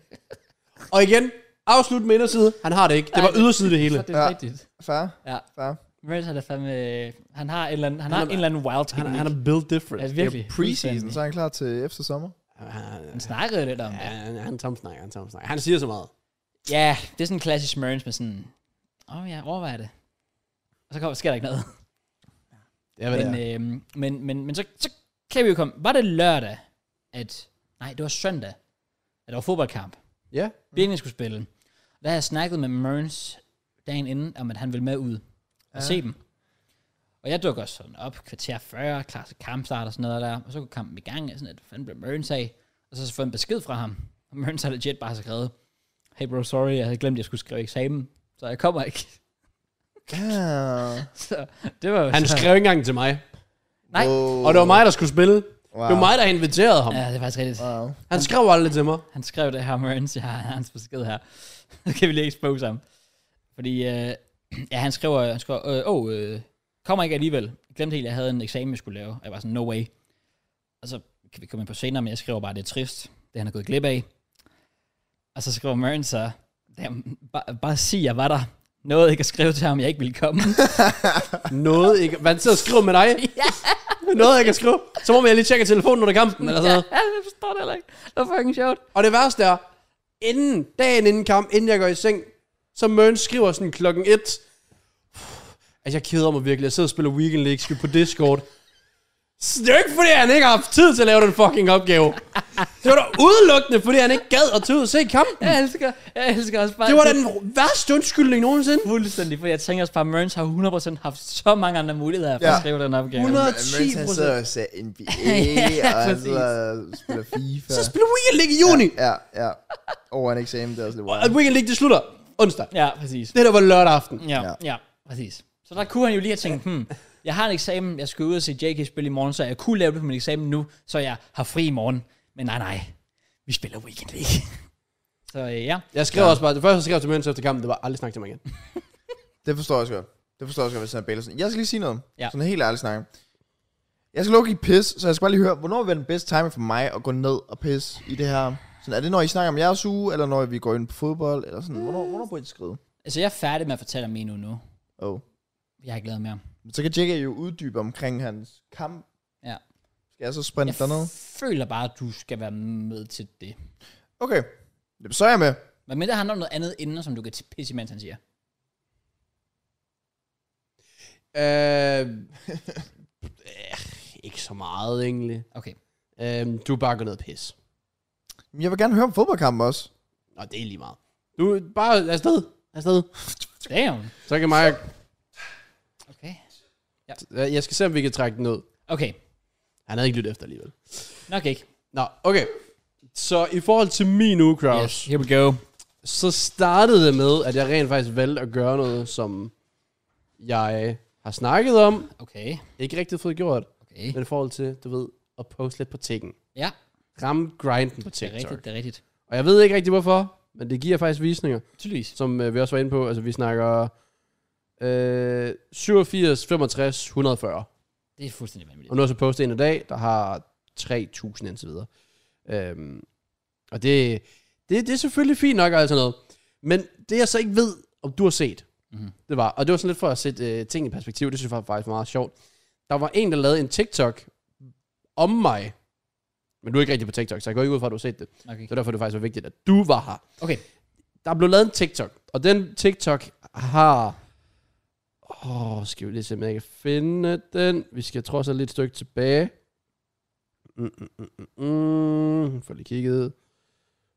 S3: Og igen, afslut med inderside. Han har det ikke. Det
S1: Ej,
S3: var yderside det hele.
S1: Så det er
S2: Ja.
S1: rigtigt.
S2: Fair.
S1: Ja.
S2: Fair.
S1: Merns han er fandme... Han har en eller anden, han
S3: Han
S1: har
S3: er-
S1: en eller anden wild
S3: Han,
S1: teknik.
S3: han er built different.
S1: altså,
S2: Det
S1: virkelig.
S2: er preseason,
S1: fuldstændig.
S2: så er han klar til efter sommer.
S1: Han snakkede lidt om
S3: Ja,
S1: det.
S3: han, han tomsnakker, han tomsnakker. Han siger så meget.
S1: Ja, det er sådan en klassisk Merns med sådan... Åh oh, ja, overvej det. Og så kommer, sker der ikke noget.
S3: Det er, hvad
S1: Men,
S3: det er.
S1: øhm, men, men, men så, så kan vi jo komme... Var det lørdag, at... Nej, det var søndag, at der var fodboldkamp.
S3: Ja.
S1: Birken skulle spille. Der har jeg snakket med Merns dagen inden, om at han ville med ud og ja. se dem. Og jeg dukker sådan op, kvarter 40, klar til kampstart og sådan noget der. Og så går kampen i gang, og sådan at fanden blev Merns af. Og så får jeg en besked fra ham. Og Merns har legit bare skrevet, hey bro, sorry, jeg havde glemt, at jeg skulle skrive eksamen, så jeg kommer ikke.
S2: Ja.
S1: så det var jo
S3: Han
S1: så,
S3: skrev ikke engang til mig.
S1: Nej.
S2: Wow.
S3: Og det var mig, der skulle spille. Det var
S2: Wow.
S3: mig, der inviterede ham.
S1: Ja, det er faktisk rigtigt.
S2: Wow.
S3: Han skrev aldrig til mig.
S1: Han skrev det her, Merns, jeg har hans besked her. Så kan vi lige expose ham. Fordi, øh, ja, han skriver, han skriver, øh, åh, øh, kommer ikke alligevel. Jeg glemte helt, jeg havde en eksamen, jeg skulle lave. Og jeg var sådan, no way. Og så kan vi komme ind på senere, men jeg skriver bare, det er trist, det han er gået glip af. Og så skriver Merns så, "Damn, bare, bare sig, jeg var der. Nåede ikke at skrive til ham, jeg ikke ville komme.
S3: Noget ikke... Hvad sidder og skriver med dig? Noget jeg kan skrive. Så må jeg lige tjekke telefonen under kampen, eller sådan noget.
S1: ja, jeg forstår det heller ikke. Det var fucking sjovt.
S3: Og det værste er, inden dagen inden kamp, inden jeg går i seng, så Mørn skriver sådan klokken et, at jeg keder mig virkelig. Jeg sidder og spiller Weekend League skal på Discord. Så Det er jo ikke, fordi han ikke har haft tid til at lave den fucking opgave. Det var da udelukkende, fordi han ikke gad at tage ud og se kampen.
S1: Jeg elsker, jeg elsker også bare...
S3: Det var da den værste undskyldning nogensinde.
S1: Fuldstændig, for jeg tænker også bare, at Merns har 100% haft så mange andre muligheder for ja.
S2: Ja.
S1: at skrive den opgave.
S3: 100
S2: Mertens han
S3: 10%.
S2: sidder og ser NBA, og han sidder og spiller FIFA.
S3: Så spiller Weekend League i juni.
S2: Ja, ja. Over en eksamen, det er også lidt
S3: Og
S2: wild.
S3: Weekend League, det slutter onsdag.
S1: Ja, præcis.
S3: Det der var lørdag aften.
S1: Ja, ja,
S2: Ja.
S1: ja, præcis. Så der kunne han jo lige have tænkt, hmm, jeg har en eksamen, jeg skal ud og se JK spille i morgen, så jeg kunne lave det på min eksamen nu, så jeg har fri i morgen. Men nej, nej, vi spiller Weekend League. så øh, ja,
S3: Jeg skrev også bare, det første jeg skrev til Mørn efter kampen, det var aldrig snakke til mig igen.
S2: Det forstår jeg også godt. Det forstår jeg også godt, hvis han er Bailersen. Jeg skal lige sige noget.
S1: Ja.
S2: Sådan helt ærligt snakke. Jeg skal lukke i pis, så jeg skal bare lige høre, hvornår vil være den bedste timing for mig at gå ned og pisse i det her? Sådan, er det, når I snakker om jeres uge, eller når vi går ind på fodbold, eller sådan? Hvornår, hvornår burde I skrive?
S1: altså jeg er færdig med at fortælle om min uge nu.
S2: Oh.
S1: Jeg er glad mere.
S2: Men så kan Jake jo uddybe omkring hans kamp.
S1: Ja.
S2: Skal jeg så sprinte
S1: Jeg
S2: jeg dernede?
S1: føler bare, at du skal være med til det.
S2: Okay. Jamen, Så er jeg med.
S1: Men mindre han har noget andet inden, som du kan t- pisse imens han siger.
S3: Øh, øh, ikke så meget egentlig.
S1: Okay.
S3: Øh, du er bare gået ned og pis.
S2: Men jeg vil gerne høre om fodboldkampen også.
S3: Nå, det er lige meget. Du er bare afsted. Afsted.
S1: Damn.
S3: Så kan mig...
S1: Okay.
S3: Jeg skal se, om vi kan trække den ud.
S1: Okay.
S3: Han havde ikke lyttet efter alligevel.
S1: Nok ikke.
S3: Nå, okay. Så i forhold til min uge, Kraus,
S1: here we go.
S3: yes. så startede det med, at jeg rent faktisk valgte at gøre noget, som jeg har snakket om.
S1: Okay.
S3: Ikke rigtig fået gjort,
S1: Okay.
S3: men i forhold til, du ved, at poste lidt på tikken.
S1: Ja,
S3: Ramme grinden på
S1: det er
S3: TikTok.
S1: rigtigt, det er rigtigt.
S3: Og jeg ved ikke rigtig hvorfor, men det giver faktisk visninger,
S1: Tydeligvis.
S3: som øh, vi også var inde på. Altså vi snakker øh, 87, 65, 140.
S1: Det er fuldstændig vanvittigt.
S3: Og nu har jeg så postet en i dag, der har 3.000 indtil videre. Øhm, og det, det, det er selvfølgelig fint nok og alt sådan noget. Men det jeg så ikke ved, om du har set,
S1: Mhm.
S3: mm-hmm. det var, og det var sådan lidt for at sætte øh, ting i perspektiv, det synes jeg faktisk var meget sjovt. Der var en, der lavede en TikTok om mig, men du er ikke rigtig på TikTok, så jeg går ikke ud fra, at du har set det.
S1: Okay.
S3: Så derfor er det faktisk var vigtigt, at du var her.
S1: Okay.
S3: der blev lavet en TikTok, og den TikTok har... Åh, oh, skal vi lige se, om jeg kan finde den. Vi skal trods alt lidt stykke tilbage. Mm, mm, mm, mm, mm. Får lige kigget.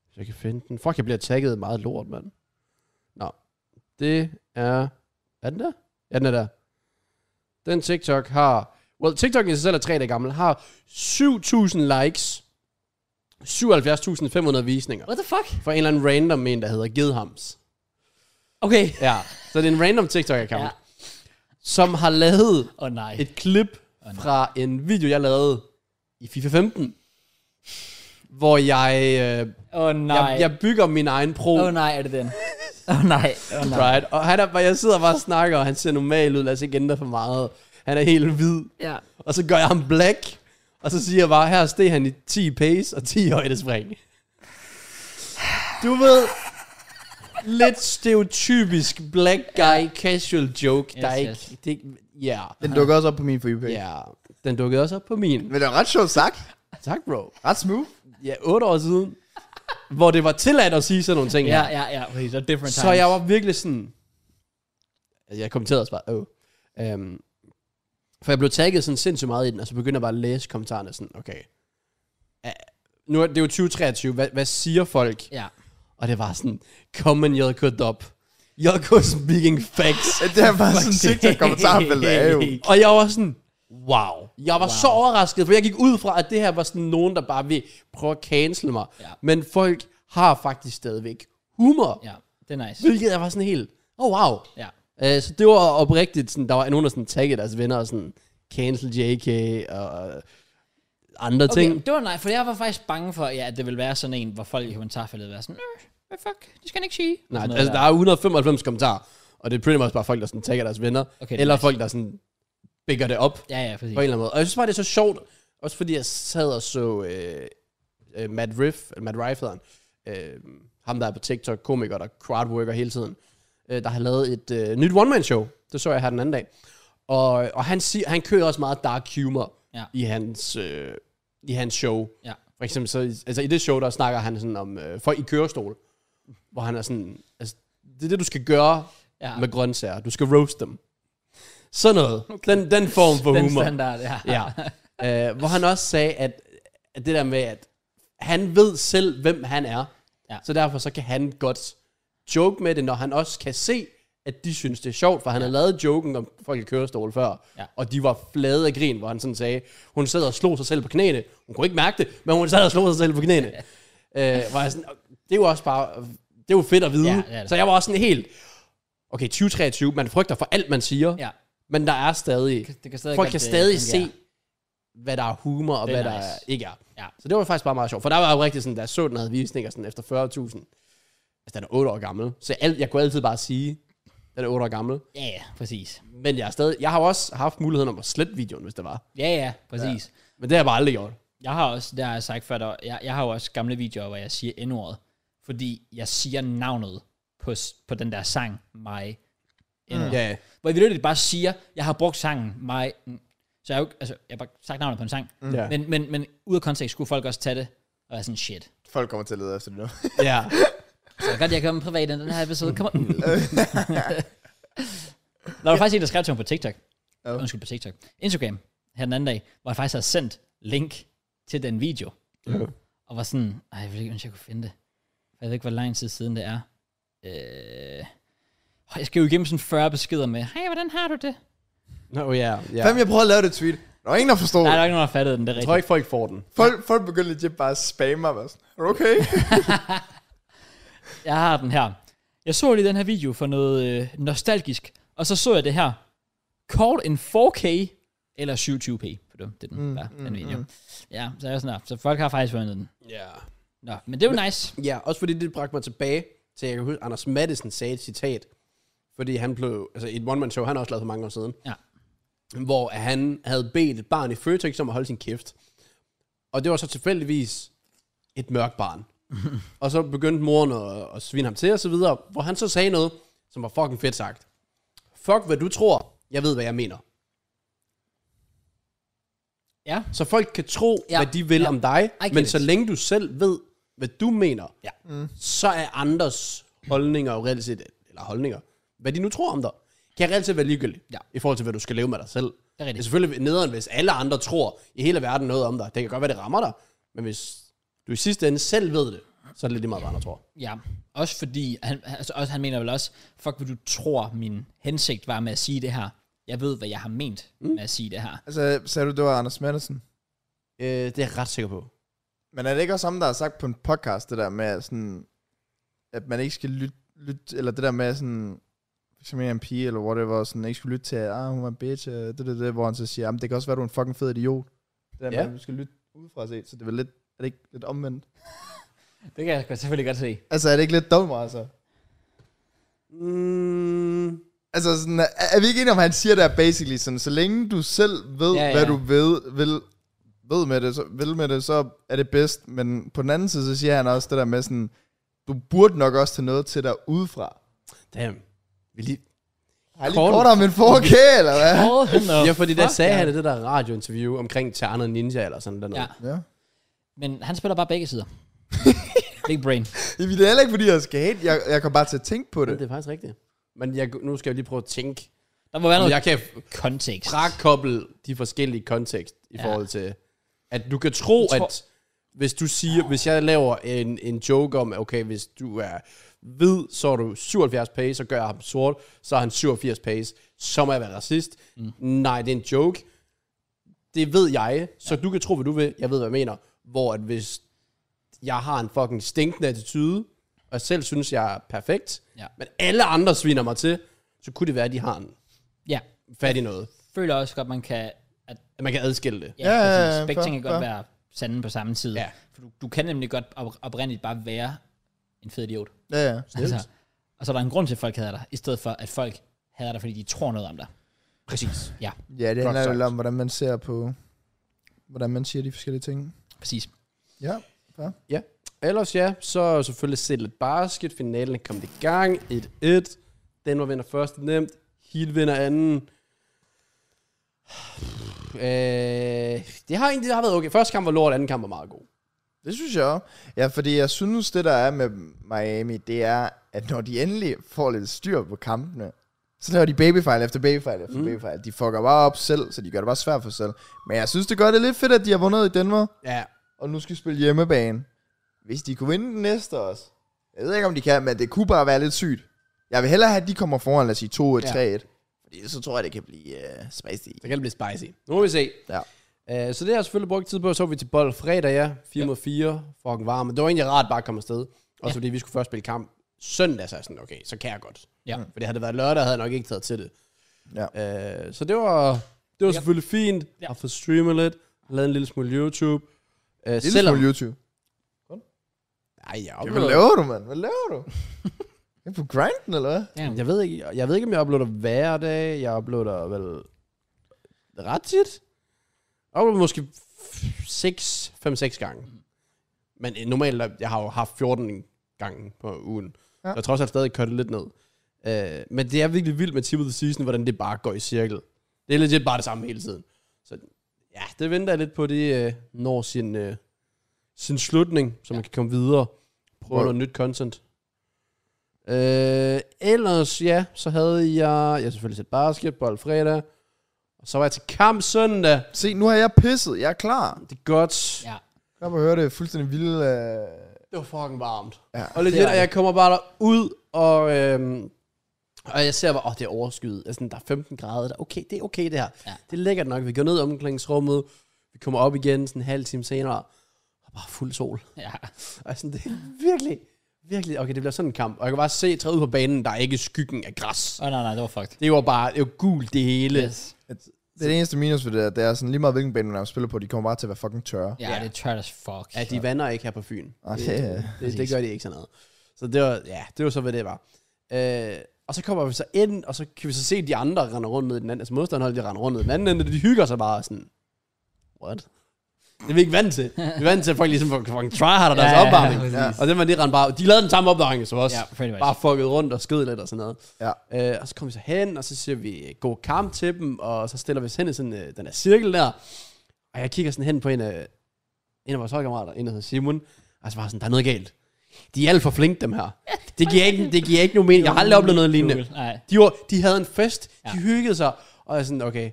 S3: Hvis jeg kan finde den. Fuck, jeg bliver tagget i meget lort, mand. Nå, det er... Er den der? Ja, den er der. Den TikTok har... Well, TikTok i sig selv er tre dage gammel. Har 7.000 likes. 77.500 visninger.
S1: What the fuck?
S3: For en eller anden random en, der hedder Gidhams.
S1: Okay.
S3: Ja, så det er en random TikTok-account,
S1: Ja.
S3: ja. som har lavet
S1: Åh oh, nej.
S3: et klip fra en video, jeg lavede i FIFA 15, hvor jeg, øh,
S1: Åh oh, nej.
S3: jeg, jeg bygger min egen pro.
S1: Åh oh, nej, er det den? Åh oh, nej. Åh oh, nej.
S3: Right. Og han er, bare- jeg sidder bare og snakker, og han ser normal ud, lad os ikke ændre for meget. Han er helt hvid.
S1: Ja.
S3: Og så gør jeg ham black, og så siger jeg bare, her steg han i 10 pace og 10 højdespring. Du ved, lidt stereotypisk black guy casual joke, yes, der
S1: Yes,
S3: ikke...
S1: yes.
S3: Det, ikke- ja,
S2: Den dukker også op på min For You page.
S3: ja, den dukkede også op på min.
S2: Men det var ret sjovt sagt.
S3: Tak, bro.
S2: Ret smooth.
S3: Ja, 8 år siden, hvor det var tilladt at sige sådan nogle ting
S1: Ja,
S3: her.
S1: ja, ja. Okay, så different times.
S3: Så jeg var virkelig sådan... Altså, Jeg kommenterede også bare, åh. Øhm, for jeg blev tagget sådan sindssygt meget i den, og så begyndte jeg bare at læse kommentarerne sådan, okay. Uh, nu er det er jo 2023, hvad, hvad siger folk?
S1: Ja.
S3: Og det var sådan, come and JK dub. JK speaking facts.
S2: Det er bare sådan en TikTok-kommentarfelt, der er jo.
S3: og jeg var sådan, wow. Jeg var wow. så
S1: Wow.
S3: overrasket, for jeg gik ud fra, at det her var sådan nogen, der bare vil prøve at cancel mig.
S1: Ja.
S3: Men folk har faktisk stadigvæk humor.
S1: Ja, det er nice.
S3: Hvilket jeg var sådan helt, oh wow.
S1: Ja.
S3: Øh, så det var oprigtigt, sådan, der var nogen, der sådan taggede deres venner og sådan, cancel JK og andre okay.
S1: Okay,
S3: ting.
S1: det var nej, for jeg var faktisk bange for, ja, at det ville være sådan en, hvor folk i kommentarfeltet ville være sådan, "Øh, hvad fuck, det skal han ikke sige.
S3: Nej,
S1: Sådan noget
S3: altså der er 195 kommentarer, og det er pretty much bare folk, der sådan tagger deres venner,
S1: Okay, det
S3: okay,
S1: er
S3: eller
S1: nice.
S3: nice. folk, der sådan bigger det op
S1: Ja, ja, præcis.
S3: på en eller anden måde. Og jeg synes bare, det er så sjovt, også fordi jeg sad og så øh, øh, Matt Riff, eller Matt Riff hedder han, øh, ham der er på TikTok, komiker, der crowdworker hele tiden, øh, der har lavet et øh, nyt one-man-show. Det så jeg her den anden dag. Og, og han, siger, han kører også meget dark humor
S1: Ja.
S3: i, hans, øh, i hans show.
S1: Ja.
S3: For eksempel, så, altså i det show, der snakker han sådan om øh, folk i kørestol, hvor han er sådan, altså, det er det, du skal gøre
S1: Ja.
S3: ja. med grøntsager. Du skal roast dem. Sådan noget. Okay. Den, den form for
S1: Den
S3: humor.
S1: standard, ja.
S3: Ja. øh, hvor han også sagde, at, at det der med, at han ved selv, hvem han er.
S1: Ja.
S3: Så derfor så kan han godt joke med det, når han også kan se, at de synes, det er sjovt, for han har lavet joken om folk i kørestol før,
S1: Ja.
S3: og de var flade af grin, hvor han sådan sagde, hun sad og slog sig selv på knæene. Hun kunne ikke mærke det, men hun sad og slog sig selv på knæene. øh, hvor jeg sådan, det er jo også bare, det er jo fedt at vide.
S1: Ja, det er det.
S3: Så jeg var også sådan helt, okay, 2023, man frygter for alt, man siger,
S1: ja.
S3: men der er stadig
S1: Det kan stadig godt,
S3: folk kan
S1: øh,
S3: stadig
S1: fungere.
S3: se, hvad der er humor, og
S1: Det er
S3: hvad nice. der
S1: nice.
S3: er- ikke er.
S1: Ja.
S3: Så det var faktisk bare meget sjovt. For der var jo rigtig sådan, da jeg så den havde visninger sådan efter 40.000. Altså, den er 8 år gammel. Så jeg, alt- jeg kunne altid bare sige, den er 8 år gammel.
S1: Ja, ja, præcis.
S3: Men jeg, er stadig, jeg har jo også haft muligheden om at slette videoen, hvis det var.
S1: Ja, ja, præcis. Ja.
S3: Men det har jeg bare aldrig gjort.
S1: Jeg har også, det har jeg sagt før, der, jeg, jeg har jo også gamle videoer, hvor jeg siger N-ordet, fordi jeg siger navnet på, s- på den der sang, mig. Mm.
S3: Ja, ja.
S1: Hvor jeg virkelig bare siger, jeg har brugt sangen, mig. mm. Så jeg har jo ikke, altså, jeg har bare sagt navnet på en sang. Mm.
S3: Ja.
S1: Men, men, men ud af kontekst skulle folk også tage det, og være sådan, shit.
S2: Folk kommer til at lede efter det nu.
S3: ja.
S1: Så godt, jeg kommer privat i den her episode. Kommer ud. der var faktisk en, der skrev til mig på TikTok.
S2: Ja.
S1: Oh. Undskyld, på TikTok. Instagram her den anden dag, hvor jeg faktisk havde sendt link til den video.
S3: Ja.
S1: Og var sådan, ej, jeg ved ikke, om jeg kunne finde det. Jeg ved ikke, hvor lang tid siden det er. Øh, og jeg skal jo igennem sådan 40 beskeder med, hej, hvordan har du det?
S3: Nå, ja. ja.
S2: Fem, jeg prøvede at lave det tweet. Der var ingen, der forstod
S1: Nej, der
S2: det.
S1: er ikke nogen, der har fattet den, det er
S3: Jeg tror
S1: rigtigt.
S3: ikke, folk får den.
S2: Folk, folk begyndte legit bare at spamme mig. Bare sådan, Er du okay?
S1: Jeg har den her. Jeg så lige den her video for noget øh, nostalgisk, og så så jeg det her. Kort en 4K eller 720p, for det, det er den, mm, den video. Mm. Ja, så er jeg sådan her. Så folk har faktisk fundet den.
S3: Ja.
S1: Nå, men det er jo nice.
S3: Ja, også fordi det bragte mig tilbage til, jeg kan huske, Anders Madsen sagde et citat, fordi han blev, altså i et one-man-show, han har også lavet for mange år siden,
S1: Ja.
S3: hvor han havde bedt et barn i Føtex om at holde sin kæft. Og det var så tilfældigvis et mørkt barn. og så begyndte moren at, at svine ham til og så videre, hvor han så sagde noget, som var fucking fedt sagt. Fuck hvad du tror, jeg ved hvad jeg mener.
S1: Ja.
S3: Så folk kan tro,
S1: Ja.
S3: ja. hvad de vil
S1: Ja.
S3: ja. om dig,
S1: I get
S3: men
S1: it.
S3: så længe du selv ved, hvad du mener,
S1: Ja.
S3: mm. så er andres holdninger, og reelt set, eller holdninger, hvad de nu tror om dig, kan reelt set være ligegyldigt,
S1: Ja.
S3: i forhold til, hvad du skal leve med dig selv.
S1: er rigtigt.
S3: Det er selvfølgelig nederen, hvis alle andre tror i hele verden noget om dig. Det kan godt være, det rammer dig, men hvis du i sidste ende selv ved det, så er det lidt lige meget, hvad andre tror.
S1: Ja, også fordi, han, altså også, han mener vel også, fuck hvad du tror, min hensigt var med at sige det her. Jeg ved, hvad jeg har ment mm. med at sige det her.
S2: Altså, sagde du, det var Anders Madsen?
S3: Øh, det er jeg ret sikker på.
S2: Men er det ikke også ham, der har sagt på en podcast, det der med at sådan, at man ikke skal lytte, lytte eller det der med sådan, for eksempel en pige, eller whatever, sådan, ikke skulle lytte til, at ah, hun var en bitch, og det, det, det, hvor han så siger, jamen, det kan også være, du er en fucking fed idiot. Det der
S3: Ja.
S2: ja. med, at du skal lytte udefra set, så det er vel lidt, er det ikke lidt omvendt?
S1: Det kan jeg selvfølgelig godt se.
S2: Altså, er det ikke lidt dumt, altså?
S3: Mm,
S2: Altså, sådan, er, er, vi ikke enige om, han siger der basically sådan, så længe du selv ved,
S1: Ja, ja.
S2: ja, ja. hvad du ved, vil, ved med det, så, vil med det, så er det bedst. Men på den anden side, så siger han også det der med sådan, du burde nok også tage noget til dig udefra.
S3: damn. Vi lige...
S2: Har lige
S3: Kort.
S2: kort om en 4K, eller hvad?
S1: Oh, no.
S3: Ja, fordi der
S1: Fuck,
S3: sagde
S1: ja.
S3: han i det der radiointerview omkring Ternet Ninja eller sådan noget.
S1: Ja,
S2: Ja.
S1: men han spiller bare begge sider. Big brain.
S2: Det er heller ikke, fordi jeg skal hate. Jeg, jeg kom bare til at tænke på
S3: Men det
S2: det.
S3: er faktisk rigtigt. Men jeg, nu skal jeg lige prøve at tænke.
S1: Der må være
S3: Om
S1: noget
S3: jeg kan
S1: kontekst.
S3: frakoble de forskellige kontekst i
S1: Ja.
S3: forhold til, at du kan tro,
S1: Jeg tror-
S3: at hvis du siger, hvis jeg laver en, en joke om, okay, hvis du er hvid, så er du 77 pace, så gør jeg ham sort, så er han 87 pace, så må jeg være racist. Mm. Nej, det er en joke. Det ved jeg, så du kan tro, hvad du vil. Jeg ved, hvad jeg mener. Hvor at hvis jeg har en fucking stinkende attitude, og selv synes, jeg er perfekt,
S1: Ja.
S3: men alle andre sviner mig til, så kunne det være, at de har en
S1: Ja,
S3: fat i noget.
S1: føler også godt, man kan... At,
S3: At man kan adskille det.
S1: ja,
S2: Ja, ja,
S1: ja,
S2: ja,
S1: ja, begge
S2: fair,
S1: ting kan godt
S2: fair.
S1: være sande på samme tid.
S3: Ja.
S1: For du, du kan nemlig godt op, oprindeligt bare være en fed idiot.
S2: Ja, ja.
S1: Altså, og så er der en grund til, at folk hader dig, i stedet for, at folk hader dig, fordi de tror noget om dig. Præcis. Ja,
S2: Ja, det handler
S3: sagt.
S2: vel om, hvordan man ser på, hvordan man siger de forskellige ting.
S1: præcis.
S2: Ja.
S3: Ja. Ellers ja, så selvfølgelig set lidt basket. Finalen kom i gang. 1-1. Danmark vinder først nemt. Hill vinder anden. Øh, det har egentlig det har været okay. Første kamp var lort, anden kamp var meget god.
S2: Det synes jeg også. Ja, fordi jeg synes, det der er med Miami, det er, at når de endelig får lidt styr på kampene, så laver de babyfejl efter babyfejl efter mm. babyfejl. De fucker bare op selv, så de gør det bare svært for sig selv. Men jeg synes, det gør det lidt fedt, at de har vundet i Danmark,
S3: Ja.
S2: og nu skal spille hjemmebane. Hvis de kunne vinde den næste også. Jeg ved ikke, om de kan, men det kunne bare være lidt sygt. Jeg vil hellere have, at de kommer foran, lad os sige 2-1, 3-1. Fordi så tror jeg, det kan blive uh, spicy.
S3: Så kan det blive spicy. Nu må vi se.
S2: Ja.
S3: Øh, så det har jeg selvfølgelig brugt tid på. Så var vi til bold fredag, ja. 4 mod 4. Fucking varme. Det var egentlig rart bare at komme afsted. Også fordi vi skulle først spille kamp søndag, så er jeg sådan, okay, så kan jeg godt. Mm.
S1: Ja.
S3: Fordi havde det været lørdag, havde jeg nok ikke taget til det.
S2: Ja.
S3: Øh, så det var, det var selvfølgelig fint. Jeg har fået streamet lidt. Lavet en lille smule YouTube. Øh,
S2: Lille
S3: selvom,
S2: smule YouTube.
S3: Ej, jeg,
S2: Hvad
S3: uploader,
S2: laver du, mand? Hvad laver du? er du på grinden, eller hvad?
S1: Ja,
S3: jeg, ved ikke, jeg ved ikke, om jeg uploader hver dag. Jeg uploader vel ret tit. Jeg uploader måske 6, 5-6 gange. Men øh, normalt, er- jeg har jo haft 14 gange på ugen. Ja.
S2: Ja.
S3: Jeg tror også, jeg stadig kørt det lidt ned. Øh, men det er virkelig vildt med tip of the season, hvordan det bare går i cirkel. Det er legit bare det samme hele tiden. Så ja, det venter jeg lidt på, det øh, når sin, øh, sin slutning, så man kan komme videre. Prøve
S2: Hvor-
S3: noget nyt content. Øh, ellers, ja, så havde jeg, jeg har selvfølgelig set basketball fredag. Og så var jeg til kamp søndag.
S2: Se, nu har jeg pisset. Jeg er klar.
S3: Det er godt.
S1: ja.
S2: Jeg bare høre det fuldstændig vilde... Øh...
S3: Det var fucking varmt.
S2: Ja.
S3: Og
S1: Det
S3: legit,
S1: var
S3: og
S1: det.
S3: jeg kommer bare derud, og, øhm, og jeg ser bare, åh, oh, det er overskyet. Altså, der er 15 grader. Der, okay, det er okay, det her.
S1: Ja.
S3: Det er lækkert nok. Vi går ned i omklædningsrummet. Vi kommer op igen sådan en halv time senere. Og bare fuld sol.
S1: ja.
S3: Og sådan, det er virkelig, virkelig, okay, det bliver sådan en kamp. Og jeg kan bare se, træde ud på banen, der er ikke skyggen af græs.
S1: Oh, nej, nej, det var fucked.
S3: Det var bare, det var gult det hele.
S1: Yes.
S2: Det er det eneste minus ved det, der. det er sådan lige meget hvilken bane, man spiller på, de kommer bare til at være fucking tørre.
S1: Ja,
S3: Ja.
S1: det er tørt as fuck.
S3: Ja, de vander ikke her på Fyn.
S2: Og
S3: Det-
S2: det, øh,
S3: Det, det
S1: Præcis.
S3: gør de ikke sådan noget. Så det var, ja, det var så, hvad det var. Øh, og så kommer vi så ind, og så kan vi så se, at de andre render rundt ned i den anden, altså modstanderholdet, de render rundt ned i den anden ende, og de hygger sig bare sådan, what? Det er vi ikke vant til. Vi er vant til, at folk ligesom får fucking tryharder deres
S1: Ja, ja, ja,
S3: opvarmning.
S1: præcis.
S3: Og den var de rende bare, de lavede den samme opvarmning som os.
S1: Ja, pretty much.
S3: bare fucket rundt og skød lidt og sådan noget.
S2: ja.
S3: Øh, og så kommer vi så hen, og så siger vi, god kamp til dem, og så stiller vi os hen i sådan, øh, den her cirkel der. Og jeg kigger sådan hen på en af, en af vores holdkammerater, en der hedder Simon, og så var jeg sådan, der er noget galt. De er alt for flinke, dem her. Det giver ikke, det giver ikke nogen mening. Jeg har aldrig oplevet noget lignende.
S1: Nej.
S3: De, var, de havde en fest, ja.
S1: Ja.
S3: de hyggede sig, og jeg er sådan, okay,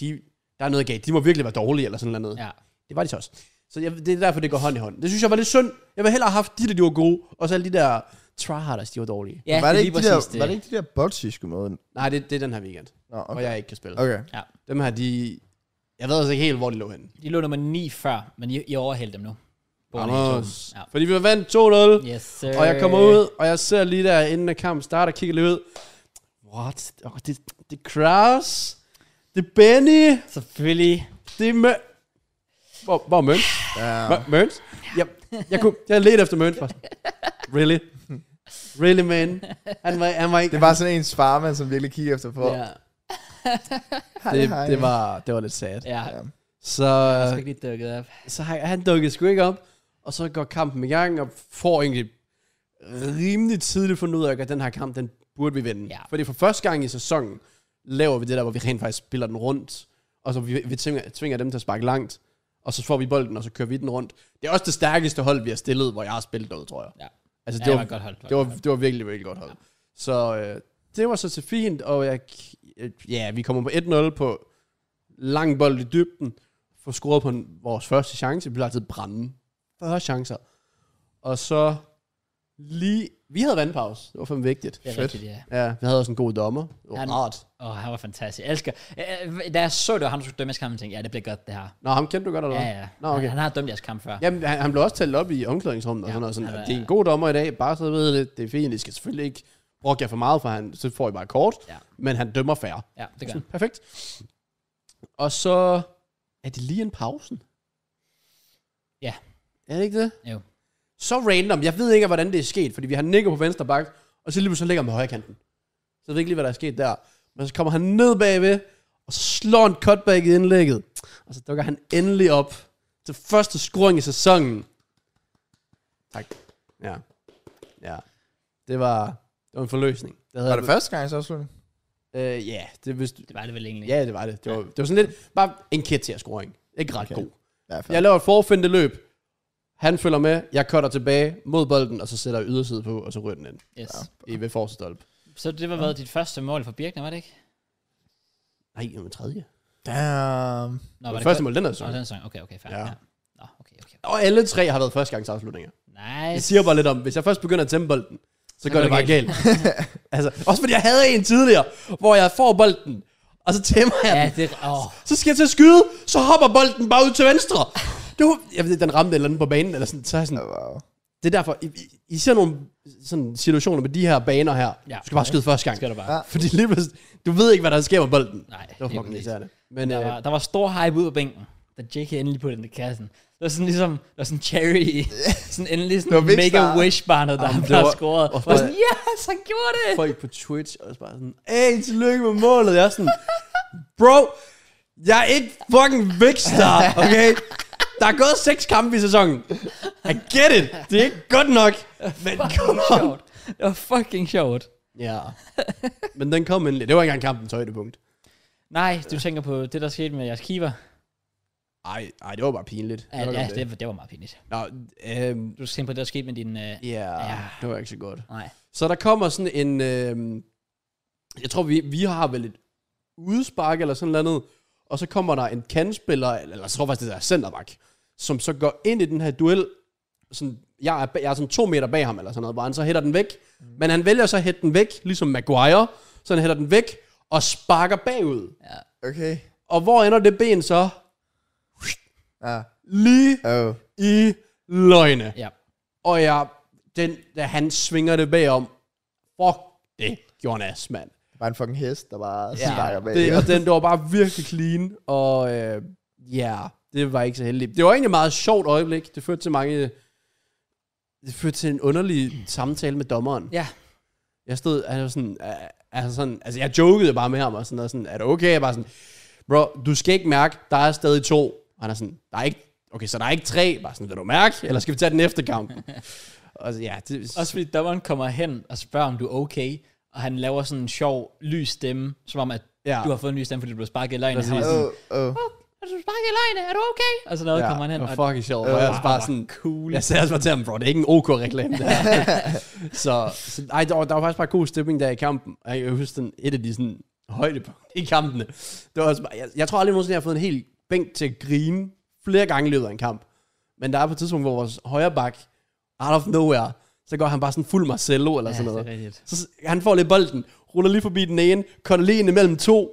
S3: de, der er noget galt. De må virkelig være dårlige, eller sådan noget. andet.
S1: Ja.
S3: Det var de så også. Så jeg, det er derfor, det går hånd i hånd. Det synes jeg var lidt synd. Jeg ville hellere have haft de der, de var gode, og så alle de der tryharders, de var dårlige.
S1: ja
S2: var, det
S1: er
S2: ikke
S1: lige
S2: de der,
S1: præcis
S2: var det ikke de der bots, I skulle møde?
S3: Nej, det, det er den her weekend, okay.
S2: Nå,
S3: hvor
S2: okay.
S3: jeg ikke kan spille. Okay.
S2: okay.
S3: Dem her, de... Jeg ved altså ikke helt, hvor de lå henne.
S1: De lå nummer 9 før, men I, I overhældte dem nu. På
S3: Anders.
S1: Ja. Øh.
S3: Fordi vi vandt 2-0.
S1: Yes, sir.
S3: Og jeg kommer ud, og jeg ser lige der, inden at kampen starter, kigger lidt ud. What? Oh, det, det er Kraus. Det er Benny.
S1: Selvfølgelig.
S3: Det er Møn. Hvor, hvor er Møns?
S2: Ja.
S3: Ja. Møns? Jeg, jeg, kunne, jeg ledte efter Møns først. Really? Really, man? Han var, han var ikke...
S2: Det var sådan ens farmand, som virkelig kiggede efter på.
S3: ja.
S2: Hej, hej.
S3: det, det, var, det var lidt sad.
S1: Ja, Altså,
S2: Ja.
S3: Så,
S1: jeg skal ikke lige dukket op.
S3: så han, han dukkede sgu ikke op, og så går kampen i gang, og får egentlig rimelig tidligt fundet ud af, at den her kamp, den burde vi vinde.
S1: Ja.
S3: Fordi for første gang i sæsonen, laver vi det der, hvor vi rent faktisk spiller den rundt, og så vi, vi tvinger, tvinger dem til at sparke langt, og så får vi bolden, og så kører vi den rundt. Det er også det stærkeste hold, vi har stillet, hvor jeg har spillet derude, tror jeg.
S1: Ja.
S3: Altså,
S1: Ja,
S3: det,
S1: det
S3: var,
S1: var et godt hold.
S3: det, var,
S1: et godt
S3: det var virkelig, virkelig godt hold. Ja. Så øh, det var så til fint, og jeg, øh, ja, vi kommer på 1-0 på lang bold i dybden, får scoret på en, vores første chance, vi bliver altid brænde. 40 chancer. Og så lige, vi havde vandpause, det var fandme vigtigt.
S1: hold. Det er
S2: Fedt.
S1: rigtigt, ja.
S3: Ja, vi havde også en god dommer. Det var
S1: Han-
S3: rart.
S1: Åh, oh, han var fantastisk. Jeg elsker. Øh, Da jeg så det, og han skulle dømme jeres kamp, tænkte jeg, ja, det bliver godt, det her.
S3: Nå, ham kendte du godt, eller
S1: Ja,
S3: hvad?
S1: ja.
S3: Nå, okay.
S1: han, han har dømt jeres kamp før.
S3: Jamen, han, han blev også talt op i omklædningsrummet, ja, og
S1: Ja,
S3: sådan noget, sådan,
S1: han er-
S3: det er en god dommer i dag, bare så I ved det, det er fint, I skal selvfølgelig ikke brokke jer for meget, for han, så får I bare kort,
S1: Ja.
S3: men han dømmer færre.
S1: Ja, det gør
S3: Sådan,
S1: han.
S3: Perfekt. Og så er det lige en pausen.
S1: Ja.
S3: Er det ikke det?
S1: Jo.
S3: Så random. Jeg ved ikke, hvordan det er sket, fordi vi har Nico på venstre bak, og så lige pludselig ligger han med højre kanten. Så jeg ved ikke lige, hvad der er sket der. Men så kommer han ned bagved, og så slår han cutback i indlægget. Og så dukker han endelig op til første scoring i sæsonen. Tak. Ja. Ja. Det var, det var en forløsning. Det havde
S2: Var
S3: jeg-
S2: det første gang i så slutning?
S3: Øh, ja, det, hvis,
S1: Det var det vel egentlig.
S3: Ja, det var det. Det var, det var sådan lidt, bare en kæt til at score, ikke? Ikke ret
S2: Okay.
S3: okay. god.
S2: Ja,
S3: Jeg laver et forfindende løb. Han følger med, jeg cutter tilbage mod bolden, og så sætter jeg yderside på, og så ryger den ind
S1: Yes.
S3: i ved forreste stolpe.
S1: Så det var været dit første mål for Birkner, var det ikke?
S3: Nej, det var tredje.
S2: Damn.
S1: Nå,
S3: Det
S1: var
S3: var
S1: det
S3: første
S1: godt?
S3: mål den her
S1: Nå,
S3: sæson.
S1: den sang. Okay, okay, fair.
S3: Ja.
S1: Ja. Nå, okay, okay.
S3: Og alle tre har været første gangs afslutninger.
S1: Nice.
S3: Det siger bare lidt om, hvis jeg først begynder at tæmme bolden, så går det bare galt. altså, også fordi jeg havde en tidligere, hvor jeg får bolden, og så tæmmer jeg
S1: Ja,
S3: den.
S1: det åh,
S3: Så skal jeg til at skyde, så hopper bolden bare ud til venstre. Det var, jeg ved, ikke, den ramte et eller andet på banen, eller sådan, så er jeg sådan,
S2: Wow.
S3: Det er derfor, I, I, I ser nogle sådan situationer med de her baner her. Ja.
S1: Ja.
S3: Du skal bare skyde første gang.
S1: skal du bare.
S2: Ja.
S3: Fordi lige pludselig, du ved ikke, hvad der sker med bolden.
S1: Nej,
S3: Det var
S1: lige
S3: fucking
S1: præcis.
S3: irriterende. Men
S1: Der
S3: øh,
S1: var, der var stor hype ud på bænken, da Jake endelig puttede den i kassen. Det var sådan ligesom, der var sådan cherry, i. sådan endelig sådan
S2: Det var vildt
S1: mega
S2: start.
S1: wish barnet, der,
S3: Jamen, det
S1: der
S3: var-
S1: scorede.
S3: og
S1: Og var sådan, yes, han gjorde det!
S3: folk på Twitch er også bare sådan, Hey, tillykke med målet. Jeg er sådan, bro, jeg er ikke fucking vækstar, okay? Der er gået seks kampe i sæsonen. I get it. Det er ikke godt nok. Men kom
S1: Fucking
S3: on.
S1: sjovt. Det var fucking sjovt.
S3: Ja. Men den kom endelig. Det var ikke engang kampens højdepunkt.
S1: Nej, du tænker på det, der skete med jeres keeper.
S3: Ej, ej, det var bare pinligt.
S1: Ja,
S3: Nok om
S1: ja det, var- det var meget pinligt.
S3: Nå, øhm,
S1: Du tænker på det, der skete med din... Øh,
S3: Ja,
S1: Ja.
S3: det var ikke så godt.
S1: Nej.
S3: Så der kommer sådan en... Øh, jeg tror, vi, vi har vel et udspark eller sådan noget andet, og så kommer der en kandspiller, eller eller jeg tror faktisk, det er centerback, som så går ind i den her duel. Sådan, jeg, er, ba- jeg er sådan to meter bag ham eller sådan noget, hvor han så hætter den væk. Mm. Men han vælger så at hætte den væk, ligesom Maguire. Så han hætter den væk og sparker bagud.
S1: Ja.
S2: Okay.
S3: Og hvor ender det ben så?
S2: Ja.
S3: Lige
S2: Oh.
S3: i løgne.
S1: ja.
S3: Og jeg, den, da han svinger det bagom, fuck det, Jonas, mand.
S2: Det var en fucking hest, der bare ja,
S1: Ja,
S2: snakker bag.
S3: Det, og den, det var bare virkelig clean, og øh, ja, yeah, det var ikke så heldigt. Det var egentlig et meget sjovt øjeblik. Det førte til mange... Det førte til en underlig samtale med dommeren.
S1: Ja.
S3: Jeg stod, han var sådan, øh, altså sådan, altså jeg jokede bare med ham, og sådan, og sådan, er det okay? Jeg var sådan, bro, du skal ikke mærke, der er stadig to. Og han er sådan, der er ikke, okay, så der er ikke tre. Bare sådan, vil du mærke, eller skal vi tage den efter kampen? og så- ja, det,
S1: Også fordi dommeren kommer hen og spørger, om du er okay, og han laver sådan en sjov, lys stemme, som om, at
S3: Ja.
S1: ja. du har fået en ny stemme, fordi du blev sparket i løgn. Han var
S3: Præcis.
S1: sådan,
S2: Oh, oh.
S1: Er du sparket i løgne? Er du okay? Og så noget ja,
S2: Ja,
S1: kommer han hen.
S3: Det
S1: Og Ah,
S3: var fucking sjovt. Og jeg var bare sådan,
S1: cool.
S3: jeg sagde også bare til ham, bro, det er ikke en OK-reklame, det her. så, så ej, der var, der var faktisk bare god stemning der i kampen. Og Jeg husker den, et af de sådan, højdepunkter i kampene. Det var også bare, jeg, jeg tror aldrig nogensinde, jeg har fået en hel bænk til at grine flere gange i løbet af en kamp. Men der er på et tidspunkt, hvor vores højre bak, out of nowhere, så går han bare sådan fuld Marcelo eller
S1: Ja,
S3: sådan
S1: det
S3: noget.
S1: er rigtigt.
S3: Så han får lidt bolden, ruller lige forbi den ene, cutter lige ind imellem to,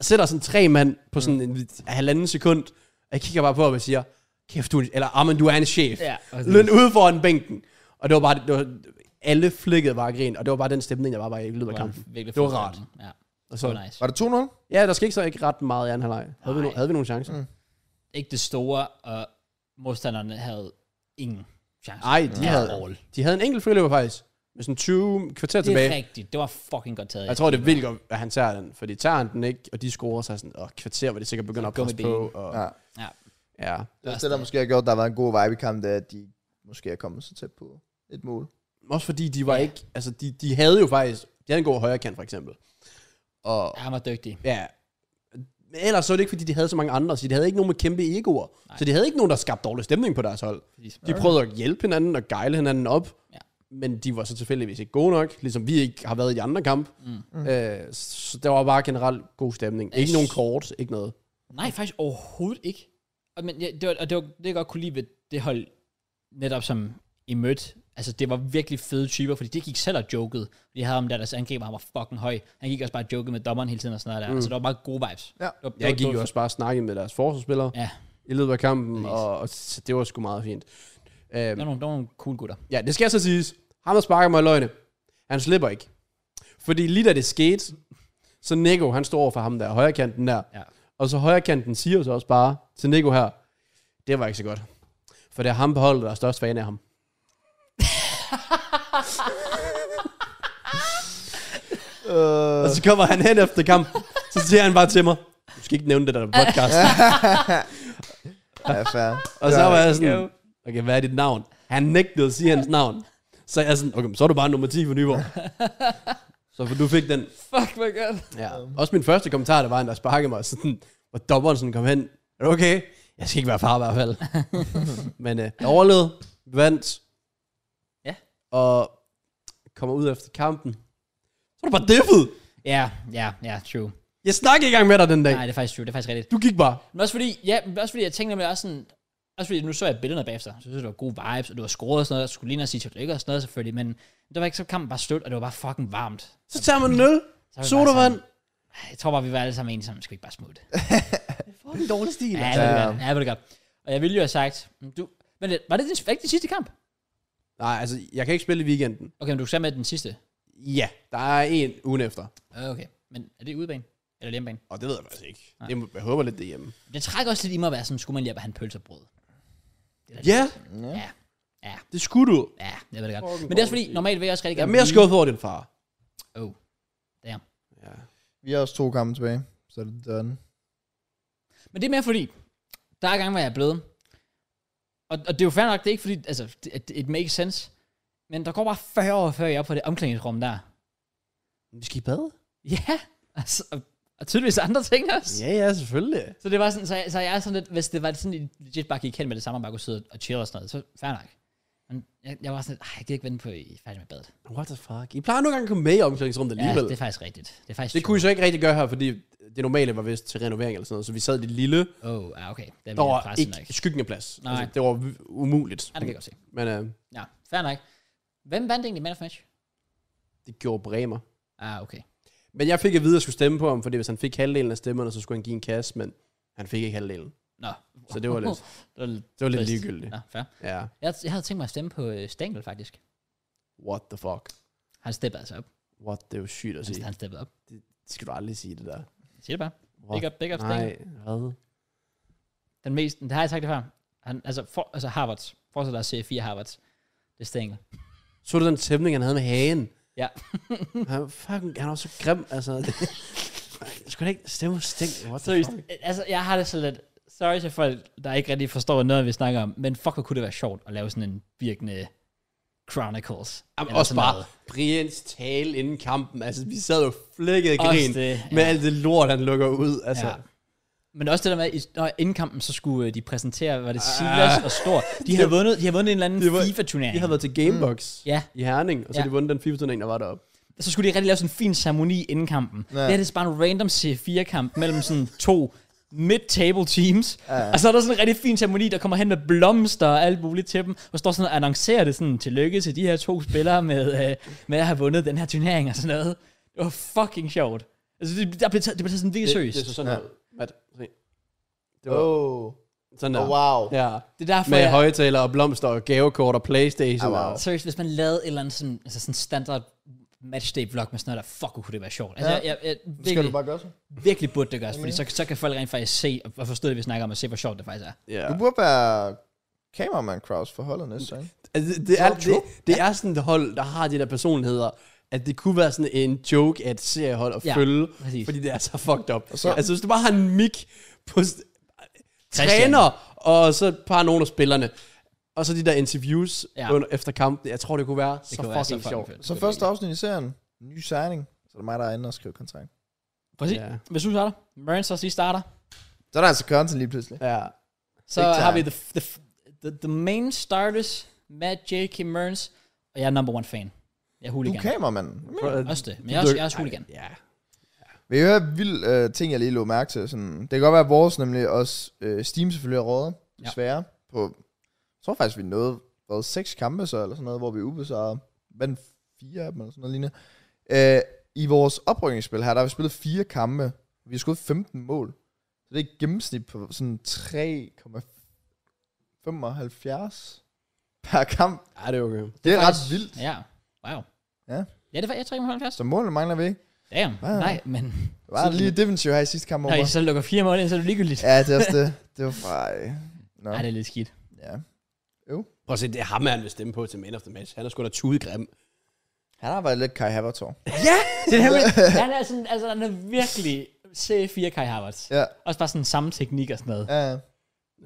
S3: sætter sådan tre mand på sådan en halvanden sekund, og jeg kigger bare på ham og siger, kæft du, er en- eller Armin, du er en chef.
S1: Ja, og-
S3: Løn ude foran bænken. Og det var bare, det var, alle flækkede bare af grin, og det var bare den stemning, der var bare i løbet af kampen.
S1: virkelig
S3: Det var
S1: fed
S3: rart.
S1: stemning. Ja,
S3: Og
S1: det var
S3: så,
S1: nice.
S2: Var det 2-0?
S3: ja, der skete så ikke ret meget i anden halvleg. Havde, vi
S1: Nej.
S3: no- havde vi nogle chancer? Mm.
S1: Ikke det store, og modstanderne havde ingen chance.
S3: Ej, de
S1: Ja.
S3: havde, de havde en enkelt friløber faktisk, med sådan 20 kvarter
S1: det
S3: tilbage.
S1: er rigtigt. Det var fucking godt taget.
S3: Jeg tror, det er vildt godt, at han tager den, fordi tager han den ikke, og de scorer sig sådan, og kvarter, hvor de sikkert begynder at
S1: Så
S3: presse på.
S1: gummiben.
S3: Og,
S2: Ja.
S1: Ja.
S3: ja.
S2: Det, er det, der måske har gjort, at der har været en god vibe i kampen, det er, at de måske er kommet så tæt på et mål.
S3: Også fordi de var
S1: Ja.
S3: ikke, altså de, de havde jo faktisk, de havde en god højre kant for eksempel. Og
S1: Ja, han var dygtig.
S3: ja, men ellers så var det ikke, fordi de havde så mange andre, så de havde ikke nogen med kæmpe egoer.
S1: Nej.
S3: Så de havde ikke nogen, der skabte dårlig stemning på deres hold.
S1: Præcis.
S3: De prøvede at hjælpe hinanden og gejle hinanden op,
S1: Ja.
S3: ja. men de var så tilfældigvis ikke gode nok, ligesom vi ikke har været i de andre kampe. Mm. Øh, så der var bare generelt god stemning. Ikke nogen kort, ikke noget.
S1: Nej, faktisk overhovedet ikke. Og, men, ja, det var, og det var det, jeg godt kunne lide ved det hold, netop som I mødte. Altså, det var virkelig fede typer, fordi de gik selv og jokede. De havde ham der, deres angriber, han var fucking høj. Han gik også bare og jokede med dommeren hele tiden og sådan noget der. Mm. Altså, der var bare gode vibes.
S2: Ja.
S1: Det var, det
S3: Jeg
S1: var-
S3: gik
S1: det
S3: jo
S1: var-
S3: også bare og snakkede med deres forsvarsspillere
S1: Ja,
S3: i løbet af kampen,
S1: Præcis.
S3: og, og så det var sgu meget fint. Øhm,
S1: der var, nogle, der var nogle cool gutter.
S3: Ja, det skal så siges. Ham, der sparker mig i løgne, han slipper ikke. Fordi lige da det skete, så Nico, han står over for ham der, højrekanten der.
S1: Ja.
S3: Og så højrekanten siger så også bare til Nico her, det var ikke så godt. For det er ham på holdet, der er størst fan af ham.
S2: Øh,
S3: Og så kommer han hen efter kampen, så siger han bare til mig, du skal ikke nævne det der podcast.
S2: ja, fair.
S3: Og så var jeg
S1: jo.
S3: sådan, okay, hvad er dit navn? Han nægtede at sige hans navn. Så jeg er sådan, okay, men så er du bare nummer 10 for Nyborg. så for du fik den.
S1: Fuck, hvor godt.
S3: Ja. Også min første kommentar, der var en, der sparkede mig, sådan, hvor dommeren sådan kom hen. Er du okay? Jeg skal ikke være far i hvert fald. men øh, jeg overlevede, vandt.
S1: Ja.
S3: Og kommer ud efter kampen. Så er du bare deffet.
S1: Ja, ja, ja, true.
S3: Jeg snakkede ikke engang med dig den dag.
S1: Nej, det er faktisk true. Det er faktisk rigtigt.
S3: Du gik bare.
S1: Men også fordi, ja, men også fordi jeg tænkte nemlig også sådan, også fordi nu så jeg billederne bagefter, så synes jeg, det var gode vibes, og du var scoret og sådan noget, og skulle lige ned og sige tillykke og sådan noget selvfølgelig, men det var ikke så kampen bare slut, og det var bare fucking varmt.
S3: Så tager man en øl.
S1: Så var vi bare
S3: Sodavand.
S1: Jeg tror bare, vi var alle sammen enige sammen, skal vi ikke bare smutte? ja,
S3: Fucking dårlig stil.
S1: det
S3: altså.
S1: er godt. Ja, det er godt. Og jeg ville jo have sagt, "Men du, men det, var det din, var det din sidste kamp?
S3: Nej, altså, jeg kan ikke spille i weekenden.
S1: Okay, men du sagde med den sidste.
S3: Ja, der er en ugen efter.
S1: Okay, men er det udebane? Eller hjemmebane?
S3: Og det ved jeg faktisk ikke. Det, må- jeg håber lidt, det er hjemme.
S1: Det trækker også lidt i mig at være sådan, skulle man lige have han pølser brød?
S3: Ja,
S1: Ja, ja,
S3: det skulle du.
S1: ja, jeg ved det godt.
S3: Fucking
S1: Men det er også
S3: dårlig
S1: fordi, normalt vil jeg også rigtig
S3: Jeg er
S1: gerne...
S3: mere skuffet over din far.
S1: Oh, damn.
S3: Ja.
S2: Vi har også to kampe tilbage, så er det done.
S1: Men det er mere fordi, der er gange, hvor jeg er blevet. Og, og det er jo fair nok, det er ikke fordi, altså, det, it- it makes sense. Men der går bare 40 år, før jeg er på det omklædningsrum der.
S3: Vi skal i bad?
S1: Ja, altså, og, og tydeligvis andre ting også. Yeah.
S3: Ja, ja, selvfølgelig.
S1: Så det var sådan, så jeg, så jeg er sådan lidt, hvis det var sådan, I legit bare gik hen med det samme, og bare kunne sidde og chill og sådan noget, så fair nok. Men jeg, jeg var sådan lidt, "Ej, jeg gider ikke vente på, at I er færdige med badet.
S3: What the fuck? I plejer nogle gange at komme med i omklædningsrummet
S1: Ja,
S3: alligevel.
S1: det
S3: Ja,
S1: er faktisk rigtigt. Det er faktisk
S3: det kunne I så ikke rigtig gøre her, fordi det normale var vist til renovering eller sådan noget. Så vi sad i det lille,
S1: Åh, oh, ja, okay. Det er
S3: der
S1: mere
S3: var
S1: pressen
S3: ikke
S1: nok.
S3: skyggen af plads.
S1: Nej.
S3: Altså, det var v- umuligt.
S1: Ja, det kan jeg godt se.
S3: Men øh,
S1: Ja, fair nok. Hvem vandt egentlig man of match?
S3: det gjorde Bremer.
S1: Ah, okay.
S3: Men jeg fik at vide, at jeg skulle stemme på ham, fordi hvis han fik halvdelen af stemmerne, så skulle han give en kasse, men han fik ikke halvdelen.
S1: Nå.
S3: Så det var lidt-
S1: det var lidt,
S3: Det var lidt
S1: trist.
S3: ligegyldigt.
S1: Nå, fair.
S3: Ja.
S1: Jeg, jeg havde tænkt mig at stemme på øh, Stengel, faktisk.
S3: What the fuck?
S1: Han steppede altså op.
S3: What, det er jo sygt at
S1: Altså, Han,
S3: sige.
S1: han steppede op.
S3: Det skal du aldrig sige det der.
S1: Jeg siger det bare.
S3: What?
S1: Big up, big up Stengel.
S3: Nej, hvad?
S1: Den mest, det har jeg sagt det før. Han, altså, for, altså Harvards. Fortsæt dig at se fire Harvards. Det er Stengel.
S3: Så du den tæmning, han havde med hagen?
S1: Ja.
S3: han, fucking, han var så grim, altså. Jeg skulle da ikke stemme stænk. What the
S1: Seriøst.
S3: fuck?
S1: Altså, jeg har det så lidt... Sorry til folk, der ikke rigtig forstår noget, vi snakker om. Men fuck, hvor kunne det være sjovt at lave sådan en virkende Chronicles.
S3: Jamen,
S1: eller
S3: også
S1: sådan
S3: bare
S1: noget.
S3: Briens tale inden kampen. Altså, vi sad jo flækket af
S1: Også
S3: grin
S1: det,
S3: med
S1: ja.
S3: alt det lort, han lukker ud. Altså,
S1: Ja.
S3: ja.
S1: Men også det der med, at i- når inden kampen, så skulle øh, de præsentere, hvad det Silas og Stor. De havde vundet, de havde vundet en eller anden
S3: Det var-
S1: FIFA-turnering.
S3: Ah. De havde været til Gamebox mm.
S1: Ja.
S3: i Herning, og så
S1: Ja.
S3: ja. de vundet den FIFA-turnering, der var deroppe.
S1: så skulle de rigtig lave sådan en fin ceremoni inden kampen. Ja.
S2: Ja.
S1: Det her det er bare en random C4-kamp mellem sådan to mid-table teams. Ja. Og så er der sådan en rigtig fin ceremoni, der kommer hen med blomster og alt muligt til dem. Og står sådan og annoncerer det sådan, tillykke til de her to spillere med, øh, med at have vundet den her turnering og sådan noget. Det var fucking sjovt. Altså, det, der blev taget, det blev taget sådan virkelig seriøst.
S3: Det, det
S1: Det,
S3: så sådan
S2: Ja.
S3: ja. at, det var
S2: Oh.
S3: sådan
S2: oh,
S3: der.
S2: wow.
S3: Ja.
S1: det er derfor,
S3: Med
S1: jeg,
S3: højtaler og blomster og gavekort og Playstation.
S2: Ah, wow.
S3: og,
S1: seriøst, hvis man lavede et eller andet sådan, altså sådan standard matchday-vlog med sådan noget, der fuck, hvor kunne det være sjovt. Altså,
S2: Ja.
S1: ja. jeg, jeg, jeg,
S2: Det skal
S1: virkelig,
S2: du bare gøre så.
S1: virkelig burde det gøres, fordi så, så kan folk rent faktisk se og- og forstå det, vi snakker om, og se, hvor sjovt det faktisk er.
S3: ja.
S2: Du burde være cameraman Kraus for holdet næste sang.
S3: Altså, det, det, er,
S2: Sjov
S3: det, det er sådan et hold, der har de der personligheder, at det kunne være sådan en joke af et seriehold at
S1: Ja,
S3: ja, følge,
S1: præcis.
S3: fordi det er så fucked up.
S2: så-
S3: Så, altså, hvis du bare har en mic på s-
S1: Christian.
S3: træner, og så et par nogle af spillerne, og så de der interviews
S1: Ja.
S3: ja. under, efter kampen, jeg tror, det kunne være det
S1: kunne
S3: så fucking
S1: være så fucking
S3: sjovt.
S1: fedt.
S2: Så første afsnit i serien. Ny signing. Så er det mig, der er inde og skriver kontrakt.
S1: Præcis.
S3: Ja.
S1: Hvis du starter, Marines også lige starter,
S2: Så er der altså content lige pludselig.
S3: Ja.
S1: så
S2: Big time.
S1: har vi the, the, the, the main starters, Matt, J.K. Marines, og jeg er number one fan. Jeg er
S2: Du
S1: hooligan.
S2: er cameraman.
S3: For-
S1: Også det, men jeg er også, jeg er også hooligan.
S3: Ja.
S2: Vil I høre en vild øh, ting, jeg lige lå mærke til? Sådan, det kan godt være, at vores nemlig også øh, Steam selvfølgelig har rådet.
S1: Ja.
S2: Desværre. På, jeg tror faktisk, vi nåede hvad, seks kampe så, eller sådan noget, hvor vi ubesejrede. Vandt fire af dem, eller sådan noget lignende. Øh, I vores oprykningsspil her, der har vi spillet fire kampe. Vi har skudt 15 mål. Så det er et gennemsnit på sådan 3,75 per kamp.
S3: ja, det er okay.
S2: Det er ret
S1: faktisk-
S2: vildt.
S1: Ja, wow.
S2: Ja.
S1: Ja, det var jeg 370.
S2: Så målene mangler vi ikke.
S1: Damn,
S2: Ja.
S1: nej, men
S2: Der var
S1: Så-
S2: lige defensiv her i sidste kamp
S1: når
S2: over.
S1: I så lukker fire mål ind, så er det ligegyldigt.
S2: Ja, det er også det. Det var fra... Øh, nå,
S1: Nej, det er lidt skidt.
S2: ja.
S3: Prøv at se, det er ham, han vil stemme på til Man of the Match. Han er sgu da tudegrim.
S2: Han har været lidt Kai Havertz
S1: Ja, det er det. Han er, sådan, altså, han er virkelig C4 Kai Havertz.
S2: Ja.
S1: Også bare sådan samme teknik og sådan noget.
S2: Ja,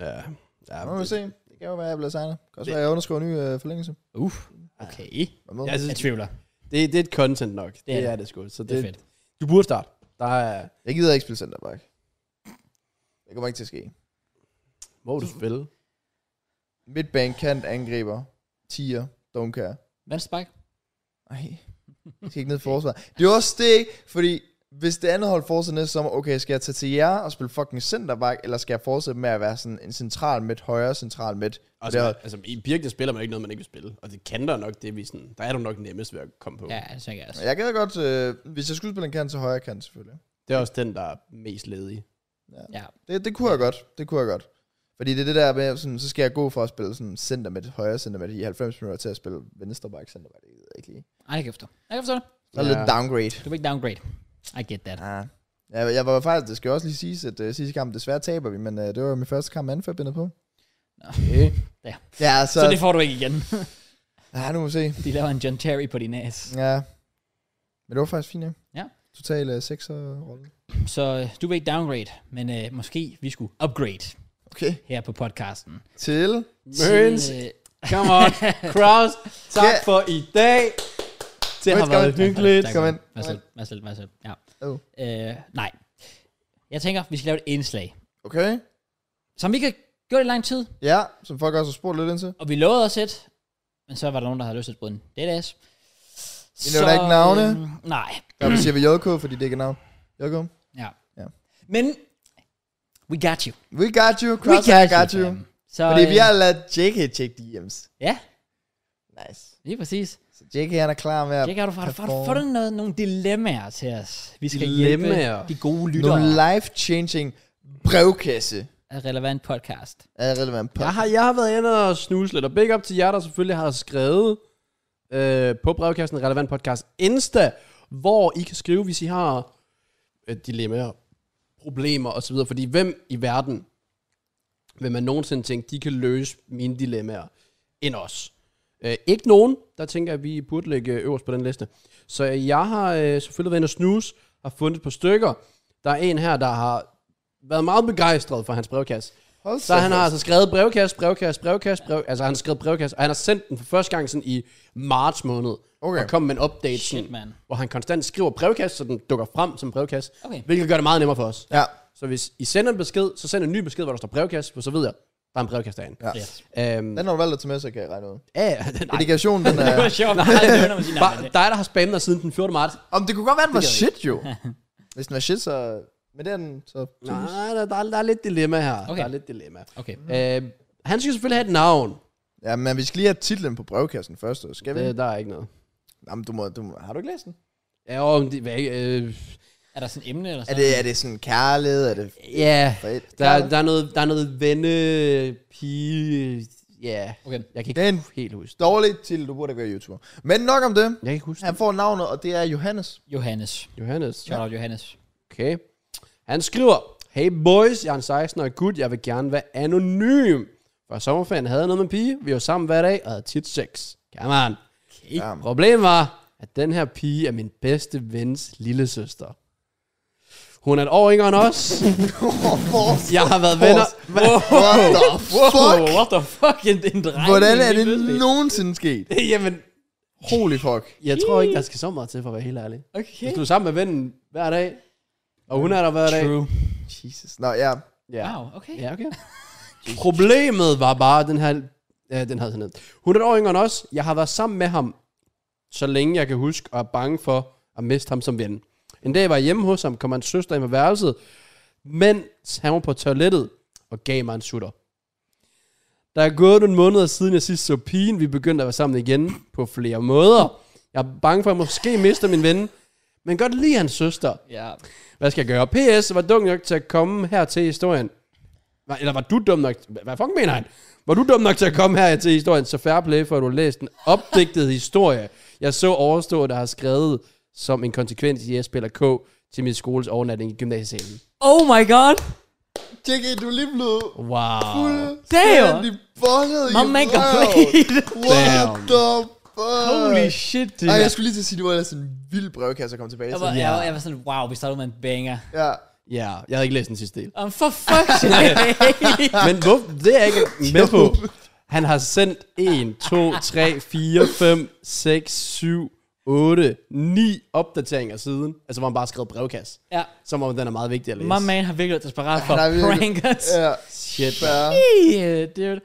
S3: Ja. ja
S2: nu må vi
S3: det,
S2: se. Det kan jo være, at jeg bliver signet. Det kan også være, at jeg underskriver en ny øh, forlængelse.
S1: Uff, okay.
S2: Hvad med?
S3: jeg synes,
S1: Jeg tvivler.
S3: det, det er et content nok. Det,
S1: er
S3: det
S1: det.
S3: er det sgu. Så det,
S1: Det er fedt.
S3: Du burde starte. Der er...
S2: Jeg gider ikke spille centerback. Det kommer ikke til at ske.
S3: Hvor du spille?
S2: Midtbane, kant, angriber, tier, don't care.
S1: Venstre bak.
S2: Ej, jeg skal ikke ned i forsvaret. Det er også det, ikke? fordi hvis det andet hold fortsætter næste sommer, okay, skal jeg tage til jer og spille fucking centerback, eller skal jeg fortsætte med at være sådan en central midt, højre central midt? Og
S3: Altså,
S2: det er,
S3: man, altså, i Birk, der spiller man ikke noget, man ikke vil spille. Og det kan der nok, det vi sådan... Der er du nok nemmest ved at komme på.
S1: Ja, altså, det tænker jeg også.
S2: jeg gad godt, øh, hvis jeg skulle spille en kant til højre kant selvfølgelig.
S3: Det er også den, der er mest ledig.
S1: Ja.
S2: Det, det kunne jeg godt. Det kunne jeg godt. Fordi det er det der med, sådan, så skal jeg gå for at spille sådan center med højre center med i 90 minutter til at spille venstre back center med det ved jeg ikke lige.
S1: Ej, jeg kan forstå. Jeg kan forstå det.
S2: Så er det
S3: Ja.
S2: lidt downgrade.
S1: Du vil ikke downgrade. I get that.
S2: Ja. ja. Jeg var faktisk, det skal også lige siges, at uh, sidste kamp desværre taber vi, men uh, det var jo min første kamp anden forbindet på.
S3: Okay.
S2: Ja, så,
S1: Så, det får du ikke igen.
S2: ja, nu må vi se.
S1: De laver en John Terry på din næs.
S2: Ja. Men det var faktisk fint, ja.
S1: Ja.
S2: Total uh, 6 rolle.
S1: Så øh, du vil ikke downgrade, men øh, måske vi skulle upgrade
S2: Okay.
S1: her på podcasten.
S2: Til.
S3: Mørns,
S1: Til, øh,
S3: come on, Kraus, tak
S2: Ja.
S3: yeah. for i dag. Det har
S2: Velkommen.
S3: været hyggeligt.
S1: tak,
S2: Kom ind.
S1: Vær så vær så- vær så Ja.
S2: Oh.
S1: Øh, nej. Jeg tænker, vi skal lave et indslag,
S2: Okay.
S1: som vi kan gøre i lang tid.
S2: Ja, som folk også har spurgt lidt ind til.
S1: Og vi lovede os et, men så var der nogen, der havde lyst til at bryde en dead ass.
S2: Vi nævner ikke navne.
S1: øhm, nej.
S2: Der siger vi JK, fordi det ikke er navn. JK.
S1: Ja.
S2: Ja.
S1: Men, we got you.
S2: We got you. Cross, we got you.
S1: fam. Så,
S2: Fordi vi
S1: øh,
S2: har ladet JK tjekke DM's.
S1: Ja,
S2: Nice.
S1: lige præcis.
S2: Så JK han er klar med at
S1: Jack, har du har du- har du
S2: perform.
S1: fundet noget, nogle dilemmaer til os? Vi skal
S3: Dilemmaer.
S1: hjælpe de gode lyttere
S2: nogle life-changing brevkasse
S1: af relevant podcast.
S2: af relevant
S3: Jeg
S2: podcast.
S3: har, jeg har været inde og snuse lidt, og big up til jer, der selvfølgelig har skrevet øh, på brevkassen Relevant Podcast Insta, hvor I kan skrive, hvis I har øh, dilemmaer, problemer osv., fordi hvem i verden vil man nogensinde tænke, de kan løse mine dilemmaer end os? Øh, ikke nogen, der tænker, at vi burde ligge øverst på den liste. Så jeg har øh, selvfølgelig været inde og snuse, har fundet et par stykker. Der er en her, der har været meget begejstret for hans brevkasse.
S2: Hold
S3: Så han har altså skrevet brevkasse, brevkasse, brevkasse, brev, altså han har skrevet brevkasse, og han har sendt den for første gang sådan i marts måned,
S2: Okay.
S3: og kom med en update,
S1: Shit,
S3: sådan,
S1: man.
S3: hvor han konstant skriver brevkasse, så den dukker frem som brevkasse,
S1: Okay.
S3: hvilket gør det meget nemmere for os.
S2: Ja,
S3: Så hvis I sender en besked, så send en ny besked, hvor der står brevkasse, for så ved jeg, der er en brevkasse derinde.
S2: Ja.
S1: Ja.
S3: Øhm,
S2: Den har du valgt at tage med, så kan jeg regne ud.
S3: ja, ja, den, nej,
S2: Dedikationen, den
S1: Det var
S2: er...
S1: sjovt. Nej, det var, når man siger, nej,
S3: bare,
S1: men det-
S3: dig, der har spammet dig siden den 14. marts.
S2: Om det kunne godt være, den var
S3: Det kan
S2: shit, jo. Hvis den var shit, så... Men det er den, så...
S3: Nej, der, der, er, der er lidt dilemma her.
S1: Okay.
S3: Der er lidt dilemma.
S1: Okay.
S3: Øh, han skal selvfølgelig have et navn.
S2: Ja, men vi skal lige have titlen på brevkassen først, så skal vi?
S3: Det, Øh, der er ikke noget.
S2: Jamen, du må, du må, har du ikke læst den?
S3: Ja, og om det, hvad, øh,
S1: Er der sådan et emne eller
S2: Er
S1: sådan
S2: det, er det sådan kærlighed? Er det
S3: ja,
S2: fred?
S3: der, der, er noget, der er noget venne, pige, ja.
S1: Okay.
S3: Jeg kan ikke
S2: Den
S3: helt huske det.
S2: dårlige titel, du burde ikke være YouTuber. Men nok om det.
S3: Jeg kan ikke huske
S2: Han
S3: det.
S2: får navnet, og det er Johannes.
S1: Johannes.
S3: Johannes.
S1: Shout out Johannes.
S3: Okay. Han skriver, Hey boys, jeg er en 16-årig gut, jeg vil gerne være anonym. Før sommerferien havde jeg noget med en pige, vi var sammen hver dag og havde tit sex. Come on.
S2: Ja.
S3: Problemet var, at den her pige er min bedste vens lille søster. Hun er et år yngre end os. Jeg har været venner... Wow,
S2: What the fuck?
S3: what the fuck? En, en dreng.
S2: Hvordan er
S3: lige
S2: det
S3: pludselig.
S2: nogensinde sket?
S3: Jamen,
S2: Holy fuck.
S3: jeg tror ikke, der skal så meget til, for at være helt ærlig.
S1: Okay.
S3: Hvis du er sammen med vennen hver dag, og hun er der hver dag.
S1: True.
S2: Jesus. Nå, ja.
S3: Ja.
S1: Wow, okay.
S3: Ja, okay. Problemet var bare, den her... Ja, den havde sådan Hun er et år yngre end os. Jeg har været sammen med ham, så længe jeg kan huske, og er bange for at miste ham som ven. En dag var jeg hjemme hos ham, kom hans søster ind på værelset, mens han var på toilettet, og gav mig en sutter. Der er gået nogle måneder siden, jeg sidst så pigen. Vi begyndte at være sammen igen på flere måder. Jeg er bange for, at jeg måske mister min ven, men godt lide hans søster.
S1: Ja.
S3: Hvad skal jeg gøre? PS, var dum nok til at komme her til historien. Hva- Eller var du dum nok? hva- Hvad fuck mener han? Var du dum nok til at komme her til historien? Så fair play for, at du læste en opdigtet historie. Jeg så overstået, der har skrevet som en konsekvens i ESP eller K til min skoles overnatning i gymnasiesalen.
S1: Oh my god.
S2: Tjek ind, du er lige blevet
S3: Wow.
S2: fuldstændig bollet i
S1: My man got
S2: røven.
S1: played.
S2: What the fuck?
S1: Holy shit, det
S2: Ej,
S1: der.
S2: jeg skulle lige til at sige, det var ellers en vild brevkasse at komme tilbage
S1: Jeg
S2: til.
S1: var, jeg,
S3: Ja.
S1: var, jeg var sådan, wow, vi startede med en banger.
S2: Ja.
S3: Ja, jeg havde ikke læst den sidste del.
S1: Um, for fuck's sake.
S3: Men hvor, det er jeg ikke med på. Han har sendt 1, 2, 3, 4, 5, 6, 7, 8, 9 opdateringer siden. Altså, hvor han bare har skrevet brevkasse.
S1: ja.
S3: Som om den er meget vigtig at læse.
S1: My man har virkelig været desperat for
S2: Han har virkelig-
S1: prank us.
S2: Ja.
S3: Shit.
S2: Fair.
S1: Yeah, dude.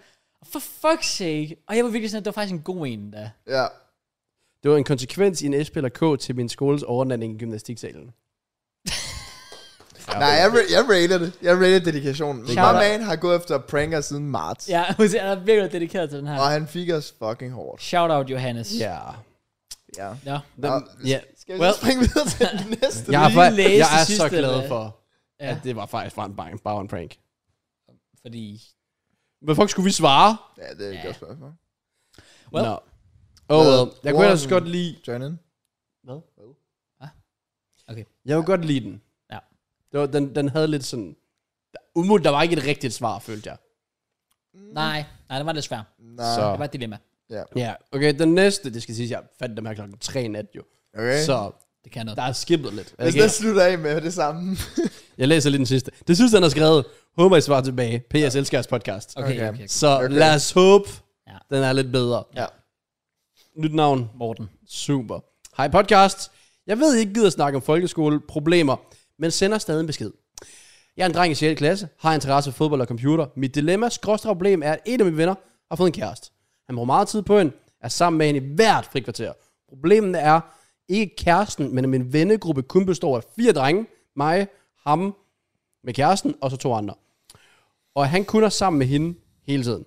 S1: For fuck's sake. Og jeg var virkelig sådan, at det var faktisk en god en, der.
S2: Ja.
S3: Det var en konsekvens i en SP eller K til min skoles overnatning i gymnastiksalen.
S2: Nej, jeg, ra- jeg rated det. Jeg rated dedikationen. My
S1: Shout out.
S2: man har gået efter pranker siden marts.
S1: Ja, hun siger, han er virkelig dedikeret til den her.
S2: Og han fik os fucking hårdt.
S1: Shout out, Johannes.
S3: Ja.
S2: Ja.
S1: Ja.
S2: Nå,
S3: ja.
S2: Skal vi
S1: Well.
S2: well. springe videre til den næste?
S3: Jeg, er,
S1: lige
S3: fa-
S1: læse
S3: jeg er
S1: det
S3: så
S1: sidste,
S3: glad
S1: eller?
S3: for,
S1: Ja.
S3: at det var faktisk bare en, bang, bare en prank.
S1: Fordi...
S3: Hvad fuck skulle vi svare?
S2: Ja, det er et godt spørgsmål.
S1: Well.
S3: No. Oh, well. Jeg kunne
S2: Warren-
S3: ellers godt lide...
S2: Join in.
S3: Hvad?
S1: Hva? Okay.
S3: Jeg kunne godt lide den.
S1: Ja.
S3: Det var, den, den havde lidt sådan... Der, umiddelbart, der var ikke et rigtigt svar, følte jeg.
S1: Nej, nej, det var lidt svært.
S2: Nej.
S3: Så.
S1: Det var et dilemma.
S3: Ja, okay, den næste, det skal siges, jeg fandt dem her klokken 3 i nat jo.
S2: Okay. Så.
S3: Så
S1: Det kan noget.
S3: der er skippet lidt.
S2: Hvis
S3: Okay.
S2: det slutter af med det samme.
S3: Jeg læser lige den sidste. Det sidste, han har skrevet. Håber, I svarer tilbage. PS ja. elsker jeres podcast.
S1: Okay, okay.
S2: Okay.
S1: okay.
S3: Så
S2: Okay.
S3: lad os håbe,
S1: Ja.
S3: ja. den er lidt bedre.
S2: Ja.
S3: Nyt navn.
S1: Morten.
S3: Super. Hej podcast. Jeg ved, I ikke gider snakke om folkeskoleproblemer, men sender stadig en besked. Jeg er en dreng i 6. klasse, har interesse for fodbold og computer. Mit dilemma, skråstre problem, er, at en af mine venner har fået en kæreste. Han bruger meget tid på hende, er sammen med hende i hvert frikvarter. Problemet er ikke kæresten, men at min vennegruppe kun består af fire drenge. Mig, ham med kæresten, og så to andre. Og han kun er sammen med hende hele tiden.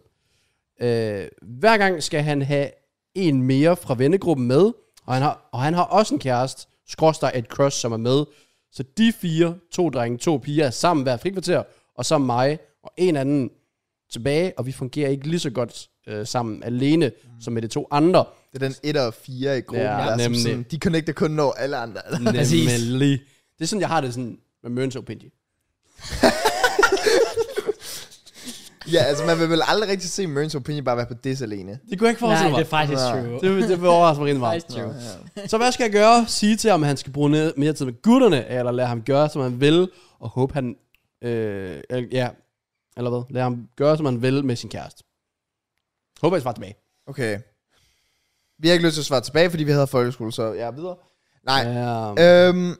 S3: Øh, hver gang skal han have en mere fra vennegruppen med, og han har, og han har også en kæreste, skråstrej et crush, som er med. Så de fire, to drenge, to piger, er sammen hver frikvarter, og så mig og en anden tilbage, og vi fungerer ikke lige så godt øh, sammen alene, mm. som med de to andre.
S2: Det er den 1 og 4 i gruppen,
S3: Ja,
S2: ja, der er som
S3: nemlig. Mm.
S2: sådan, de connecter kun når alle andre.
S1: Præcis.
S3: Nemlig. Det er sådan, jeg har det sådan med Mørens og Pindy.
S2: ja, altså man vil vel aldrig rigtig se Mørens Opinion bare være på det alene.
S3: Det kunne jeg ikke
S1: Nej,
S3: forestille
S1: det
S3: mig.
S1: er faktisk
S2: Ja.
S1: true.
S3: Det, det vil overraske mig rigtig meget.
S1: Faktisk true.
S2: Ja.
S3: Så hvad skal jeg gøre? Sige til ham, at han skal bruge ned- mere tid med gutterne, eller lade ham gøre, som han vil, og håbe han... Øh, eller- ja, eller hvad? Lade ham gøre, som han vil med sin kæreste. Håber, jeg svarer tilbage.
S2: Okay. Vi har ikke lyst til at svare tilbage, fordi vi havde folkeskole, så jeg ja, videre. Nej. Øh,
S3: Um,
S2: Øhm,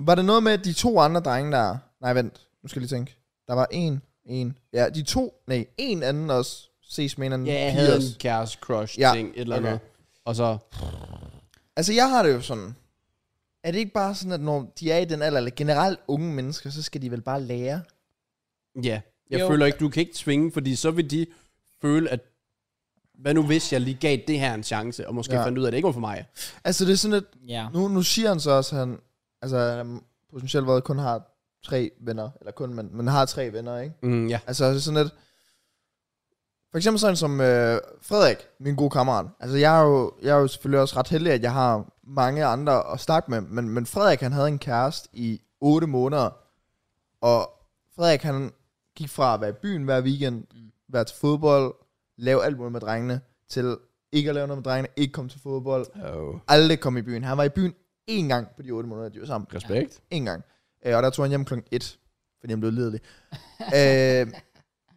S2: var det noget med de to andre drenge, der... Nej, vent. Nu skal jeg lige tænke. Der var en, en. Ja, de to. Nej, en anden også. Ses med en anden.
S3: Ja, jeg
S2: pige
S3: havde
S2: også.
S3: en kæreste crush
S2: Ja,
S3: ting, et eller andet.
S2: okay.
S3: Og så,
S2: Altså, jeg har det jo sådan. Er det ikke bare sådan, at når de er i den alder, eller generelt unge mennesker, så skal de vel bare lære?
S3: ja, jeg
S1: Jo.
S3: jo. føler ikke, du kan ikke tvinge, fordi så vil de føle, at hvad nu hvis jeg lige gav det her en chance, og måske
S2: Ja.
S3: ja. fandt ud af, at det ikke var for mig.
S2: Altså, det er sådan, at
S1: Ja.
S2: nu, nu siger han så også, at han, altså, han har potentielt været kun har tre venner, eller kun, men, men har tre venner, ikke?
S3: Mm, ja.
S2: Altså, det er sådan lidt... For eksempel sådan som øh, Frederik, min gode kammerat. Altså, jeg er, jo, jeg er jo selvfølgelig også ret heldig, at jeg har mange andre at snakke med. Men, men Frederik, han havde en kæreste i 8 måneder. Og Frederik, han gik fra at være i byen hver weekend, være til fodbold, lave alt muligt med drengene, til ikke at lave noget med drengene, ikke komme til fodbold,
S3: Oh.
S2: aldrig komme i byen. Han var i byen én gang på de 8 måneder, de var sammen.
S3: Respekt.
S2: En gang. Øh, og der tog han hjem klokken 1, fordi han blev lidelig. øh,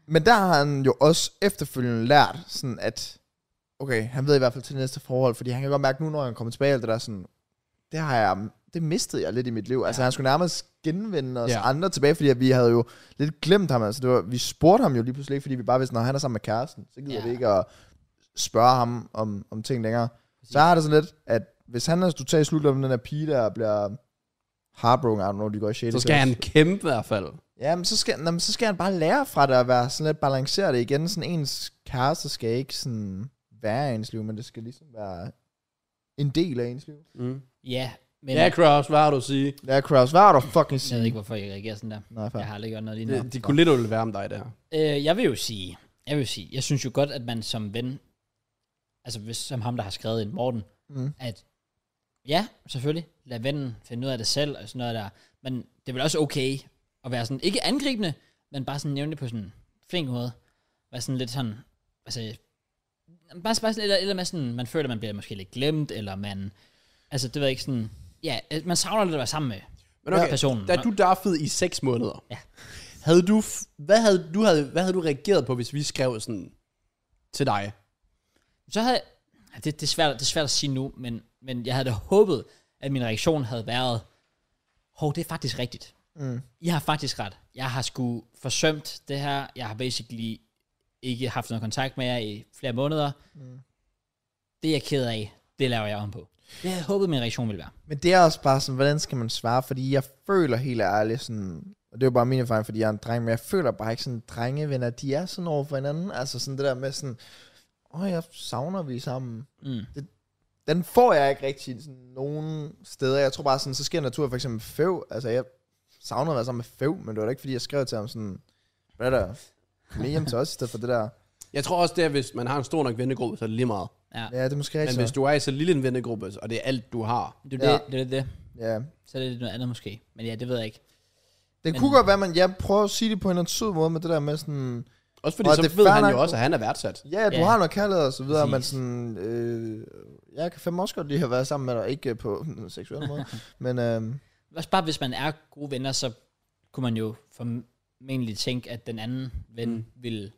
S2: men der har han jo også efterfølgende lært, sådan at, okay, han ved i hvert fald til næste forhold, fordi han kan godt mærke nu, når han kommer tilbage, alt det der sådan, det har jeg, det mistede jeg lidt i mit liv. Altså han skulle nærmest genvinde os
S3: Ja.
S2: ja. andre tilbage, fordi at vi havde jo lidt glemt ham. Altså det var, vi spurgte ham jo lige pludselig, ikke, fordi vi bare vidste, når han er sammen med kæresten, så gider
S1: Ja.
S2: vi ikke at spørge ham om, om ting længere. Så har det sådan lidt, at hvis han er totalt i slutloppen, den her pige, der bliver heartbroken, I don't know, de går i 6.
S3: Så skal
S2: klasse.
S3: han kæmpe i hvert fald.
S2: Ja, men så skal, jamen, så skal han bare lære fra det og være sådan lidt balanceret det igen. Sådan ens kæreste skal ikke sådan være i ens liv, men det skal ligesom være en del af ens liv.
S3: Mm.
S1: Ja, men
S3: Ja, Kraus, hvad har du at sige?
S2: Ja, Kraus, hvad har du fucking
S1: jeg ved
S2: sige?
S1: ikke, hvorfor jeg reagerer sådan der.
S2: Nej, fair.
S1: Jeg har aldrig gjort noget lige
S3: De,
S1: nu.
S3: de kunne lidt undvære være om dig, det her.
S1: Øh, jeg vil jo sige, jeg vil jo sige, jeg synes jo godt, at man som ven, altså hvis, som ham, der har skrevet ind, Morten,
S2: Mm.
S1: at ja, selvfølgelig, lad vennen finde ud af det selv, og sådan noget der, men det er vel også okay at være sådan, ikke angribende, men bare sådan nævne det på sådan en flink måde, være sådan lidt sådan, altså, bare, bare sådan, eller, eller man, sådan, man føler, man bliver måske lidt glemt, eller man, altså det ved jeg ikke sådan, ja, øh, man savner lidt at være sammen med
S3: Men
S1: Ja,
S3: okay,
S1: personen.
S3: da du daffede i 6 måneder,
S1: Ja.
S3: havde du, f- hvad, havde, du havde, hvad havde du reageret på, hvis vi skrev sådan til dig?
S1: Så havde ja, det, det, er svært, det er svært at sige nu, men, men jeg havde da håbet, at min reaktion havde været, hov, det er faktisk rigtigt.
S2: Mm.
S1: I har faktisk ret. Jeg har sgu forsømt det her. Jeg har basically ikke haft noget kontakt med jer i flere måneder. Mm. Det er jeg ked af. Det laver jeg om på. Det havde jeg håbet, min reaktion ville være.
S2: Men det er også bare sådan, hvordan skal man svare? Fordi jeg føler helt ærligt sådan, og det er jo bare min erfaring, fordi jeg er en dreng, men jeg føler bare ikke sådan, drengevenner, de er sådan over for hinanden. Altså sådan det der med sådan, åh, jeg savner vi er sammen.
S1: Mm.
S2: den får jeg ikke rigtig sådan, nogen steder. Jeg tror bare sådan, så sker natur for eksempel Føv. Altså, jeg savner at være sammen med Føv, men det var da ikke, fordi jeg skrev til ham sådan, hvad er der? Kom lige hjem til os, i stedet for det der.
S3: Jeg tror også, det er, hvis man har en stor nok vennegruppe, så er det lige meget.
S1: Ja,
S2: Ja, det er måske
S3: Men
S2: rigtigt.
S3: hvis
S2: så.
S3: du er i så lille en vennegruppe, og det er alt, du har.
S1: det er
S2: Ja.
S1: det, det, er det.
S2: Ja.
S1: Så er det lidt noget andet måske. Men ja, det ved jeg ikke.
S2: Det
S1: Men-
S2: kunne godt være, man ja, prøver at sige det på en eller anden sød måde med det der med sådan,
S3: Også fordi
S2: Og
S3: så
S2: det er
S3: ved
S2: fair
S3: han jo
S2: nok.
S3: også, at han er værdsat.
S2: ja, du
S1: Ja.
S2: ja. har noget kærlighed og så videre, men
S1: Præcis.
S2: sådan, øh, jeg kan fandme også godt lide at være sammen med dig, ikke øh, på en seksuel måde, men øh,
S1: Også bare, hvis man er gode venner, så kunne man jo formentlig tænke, at den anden ven mm. vil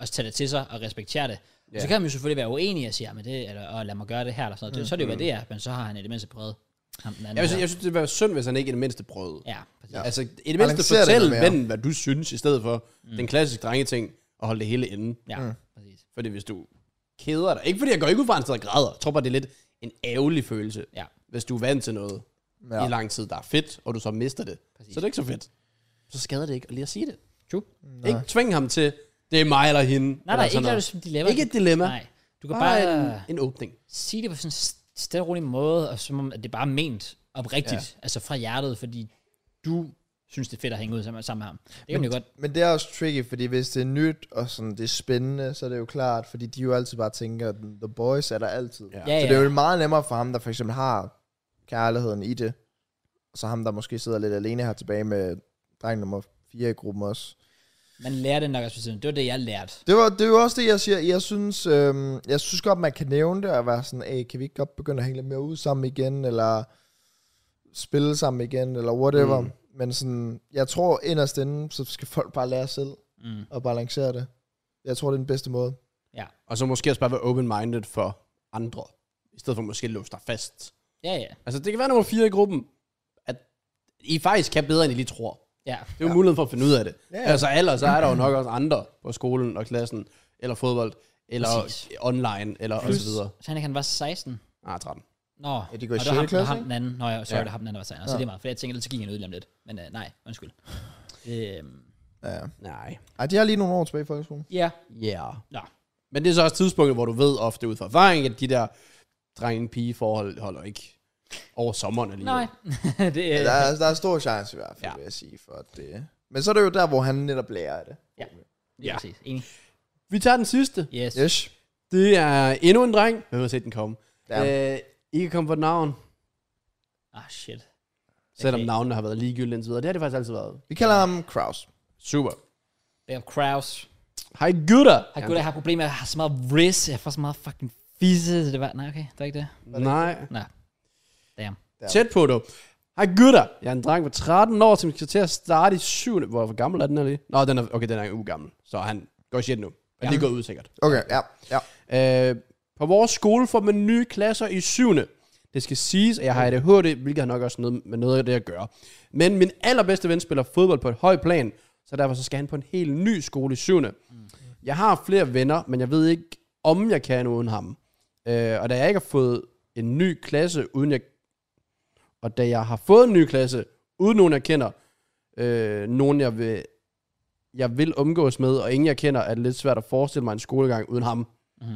S1: også tage det til sig og respektere det. Yeah.
S3: Ja.
S1: Så kan man jo selvfølgelig være uenig og sige, men det, eller, og lad mig gøre det her, eller sådan noget. Mm. Så er det jo, hvad det er, men så har han i det mindste prøvet ham den anden.
S3: Jeg, synes,
S1: her.
S3: jeg synes, det ville være synd, hvis han ikke i det mindste prøvede.
S1: ja, præcis.
S3: Ja.
S1: Ja.
S3: Altså, i det mindste
S2: Balancer det
S3: fortæl
S2: noget mere.
S3: vennen, hvad du synes, i stedet for mm. den klassiske drengeting, og holde det hele inde.
S1: ja mm. præcis.
S3: Fordi hvis du keder dig, ikke fordi jeg går ikke ud fra en sted og græder, jeg tror bare, det er lidt en ærgerlig følelse,
S1: Ja.
S3: hvis du er vant til noget ja. i
S2: ja.
S3: lang tid, der er fedt, og du så mister det.
S1: Præcis.
S3: Præcis. Så er det ikke så fedt. Så skader det ikke at lige at sige det.
S1: True.
S3: Nej. Ikke tvinge ham til, det er mig eller hende.
S1: Nej,
S3: eller
S1: nej,
S3: sådan
S1: ikke lad det
S3: noget.
S1: som et dilemma.
S3: Ikke et dilemma.
S1: Nej, du kan
S3: Bare
S1: bare,
S3: en, en åbning.
S1: sige det på sådan en st- stille og rolig måde, og som om, at det bare er ment oprigtigt, ja. altså fra hjertet, fordi du synes, det er fedt at hænge ud sammen sammen med ham. Det kan man jo godt.
S2: Men det er også tricky, fordi hvis det er nyt, og sådan, det er spændende, så er det jo klart, fordi de jo altid bare tænker, at the boys er der altid.
S3: Ja.
S1: Ja, ja.
S2: Så det er jo meget nemmere for ham, der for eksempel har kærligheden i det, og så ham, der måske sidder lidt alene her tilbage med dreng nummer 4 i gruppen også.
S1: Man lærer det nok også. Det var det, jeg lærte.
S2: Det var, det var også det, jeg siger. Jeg synes, øhm, jeg synes godt, man kan nævne det, og være sådan, hey, kan vi ikke godt begynde at hænge lidt mere ud sammen igen, eller spille sammen igen, eller whatever.
S3: Mm.
S2: Mm. Men sådan, jeg tror inderst inde, så skal folk bare lære selv
S1: Mm.
S2: at balancere det. Jeg tror, det er den bedste måde.
S3: Og så måske også bare være open-minded for andre, i stedet for måske at låse dig fast.
S1: Ja, ja.
S3: Altså, det kan være nummer 4 i gruppen, at I faktisk kan bedre, end I lige tror.
S1: Ja.
S3: Det er jo muligheden for at finde ud af det.
S2: Ja,
S3: Ja,
S2: ja.
S3: ja. Altså ellers så er der jo nok også andre på skolen og klassen, eller fodbold, eller
S1: Præcis.
S3: online, eller og så videre.
S1: Så han, han var 16.
S3: Ah, 13.
S1: Nå, ja,
S2: de går i
S1: og
S2: sjette
S1: ham,
S2: klasse,
S1: og ham
S2: ikke?
S1: den anden. Nå, ja, sorry,
S3: Ja.
S1: ja. det er ham den anden, der var sejren. Så det er meget, for jeg tænkte, ellers så gik han ud lige om lidt. Men øh, nej, undskyld. Øhm,
S2: Ja.
S3: Nej.
S2: Ej, de har lige nogle år tilbage i folkeskolen.
S1: ja,
S3: Ja. Yeah.
S1: Nå.
S3: Men det er så også tidspunktet, hvor du ved ofte ud fra erfaring, at de der drenge-pige-forhold holder ikke over sommeren alligevel.
S1: nej. det,
S2: Ja,
S1: øh,
S2: der, er, der er stor chance i hvert fald, ja.
S3: Ja.
S2: vil jeg sige, for at det... Men så er det jo der, hvor han netop lærer af det.
S1: ja. præcis. Enig.
S3: Vi tager den sidste.
S1: Yes.
S2: Yes.
S3: Det er endnu en dreng. Hvem har set den komme?
S2: Ja.
S3: Øh, I kan komme på et navn,
S1: Ah, shit.
S3: selvom
S1: Okay.
S3: navnene har været ligegyldige indtil videre. Det har det faktisk altid været.
S2: Vi kalder ham Kraus.
S3: Super.
S1: Bear Kraus.
S3: Hej gutter.
S1: Har gud, jeg har problemer. Jeg har så meget wrist. Jeg får så meget fucking fisse. så Det var, nej, okay. Det var ikke det.
S3: Nej.
S1: Nej. Damn.
S3: Tæt på du. Hej gutter. Jeg er en dreng på 13 år, som skal til at starte i 7. Hvor, hvor gammel er den her lige? Nå, den er, okay, den er en uge gammel. Så han går shit nu. Han er lige gået ud sikkert.
S2: Okay, ja. ja.
S3: Øh, på vores skole får man nye klasser i 7. Det skal siges, at jeg har ADHD, hvilket har nok også noget med noget af det at gøre. Men min allerbedste ven spiller fodbold på et højt plan, så derfor så skal han på en helt ny skole i 7. Jeg har flere venner, men jeg ved ikke, om jeg kan uden ham. Øh, og da jeg ikke har fået en ny klasse, uden jeg... Og da jeg har fået en ny klasse, uden nogen jeg kender, øh, nogen jeg vil, jeg vil omgås med, og ingen jeg kender, er det lidt svært at forestille mig en skolegang uden ham. Jeg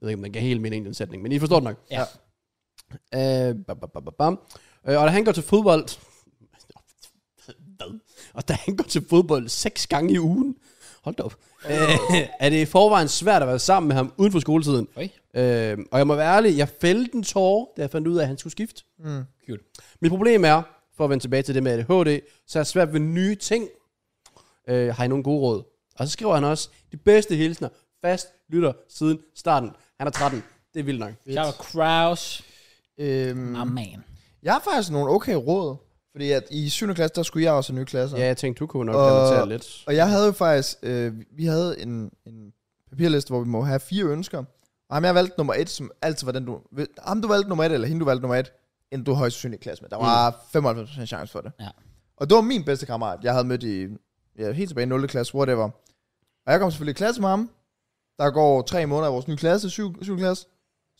S3: ved ikke, om den gav helt mening, den sætning, men I forstår det nok.
S1: Ja.
S3: Øh, bam, bam, bam, bam, bam. Øh, og da han går til fodbold... Hvad? Og da han går til fodbold seks gange i ugen... Hold da op. Øh, er det i forvejen svært at være sammen med ham uden for skoletiden.
S1: Oj.
S3: Øh, og jeg må være ærlig, jeg fældte en tårer, da jeg fandt ud af, at han skulle skifte.
S2: Mm.
S1: Cute.
S3: Mit problem er, for at vende tilbage til det med ADHD, så er jeg svært ved nye ting. Øh, har I nogle gode råd? Og så skriver han også, de bedste hilsner, fast lytter siden starten. Han er 13. Det er vildt nok.
S1: Shout out Kraus.
S2: Øhm,
S1: My man.
S2: jeg har faktisk nogle okay råd, fordi at i 7. klasse, der skulle jeg også have nye klasser.
S3: Ja, jeg tænkte, du kunne nok
S2: Og-
S3: relatere lidt.
S2: Og jeg havde jo faktisk, øh, vi havde en, en papirliste, hvor vi må have fire ønsker. Og ham jeg valgte nummer et, som altid var den du... Ham du valgte nummer et, eller hende du valgte nummer et, end du højst sandsynligt i klasse med. Der var mm. 95% chance for det.
S1: Ja.
S2: Og det var min bedste kammerat, jeg havde mødt i... Ja, helt tilbage i 0. klasse, whatever. Og jeg kom selvfølgelig i klasse med ham. Der går tre måneder i vores nye klasse, 7. 7. klasse.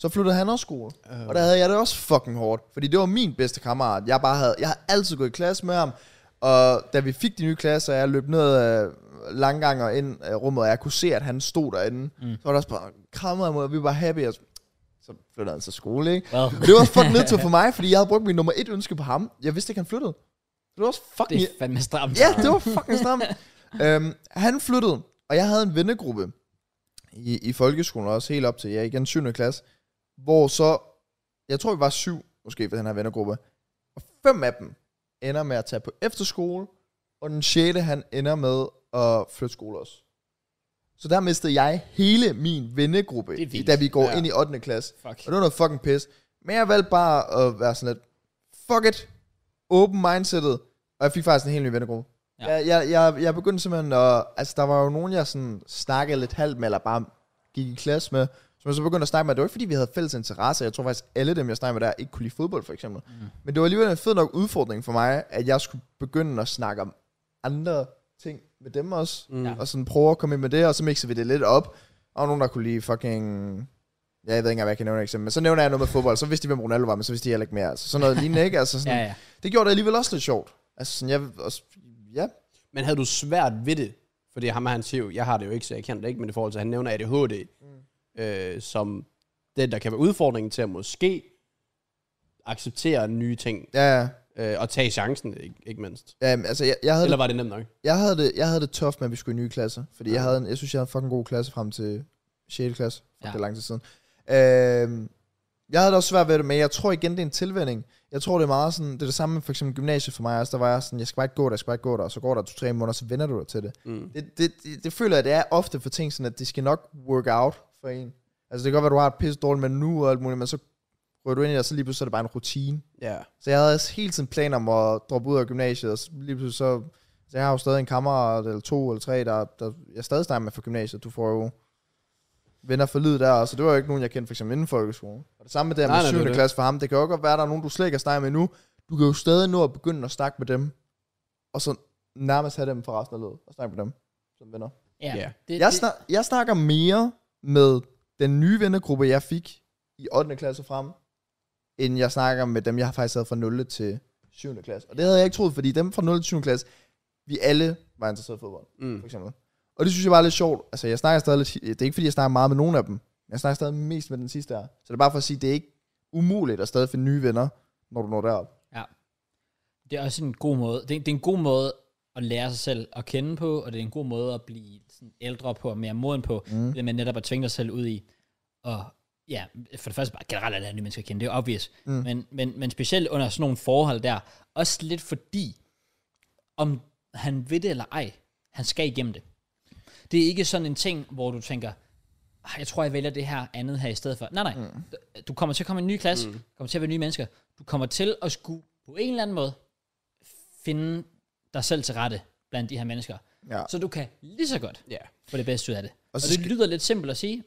S2: Så flyttede han også skole. Og der havde jeg det også fucking hårdt, fordi det var min bedste kammerat. Jeg, bare havde, jeg havde altid gået i klasse med ham, og da vi fik de nye klasser, jeg løb ned øh, langgang og ind i rummet, og jeg kunne se, at han stod derinde, mm. så var der også bare krammet mod, og vi var happy, og så- så flyttede han til skole, ikke?
S1: Well,
S2: Men det var også fucking nedtur for mig, fordi jeg havde brugt min nummer et ønske på ham. Jeg vidste ikke, han flyttede. Det var også
S1: det
S2: fucking...
S1: er fandme stramt.
S2: Ja, det var fucking stramt. øhm, han flyttede, og jeg havde en vennegruppe i, i folkeskolen også, helt op til, ja, igen 7. klasse, hvor så, jeg tror vi var syv, måske, ved den her vennegruppe, og fem af dem ender med at tage på efterskole, og den sjette, han ender med at flytte skole også. Så der mistede jeg hele min vennegruppe,
S1: Det er vildt.
S2: da vi går
S3: Ja.
S2: ja. ind i 8. klasse.
S1: Fuck.
S2: Og det var noget fucking pis. Men jeg valgte bare at være sådan lidt, fuck it, open mindsetet, og jeg fik faktisk en helt ny vennegruppe.
S1: Ja.
S2: Ja. Jeg, jeg, jeg, jeg begyndte simpelthen at, altså der var jo nogen, jeg sådan snakkede lidt halvt med, eller bare gik i klasse med, som jeg så begyndte at snakke med. Det var ikke fordi, vi havde fælles interesse. Jeg tror faktisk, alle dem, jeg snakkede med der, ikke kunne lide fodbold for eksempel. Mm. Men det var alligevel en fed nok udfordring for mig, at jeg skulle begynde at snakke om andre ting med dem også. Mm. Og sådan prøve at komme ind med det, og så mixer vi det lidt op. Og nogen, der kunne lide fucking Ja, jeg ved ikke engang, hvad jeg kan nævne et eksempel. Men så nævner jeg noget med fodbold, så vidste de, hvem Ronaldo var, men så vidste de heller ikke mere. Altså, sådan noget lignende, ikke? Altså, sådan,
S1: Ja,
S2: ja, ja.
S1: ja.
S2: Det gjorde det alligevel også lidt sjovt. Altså, sådan, jeg, også, ja.
S3: Men havde du svært ved det? Fordi ham og han siger jo, jeg har det jo ikke, så jeg kan det ikke, men i forhold til, at han nævner ADHD, mm. øh, som den, der kan være udfordringen til at måske acceptere nye ting,
S2: Ja, ja.
S3: øh, og tage chancen, ikke, ikke mindst.
S2: ja men altså, jeg, jeg, havde
S3: Eller
S2: det,
S3: var det nemt nok?
S2: jeg, havde det, jeg havde det tough med, at vi skulle i nye klasser. Fordi jeg, havde en, jeg synes, jeg havde en fucking god klasse frem til 6. klasse. For
S1: Ja.
S2: ja. det er lang tid siden. Øhm, jeg havde det også svært ved det, men jeg tror igen, det er en tilvænning. Jeg tror, det er meget sådan, det er det samme med for eksempel gymnasiet for mig også. Der var jeg sådan, jeg skal bare ikke gå der, jeg skal bare ikke gå der, og så går der to-tre måneder, så vender du dig til det.
S3: Mm.
S2: det, det, det, det føler jeg, det er ofte for ting sådan, at det skal nok work out for en. Altså det kan godt være, du har et pisse dårligt med nu og alt muligt, men så rører du ind i det, og så lige pludselig er det bare en rutine.
S3: Ja.
S2: Så jeg havde også hele tiden planer om at droppe ud af gymnasiet, og så lige pludselig så... Så jeg har jo stadig en kammerat, eller to eller tre, der, der jeg stadig snakker med fra gymnasiet. Du får jo venner for lyd der, så det var jo ikke nogen, jeg kendte for eksempel inden folkeskolen. Og det samme med det her
S3: Nej,
S2: med
S3: nej, det er
S2: 7.
S3: det.
S2: klasse for ham. Det kan jo godt være, at der er nogen, du slet ikke har snakket med nu. Du kan jo stadig nå at begynde at snakke med dem. Og så nærmest have dem fra resten af løbet og snakke med dem som venner.
S1: Ja,
S3: Ja.
S1: Det,
S2: Jeg,
S1: det-
S2: snak, jeg snakker mere med den nye vennegruppe, jeg fik i 8. klasse frem, end jeg snakker med dem, jeg faktisk havde fra 0. til 7. klasse. Og det havde jeg ikke troet, fordi dem fra 0. til 7. klasse, vi alle var interesseret i fodbold,
S3: Mm.
S2: for eksempel. Og det synes jeg bare er lidt sjovt. Altså, jeg snakker stadig lidt, det er ikke, fordi jeg snakker meget med nogen af dem, men jeg snakker stadig mest med den sidste her. Så det er bare for at sige, det er ikke umuligt at stadig finde nye venner, når du når derop.
S1: det er også en god måde. Det, det er en god måde at lære sig selv at kende på, og det er en god måde at blive sådan ældre på, og mere moden på, mm. det med netop at tvinge dig selv ud i. Og ja, for det første bare generelt at lære nye mennesker at kende, det er obvious. Mm. Men, men, men specielt under sådan nogle forhold der, også lidt fordi, om han ved det eller ej, han skal igennem det. Det er ikke sådan en ting, hvor du tænker, "Ah, jeg tror, jeg vælger det her andet her i stedet for. Nej, nej. Mm. Du kommer til at komme i en ny klasse, mm. kommer til at være nye mennesker. Du kommer til at skulle på en eller anden måde finde dig selv til rette blandt de her mennesker.
S2: Ja.
S1: Så du kan lige så godt
S3: Ja.
S1: få det bedste ud af det. Og,
S2: så
S1: og det
S2: skal-
S1: lyder lidt simpelt at sige,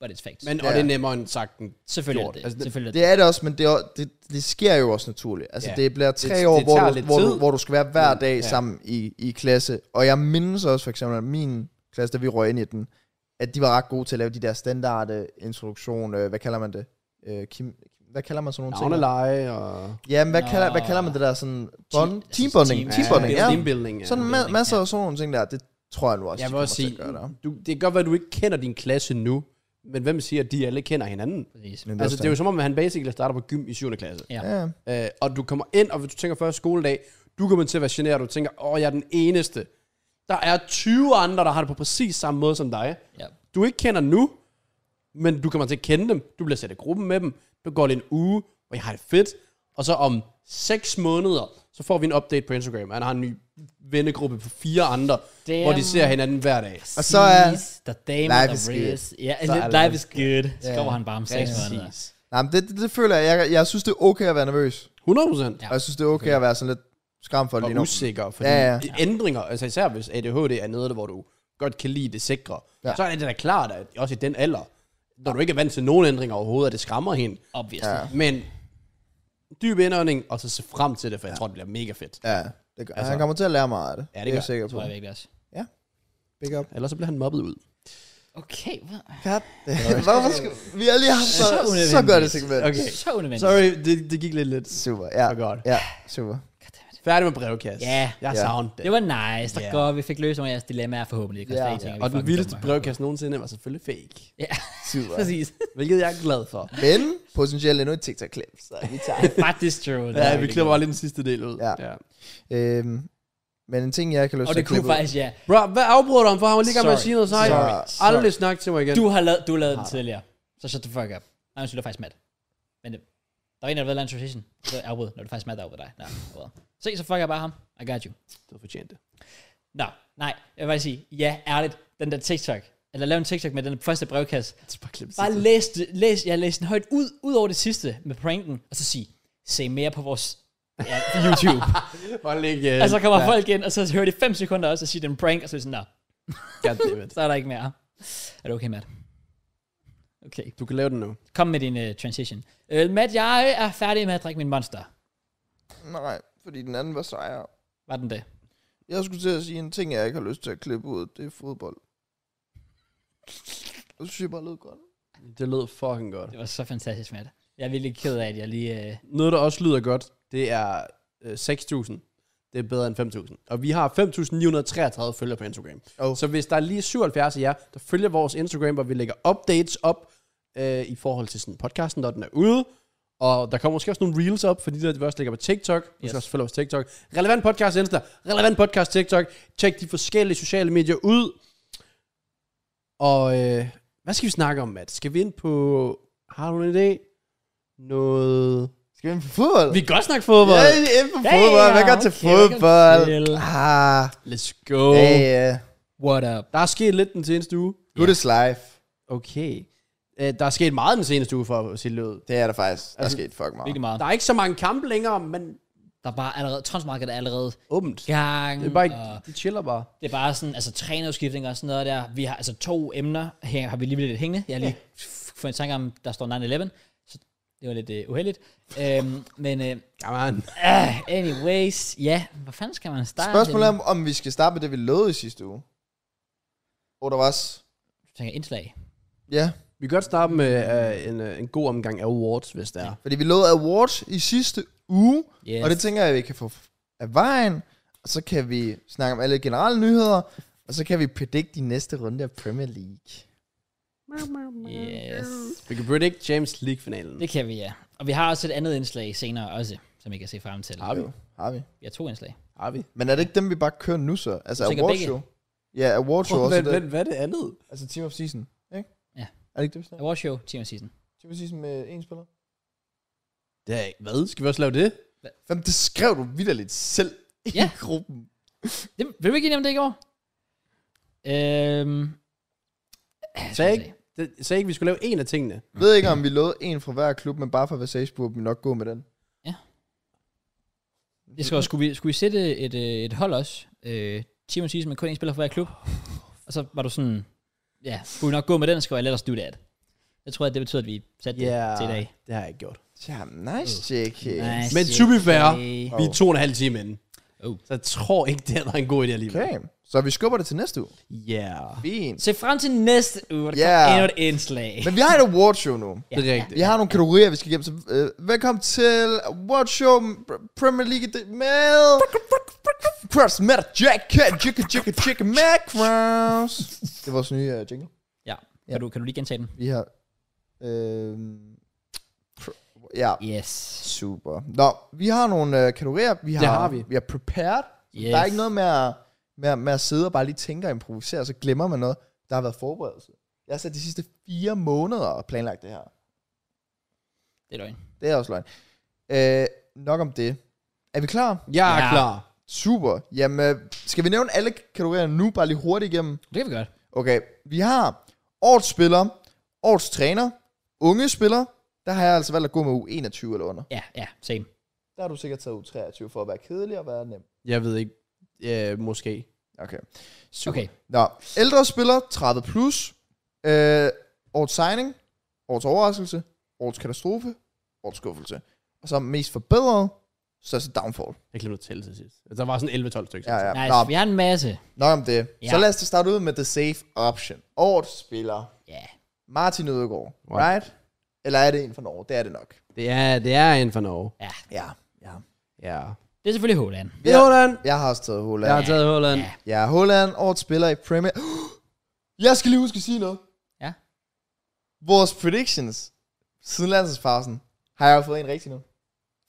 S1: but it's facts.
S3: Men,
S1: Men,
S3: og det er nemmere end sagt end
S1: selvfølgelig er
S3: gjort.
S1: det,
S3: Altså,
S1: altså,
S3: det-
S1: selvfølgelig er det.
S2: Det er det også, men det, er jo- det, det sker jo også naturligt. Altså,
S3: Ja.
S2: ja. det bliver tre
S3: Det-
S2: år,
S3: det
S2: hvor
S3: tager
S2: du,
S3: lidt
S2: hvor,
S3: tid.
S2: du, hvor du skal være hver dag
S3: ja.
S2: ja. sammen i, i klasse. Og jeg mindes også for eksempel, at min klasse, da vi røg ind i den, at de var ret gode til at lave de der standard øh, introduktion, øh, hvad kalder man det? Øh, Kim, hvad kalder man sådan nogle ting?
S3: navneleje og...
S2: Ja, men hvad,
S1: Nå.
S2: kalder, hvad kalder man det der sådan? Bond?
S1: altså
S2: Teambonding.
S1: team-
S2: Teambonding, ja.
S3: Teambuilding, ja.
S2: Sådan ma-
S1: teambuilding,
S2: masser
S1: ja.
S2: af sådan nogle ting der, det tror jeg nu også,
S3: jeg
S2: de
S3: vil også
S2: kommer til
S3: sige,
S2: at gøre der. Men
S3: du, det kan godt være, at du ikke kender din klasse nu, men hvem siger, at de alle kender hinanden?
S1: Præcis.
S2: er
S3: Altså,
S2: også
S3: det er jo som om, at han basically starter på gym i 7. klasse.
S1: Ja.
S2: Ja,
S3: Øh, og du kommer ind, og hvis du tænker første skoledag, du kommer til at være generet, og du tænker, åh, jeg er den eneste. Der er 20 andre, der har det på præcis samme måde som dig.
S1: Ja.
S3: Du ikke kender nu, men du kommer til at kende dem. Du bliver sat i gruppen med dem. Du går lige en uge, og jeg har det fedt. Og så om 6 måneder, så får vi en update på Instagram. Han har en ny vennegruppe på fire andre,
S1: Damn.
S3: hvor de ser hinanden hver dag.
S2: Og så er-
S1: The damn
S2: Life
S1: the
S2: is good.
S1: race. Ja,
S3: Så er
S1: life
S3: life
S1: is good. Så kommer han bare om seks måneder.
S3: Præcis.
S2: Nej, men det, det, det føler jeg. jeg. Jeg synes, det er okay at være nervøs.
S3: 100 procent.
S1: Ja.
S3: Ja.
S2: Og jeg synes, det er okay at være sådan lidt skræmt for det lige
S3: Og
S2: nu.
S3: usikker, fordi
S2: Ja,
S3: ja,
S2: ja.
S3: ja. ændringer, altså især hvis ADHD er noget, hvor du godt kan lide det sikre, ja.
S2: Ja.
S3: så er det da klart, at også i den alder, når du ikke er vant til nogen ændringer overhovedet, at det skræmmer hende.
S1: Obviously. Ja.
S3: Men dyb indånding, og så se frem til det, for jeg tror, det bliver mega fedt.
S2: Ja, det gør.
S3: Altså-
S2: Altså, han kommer til at lære meget af det.
S3: Ja, det
S2: er
S3: gør
S2: jeg sikker
S1: Det
S2: på.
S1: tror jeg virkelig også.
S2: Big up.
S3: Ellers så bliver han mobbet ud.
S1: Okay, hvad?
S2: God. Hvorfor skal vi har lige haft så,
S1: Så
S2: så,
S1: unødvendigt.
S2: så godt et segment.
S3: Okay.
S1: Så unødvendigt.
S3: Sorry, det, det gik lidt lidt.
S2: Super, ja.
S3: For godt.
S2: Ja, super.
S3: Færdig med brevkast.
S1: Ja.
S3: Jeg
S2: Ja.
S3: savner
S1: Det
S3: det.
S1: var nice. Der
S3: Ja.
S1: går, vi fik løst nogle af jeres dilemmaer forhåbentlig. Det koster
S2: Ja.
S1: ikke ting, vi
S3: Og den
S1: fucking
S3: vildeste
S1: dummer.
S3: brevkast nogensinde var selvfølgelig fake.
S1: Ja,
S2: Super.
S1: præcis.
S3: Hvilket jeg er glad for.
S2: Men potentielt endnu et TikTok-klip, så vi tager det.
S1: Faktisk true. Det er
S3: Ja, vi
S1: virkelig
S3: klipper
S1: godt.
S3: bare lige den sidste del ud.
S2: Ja. øhm, men en ting, jeg kan lyst
S1: Og
S2: til
S1: det
S2: at
S1: kunne
S2: klippe ud-
S1: faktisk, ja.
S3: Bro, hvad afbryder du ham for? Han var lige i gang med at
S1: Sorry.
S3: sige noget sejt.
S2: Sorry.
S3: Aldrig snak til mig igen.
S1: Du har lavet, du lavede den tidligere. Så shut the fuck up. Nej, undskyld, det var faktisk Matt. Men det, der var en, der lavede en transition. Så jeg afbrød, når det var faktisk Matt, der afbrød dig. Nej, afbrød. Se, så fucker jeg bare ham. I got you.
S3: Du fortjente det.
S1: Nå, nej, jeg vil bare sige, ja, ærligt, den der TikTok, eller lav en TikTok med den første brevkasse.
S3: Så bare klip
S1: Bare læs, det- læs, jeg læs den højt ud, ud over det sidste med pranken, og så sig, se mere på vores ja, YouTube.
S3: Hold ikke.
S1: og så kommer folk ind, og så hører de 5 sekunder også, og siger den prank, og så er det sådan, nå,
S3: Goddammit.
S1: så er der ikke mere. Er det okay, Matt? Okay,
S3: Du kan lave den nu.
S1: kom med din uh, transition. Øh, Matt, jeg er færdig med at drikke min monster.
S2: Nej, fordi den anden var sejere.
S1: Var den det?
S2: Jeg skulle til at sige en ting, jeg ikke har lyst til at klippe ud, det er fodbold. Det synes jeg bare lød godt.
S3: Det lød fucking godt.
S1: Det var så fantastisk, Matt. Jeg er virkelig ked af, at jeg lige... Uh,
S3: Noget, der også lyder godt, det er øh, 6.000. Det er bedre end 5.000. Og vi har 5.933 følgere på Instagram.
S2: Oh.
S3: Så hvis der er lige 77 af jer, der følger vores Instagram, hvor vi lægger updates op øh, i forhold til sådan podcasten, når den er ude. Og der kommer måske også nogle reels op, fordi der vi også ligger på TikTok. Du
S1: Yes.
S3: skal også følge vores TikTok. Relevant podcast Insta, relevant podcast TikTok. Tjek de forskellige sociale medier ud. Og øh, hvad skal vi snakke om, Matt? Skal vi ind på... Har du en idé? Noget...
S2: Skal vi ind på fodbold?
S3: Vi kan godt snakke fodbold.
S2: Ja, ind på fodbold. Hvad går til
S1: okay,
S2: fodbold?
S1: velkommen
S2: Ah,
S3: Let's go.
S2: ja, ja.
S1: What up?
S3: Der er sket lidt den seneste uge.
S2: Good is life.
S3: Okay. Øh, der er sket meget den seneste uge for at sige det ud.
S2: Det er der faktisk. Der er
S3: Altså,
S2: sket fuck meget.
S1: Virkelig meget.
S3: Der er ikke så mange kampe længere, men
S1: Der er bare allerede, transmarkedet er allerede
S3: åbent.
S1: gang.
S3: Det er bare ikke,
S1: og
S3: de chiller bare.
S1: det er bare sådan, altså trænerudskiftninger og sådan noget der. Vi har altså to emner, her har vi lige lidt hængende. Jeg har lige yeah. fået en tanke om, der står 9-11. Så Det var lidt øh, uheldigt. øhm, men øh,
S3: Jamen,
S1: ah, anyways, ja, hvor fanden skal man starte?
S2: Spørgsmålet er, om vi skal starte med det, vi lovede i sidste uge. Hvor der var... s-
S1: Jeg tænker indslag.
S2: Ja,
S3: vi kan godt starte med uh, en, uh, en god omgang af awards, hvis det er.
S2: fordi vi lovede awards i sidste uge,
S1: Yes.
S2: og det tænker jeg, at vi kan få af vejen. Og så kan vi snakke om alle generelle nyheder, og så kan vi predict de næste runde af Premier League.
S1: yes.
S3: Vi kan predict James League-finalen.
S1: Det kan vi, ja. Og vi har også et andet indslag senere også, som I kan se frem til.
S3: Har vi?
S2: Har vi.
S1: Vi har to indslag.
S3: Har vi?
S2: Men er det ikke dem, vi bare kører nu så? Altså
S1: Du tænker
S2: awards
S1: begge?
S2: show? Ja, awards show også.
S3: Hvad,
S2: det.
S3: hvad, hvad er det andet?
S2: Altså Team of Season, ikke?
S1: Ja.
S2: Er det ikke det, vi snakker?
S1: Award show, Team of Season.
S2: Team of Season med én spiller?
S3: Det er, hvad? Skal vi også lave det?
S2: Jamen, det skrev du vidderligt selv i
S1: Ja.
S2: gruppen.
S1: Det, vil du ikke enige om det i går? Øhm,
S3: Sagde ikke, det, sagde ikke, vi skulle lave en af tingene.
S2: Jeg ved ikke, om vi lovede en fra hver klub, men bare for at være safe, burde vi nok gå med den.
S1: Ja. Jeg skal også, skulle, vi, skulle vi sætte et, øh, et hold også? Øh, Team of Season med kun én spiller fra hver klub. Og så var du sådan, ja, skulle vi nok gå med den, skal jeg lade os do that. Jeg tror, at det betyder, at vi satte det
S3: Ja,
S1: til i dag.
S3: det har jeg ikke gjort.
S2: Ja, nice, JK.
S1: Nice,
S3: Men to be fair,
S1: okay.
S3: Vi er to og en halv time inde.
S1: Oh.
S3: Så jeg tror ikke, det var en god idé alligevel.
S2: Okay, så vi skubber det til næste uge.
S3: Yeah.
S2: Fint.
S1: Se frem til næste uge, hvor der
S2: Ja.
S1: yeah. kommer endnu et indslag.
S2: Men vi har et award show nu.
S3: Det er rigtigt.
S2: Vi har nogle kategorier, vi skal igennem. Så, øh, velkommen til award show pr- Premier League det- med... Cross med Jack, Jack, Jack, Jack, Macross. Det er vores nye uh, jingle.
S1: Ja.
S2: Ja.
S1: Kan, du, kan du lige gentage den?
S2: Vi har... Øh, pr- ja,
S1: Yes.
S2: Super. Nå, vi har nogle øh, kategorier. Vi har,
S3: har vi.
S2: Vi har prepared. Yes.
S1: Yes.
S2: Der er ikke noget med at, med, at- med at sidde og bare lige tænke og improvisere, og så glemmer man noget. Der har været forberedelse. Jeg har sat de sidste fire måneder og planlagt det her.
S1: Det er løgn.
S2: Det er også løgn. Øh, nok om det. Er vi klar?
S3: Jeg er
S1: Ja.
S3: klar.
S2: Super. Jamen, øh, skal vi nævne alle kategorier nu, bare lige hurtigt igennem?
S1: Det kan vi godt.
S2: Okay, vi har årets spiller, årets træner, unge spiller. Der har jeg altså valgt at gå med U21 eller under.
S1: Ja, ja, same.
S2: Der har du sikkert taget U23 for at være kedelig og være nem.
S3: Jeg ved ikke. Øh, måske.
S2: Okay.
S1: Okay.
S2: Nå, ældre spiller, 30 plus, øh, årets signing, årets overraskelse, årets katastrofe, årets skuffelse. Og så mest forbedret, største downfall.
S3: Jeg glemte at tælle til sidst. Altså, Der var sådan 11-12 stykker.
S2: Ja, ja.
S1: Nice.
S2: Nå,
S1: Vi har en masse.
S2: nok om det.
S1: Ja.
S2: Så lad os da starte ud med the safe option. Årets spiller,
S1: Ja.
S2: Martin Ødegaard,
S3: Wow.
S2: right? Eller er det en fra Norge? Det er det nok.
S3: Det er, det er en for Norge.
S1: Ja.
S2: Ja, ja.
S3: Ja.
S1: Det er selvfølgelig Holland.
S3: Det er Holland.
S2: Jeg har også taget
S3: Jeg
S2: Holland.
S3: har taget Holland.
S1: Ja.
S2: Ja, Holland, årets spiller i Premier. Jeg skal lige huske at sige noget.
S1: Ja.
S2: Vores predictions siden landsholdsfasen har jeg jo fået en rigtig nu.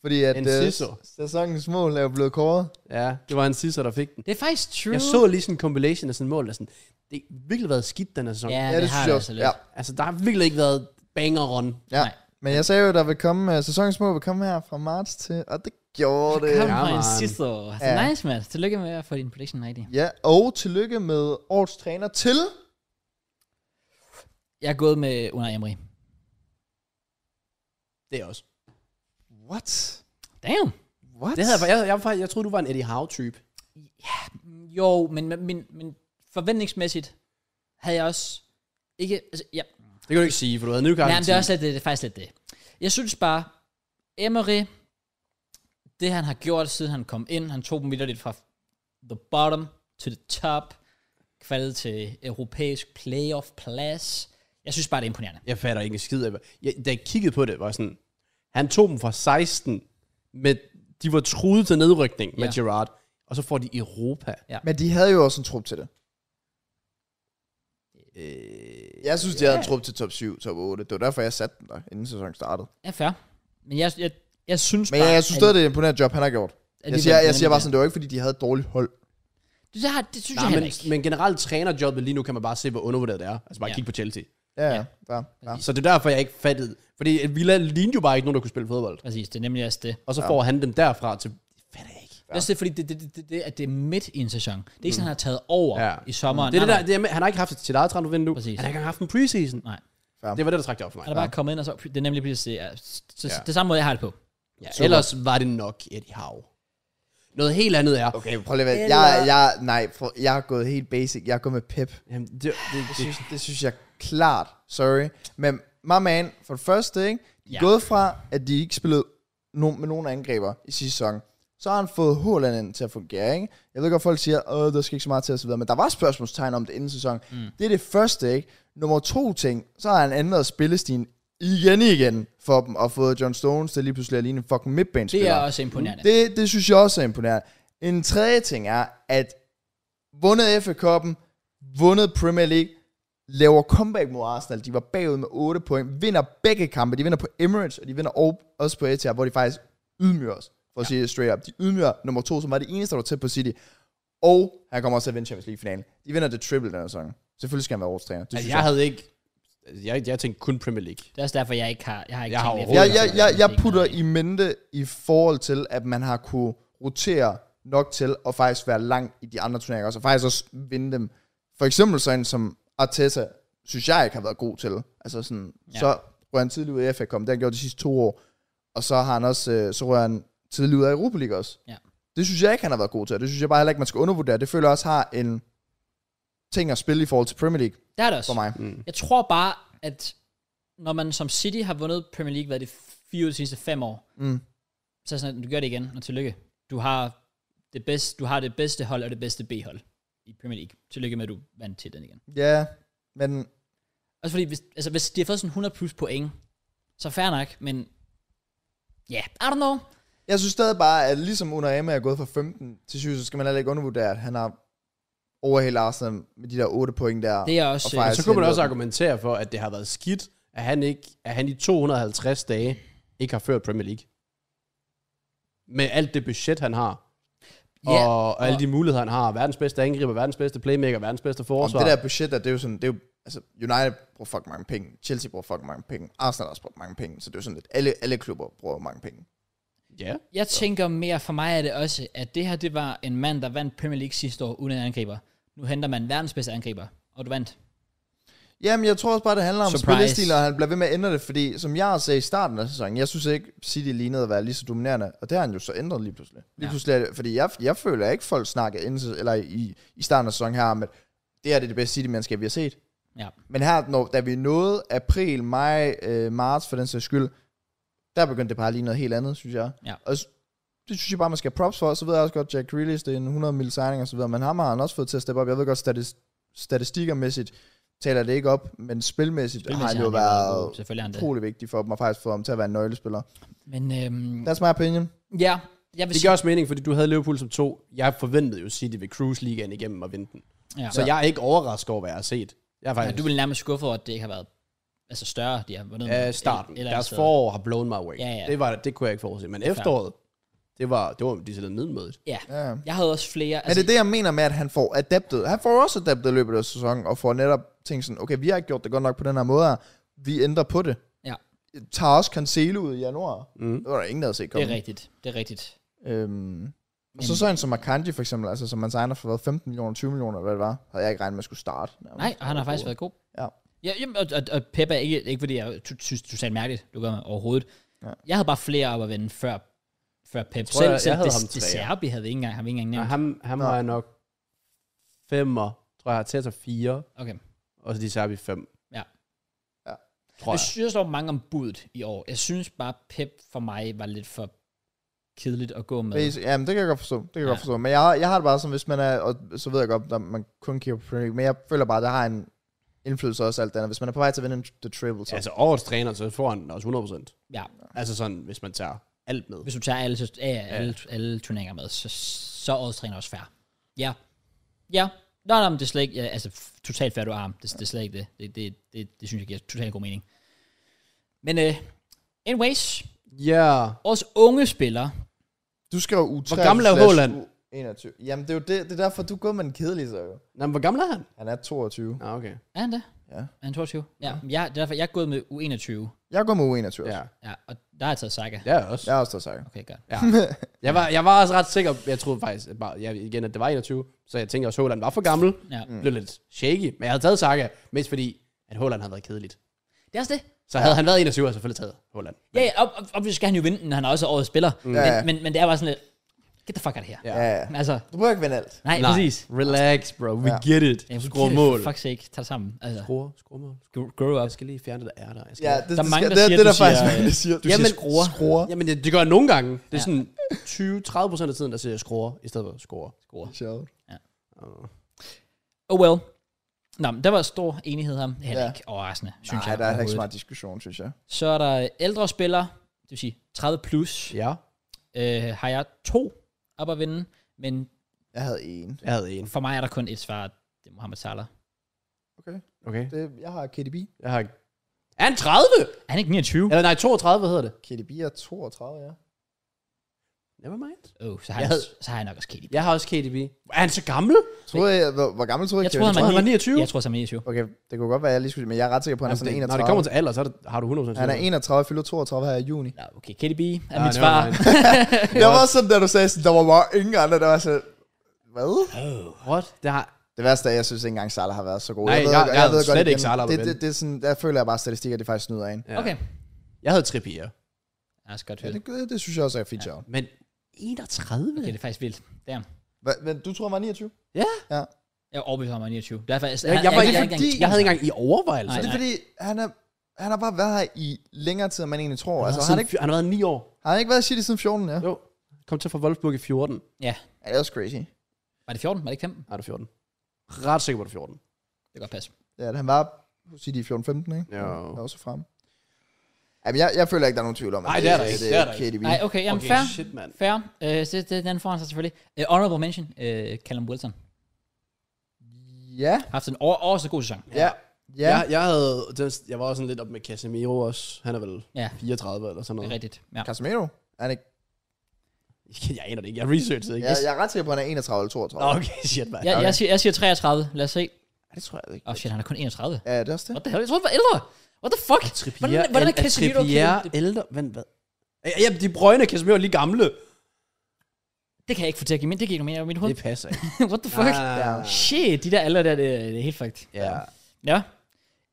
S2: Fordi at
S3: En
S2: øh,
S3: sisso.
S2: sæsonens mål er jo blevet kåret.
S3: Ja, det var en sidste, der fik den.
S1: Det er faktisk true.
S3: Jeg så lige sådan en compilation af sådan en mål, der sådan, det har virkelig været skidt den her sæson.
S1: Ja,
S3: Yeah.
S1: det, det har
S2: synes
S1: det
S2: jeg
S1: altså
S2: også.
S1: lidt.
S2: Ja,
S3: Altså, der har virkelig ikke været banger on.
S2: ja.
S1: Nej.
S2: Men jeg sagde jo, der vil komme, uh, sæsonens mål vil komme her fra marts til, og det gjorde
S1: Kom
S2: det.
S3: Ja,
S1: fra en
S3: man.
S1: sidste år. Altså,
S2: Ja.
S1: Nice, Mads. Tillykke med at få din prediction rigtig.
S2: Ja, og tillykke med årets træner til.
S1: Jeg er gået med Unai Emery.
S3: Det er også.
S2: What?
S1: Damn.
S2: What?
S3: Det havde jeg, jeg, jeg, jeg, jeg troede, du var en Eddie Howe-type.
S1: Jo, men, men, men forventningsmæssigt havde jeg også ikke... Altså, ja.
S3: Det kan du ikke sige, for du havde Newcastle.
S1: Nej, men det er, også lidt, det, det er faktisk lidt det. Jeg synes bare, Emery, det han har gjort, siden han kom ind, han tog dem videre lidt fra the bottom to the top, kvalet til europæisk playoff plads. Jeg synes bare, det er imponerende.
S3: Jeg fatter ikke en skid af, hvad- jeg, da jeg kiggede på det, var jeg sådan, han tog dem fra 16, med, de var truet til nedrykning med
S1: Ja.
S3: Gerard, og så får de Europa.
S2: Men de havde jo også en trup til det.
S3: Øh,
S2: Jeg synes, de havde en trup til top 7, top 8. Det var derfor, jeg satte den der, inden sæsonen startede.
S1: Ja, fair. Men jeg, jeg, jeg synes
S2: Men
S1: bare...
S2: jeg, jeg synes
S1: at-
S2: stadig, det er et imponerende job, han har gjort.
S1: at
S2: Jeg
S1: det
S2: siger,
S1: var-
S2: jeg siger bare sådan, det var ikke, fordi de havde et dårligt hold.
S1: Det, det, har, det synes Nej,
S3: nej,
S1: jeg heller
S3: men,
S1: ikke.
S3: men generelt trænerjobbet lige nu kan man bare se, hvor undervurderet det er. Altså bare ja.
S1: Ja.
S3: kigge på Chelsea.
S2: Ja, ja.
S1: Ja.
S2: ja, ja.
S3: Så det er derfor, jeg ikke fattede. Fordi Villa lignede jo bare ikke nogen, der kunne spille fodbold.
S1: Præcis, det er nemlig også det.
S3: Og så ja. får han dem derfra til... Det fatter jeg ikke.
S1: Ja. Også det, fordi det, det, det, det, det, at det er midt i en sæson. Det er ikke sådan, han har taget over
S3: Ja.
S1: ja. i sommeren.
S3: Det er det
S1: Nej,
S3: der, det er med, han har ikke haft et sit eget transfervindue nu. Han har
S1: Præcis.
S3: ikke engang haft en preseason.
S1: Nej.
S2: Fair.
S3: Det var det, der trak det op for mig.
S1: Han er bare kommet ind, og så det er nemlig blevet det, er- så,
S3: Ja.
S1: ja. det samme måde, jeg har det på.
S3: Ja, ellers var det nok Eddie Howe. Noget helt andet er...
S2: Okay, prøv lige at vente. jeg, jeg, nej, for, jeg er gået helt basic. Jeg er gået med Pep.
S3: Jamen, det, det,
S2: Det
S3: det,
S2: synes, det synes jeg klart. Sorry. Men my man, for det første, ikke? De er
S1: Ja.
S2: ja. gået fra, at de ikke spillede no- med nogen angreber i sidste sæson. Så har han fået Håland ind til at fungere, ikke? Jeg ved godt, folk siger, at der skal ikke så meget til osv., men der var spørgsmålstegn om det inden sæson. Mm. Det er det første, ikke? Nummer to ting, så har han ændret spillestilen igen igen for dem, og fået John Stones til lige pludselig at ligne en fucking
S1: Det
S2: midtbanespiller.
S1: er også imponerende.
S2: Det, det synes jeg også er imponerende. En tredje ting er, at vundet FA Cup'en, vundet Premier League, laver comeback mod Arsenal. De var bagud med 8 point, vinder begge kampe. De vinder på Emirates, og de vinder og- også på Etihad, hvor de faktisk ydmyger os, for at sige det straight up. De ydmyger nummer to, som var det eneste, der var tæt på City. Og han kommer også til at vinde Champions League-finalen. De vinder det triple den her sæson. Selvfølgelig skal han være årets træner. Det
S3: Altså,
S2: synes
S3: jeg havde ikke... altså, Jeg, jeg tænkte kun Premier League.
S1: Det er også derfor, jeg ikke har... Jeg har ikke
S3: Jeg har
S1: tænkt
S3: overhovedet
S1: efter.
S2: jeg,
S3: Rolig,
S2: jeg, jeg, jeg putter
S1: Ikke
S2: i mente i forhold til, at man har kunne rotere nok til at faktisk være langt i de andre turneringer også, og faktisk også vinde dem. For eksempel sådan som Arteta, synes jeg ikke har været god til. Altså sådan,
S1: Ja.
S2: ja. så rører han tidligt ud af FA Cup, det har han gjort de sidste to år, og så har han også, øh, så rører han tidligt ud af Europa League også.
S1: Ja.
S2: Det synes jeg ikke, han har været god til, og det synes jeg bare heller ikke, man skal undervurdere. Det føler jeg også har en ting at spille i forhold til Premier League
S1: Det er det også.
S2: for mig.
S1: Jeg tror bare, at når man som City har vundet Premier League, hvad er det fire ud af de sidste fem år,
S2: Mm.
S1: så er det sådan, at du gør det igen, og tillykke. Du har det bedste, du har det bedste hold og det bedste B-hold i Premier League. Tillykke med, at du vandt til den igen.
S2: Ja, men
S1: Også fordi, hvis, altså, hvis de har fået sådan 100 plus point, så fair nok, men ja, yeah, I don't know.
S2: Jeg synes stadig bare, at ligesom Unai er gået fra 15 til 7, så skal man heller ikke undervurdere, at han har overhældt Arsenal med de der 8 point der.
S1: Det er også... øh,
S2: Og faktisk-
S3: Så kunne man
S2: Helvede.
S3: også argumentere for, at det har været skidt, at han, ikke, at han i 250 dage ikke har ført Premier League. Med alt det budget, han har,
S1: Ja,
S3: og, og alle de muligheder, han har. Verdens bedste angriber, verdens bedste playmaker, verdens bedste
S2: Om
S3: forsvar.
S2: det der budget der, det er jo sådan, det er jo, altså United bruger fucking mange penge, Chelsea bruger fucking mange penge, Arsenal også bruger mange penge, så det er jo sådan lidt, alle, alle klubber bruger mange penge.
S3: Ja.
S1: Jeg tænker mere, for mig er det også, at det her, det var en mand, der vandt Premier League sidste år, uden en angriber. Nu henter man verdens bedste angriber, og du vandt.
S2: Jamen, jeg tror også bare, det handler om
S1: Surprise.
S2: spillestil, og han bliver ved med at ændre det, fordi som jeg også sagde i starten af sæsonen, jeg synes ikke, City lignede at være lige så dominerende, og det har han jo så ændret lige pludselig. Lige
S1: Ja.
S2: ja. pludselig, er det- fordi jeg, jeg føler ikke, folk snakkede inden, eller i, i starten af sæsonen her om, at det her det er det bedste City-mandskab, vi har set.
S1: Ja.
S2: Men her, når, da vi nåede april, maj, øh, marts for den sags skyld, der begyndte det bare lige noget helt andet, synes jeg.
S1: Ja.
S2: Og s- det synes jeg bare, man skal have props for. Så ved jeg også godt, Jack Grealish, det er en 100 mil signing og så videre, men ham har han også fået til at steppe op. Jeg ved godt, statis- statistikermæssigt taler det ikke op, men spilmæssigt, spilmæssigt har han jo
S1: god.
S2: været
S1: Selvfølgelig har han det. Mm.
S2: utrolig vigtig for dem, og faktisk fået ham til at være en nøglespiller.
S1: Men øhm,
S2: That's my opinion.
S1: ja, jeg vil
S3: Det
S1: sige...
S3: giver også mening, fordi du havde Liverpool som to. Jeg forventede jo City ved Cruise Ligaen igennem og vinde den.
S1: Ja.
S3: Så jeg er ikke overrasket over, hvad jeg har set. Jeg er
S1: Men
S3: faktisk...
S1: du vil nærmest skuffet over, at det ikke har været altså større, de har vundet.
S3: Ja,
S1: med.
S3: starten.
S1: Et- et andet
S3: Deres
S1: sted.
S3: forår har blown my way.
S1: Ja, ja.
S3: Det, var, det kunne jeg ikke forudse. Men efteråret, det var, det var de selv middelmødet.
S1: Ja.
S2: Ja. Men
S1: Jeg havde også flere.
S2: altså, det er det, jeg mener med, at han får adaptet. Han får også adaptet i løbet af sæsonen, og får netop tænkt sådan, okay, vi har ikke gjort det godt nok på den her måde her. Vi ændrer på det.
S1: Ja,
S2: tager også Cancelo ud i januar.
S3: Mm.
S2: Det var der ingen, der havde set
S1: det
S2: komme.
S1: er rigtigt. Det er rigtigt.
S2: Øhm, og så så en som Akanji for eksempel, altså som man signer for hvad, 15 millioner, 20 millioner, eller hvad det var, havde jeg ikke regnet med at skulle starte. nærmest.
S1: Nej, og han har faktisk været god.
S2: Ja.
S1: ja jamen, og, og, og Pep er ikke, ikke fordi jeg to- synes, du sagde mærkeligt, du gør mig overhovedet. Ja.
S2: Ja.
S1: Jeg havde bare flere op at vende før, før Pep.
S3: tror,
S1: selv,
S3: jeg-
S1: selv
S3: jeg havde
S1: det,
S3: ham
S1: det
S3: treer.
S1: Serbi havde vi ikke engang, har vi ikke engang
S3: Ja,
S1: nævnt.
S3: ham, ham
S2: Nå.
S3: har jeg nok femmer, tror jeg, har Teta fire,
S1: Okay.
S3: og så de Serbi fem.
S1: Ja.
S2: Ja.
S3: Tror
S1: Jeg
S3: jeg.
S1: synes, der var mange om budet i år. Jeg synes bare, Pep for mig var lidt for kedeligt at gå med.
S2: Bas- Jamen, det kan jeg godt forstå. Det kan jeg
S1: Ja.
S2: godt forstå. Men jeg, har- jeg har det bare sådan, hvis man er, og så ved jeg godt, at man kun kigger på Premier League, men jeg føler bare, at det har en indflydelse også alt det andet. Hvis man er på vej til at vinde en The Triple, så...
S3: Altså årets træner, så får han også 100%.
S1: Ja.
S3: Altså sådan, hvis man tager alt med.
S1: Hvis du tager alle, ja, ja, alle, alle turneringer med, så, så er odds træner også fair. Ja. Ja. Nå, nej, men det er slet ikke, ja, altså f- totalt fair, du har ham. Det, det er slet ikke det. Det, det, det, det synes jeg giver totalt god mening. Men uh, anyways,
S3: Ja,
S1: også unge spillere,
S2: Du skal jo u
S3: gammel er Haaland?
S2: 21. Jamen, det er jo det, det er derfor, du er gået med den kedelige, så jo.
S3: Nå, men hvor gammel er han?
S2: Han er 22.
S3: Ja, okay.
S1: er han det?
S2: Ja.
S1: Er han 22? Ja, ja. Jeg, det er derfor, jeg er gået med U21.
S2: Jeg går med U21 også.
S3: Ja,
S2: Ja.
S1: Ja, og der har jeg taget Saka.
S3: det er jeg også.
S2: Jeg har også taget sagt.
S1: Okay, godt.
S3: Ja. Jeg, var, jeg var også ret sikker, jeg troede faktisk, at bare, jeg, igen, at det var 21, så jeg tænkte også, at Håland var for gammel.
S1: Ja.
S3: Mm. Blev lidt shaky, men jeg havde taget Saka, mest fordi, at Håland havde været kedeligt.
S1: Det er også det.
S3: Så havde han været 21, havde jeg selvfølgelig taget Håland.
S1: Ja, ja og, og, og, skal han jo vinde den, han er også årets spiller. Mm. Men,
S2: Ja, ja.
S1: men, men det er bare sådan lidt, get the fuck out of her.
S3: Ja.
S2: Ja, ja.
S1: Altså,
S2: Du behøver ikke vinde alt.
S1: nej, nej. præcis.
S3: Relax, bro. We
S2: Ja.
S3: get it.
S1: Ja,
S3: Skruer
S1: for
S3: mål.
S1: Fuck's sake, tag det sammen. Altså,
S3: Skruer, skruer mål.
S1: grow- grow up.
S3: Jeg skal lige fjerne det, der er der. Jeg skal
S2: Ja,
S3: lige-
S2: det, det,
S1: er mange,
S2: skal,
S1: der
S2: det,
S1: siger,
S2: det, er
S1: du
S2: der faktisk
S1: siger, øh,
S2: mange, der siger.
S1: du siger
S2: Jamen,
S1: skruer.
S2: skruer.
S3: Jamen, det, det gør jeg nogle gange. Det er
S1: Ja.
S3: sådan 20-30% af tiden, der siger jeg skruer, i stedet for scorer.
S1: Score.
S2: Sjovt.
S3: Uh,
S1: Oh well. Nå, men der var stor enighed om. Heller
S2: Ja.
S1: ikke overraskende, synes
S2: Nej,
S1: jeg.
S2: der er ikke så
S1: overhovedet.
S2: meget diskussion, synes jeg.
S1: Så er der ældre spillere, det vil sige 30 plus.
S3: ja,
S1: Øh, har jeg to op at vinde, men
S2: Jeg havde en.
S3: jeg havde en.
S1: for mig er der kun et svar, det er Mohamed Salah.
S3: Okay.
S2: Det, jeg har KDB.
S3: Jeg har... Er han 30?
S1: Er han ikke 29?
S3: Eller nej, 32 hedder det.
S2: KDB er 32, ja.
S3: Never mind.
S1: Oh, så, har
S3: Jeg
S1: jeg,
S3: havde-
S1: så har jeg nok også KDB.
S3: Jeg har også KDB. Er han så gammel?
S2: Troede jeg, hvor, hvor gammel troede jeg,
S1: Jeg troede,
S2: KDB?
S1: han var
S3: han var 29.
S1: Jeg tror, han er 29.
S2: Okay, det kunne godt være, at jeg lige skulle... Men jeg er ret sikker på, at han er sådan
S3: det,
S2: 31.
S3: når det kommer til alder, så er det, har du 100%
S2: Han er
S3: sikkerhed.
S2: 31, fylder 32 her i juni.
S1: Nå, okay, KDB er
S3: Ah,
S1: mit
S3: never
S1: svar.
S3: mind.
S2: Det var sådan, da du sagde sådan, der var bare ingen andre, der var sådan... Hvad?
S3: What? Det har...
S2: Det værste er, at jeg synes ikke engang, Salah har været så god.
S3: Nej, jeg- jeg havde slet
S2: igen,
S3: ikke Salah på
S2: det,
S3: banen.
S2: det, det, er sådan, der føler jeg bare, at statistikker, det faktisk snyder en.
S3: Ja.
S1: Okay.
S3: Jeg havde Trippier.
S1: Ja, det er godt
S2: Ja,
S1: hørt.
S2: det, det, det, synes jeg også er fint, ja.
S3: Men 31?
S1: Okay, det er faktisk vildt. Damn.
S2: Men du tror, han var 29?
S1: Jeg er overbevist om, at han er 29. Derfor, jeg,
S3: Jeg, jeg, var,
S2: det
S3: jeg,
S2: er
S3: jeg,
S2: fordi-
S3: jeg havde ikke engang i overvejelse.
S1: Nej,
S2: Det er fordi, han er, han har bare været her i længere tid, end man egentlig tror.
S3: Han,
S2: Altså,
S3: har
S2: har han,
S3: siden,
S2: ikke,
S3: fj- han har været 9 år.
S2: har han ikke været i City siden 14, ja?
S3: Jo. Kom til fra Wolfsburg i 14.
S2: Ja, det er også crazy.
S1: Var det 14? Var det ikke 15?
S3: Nej, det er 14. Ret sikker på, det er 14.
S1: Det kan godt passe.
S2: Ja, han var hos City i 14-15, ikke?
S3: Jo.
S2: Han er også frem. Jamen, jeg, jeg føler ikke, der er nogen tvivl om, at
S3: Nej, det er der ikke. Det er der
S2: KDB.
S1: Nej, okay, jamen
S3: okay,
S1: fair.
S3: shit, mand.
S1: Fair. Øh, så det, den får han så selvfølgelig. Uh, honorable mention, uh, Callum Wilson.
S2: Ja,
S1: Har haft en over, over så god sæson.
S2: ja,
S3: Ja.
S2: ja.
S3: Jeg, jeg, havde, den- jeg var også sådan lidt op med Casemiro også. Han er vel
S1: Ja.
S3: ja. 34 eller sådan
S1: Det
S3: noget.
S1: er rigtigt. Ja.
S2: Casemiro. Er han ikke?
S3: Jeg aner det ikke. Jeg researchede ikke.
S2: Jeg, jeg er ret sikker på, at han er 31 eller 32.
S3: Nå, okay, shit, mand.
S1: Jeg, jeg, siger, jeg siger 33. Lad os se.
S2: Ja, det tror jeg ikke.
S1: Åh oh, shit, han er kun 31.
S2: Ja, det er også det.
S1: What the hell? Jeg troede, han var ældre. What the fuck? Hvordan, hvordan er Casemiro?
S3: Trippier ældre? Vent, hvad? Ja, Ja, de brøgne Casemiro er lige gamle.
S1: Det kan jeg ikke få til at give, men det gik nu mere i mit hoved.
S3: Det Ah. passer ikke.
S1: What the fuck?
S3: Nej, nej, nej, nej.
S1: Shit, de der aldre der, det, det er helt fucked.
S3: Ja.
S1: Ja.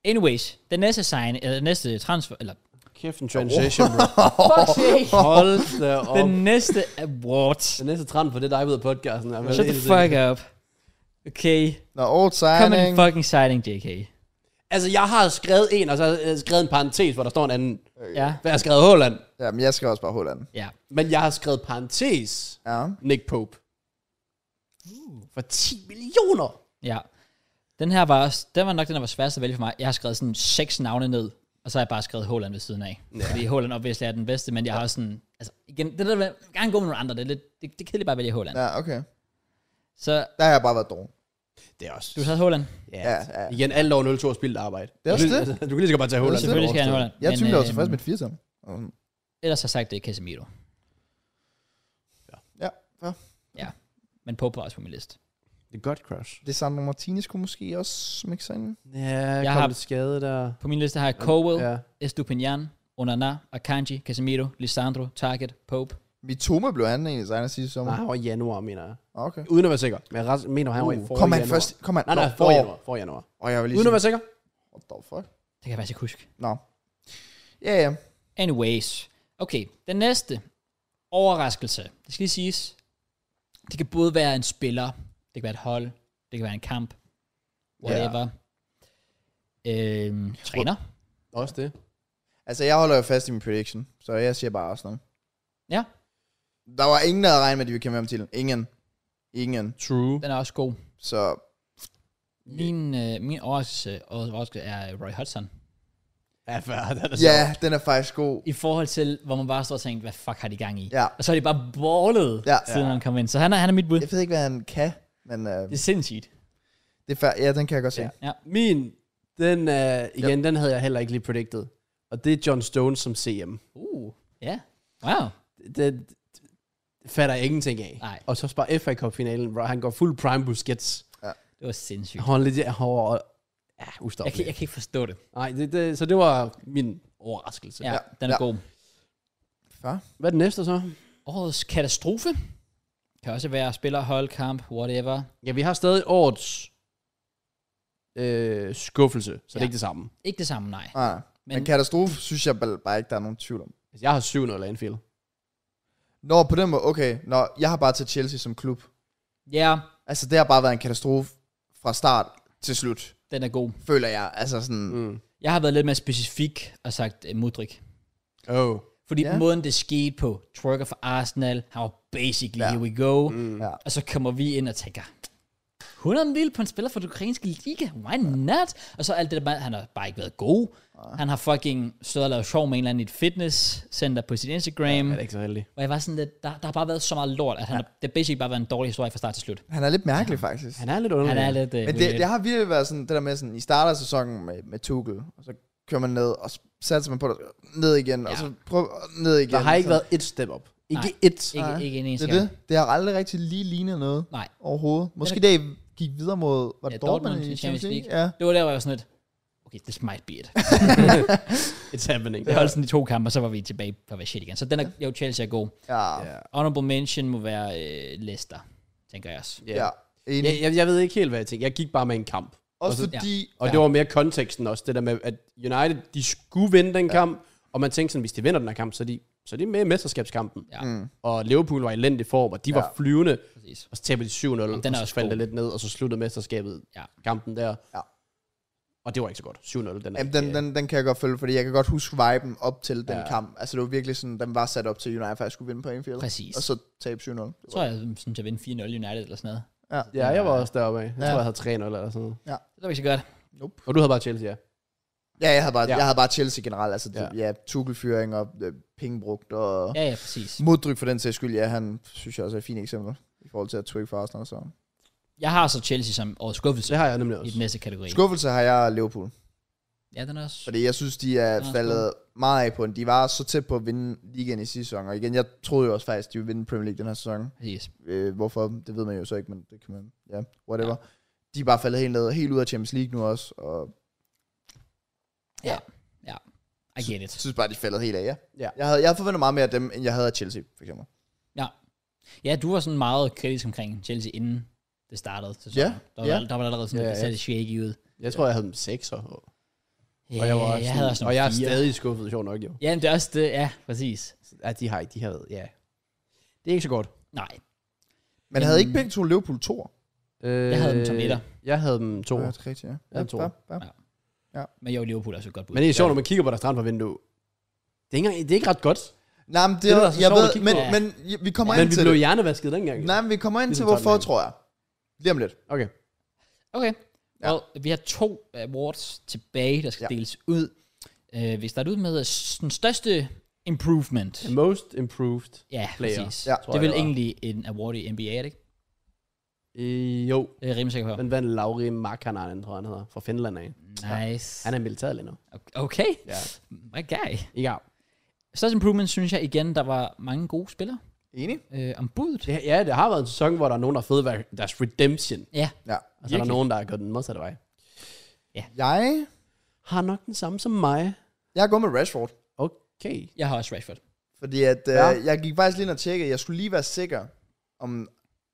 S1: Anyways, den næste sign, eller den næste transfer, eller
S3: Kæft en transition, bro.
S1: fuck sake.
S3: Hold da op.
S1: Den næste award.
S3: Den næste trend for det, er dig ved af podcasten. er vel
S1: Shut the
S3: hele tiden.
S1: fuck up. Okay,
S2: Nå, old
S1: come and
S2: signing.
S1: fucking signing, JK.
S3: Altså, jeg har skrevet en, og så har jeg skrevet en parentes, hvor der står en anden.
S1: Ja,
S3: For jeg har skrevet Holland.
S2: Ja, men jeg skal også bare Holland.
S1: Øh, ja.
S3: Men jeg har skrevet parentes.
S2: Ja.
S3: Nick Pope.
S1: Uh.
S3: For 10 millioner.
S1: Ja. Den her var, også- den var nok den, der var sværest at vælge for mig. Jeg har skrevet sådan seks navne ned, og så har jeg bare skrevet Holland ved siden af. Ja. Fordi Holland obviously er den bedste, men jeg har også sådan... Altså, igen, det der vil jeg gerne gå med nogle andre. Det er, lidt, det, det er kedeligt bare at vælge Holland. Ja.
S2: Ja, okay.
S1: Så
S2: Der har jeg bare været dårlig.
S3: Det er også...
S1: du har taget Holland.
S3: Ja,
S2: Ja,
S3: ja,
S2: ja.
S3: ja. Igen, alt over 02 er spildt arbejde.
S2: Det er også
S3: Du kan- Du kan lige så godt bare tage Holland.
S1: Selvfølgelig skal han
S3: Overstået.
S1: Holland.
S2: Jeg
S1: men,
S2: tvivler også
S1: øhm,
S2: tilfreds med et 4 mm.
S1: Ellers har jeg sagt, det er Casemiro.
S2: Ja, ja.
S1: Ja. Men Pope var også på min liste.
S3: Det er godt crush.
S2: Det samme Martinez kunne måske også smikke sig ind.
S3: Ja,
S1: Jeg
S3: jeg
S1: har-
S3: har lidt skade der.
S1: På min liste har jeg Cowell, ja.
S3: Ja.
S1: Estupinian, Onana, Akanji, Casemiro, Lisandro, Target, Pope.
S2: Mitoma blev han egentlig signet sidste sommer.
S3: Nej, han var i januar, mener jeg.
S2: Ah, okay.
S3: Uden at være sikker. Men jeg ret- mener, han var i
S2: Uh,
S3: forrige
S2: kom han
S3: januar.
S2: først? Kom han?
S3: Nej, nej,
S2: Nå,
S3: forrige
S2: hvor-
S3: januar. Forrige januar.
S2: Og jeg var lige
S3: Uden at
S2: sådan,
S3: være sikker.
S2: what the fuck?
S1: Det kan jeg faktisk ikke huske.
S2: Nå. Ja, ja.
S1: Anyways. Okay, den næste overraskelse. Det skal lige siges. Det kan både være en spiller, det kan være et hold, det kan være en kamp, whatever. Yeah. Øhm, træner.
S3: Også det.
S2: Altså, jeg holder jo fast i min prediction, så jeg siger bare Arsenal.
S1: Ja.
S2: Der var ingen, der havde regnet med, at de ville kæmpe om titlen. Ingen. Ingen.
S3: True.
S1: Den er også god.
S2: Så
S1: Min, øh, min overraskelse, og overraskelse er øh, Roy Hudson.
S3: Ja, fair. Den er
S2: ja, den er faktisk god.
S1: I forhold til, hvor man bare står og tænker, hvad fuck har de gang i?
S2: Ja.
S1: Og så er de bare ballet, ja.
S2: Ja.
S1: siden han kom ind. Så han er, han er mit bud.
S2: Jeg ved ikke, hvad han kan, men øh,
S1: Det er sindssygt.
S2: det er fair. Ja, den kan jeg godt se.
S3: Ja. Min, den, uh, igen, den havde jeg heller ikke lige predicted. Og det er John Stone som CM.
S1: Uh, ja. Wow.
S3: Det, det fatter jeg ingenting af.
S1: Nej.
S3: Og så bare FA Cup-finalen, hvor han går fuld prime buskets.
S1: Det var sindssygt.
S3: Han er lidt hård og... Ja,
S1: Jeg kan,
S3: ustoppelig.
S1: jeg kan ikke forstå det.
S3: Nej, det, det, så det var min overraskelse.
S1: Ja,
S2: Ja.
S1: den er
S2: Ja.
S1: god.
S2: Fair.
S3: Hvad er den næste så?
S1: Årets katastrofe. Kan også være spiller, hold, kamp, whatever.
S3: Ja, vi har stadig årets øh, skuffelse, så ja. det
S1: Ja.
S3: er ikke det samme.
S1: Ikke det samme, nej.
S2: Nej, men,
S1: Men-
S2: men katastrofe synes jeg bare bare ikke, der er nogen tvivl om.
S3: Altså, Jeg har 7-0 Anfield.
S2: Nå, på den måde, okay. Nå, jeg har bare taget Chelsea som klub.
S1: Ja,
S2: Altså, det har bare været en katastrofe fra start til slut,
S1: den er god.
S2: føler jeg. Altså sådan, mm.
S1: Jeg har været lidt mere specifik og sagt uh, Mudrik.
S3: Oh.
S1: Fordi
S2: Ja.
S1: yeah. måden det skete på, Twerker for Arsenal, han var basically,
S2: Ja.
S1: yeah. here we go. Mm.
S2: Ja.
S1: Og så kommer vi ind og tænker, 100 mil på en spiller fra den ukrainske liga, why not? Og så alt det der, med, han har bare ikke været god. Han har fucking stået og lavet sjov med en eller anden i et fitnesscenter på sit Instagram.
S3: Er det ikke så heldig?
S1: Og jeg var sådan lidt, der, der har bare været så meget lort, at han, ja. det har basically bare været en dårlig historie fra start til slut.
S2: han er lidt mærkelig, faktisk.
S3: Han er lidt underlig.
S1: Han er lidt... Uh,
S2: Men det, det har virkelig været sådan, det der med sådan, I starter sæsonen med, med Tuchel, og så kører man ned, og så satser man på det, ned igen, ja. og
S1: Ja.
S2: så prøver ned igen.
S3: Der har ikke
S2: så,
S3: været et step up. Ikke
S1: Nej.
S3: et.
S1: ikke,
S2: Nej,
S1: ikke en eneste
S2: Det er det. Det har aldrig rigtig lige lignet noget
S1: Nej.
S2: overhovedet. Måske da I gik videre mod, var det
S1: Ja,
S2: ja, Dortmund,
S1: Dortmund
S2: i Champions League? Ja.
S1: Det var der, hvor jeg var sådan lidt, okay, this might be it.
S3: It's happening.
S1: Det holdt sådan de to kampe, og så var vi tilbage på at være shit igen. Så den er, jo Chelsea er god.
S2: Ja.
S3: Ja.
S1: Honorable mention må være øh, Leicester, tænker jeg også.
S2: ja. Enig.
S3: Jeg, jeg, jeg ved ikke helt, hvad jeg tænkte. Jeg gik bare med en kamp.
S2: Også
S1: og så-
S2: fordi,
S3: Og ja. det var mere konteksten også, det der med, at United, de skulle vinde den ja. kamp, og man tænkte sådan, hvis de vinder den her kamp, så er de, så er de med i mesterskabskampen.
S1: Ja. Mm.
S3: Og Liverpool var i elendig form, og de ja.
S2: Ja.
S3: var flyvende,
S1: Præcis.
S3: og så tabte de 7-0, og
S1: den er
S3: så
S1: også
S3: faldt
S1: god.
S3: det lidt ned, og så sluttede mesterskabet
S1: Ja.
S3: kampen der.
S2: Ja.
S3: Og det var ikke så godt. 7-0, den er
S2: Jamen,
S3: ikke,
S2: den,
S3: øh,
S2: den, den kan jeg godt følge, fordi jeg kan godt huske viben op til den
S3: Ja.
S2: kamp. Altså, det var virkelig sådan, den var sat op til United, for jeg skulle vinde på Anfield.
S1: Præcis.
S2: Og så tabe 7-0. Det var-
S1: Jeg tror, jeg sådan, til at vinde 4-0 United eller sådan noget.
S2: Ja.
S3: Ja, jeg var også deroppe af. Jeg
S2: Ja.
S3: ja. tror, jeg havde 3-0 eller sådan noget.
S1: Det var ikke så godt.
S2: Nope.
S3: Og du havde bare Chelsea, ja.
S2: Ja, jeg havde bare, ja.
S3: Ja.
S2: jeg havde bare Chelsea generelt. Altså, ja,
S3: Ja.
S2: ja Tuchel-fyring og øh, penge brugt og... Ja.
S1: Ja, ja, præcis.
S2: Moddryk for den sags skyld, ja, han synes jeg også er et fint eksempel i forhold til at trykke for Arsenal. Så.
S1: Jeg har så Chelsea som årets skuffelse
S3: Det har jeg nemlig
S1: i
S3: også.
S1: den næste kategori.
S2: Skuffelse har jeg Liverpool.
S1: Ja, den er også.
S2: Fordi jeg synes, de er
S1: Ja,
S2: faldet meget af på den. De var så tæt på at vinde ligaen i sidste sæson. Og igen, jeg troede jo også faktisk, de ville vinde Premier League den her sæson.
S1: Præcis.
S2: Øh, hvorfor, det ved man jo så ikke, men det kan man... Ja, whatever. Ja. De er bare faldet helt ned, helt ud af Champions League nu også. Og
S1: I get it.
S2: jeg synes bare, de er faldet helt af, ja.
S3: Ja.
S2: Jeg havde, jeg havde forventet meget mere af dem, end jeg havde af Chelsea, for eksempel.
S1: Ja, du var sådan meget kritisk omkring Chelsea, inden det startede. sæsonen.
S2: Ja,
S1: Der var,
S2: ja.
S1: der var allerede sådan,
S3: Ja,
S1: at det
S3: ja.
S1: satte shaky ud.
S3: Jeg tror, jeg havde dem 6 og,
S1: Ja,
S3: og jeg var også
S1: jeg
S3: sådan-
S1: havde også
S3: Og
S1: nogle
S3: jeg er
S1: fire.
S3: stadig skuffet, sjovt nok jo.
S1: Ja, men det er også det. Ja, præcis.
S3: Ja, de har ikke, de har været, ja. Det er ikke så godt.
S1: Nej,
S2: Men havde ikke begge to Liverpool 2'er?
S3: Øh,
S1: havde dem som etter.
S3: Jeg havde dem to.
S2: Ja, det er rigtigt, ja.
S3: Ja, toer.
S2: ja.
S1: Ja. men jo, Liverpool er også et godt bud.
S3: Men det er sjovt, når man kigger på deres transfervindue. Det er ikke, engang- det er ikke ret godt.
S2: Nej, men det,
S3: Det er
S2: det
S3: altså
S2: jeg
S3: sjovt at
S2: ved,
S3: kigge
S2: men,
S1: på.
S2: men vi kommer
S3: Men
S2: ind
S3: vi
S2: til
S3: blev
S2: det.
S3: hjernevasket dengang.
S2: Nej, men vi kommer ind til
S3: Ligesom
S2: hvorfor,
S3: Tottenham.
S2: tror jeg. Lige om lidt.
S3: Okay.
S1: Okay.
S2: Ja.
S1: Ja. Well, vi har to awards tilbage, der skal
S2: Ja.
S1: ja. deles ud. Uh, vi starter ud med øh, s- den største improvement.
S3: The Most improved.
S1: Ja,
S3: player,
S1: præcis.
S2: Ja.
S1: Ja,
S3: tror
S1: det er
S3: jeg,
S1: vel
S3: det var.
S1: egentlig en award i NBA, er det ikke?
S3: Øh, jo,
S1: Det er jeg rimelig sikker på.
S3: den vandt Lauri Markkanen, tror jeg, han hedder, fra Finland af.
S1: Nice.
S3: Han er militær lige nu.
S1: Okay.
S3: Ja.
S1: My guy.
S3: Ja,
S1: Største improvement, synes jeg igen, der var mange gode spillere
S2: Enig?
S1: øh, om budet.
S3: det, ja, det har været en sæson, hvor der er nogen, der har fået hver- deres redemption.
S1: Ja.
S2: Ja.
S3: Og så er der
S1: Virkelig.
S3: nogen, der har gået den modsatte vej.
S2: Jeg,
S3: Har nok den samme som mig.
S2: jeg er gået med Rashford.
S3: Okay.
S1: Jeg har også Rashford.
S2: Fordi at, øh,
S3: Ja.
S2: jeg gik faktisk lige ind og tjekkede. Jeg skulle lige være sikker, om...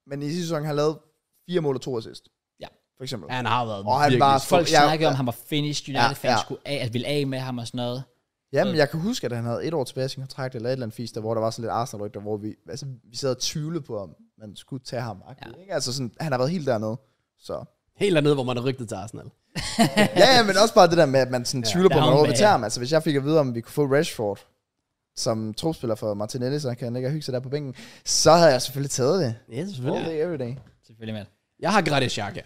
S2: Men i sidste sæson har han lavet fire mål og to assist.
S1: Ja.
S2: For eksempel.
S3: Ja, han har været
S2: Og han
S3: virkelig
S2: var-
S3: stor.
S1: Folk
S2: Ja,
S1: ja, snakkede ja.
S2: ja.
S1: om, at han var finished,
S2: Ja,
S1: United-fans
S2: ja.
S1: ja, ja. skulle af, at ville af med ham og sådan noget.
S2: Jamen, jeg kan huske, at han havde et år tilbage i sin kontrakt, eller et eller andet fisk, der, hvor der var sådan lidt Arsenal-rygter, hvor vi, altså, vi sad og tvivlede på, om man skulle tage ham. Ja.
S1: Ja.
S2: Ikke? Altså sådan, han har været helt dernede. Så.
S3: Helt dernede, hvor man er rygtet til Arsenal.
S2: ja, ja, men også bare det der med, at man sådan
S3: Ja.
S2: tvivler på, om man
S1: Down
S2: overhovedet vil tage
S1: bad.
S2: ham. Altså, hvis jeg fik at vide, om vi kunne få Rashford som trospiller for Martinelli, så han kan ligge og hygge sig der på bænken, så havde jeg selvfølgelig taget det.
S3: Ja,
S2: All
S3: selvfølgelig.
S2: day, every day.
S1: Selvfølgelig, mand.
S3: Jeg har Gratis Xhaka.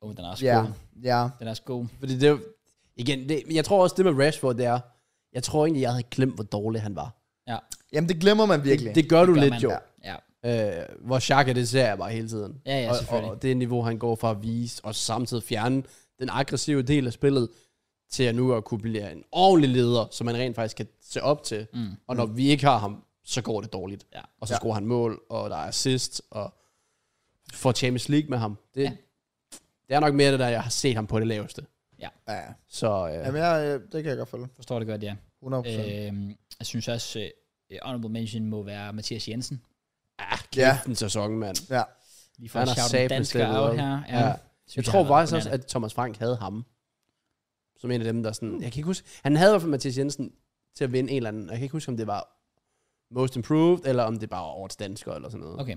S1: Oh, den er også
S2: Ja,
S1: god.
S2: ja.
S1: Den er også god.
S3: Fordi det, igen, det, jeg tror også, det med Rashford, det er, jeg tror egentlig, jeg havde glemt, hvor dårlig han var.
S1: Ja.
S2: Jamen, det glemmer man virkelig.
S3: Det, det gør det du
S1: gør
S3: gør lidt,
S1: man.
S3: jo.
S2: Ja.
S1: Ja.
S3: Øh, hvor Xhaka, det ser jeg bare hele tiden.
S1: Ja, ja,
S3: og,
S1: selvfølgelig.
S3: og, det niveau, han går fra at vise, og samtidig fjerne den aggressive del af spillet, til at nu at kunne blive en ordentlig leder, som man rent faktisk kan se op til. Mm. Og når vi ikke har ham, så går det dårligt.
S1: Ja.
S3: Og så scorer han mål, og der er assist, og får Champions League med ham. Det,
S1: Ja.
S3: ja. det er nok mere det der, jeg har set ham på det laveste.
S2: Ja, ja.
S3: Så øh,
S2: Jamen, jeg, øh, det kan jeg godt følge.
S1: Forstår det godt, ja.
S2: 100%. Øh,
S1: Øhm, jeg synes også, øh, honorable mention må være Mathias Jensen.
S3: ah,
S2: ja.
S3: kæft en sæson, mand.
S2: ja.
S1: Lige for
S3: Han
S1: at
S3: har
S1: shout en
S3: satme
S1: dansker
S3: steppet
S1: out
S3: op.
S1: her. Ja,
S3: Ja.
S1: Synes har
S3: Jeg tror
S1: været
S3: faktisk også,
S1: imponerende.
S3: at Thomas Frank havde ham. Som en af dem, der sådan... Jeg kan ikke huske... Han havde i hvert fald Mathias Jensen til at vinde en eller anden. og Jeg kan ikke huske, om det var most improved, eller om det bare er årets dansker eller sådan noget.
S1: Okay.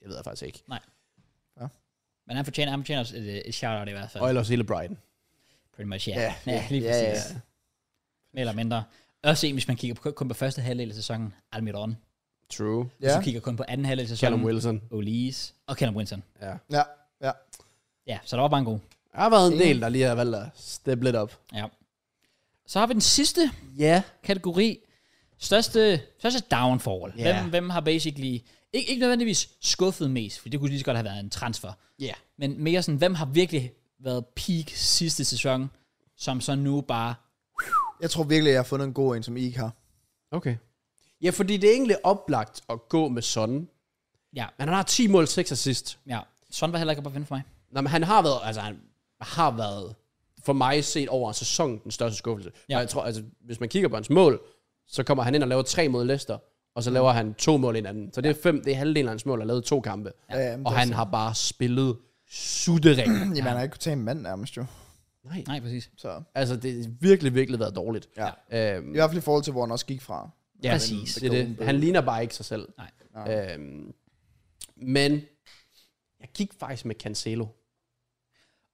S3: Jeg ved jeg faktisk ikke.
S1: Men han fortjener, han fortjener også et, øh, et shout-out i hvert fald.
S3: Og ellers hele Brighton.
S1: Pretty much, ja.
S2: Ja,
S1: Yeah. Ja,
S2: ja,
S1: lige
S2: ja,
S1: præcis. Yeah, Mere eller mindre. Også en, hvis man kigger på, kun på første halvdel af sæsonen, Almiron.
S3: True.
S1: Ja.
S2: Ja.
S1: Så kigger kun på anden halvdel af
S3: Callum
S1: sæsonen,
S3: Wilson.
S1: Olise og Callum Winston.
S3: Ja.
S2: Ja, ja.
S1: Ja, så der var bare en god.
S3: Der har været en
S2: Enig.
S3: del, der lige har valgt at step lidt op.
S1: Ja. Så har vi den sidste
S3: Ja.
S1: kategori. Største, største downfall.
S3: Ja.
S1: Hvem, hvem har basically... Ikke, ikke nødvendigvis skuffet mest, for det kunne lige så godt have været en transfer.
S3: Ja.
S1: Men mere sådan, hvem har virkelig været peak sidste sæson, som så nu bare...
S2: Jeg tror virkelig, jeg har fundet en god en, som I ikke har.
S3: Okay. Ja, fordi det er egentlig oplagt at gå med sådan.
S1: Ja,
S3: Men han har 10 mål, 6 assist.
S1: ja. Sådan var heller ikke op at finde for mig.
S3: Nå, men han har været, altså han har været, for mig set over en sæson, den største skuffelse.
S1: Ja.
S3: Ja. Og jeg tror, altså, hvis man kigger på hans mål, så kommer han ind og laver tre mod Leicester, og så laver han to mål i en anden. Så det er fem, det er halvdelen af hans mål, og lavet to kampe.
S2: Ja, ja, Øh, men
S3: og
S2: det er
S3: han har bare spillet suttering.
S2: Jamen, han har ikke kunnet tage en mand nærmest jo.
S3: Nej.
S1: Nej, præcis.
S2: Så.
S3: Altså, det har virkelig, virkelig været dårligt.
S2: Ja.
S3: Øhm,
S2: I hvert fald i forhold til, hvor han også gik fra.
S3: ja,
S1: præcis.
S3: Det, er det. Han ligner bare ikke sig selv.
S1: Nej.
S3: Øhm, men jeg gik faktisk med Cancelo.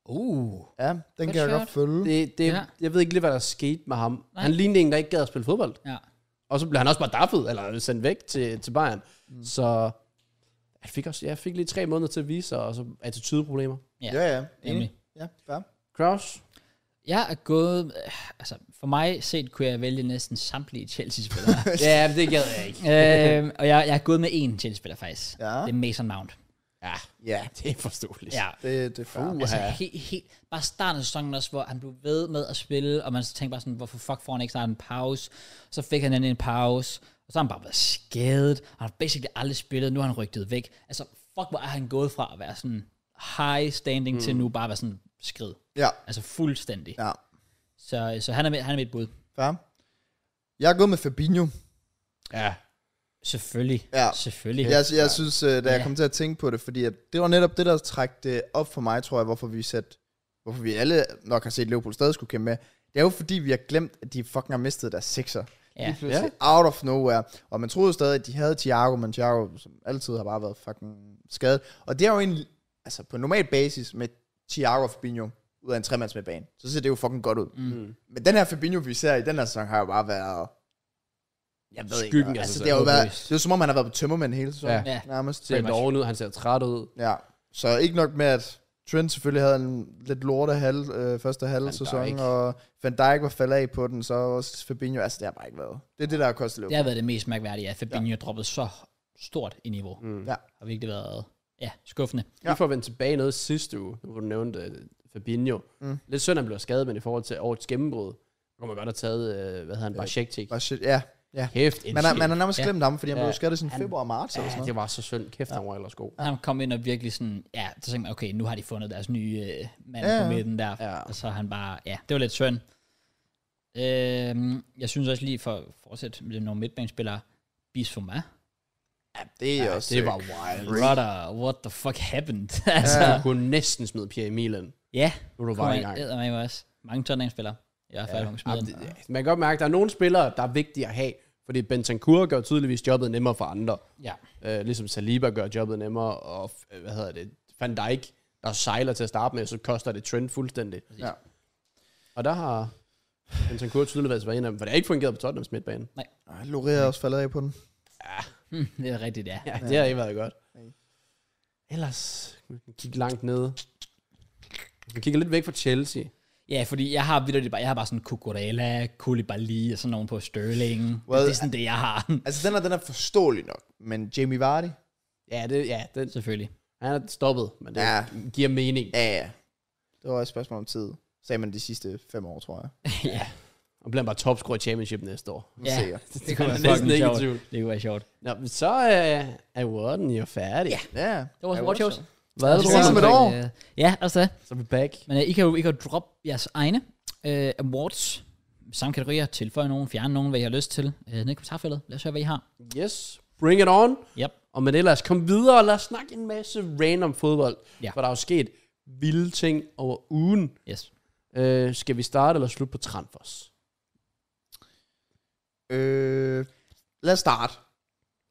S1: Uh.
S2: Ja, den
S1: Godt
S2: kan jeg
S1: shot.
S2: godt følge.
S3: Det, det,
S1: Ja.
S3: ja. Jeg ved ikke lige, hvad der skete med ham.
S1: Nej.
S3: Nej. Han lignede en, der ikke gad at spille fodbold.
S1: Ja.
S3: Og så blev han også bare daffet, eller sendt væk til, til Bayern. Mm. Så jeg fik, også, jeg fik lige tre måneder til at vise sig, og så attitudeproblemer.
S1: Ja,
S2: Ja, ja. Enig.
S1: nemlig.
S2: Ja, fair.
S3: Kraus?
S1: Jeg er gået... øh, Altså, for mig set kunne jeg vælge næsten samtlige Chelsea-spillere.
S3: ja, men det gad jeg ikke.
S1: øhm, og jeg, jeg er gået med én Chelsea-spiller, faktisk.
S2: Ja.
S1: Det er Mason Mount.
S3: Ja,
S2: Ja,
S3: det er forståeligt.
S1: Ja.
S2: det, det er fair.
S3: Fuh.
S1: Altså,
S3: Uha.
S1: helt, helt, bare starten af sæsonen også, hvor han blev ved med at spille, og man så tænkte bare sådan, hvorfor fuck får han ikke snart en pause? Så fik han endelig en pause, og så har han bare været skadet, og han har basically aldrig spillet, nu har han rygtet væk. Altså, fuck, hvor er han gået fra at være sådan high standing mm. til nu bare at være sådan skrid.
S2: Ja,
S1: Altså fuldstændig. Ja.
S2: ja.
S1: Så, så han, er med, han er mit bud.
S2: Fair. Jeg er gået med Fabinho.
S3: ja.
S1: Selvfølgelig.
S2: Ja.
S1: Selvfølgelig.
S2: Jeg, jeg synes, øh, da jeg
S1: Ja.
S2: kom til at tænke på det, fordi at det var netop det, der trak det op for mig, tror jeg, hvorfor vi sat, hvorfor vi alle nok har set Liverpool stadig skulle kæmpe med. Det er jo fordi, vi har glemt, at de fucking har mistet deres sekser.
S1: Ja.
S2: Lige pludselig, out of nowhere. Og man troede stadig, at de havde Thiago, men Thiago, som altid, har bare været fucking skadet. Og det er jo en, altså på normal basis med Thiago og Fabinho ud af en tremands med banen, så ser det jo fucking godt ud. Mm. Men den her Fabinho, vi ser i den her sæson, har jo bare været... Jeg ved ikke.
S3: Skyggen af sig
S2: altså, det
S3: selv.
S2: har jo været,
S1: Håbløst.
S2: det er jo som om, han har været på tømmermænd hele sæsonen.
S1: Ja. Ja.
S2: Nærmest.
S3: Ser doven ud, han ser træt ud.
S2: Ja. Så ikke nok med, at Trent selvfølgelig havde en lidt lorte halv, øh, første halv
S3: Van
S2: sæson,
S3: Dijk.
S2: og Van Dijk var faldet af på den, så også Fabinho, altså det har bare ikke været. Det er det, der har kostet Liverpool.
S1: Det har været det mest mærkværdige, at Fabinho ja. droppede så stort i niveau. Mm.
S2: Ja.
S1: Har virkelig været ja, skuffende.
S3: Ja. Vi får vende tilbage noget sidste uge, nu hvor du nævnte øh, Fabinho. Mm. Lidt synd, han blev skadet, men i forhold til årets gennembrud, så kunne man godt have taget, øh, hvad hedder han, Barshektik.
S2: Var shit, ja. ja.
S3: Kæft, en
S2: Man har, man har
S3: shit.
S2: nærmest
S1: Ja.
S2: glemt ham, fordi han
S3: Ja.
S2: blev skadet i sådan
S1: Han-
S2: februar og marts eller
S3: ja,
S2: sådan
S3: det
S2: noget.
S3: var så synd. Kæft, han var ellers god.
S1: Ja. Han kom ind og virkelig sådan, ja, så tænkte man, okay, nu har de fundet deres nye øh, mand
S2: Ja,
S1: ja.
S2: ja.
S1: på midten der.
S3: Ja.
S1: Og så han bare, ja, det var lidt synd. Øhm, jeg synes også lige for at fortsætte med nogle midtbanespillere, Bissouma.
S2: Det er
S3: Ja,
S2: også
S3: det
S2: øh,
S3: var wild.
S1: Brother, what the fuck happened? altså,
S3: Ja. Du kunne næsten smide Pierre Emil ind.
S1: ja,
S3: Nu er du
S1: kommer
S3: var i
S1: ind,
S3: gang.
S1: eddermame også. Mange Tottenham-spillere. Jeg er færdig ja.
S3: Jamen, det, ja. man kan godt mærke, at der er nogle spillere, der er vigtige at have, fordi Bentancur gør tydeligvis jobbet nemmere for andre.
S1: ja.
S3: Øh, ligesom Saliba gør jobbet nemmere, og øh, hvad hedder det, Van Dijk, der sejler til at starte med, så koster det trend fuldstændig.
S2: Ja.
S3: Og der har Bentancur tydeligvis været en af dem, for det har ikke fungeret på Tottenhams midtbane.
S2: Ej, Loria er også faldet af på den.
S1: Hmm, det er rigtigt, ja.
S3: Ja, det har ikke været godt.
S2: Nej.
S3: Ellers, vi kan kigge langt ned. Vi kigger lidt væk fra Chelsea.
S1: Ja, fordi jeg har vidderligt bare, jeg har bare sådan Kukurella, Koulibaly og sådan nogen på Sterling. Well, det er sådan det, jeg har.
S2: Altså den er, den er forståelig nok, men Jamie Vardy?
S3: Ja, det, ja den,
S1: Selvfølgelig.
S3: han er stoppet, men det
S2: Ja.
S3: ja. giver mening.
S2: Ja, ja. Det var et spørgsmål om tid. Sagde man de sidste fem år, tror jeg.
S1: ja,
S3: Og bliver han bare topscorer i championship næste år.
S1: ja.
S2: Sikkert.
S1: det kunne
S3: være
S1: være
S3: næsten ikke i
S1: sjovt.
S3: tvivl.
S1: Det kunne være sjovt.
S3: Nå, men så øh, er Warden jo færdig. Ja.
S2: Ja, ja.
S1: Det var
S2: Ja,
S1: vores shows.
S2: så.
S3: Hvad er
S2: det
S3: det,
S2: sidste
S3: Warden?
S2: med- et år.
S1: Ja, altså det.
S3: Så er vi back.
S1: Men øh, I kan jo, I kan jo droppe jeres egne øh, awards. Samme kategorier. Tilføje nogen, fjerne nogen, hvad I har lyst til. Øh, ned i kommentarfeltet. Lad os høre, hvad I har.
S3: Yes, bring it on.
S1: Yep.
S3: Og men ellers, kom videre og lad os snakke en masse random fodbold.
S1: Ja.
S3: For der er jo sket vilde ting over ugen.
S1: Yes.
S3: Øh, skal vi starte eller slutte på transfers?
S2: Øh, lad os starte.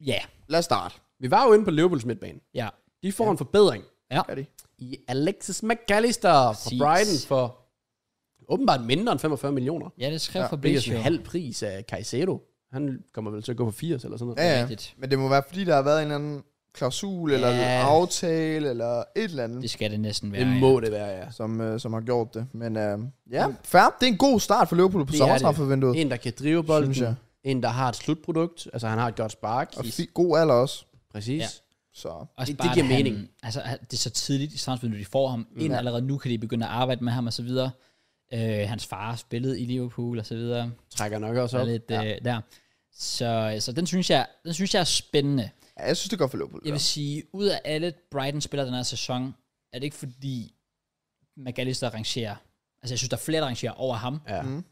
S1: Ja,
S2: Lad os starte.
S3: Vi var jo inde på Liverpools midtbane.
S1: ja.
S3: De får ja. en forbedring
S2: Gør de?
S3: i Alexis McAllister fra
S1: Præcis.
S3: Brighton for åbenbart mindre end 45 millioner.
S1: Ja, det skrev
S2: Ja,
S1: ja, for
S3: Hvilket er
S1: Blisio.
S3: sådan en halv pris af Caicedo. Han kommer vel til at gå på 80 eller sådan noget.
S2: Ja, ja.
S1: rigtigt.
S2: Men det må være, fordi der har været en eller anden klausul, eller en
S3: Ja.
S2: aftale, eller et eller andet,
S1: Det skal det næsten være.
S3: Det
S1: ja. Mm.
S3: må det være, ja.
S2: som, øh, som har gjort det. Men øh, ja, fair. Det er en god start for Liverpool på
S3: Det er
S2: sommertransfervinduet.
S3: En, der kan drive
S2: Synes
S3: bolden.
S2: jeg.
S3: En, der har et slutprodukt. Altså, han har et godt spark.
S2: Og fi- god alder også.
S3: Præcis.
S1: Ja.
S2: Så
S1: Også
S3: Det-
S1: bare,
S3: det giver
S1: at han,
S3: mening.
S1: Altså, at det er så tidligt i transfervinduet, de får ham ind
S2: Ja.
S1: allerede nu, kan de begynde at arbejde med ham og så videre. Øh, hans far spillede i Liverpool og så videre.
S3: Trækker nok også
S1: Så,
S3: op.
S1: lidt, ja. øh, der. Så, så den, synes jeg, den synes jeg er spændende.
S2: ja, jeg synes, det er godt for Liverpool.
S1: Jeg
S2: Ja.
S1: vil sige, ud af alle Brighton-spillere den her sæson, er det ikke fordi McAllister rangerer, altså jeg synes, der er flere, der rangerer over ham,
S3: Ja.
S2: Mm.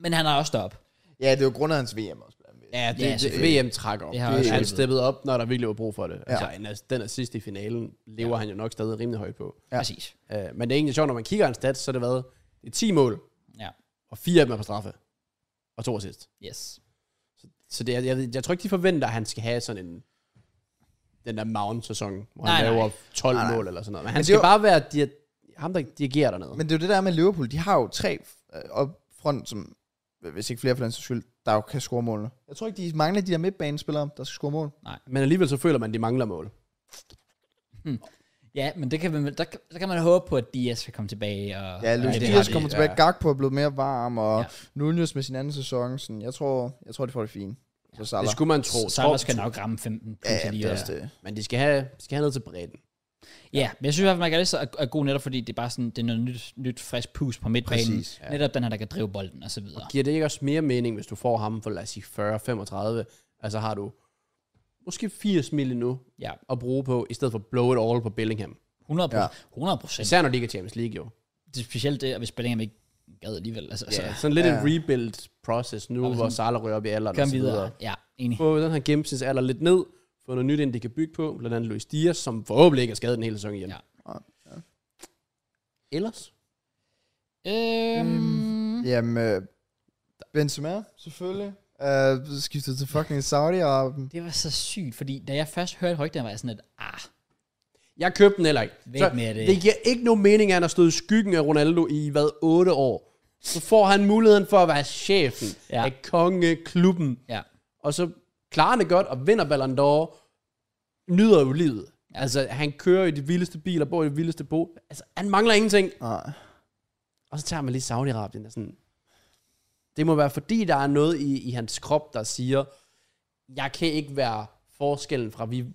S1: men han er også deroppe.
S2: ja, det er jo grund af hans VM også. blandt andet.
S3: Ja, det,
S1: Ja,
S3: ja, det,
S1: selvfølgelig.
S3: VM trækker op.
S1: Det har
S3: Det,
S1: også
S3: han
S1: hjulpet.
S3: steppede op, når der virkelig var brug for det. Ja. Altså, en ass- den assist i finalen lever ja. han jo nok stadig rimelig højt på.
S1: Ja.
S2: Ja.
S1: Præcis.
S3: Uh, men det er egentlig sjovt, når man kigger hans stats, så er det været det er 10 mål,
S1: Ja.
S3: og fire af dem er på straffe, og to assist.
S1: Yes.
S3: Så det, er- jeg, jeg, jeg tror ikke, de forventer, at han skal have sådan en den der Mount-sæson, hvor han
S1: Nej, nej.
S3: laver 12
S2: Nej, nej.
S3: mål eller sådan noget. Men han
S2: det
S3: skal
S2: var-
S3: bare være dia, ham, der dirigerer dernede.
S2: Men det er jo det der med Liverpool. De har jo tre øh, op front, som, hvis ikke flere for den sags skyld, der jo kan score målene. Jeg tror ikke, de mangler de der midtbanespillere, der skal score mål.
S3: Men alligevel så føler man, at de mangler mål.
S1: Ja, men det kan man, der, kan- der kan man håbe på, at Dias vil komme tilbage. Og,
S2: Ja, Luis
S3: det
S1: og-
S3: har
S2: Diaz
S3: de,
S2: kommer
S3: ja.
S2: tilbage. Gakpo er blevet mere varm, og
S1: Ja.
S2: ja. Nunez med sin anden sæson. Sådan, jeg, tror, jeg tror, de får det fint. Så Salah.
S3: Det skulle man tro.
S1: Salah skal nok ramme 15 plus
S2: ja, ja,
S1: alligevel.
S2: det er også det.
S3: Men de skal have, de skal have noget til bredden.
S1: Ja, men jeg synes i hvert fald, at McAllister er, er god netop, fordi det er bare sådan, det er noget nyt, nyt frisk pus på midtbanen.
S2: Præcis,
S1: Ja. Netop den her, der kan drive bolden og så videre.
S3: Giver det ikke også mere mening, hvis du får ham for, lad os sige, 40-35? Altså har du måske 80 mil nu
S1: Ja,
S3: at bruge på, i stedet for blow it all på Bellingham.
S1: 100
S2: Ja.
S1: procent. 100 procent.
S3: Især når det ikke er Champions League, jo.
S1: Det er specielt det, og hvis Bellingham ikke gad alligevel. Altså,
S3: Altså,
S1: så
S3: sådan lidt
S2: Ja.
S3: en rebuild process nu,
S1: Og
S3: hvor
S1: sådan-
S3: Salah rører op i alderen og
S1: kom
S3: så
S1: videre.
S3: videre.
S1: Ja, enig.
S3: Få den her gennemsnitsalder lidt ned, få noget nyt ind, de kan bygge på, blandt andet Luis Diaz, som forhåbentlig ikke er skadet den hele sæson igen.
S1: Ja.
S2: Ja.
S3: Ellers?
S1: Øhm,
S2: Jamen, øh, Benzema, selvfølgelig. Uh, skiftet til fucking Saudi-Arabien.
S1: Det var så sygt, fordi da jeg først hørte rygterne, var jeg sådan lidt, ah,
S3: Jeg købte den heller ikke.
S1: Væk med det.
S3: det giver ikke nogen mening, at han har stået i skyggen af Ronaldo i, hvad, 8 år. Så får han muligheden for at være chefen
S1: Ja.
S3: ja. af kongeklubben.
S1: ja,
S3: Og så klarer han det godt og vinder Ballon d'Or. Nyder jo livet. Altså, han kører i de vildeste biler, bor i de vildeste bo. Altså, han mangler ingenting.
S2: Nej.
S3: Og så tager man lige Saudi-Arabien og sådan... Det må være, fordi der er noget i, i hans krop, der siger, jeg kan ikke være forskellen fra, vi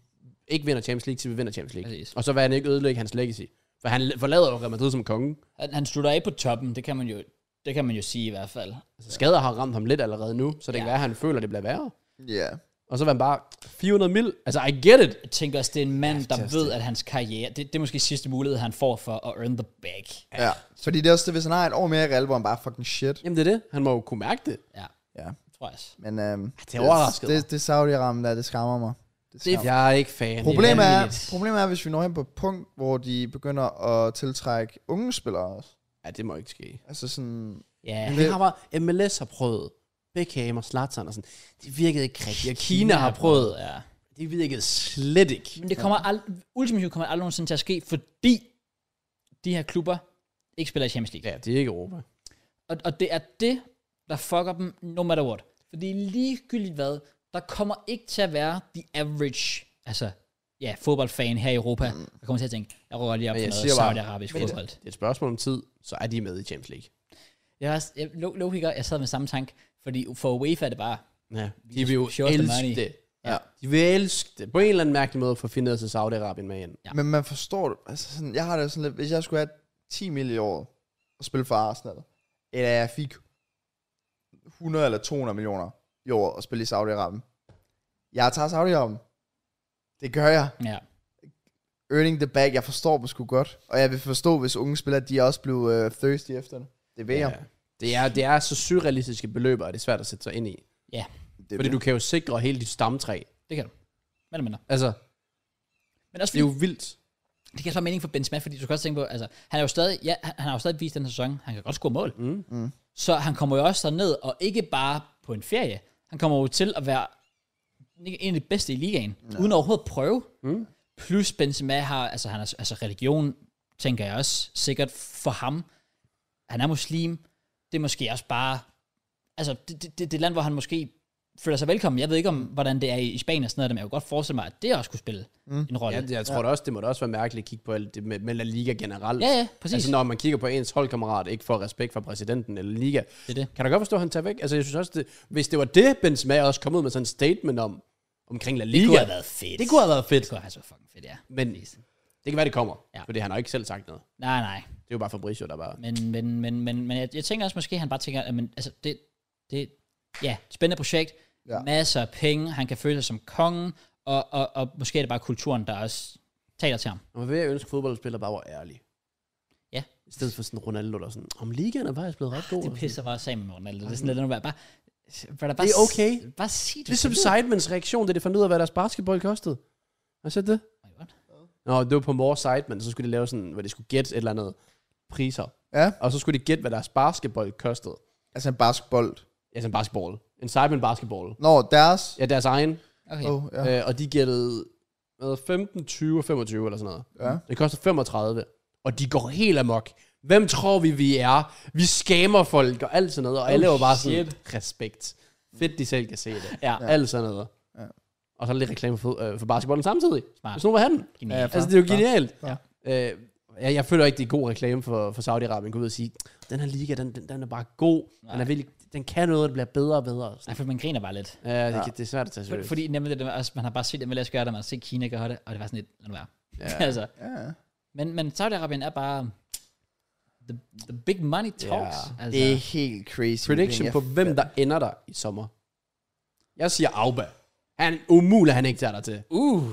S3: ikke vinder Champions League, til vi vinder Champions League.
S1: Præcis.
S3: Og så vil han ikke ødelægge hans legacy. For han forlader jo Real Madrid som konge.
S1: han, han slutter af på toppen, det kan man jo, det kan man jo sige i hvert fald.
S3: Altså, skader har ramt ham lidt allerede nu, så det ja.
S1: Ja.
S3: kan være, at han føler, at det bliver værre.
S2: Ja.
S3: Og så var han bare 400 mil. Altså, I get it.
S1: Jeg tænker også, det er en mand, der
S2: Fantastisk.
S1: ved, at hans karriere, det, det er måske sidste mulighed, han får for at earn the bag.
S2: Ja. Fordi det er også det, hvis han har et år mere i Real, hvor han bare er fucking shit.
S3: Jamen, det er det. Han må jo kunne mærke det.
S1: Ja,
S2: Ja.
S1: tror jeg også.
S2: Men øhm,
S3: det overraskede
S2: det, det Saudi-Arabien der, det skammer mig. Det skammer. mig.
S3: Jeg er ikke fan.
S2: Problemet
S1: det er
S2: er,
S1: vanvittigt.
S2: problemet er, hvis vi når hen på et punkt, hvor de begynder at tiltrække unge spillere også.
S3: Ja, det må ikke ske.
S2: Altså sådan...
S1: Ja,
S3: Men det har bare, MLS har prøvet. Beckham og Zlatan og sådan. Det virkede ikke rigtigt. Og Kina har prøvet.
S1: ja.
S3: Det virkede slet ikke.
S1: Men det kommer aldrig, ultimativt kommer det aldrig nogensinde til at ske, fordi de her klubber ikke spiller i Champions League.
S3: Ja, det er ikke Europa.
S1: Og, og det er det, der fucker dem no matter what. Fordi ligegyldigt hvad, der kommer ikke til at være the average, altså ja, fodboldfan her i Europa, der kommer til at tænke, jeg råder lige op
S3: Mm. Men
S1: for
S3: jeg
S1: noget
S3: siger bare-
S1: saudi-arabisk
S3: Men
S1: fodbold.
S3: Det er et spørgsmål om tid, så er de med i Champions League.
S1: Jeg, var, også- jeg, lo- logiker, jeg sad med samme tanke, fordi for UEFA er det bare,
S3: Ja, de vil jo
S1: show us the money.
S3: elske det.
S2: Ja.
S3: De vil elske det. På en eller anden mærkelig måde får findet sig Saudi-Arabien med ind.
S1: Ja.
S2: Ja. Men man forstår det. Altså sådan, jeg har det sådan lidt, hvis jeg skulle have 10 mil i året og spille for Arsenal, eller jeg fik 100 eller 200 millioner i året og spille i Saudi-Arabien. Jeg tager Saudi-Arabien. Det gør jeg.
S1: ja,
S2: Earning the bag, jeg forstår dem sgu godt. Og jeg vil forstå, hvis unge spillere, de er også blev uh, thirsty efter det. Det ved ja. jeg.
S3: Det er, det er så surrealistiske beløb, og det er svært at sætte sig ind i.
S1: ja,
S2: Det
S3: Fordi du kan jo sikre hele dit stamtræ.
S1: det kan du. Men, men,
S3: Altså,
S1: men også
S3: det er jo vildt.
S1: Det giver så mening for Benzema, fordi du kan også tænke på, altså, han er jo stadig, ja, han han har jo stadig vist den her sæson, han kan godt score mål. Mm. Mm. Så han kommer jo også derned, og ikke bare på en ferie, han kommer jo til at være en af de bedste i ligaen, ja. uden overhovedet at prøve. Mm. Plus Benzema har, altså, han er, altså religion, tænker jeg også, sikkert for ham. Han er muslim. Det er måske også bare, altså det, det, det, det land, hvor han måske føler sig velkommen. Jeg ved ikke, om hvordan det er i, i Spanien og sådan noget, men jeg kunne godt forestille mig, at det også kunne spille mm. en rolle.
S3: Jeg, jeg tror ja. også, det må da også være mærkeligt at kigge på alt det med, med La Liga generelt.
S1: Ja, ja, præcis.
S3: Altså når man kigger på ens holdkammerat, ikke får respekt fra præsidenten eller Liga.
S1: Det er det.
S3: Kan du godt forstå, at han tager væk? Altså jeg synes også, det, hvis det var det, Benzema også kom ud med sådan en statement om, omkring La Liga.
S1: Det kunne have været fedt.
S3: Det kunne have været fedt.
S1: Det kunne have været så fucking fedt, ja.
S3: Men det kan være, det kommer.
S1: Ja.
S3: Ja. Fordi han har ikke selv sagt noget.
S1: Nej, nej.
S3: Det er jo bare Fabricio, der bare...
S1: Men, men, men, men, men jeg, jeg tænker også måske, at han bare tænker, at men, altså, det, det, ja, spændende projekt, ja.
S2: Ja.
S1: masser af penge, han kan føle sig som kongen, og, og, og måske er det bare kulturen, der også taler til ham.
S3: Og ved jeg ønske, at fodboldspillere bare var ærlige.
S1: Ja.
S3: I stedet for sådan Ronaldo, der sådan, om ligaen Ah, er faktisk blevet ret god.
S1: Det
S3: og
S1: pisser bare sammen med Ronaldo. Det er sådan lidt, at bare, bare, bare, bare,
S3: Det er okay.
S1: Bare sig
S3: sådan.
S1: det.
S3: Ligesom Seidmans reaktion, da det fandt ud af, hvad deres basketball kostede. Har I set det?
S1: Oh
S3: Nå, det var på More Seidman, så skulle de lave sådan, hvor de skulle gætte et eller andet priser.
S2: Ja,
S3: Og så skulle de gætte, hvad deres basketball kostede.
S2: altså en basketball.
S3: Ja, sådan en basketball. En Seidman basketball.
S2: Nå, deres...
S3: Ja, deres egen.
S1: Okay.
S2: Oh, ja.
S3: Ja. Øh, og de gættede hvad, 15, 20 og 25 eller sådan noget.
S2: Ja.
S3: Det koster 35. Og de går helt amok. Hvem tror vi, vi er? Vi skamer folk og alt sådan noget. Og oh, alle var bare sådan, respekt. Fedt, de selv kan se det.
S1: Ja.
S3: Alt sådan noget.
S2: Ja.
S3: Og så lidt reklame for, øh, for basketballen samtidig.
S1: Smart.
S3: Hvis nu var han.
S1: Genialt.
S2: Ja,
S3: Altså, det er jo genialt.
S2: Ja.
S3: Øh, jeg, jeg føler ikke, det er god reklame for, for Saudi-Arabien. Gå ud og sige, den her liga, den, den, den er bare god. Den, er virkelig, den kan noget, den bliver bedre og bedre.
S1: Nej, for man griner bare lidt.
S3: Ja, det, ja. det er svært at tage seriøst.
S1: Fordi nemlig det der, også, man har bare set MLS gøre det, man har set Kina gøre det, og det var sådan lidt, lad nu være. Ja. altså,
S2: Ja.
S1: men, men Saudi-Arabien er bare the, the big money talks.
S3: Ja.
S1: altså.
S2: Det er helt crazy.
S3: Prediction
S2: Jeg-
S3: på, hvem der ender der i sommer. Jeg siger Auba. Han umulig, han ikke tager dig til.
S1: Uh,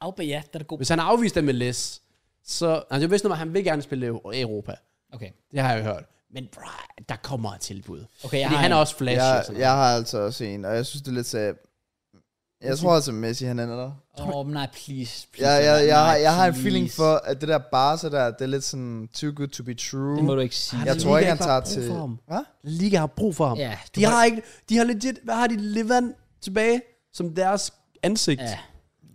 S1: Auba, ja, der er det god.
S3: Hvis han har afvist MLS, så... Altså, jeg vidste noget, han vil gerne spille i Europa.
S1: Okay,
S3: Det har jeg jo hørt. Men bro, der kommer et tilbud.
S1: okay jeg
S3: Fordi
S1: har
S3: han
S1: en.
S3: er også flash. og
S2: Jeg,
S3: sådan
S2: jeg har altså også en, og jeg synes, det er lidt sad. Jeg tror altså, Messi han ender der.
S1: Åh, oh, nej, please. please
S2: Jeg, jeg,
S1: nej,
S2: jeg, har, jeg har en
S1: please.
S2: feeling for, at det der Barca der, det er lidt sådan too good to be true.
S1: Det må du Altså, ikke sige.
S3: noget.
S2: Jeg
S3: La
S2: tror ikke,
S3: Liga
S2: han
S3: har
S2: tager
S3: brug
S2: til...
S3: for ham.
S2: Hvad?
S3: La Liga har brug for ham.
S1: Ja, du
S3: de
S1: må-
S3: har ikke... De har legit... Hvad har de Levan tilbage som deres ansigt?
S1: Ja.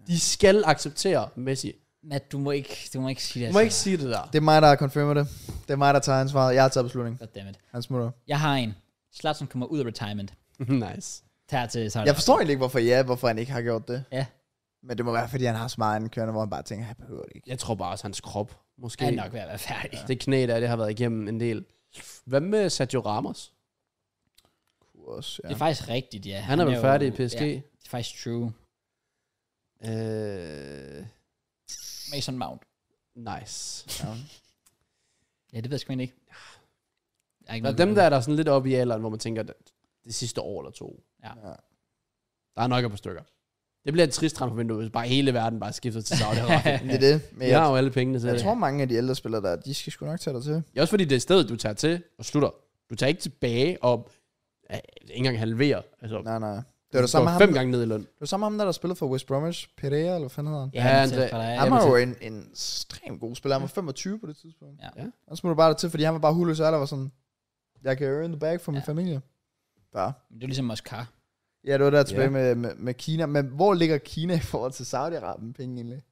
S3: De skal acceptere Messi.
S1: Matt, du må ikke, du må ikke sige det. altså.
S3: Du må ikke sige det der.
S2: Det er mig, der confirmer det. Det er mig, der tager ansvaret. Jeg har taget beslutningen.
S1: Goddammit.
S2: Han smutter.
S1: Jeg har en. Zlatan kommer ud af retirement.
S3: nice.
S1: Tager til Saudi
S2: Jeg forstår egentlig ikke, hvorfor ja, hvorfor han ikke har gjort det.
S1: Ja,
S2: Men det må være, fordi han har så meget andet kørende, hvor han bare tænker, jeg behøver det ikke.
S3: Jeg tror bare også, hans krop måske...
S1: han er nok ved at være færdig.
S3: Det knæ der, det har været igennem en del. Hvad med Sergio Ramos?
S2: Kurs, ja.
S1: Det er faktisk rigtigt, ja.
S3: Han er vel
S1: jo-
S3: færdig i PSG.
S1: Ja, det er faktisk true.
S3: Øh,
S1: Mason Mount.
S3: nice.
S2: ja.
S1: Ja, det ved jeg sgu egentlig ikke. Jeg er ikke
S3: Der er
S1: noget
S3: dem,
S1: ved
S3: der er der sådan lidt oppe i alderen, hvor man tænker, at det sidste år eller to.
S2: Ja.
S3: Der er nok et par stykker. Det bliver et trist transfervindue, hvis bare hele verden bare skifter til Saudi-Arabien.
S2: Men Det er det. Men
S3: Vi har
S2: jeg,
S3: jo alle pengene til
S2: jeg
S3: det.
S2: tror, mange af de ældre spillere der, de skal sgu nok tage dig til.
S3: Det er også fordi, det er stedet, du tager til og slutter. Du tager ikke tilbage og ja, ikke engang halverer. Altså,
S2: Nej, nej. Det var
S3: du
S2: det samme med
S3: går
S2: ham,
S3: fem gange ned i løn.
S2: det var samme med ham der, der spillede for West Bromwich. Pereira, eller hvad fanden hedder han?
S1: det. Ja,
S3: Ja,
S1: han
S3: André-
S1: er ja,
S2: Han
S3: men
S2: var
S3: så-
S2: jo en, en ekstremt god spiller. Han var 25 på det tidspunkt.
S1: Ja.
S3: Ja.
S2: Han smutter bare til, fordi han var bare huløs og der var sådan, jeg kan earn the bag for min
S1: Ja.
S2: familie. Bare.
S1: Det er ligesom Oscar.
S2: Ja, det var der tilbage
S3: Ja.
S2: med, med, med, Kina. Men hvor ligger Kina i forhold til Saudi-Arabien penge egentlig?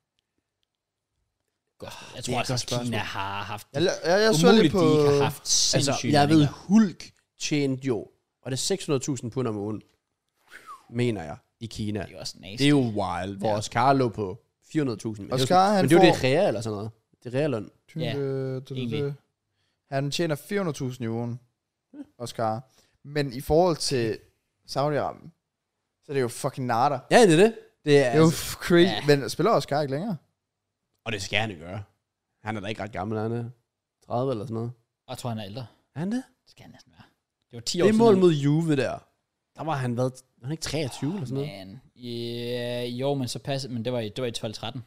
S1: Godt. Jeg
S3: er
S1: tror
S3: et
S1: også,
S3: godt
S1: at Kina
S3: spørgsmål.
S1: har haft
S2: Jeg, jeg, jeg så lige
S1: umuligt,
S2: på...
S1: de ikke har haft
S3: Altså,
S1: sindssygt.
S3: jeg ved, Hulk tjente jo, og det er 600.000 pund om ugen, mener jeg, i Kina.
S1: Det er jo også nasty.
S3: Det er jo wild, hvor
S1: Ja.
S3: Oscar lå på 400.000. Men det er jo
S2: Oscar,
S3: sådan-
S2: han
S3: Men det er jo det
S2: får-
S3: rea eller sådan noget. Det er rea løn.
S1: Ja,
S2: øh,
S1: egentlig.
S2: Ja, han tjener 400.000 i ugen, Oscar. Men i forhold til Saudi-Arabien, så er det jo fucking nada.
S3: Ja, det er det. det er,
S2: Det er jo
S3: altså,
S2: f- crazy.
S1: ja.
S2: Men spiller Oscar ikke længere?
S3: og det skal han jo gøre. Han er da ikke ret gammel, han er 30 eller sådan noget.
S1: Og jeg tror, han er ældre.
S3: Er han det?
S1: Det skal han næsten være. Det var 10 år
S3: Det er mål mod Juve der. Der var han været, var han ikke 23 eller sådan noget?
S1: Man. Yeah, jo, men så passede, men det var i, det var i 12-13.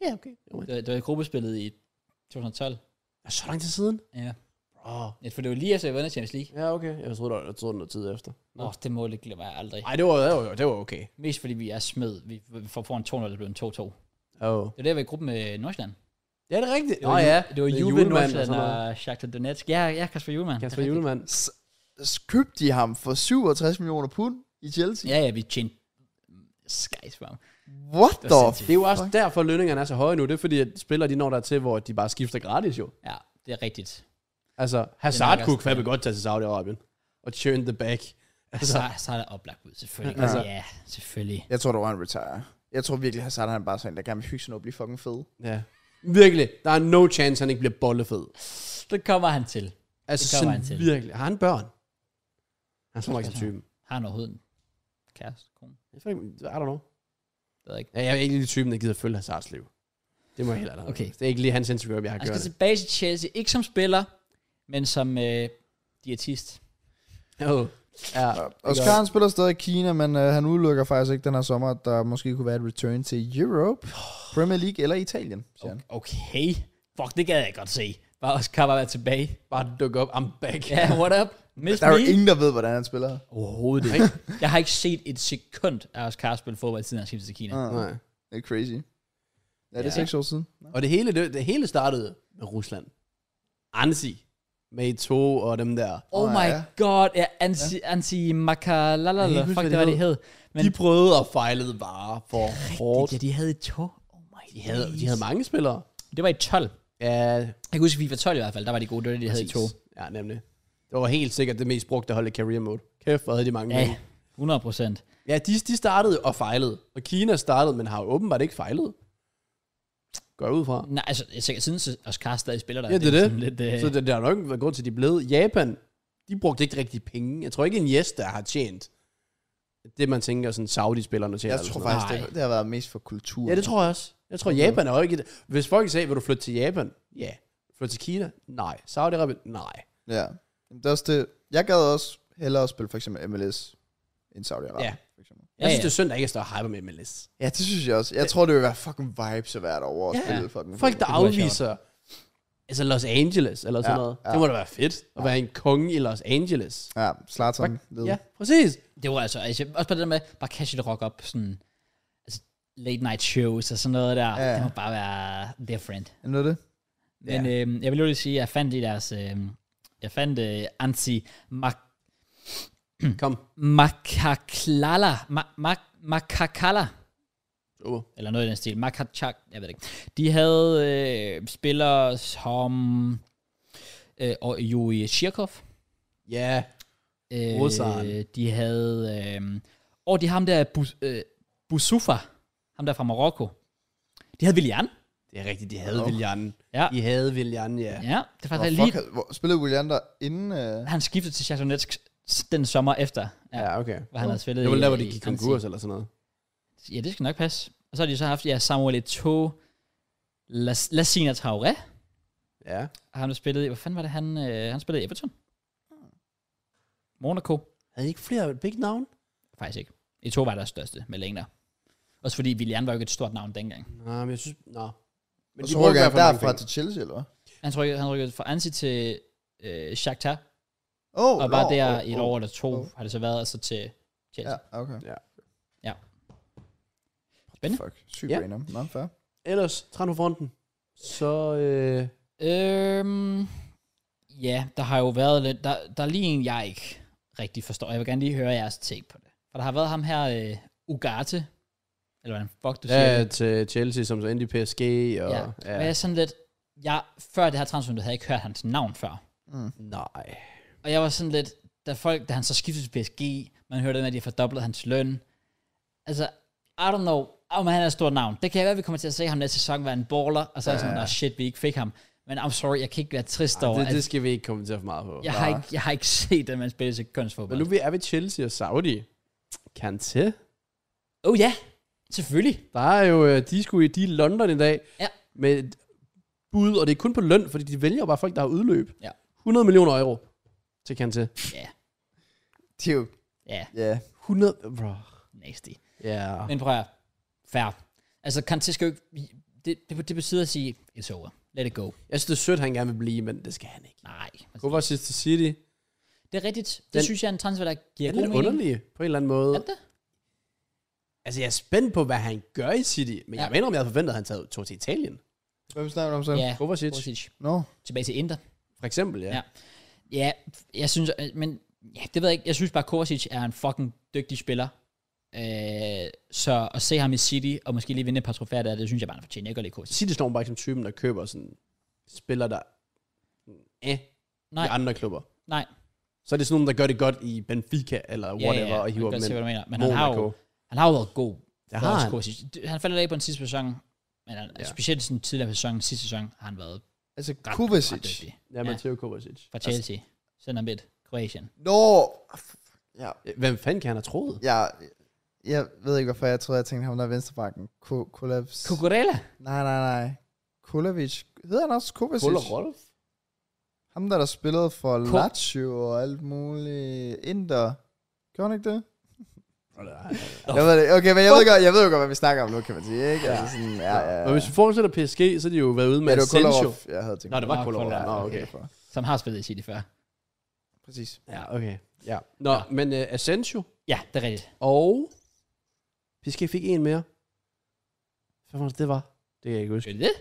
S3: Ja, okay. Jo, men-
S1: Det, var- det var i gruppespillet i 2012.
S3: Er så lang tid siden?
S1: Ja.
S3: Åh.
S1: Ja, For det var lige efter, jeg vandt Champions League.
S3: Ja, okay. Jeg troede, der var, jeg troede, der var noget tid efter.
S1: Åh, oh, det mål, det glemmer jeg aldrig.
S3: Nej, det var, det var, det var okay.
S1: Mest fordi vi er smed. Vi vi får foran 2-0, det blev en 2-2. Det
S3: Oh.
S1: var der, vi var i gruppen med Nordsjælland.
S3: Ja, det er rigtigt.
S1: Det
S3: Åh
S1: var
S3: oh,
S1: Ju-
S3: ja.
S1: Det var
S3: Med
S1: Juve,
S3: Julemand og
S1: Nordsjælland
S3: sådan noget.
S1: og Shakhtar Donetsk. Ja, ja, Kasper Julemand.
S3: Kasper Julemand.
S2: S- s- købte de ham for 67 millioner pund i Chelsea.
S1: Ja, ja, vi tjente skies for ham.
S2: What
S1: Det
S2: the
S1: var
S2: f-
S1: sindssygt.
S3: Det er jo også derfor, lønningerne er så høje nu. Det er fordi, at spillere de når der til, hvor de bare skifter gratis jo.
S1: Ja, det er rigtigt.
S3: Altså,
S1: nok
S3: Hazard
S1: også-
S3: kunne kvabe godt tage til Saudi-Arabien. Og turn the back.
S1: Altså, så, så er der oplagt ud, selvfølgelig. Altså, ja, selvfølgelig.
S2: Jeg tror, der var en retire. Jeg tror virkelig, Hazard han er bare sådan, en, der gerne vil hygge sig nu og blive fucking fed.
S3: Ja. Virkelig, der er no chance, han ikke bliver bollefed.
S1: Så kommer han til.
S3: Altså,
S1: Det kommer
S3: sådan
S1: han til.
S3: virkelig. Har han børn? Han tror ikke, han er typen.
S1: Har han overhovedet en kæreste, kone?
S3: Jeg tror ikke, I don't know.
S1: Det ved jeg ikke.
S3: Ja, jeg er ikke lige typen, der gider følge Hazards liv. Det må jeg heller
S1: Okay.
S3: Det er ikke lige hans Instagram, jeg har
S1: Han
S3: gjort.
S1: skal tilbage til Chelsea, ikke som spiller, men som øh, diætist.
S3: Oh. Ja,
S2: Oscar han spiller stadig i Kina, men øh, han udelukker faktisk ikke den her sommer, at der måske kunne være et return til Europe, Premier League eller Italien, siger han.
S1: Okay. Fuck, det gad jeg godt se. Bare Oscar bare være tilbage.
S3: bare dukke op. I'm back.
S1: Ja, yeah, what up? Miss
S2: Der er jo
S1: me?
S2: ingen, der ved, hvordan han spiller.
S1: Overhovedet ikke. Jeg har ikke set et sekund af Oscar spille fodbold, siden han skiftede til Kina.
S2: Ah,
S3: Nej.
S2: Det er crazy. Er det
S1: Ja.
S2: seks år siden?
S3: Og det hele, det, det hele startede med Rusland. Ansi, med to og dem der.
S1: Oh
S2: Åh,
S1: my
S2: Ah, ja.
S1: god, ja, anti, ja. anti
S3: Jeg kan
S1: makalalala,
S3: ikke huske,
S1: fuck
S3: hvad
S1: det
S3: de
S1: var det hed. Men
S3: Men, de prøvede og fejlede bare for hårdt.
S1: ja, de havde et to. Oh my
S3: De havde, de
S1: days.
S3: havde mange spillere.
S1: Det var i 12.
S3: Ja,
S1: Jeg kan huske, at FIFA 12 i hvert fald, der var de gode, det var det, de havde i to.
S3: præcis. Ja, nemlig. Det var helt sikkert det mest brugte hold i career mode. Kæft, hvor havde de mange.
S1: Ja,
S3: penge.
S1: 100 procent.
S3: ja de, de startede og fejlede. Og Kina startede, men har jo åbenbart ikke fejlet. Går jeg ud fra.
S1: Nej, altså, jeg tænker, siden Oscar stadig spiller der.
S3: Ja, det er Altså, det.
S1: sådan Lidt, øh,
S3: Så det, der har nok været grund til, at de blev. Japan, de brugte ikke rigtig penge. Jeg tror ikke, en yes, der har tjent det, man tænker, sådan Saudi-spillerne tjener.
S2: Jeg
S3: eller
S2: tror
S3: sådan noget.
S2: faktisk,
S1: Nej.
S2: det, det har været mest for kultur.
S3: Ja, det tror jeg også. Jeg tror, Japan er jo ikke... et- Hvis folk sagde, vil du flytte til Japan? Ja. Flytte til Kina? Nej. Saudi-Arabien? Nej.
S2: Ja. Men Det er også det. Jeg gad også hellere spille for eksempel MLS end Saudi-Arabien.
S3: Ja.
S2: For eksempel.
S3: Jeg synes, det er synd, der ikke er større hype med MLS.
S2: ja, det synes jeg også. Jeg tror, det vil være fucking vibes at være derovre og
S3: Ja.
S2: spille fucking
S3: Folk, der
S1: Det kunne være
S3: afviser... Altså Los Angeles eller sådan
S2: Ja,
S3: noget.
S2: ja.
S3: Det må da være fedt at være en konge i Los Angeles.
S2: Ja, Slatern. ved.
S3: Ja, præcis.
S1: Det var altså, altså også på det der med, bare cash it rock op, sådan, altså, late night shows og sådan noget der,
S2: Ja.
S1: ja. det må bare være different.
S2: Er det det?
S1: Men ja. øhm, jeg vil jo lige sige, at jeg fandt i deres, øhm, jeg fandt øh, Ansi Mak-
S3: Kom.
S1: Makaklala, Ma- Ma- Makakala,
S2: Uh.
S3: Super.
S1: eller noget i den stil, Makachak, jeg ved det ikke. De havde øh, spillere som øh, og Yuri Shirkov,
S3: Ja.
S1: Øh,
S3: Russeren.
S1: De havde... Øh, og de har ham der, Bus, øh, Busufa, ham der fra Marokko. De havde Willian.
S3: Det er rigtigt, de havde
S2: Åh.
S3: Viljan.
S1: Ja.
S3: De havde Viljan, ja.
S1: Ja, det var
S2: Hvor
S1: faktisk
S2: fuck,
S3: altså.
S1: lige...
S2: havde- hvor, spillede William der inden... Øh,
S1: Han skiftede til Chateaunesk den sommer efter, ja,
S3: Ja, okay.
S1: hvor han havde spillet
S3: Det var
S1: i-
S3: der, hvor de
S1: i
S3: gik
S1: Annecy.
S3: konkurs eller sådan noget.
S1: Ja, det skal nok passe. Og så har de så haft, ja, Samuel Eto'o, Las- Lassina Traoré,
S3: Ja.
S1: har han spillet i... Hvor fanden var det, han, øh, han spillede i Everton? Hmm. Monaco?
S3: Havde I ikke flere big navn?
S1: Faktisk ikke. Eto'o var deres største med længder. Også fordi William var jo ikke et stort navn dengang.
S3: Nej, men jeg synes... Nå. Men
S2: og så
S3: brugte i
S2: rykker
S3: hvert
S2: han
S3: fald mange
S2: derfra
S3: penge.
S2: til Chelsea, eller hvad?
S1: Han rykkede, han rykkede fra Ansi til øh, Shakhtar,
S2: Oh,
S1: og var
S2: nå,
S1: der
S2: åh,
S1: et
S2: åh.
S1: år eller to,
S2: åh.
S1: har det så været, og så til Chelsea.
S2: Ja,
S1: Ja.
S2: okay.
S1: Ja. Spændende.
S2: Fuck, sygt
S3: Ja.
S2: random. Nå, fair.
S3: Ellers, Trandofronten. Så, øh,
S1: Øhm, ja, der har jo været lidt, der, der er lige en, jeg ikke rigtig forstår. Jeg vil gerne lige høre jeres take på det. For der har været ham her, øh, Ugarte, eller hvordan fuck du siger ja,
S3: ja,
S1: det.
S3: til Chelsea, som så endte i PSG, og...
S1: Ja. Og jeg er sådan lidt, jeg, før det her transfer, havde jeg ikke hørt hans navn før.
S2: Mm.
S3: Nej.
S1: Og jeg var sådan lidt, da, folk, da han så skiftede til PSG, man hørte det med, at de har fordoblet hans løn. Altså, I don't know, om han er et stort navn. Det kan jeg være, vi kommer til at se ham næste sæson være en baller, og så er jeg sådan, "Nå, shit, vi ikke fik ham. Men I'm sorry, jeg kan ikke være trist over,
S3: Det,
S1: at
S3: det skal vi ikke kommentere for meget på.
S1: jeg, har ikke, jeg har ikke set den man spille til
S3: Men
S1: kønsfodbold.
S3: nu vi er ved Chelsea og Saudi. Kanté.
S1: Oh ja, selvfølgelig.
S3: Der er jo, øh, de skulle i de er i London i dag,
S1: Ja.
S3: med et bud, og det er kun på løn, fordi de vælger jo bare folk, der har udløb.
S1: Ja.
S3: 100 millioner euro til Kanté.
S1: Ja,
S2: Det er jo...
S1: ja,
S2: Ja.
S3: 100... Bro.
S1: nasty.
S3: Ja.
S1: Men prøv at fair. Altså, Kanté skal jo ikke... Det, det, det betyder at sige, it's over. Let it go.
S3: Jeg synes, det er sødt, han gerne vil blive, men det skal han ikke.
S1: Nej. Altså,
S3: Hvorfor sidste City?
S1: det er rigtigt. Det
S3: Den-
S1: synes jeg er en transfer, der
S3: Det
S1: giver
S3: er
S1: god
S3: lidt
S1: mening.
S3: underligt, på en eller anden måde.
S1: Er det?
S3: Altså, jeg er spændt på, hvad han gør i City, men ja.
S1: Ja.
S3: jeg mener, om jeg havde forventet, at han taget, tog til Italien.
S2: Hvem snakker du om så?
S1: Ja,
S3: Kovacic.
S1: Kovacic.
S2: Nå.
S1: Tilbage til Inter.
S3: For eksempel, ja.
S1: Ja. Ja, jeg synes, øh, men Ja, det ved jeg ikke. Jeg synes bare, Kovacic er en fucking dygtig spiller. Øh, så at se ham i City, og måske lige vinde et par trofæer der, det synes jeg bare, han fortjener. Jeg kan godt lide Kovacic.
S3: City står bare ikke som typen, der køber sådan spiller der eh,
S1: Nej.
S3: i andre klubber.
S1: Nej.
S3: Så er det sådan nogen, der gør det godt i Benfica eller whatever,
S1: ja, ja, jeg
S3: og
S1: kan
S3: hiver
S1: godt
S3: dem
S1: se, hvad
S3: ind.
S1: du mener. Men han har, jo, han har jo været god.
S3: Det
S1: for
S3: har
S1: os,
S3: han.
S1: Kovacic. D- Han faldt af på den sidste sæson, men han,
S3: Ja.
S1: ja. specielt sådan tidligere på sæsonen, sidste sæson, har han været
S2: Altså,
S1: ret, ret
S2: Kovacic.
S1: dygtig.
S3: Ja,
S1: Ja.
S3: Matteo Kovacic.
S1: Fra Chelsea. Sender ham lidt. Kroatien.
S2: Nå, ja,
S3: Altså, hvem fanden kan han have troet?
S2: jeg, jeg ved ikke, hvorfor jeg troede, jeg tænkte ham der er venstrebakken. Ko- Kolavs.
S1: Kukurella?
S2: Nej, nej, nej. Kolavic. Hedder han også Kovacic?
S3: Kuller Rolf?
S2: Ham der, der spillede for
S1: Ko-
S2: Lazio og alt muligt. Inder. Gjorde han ikke det?
S3: Nå.
S2: Jeg ved det. Okay, men jeg ved, godt, jeg ved jo godt, hvad vi snakker om nu, kan man sige. Ikke? Altså sådan, ja, ja, ja.
S3: Men hvis vi fortsætter PSG, så er de jo været ude med
S2: ja, det var
S3: Asensio.
S2: Kolarov, jeg havde tænkt.
S3: Nå, det var
S1: Nå,
S3: Kuller Rolf.
S1: Kolarov.
S3: Nå,
S1: Nå,
S3: okay.
S2: For.
S1: Som har spillet i City før.
S2: Præcis.
S3: Ja, okay. Ja. Nå,
S1: Ja.
S3: men uh, Asensio
S1: Ja, det er rigtigt.
S3: og PSG fik en mere. Hvad var det, det var? Det kan jeg ikke huske.
S1: Gør de det?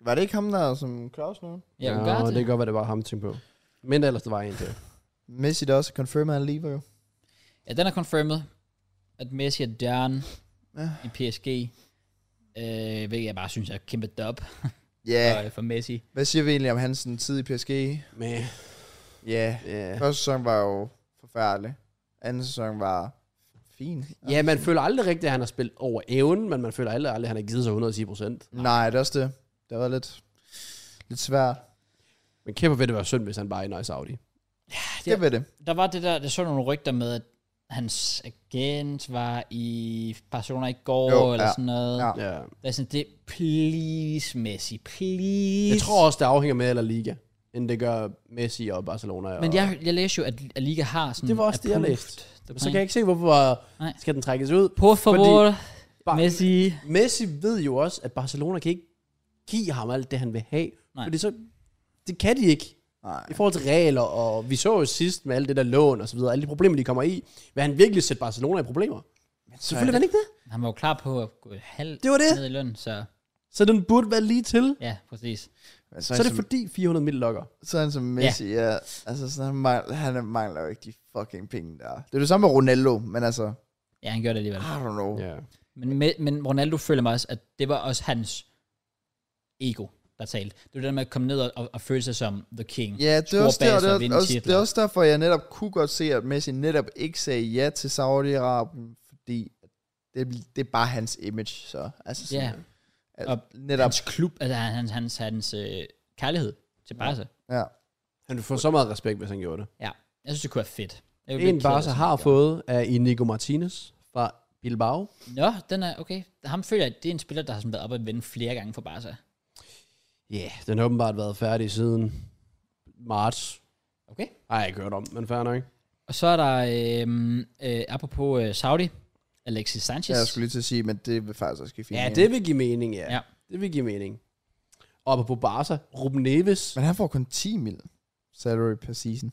S2: Var det ikke ham der, som Claus nu?
S1: Ja,
S3: Nå,
S1: Ugarte.
S3: det kan godt være, det var ham, tænkte på. Men ellers, der var en til.
S2: Messi der også confirmed, han lever jo.
S1: Ja, den er confirmed, at Messi er døren
S2: Ja.
S1: i PSG. Øh, hvilket jeg bare synes er et kæmpe dub
S2: Ja,
S1: yeah. for Messi.
S2: hvad siger vi egentlig om hans sådan, tid i PSG?
S3: Men, øh,
S2: Ja,
S3: ja.
S2: første sæson var jo forfærdelig. Anden sæson var fin.
S3: ja, man føler aldrig rigtigt, at han har spillet over evnen, men man føler aldrig, aldrig at han har givet sig 110 procent.
S2: Nej, det er også det. Det var lidt, lidt svært.
S3: Men kæmper ved det være synd, hvis han bare ender i Saudi.
S2: Det ved det.
S1: Der var det der, der så nogle rygter med, at hans agent var i Barcelona i går,
S2: Jo,
S1: jo, eller
S2: ja.
S1: ja. sådan noget.
S2: Ja.
S1: Ja.
S3: Ja.
S1: Det er sådan, det please Messi, please.
S3: Jeg tror også, det afhænger med eller Liga, end det gør Messi og Barcelona. Og
S1: Men jeg, jeg læste jo, at, at Liga har sådan...
S3: Det var også det, jeg
S1: approved
S3: læste.
S1: the
S3: Så kan jeg
S1: plan.
S3: ikke se, hvorfor
S1: Nej.
S3: skal den trækkes ud.
S1: Por favor,
S3: Bare-
S1: Messi.
S3: Messi ved jo også, at Barcelona kan ikke give ham alt det, han vil have.
S1: Nej.
S3: Fordi så, det kan de ikke.
S2: Nej.
S3: I forhold til regler, og vi så jo sidst med alt det der lån og så videre, alle de problemer, de kommer i, vil han virkelig sætte Barcelona i problemer? Selvfølgelig vil han ikke det.
S1: Han var jo klar på at gå halv
S3: Det var det.
S1: ned i løn, så
S3: Så den burde være lige til.
S1: ja, præcis.
S2: Men
S3: Så er det fordi 400 mil lokker.
S2: Sådan som Messi, ja. ja. Altså, sådan, han, mangler, han mangler jo ikke de fucking penge der. Det er det samme med Ronaldo, men altså,
S1: Ja, han gjorde det alligevel.
S2: I don't know. Ja.
S3: Ja.
S1: Men, med, men Ronaldo føler mig også, at det var også hans ego, der talte. Det var det der med at komme ned og, og, og føle sig som the king.
S2: Ja, det er, også, der,
S1: Storbaser
S2: det,
S1: og vinde
S2: er også, det
S1: titler.
S2: er også derfor, jeg netop kunne godt se, at Messi netop ikke sagde ja til Saudi-Arabien, fordi det, det er bare hans image, så. Altså, sådan,
S1: Ja.
S2: at,
S1: Og
S2: netop,
S1: Hans klub, altså hans, hans, hans øh, kærlighed til Barca.
S2: ja.
S3: Han ville få så meget respekt, hvis han gjorde det.
S1: Ja. Jeg synes, det kunne være fedt. Jeg ville
S3: En
S1: blive ked af
S3: Barca
S1: det,
S3: har
S1: hvis han gjorde
S3: fået af Inigo Martinez fra Bilbao.
S1: det. Nå, den er okay. Ham føler jeg, det er en spiller, der har sådan været op at vende flere gange for Barca.
S3: Ja, yeah, den har åbenbart været færdig siden marts.
S1: Okay.
S3: Ej, jeg har ikke hørt om, men fair nok.
S1: Og så er der, øh, øh, apropos øh, Saudi, Alexis Sanchez.
S2: ja, jeg skulle lige til at sige, men det vil faktisk også give fint.
S3: Ja,
S2: mening.
S3: det vil give mening, ja.
S1: Ja.
S3: Det vil give mening. Og på Barca, Ruben Neves,
S2: Men han får kun 10 mil salary per season.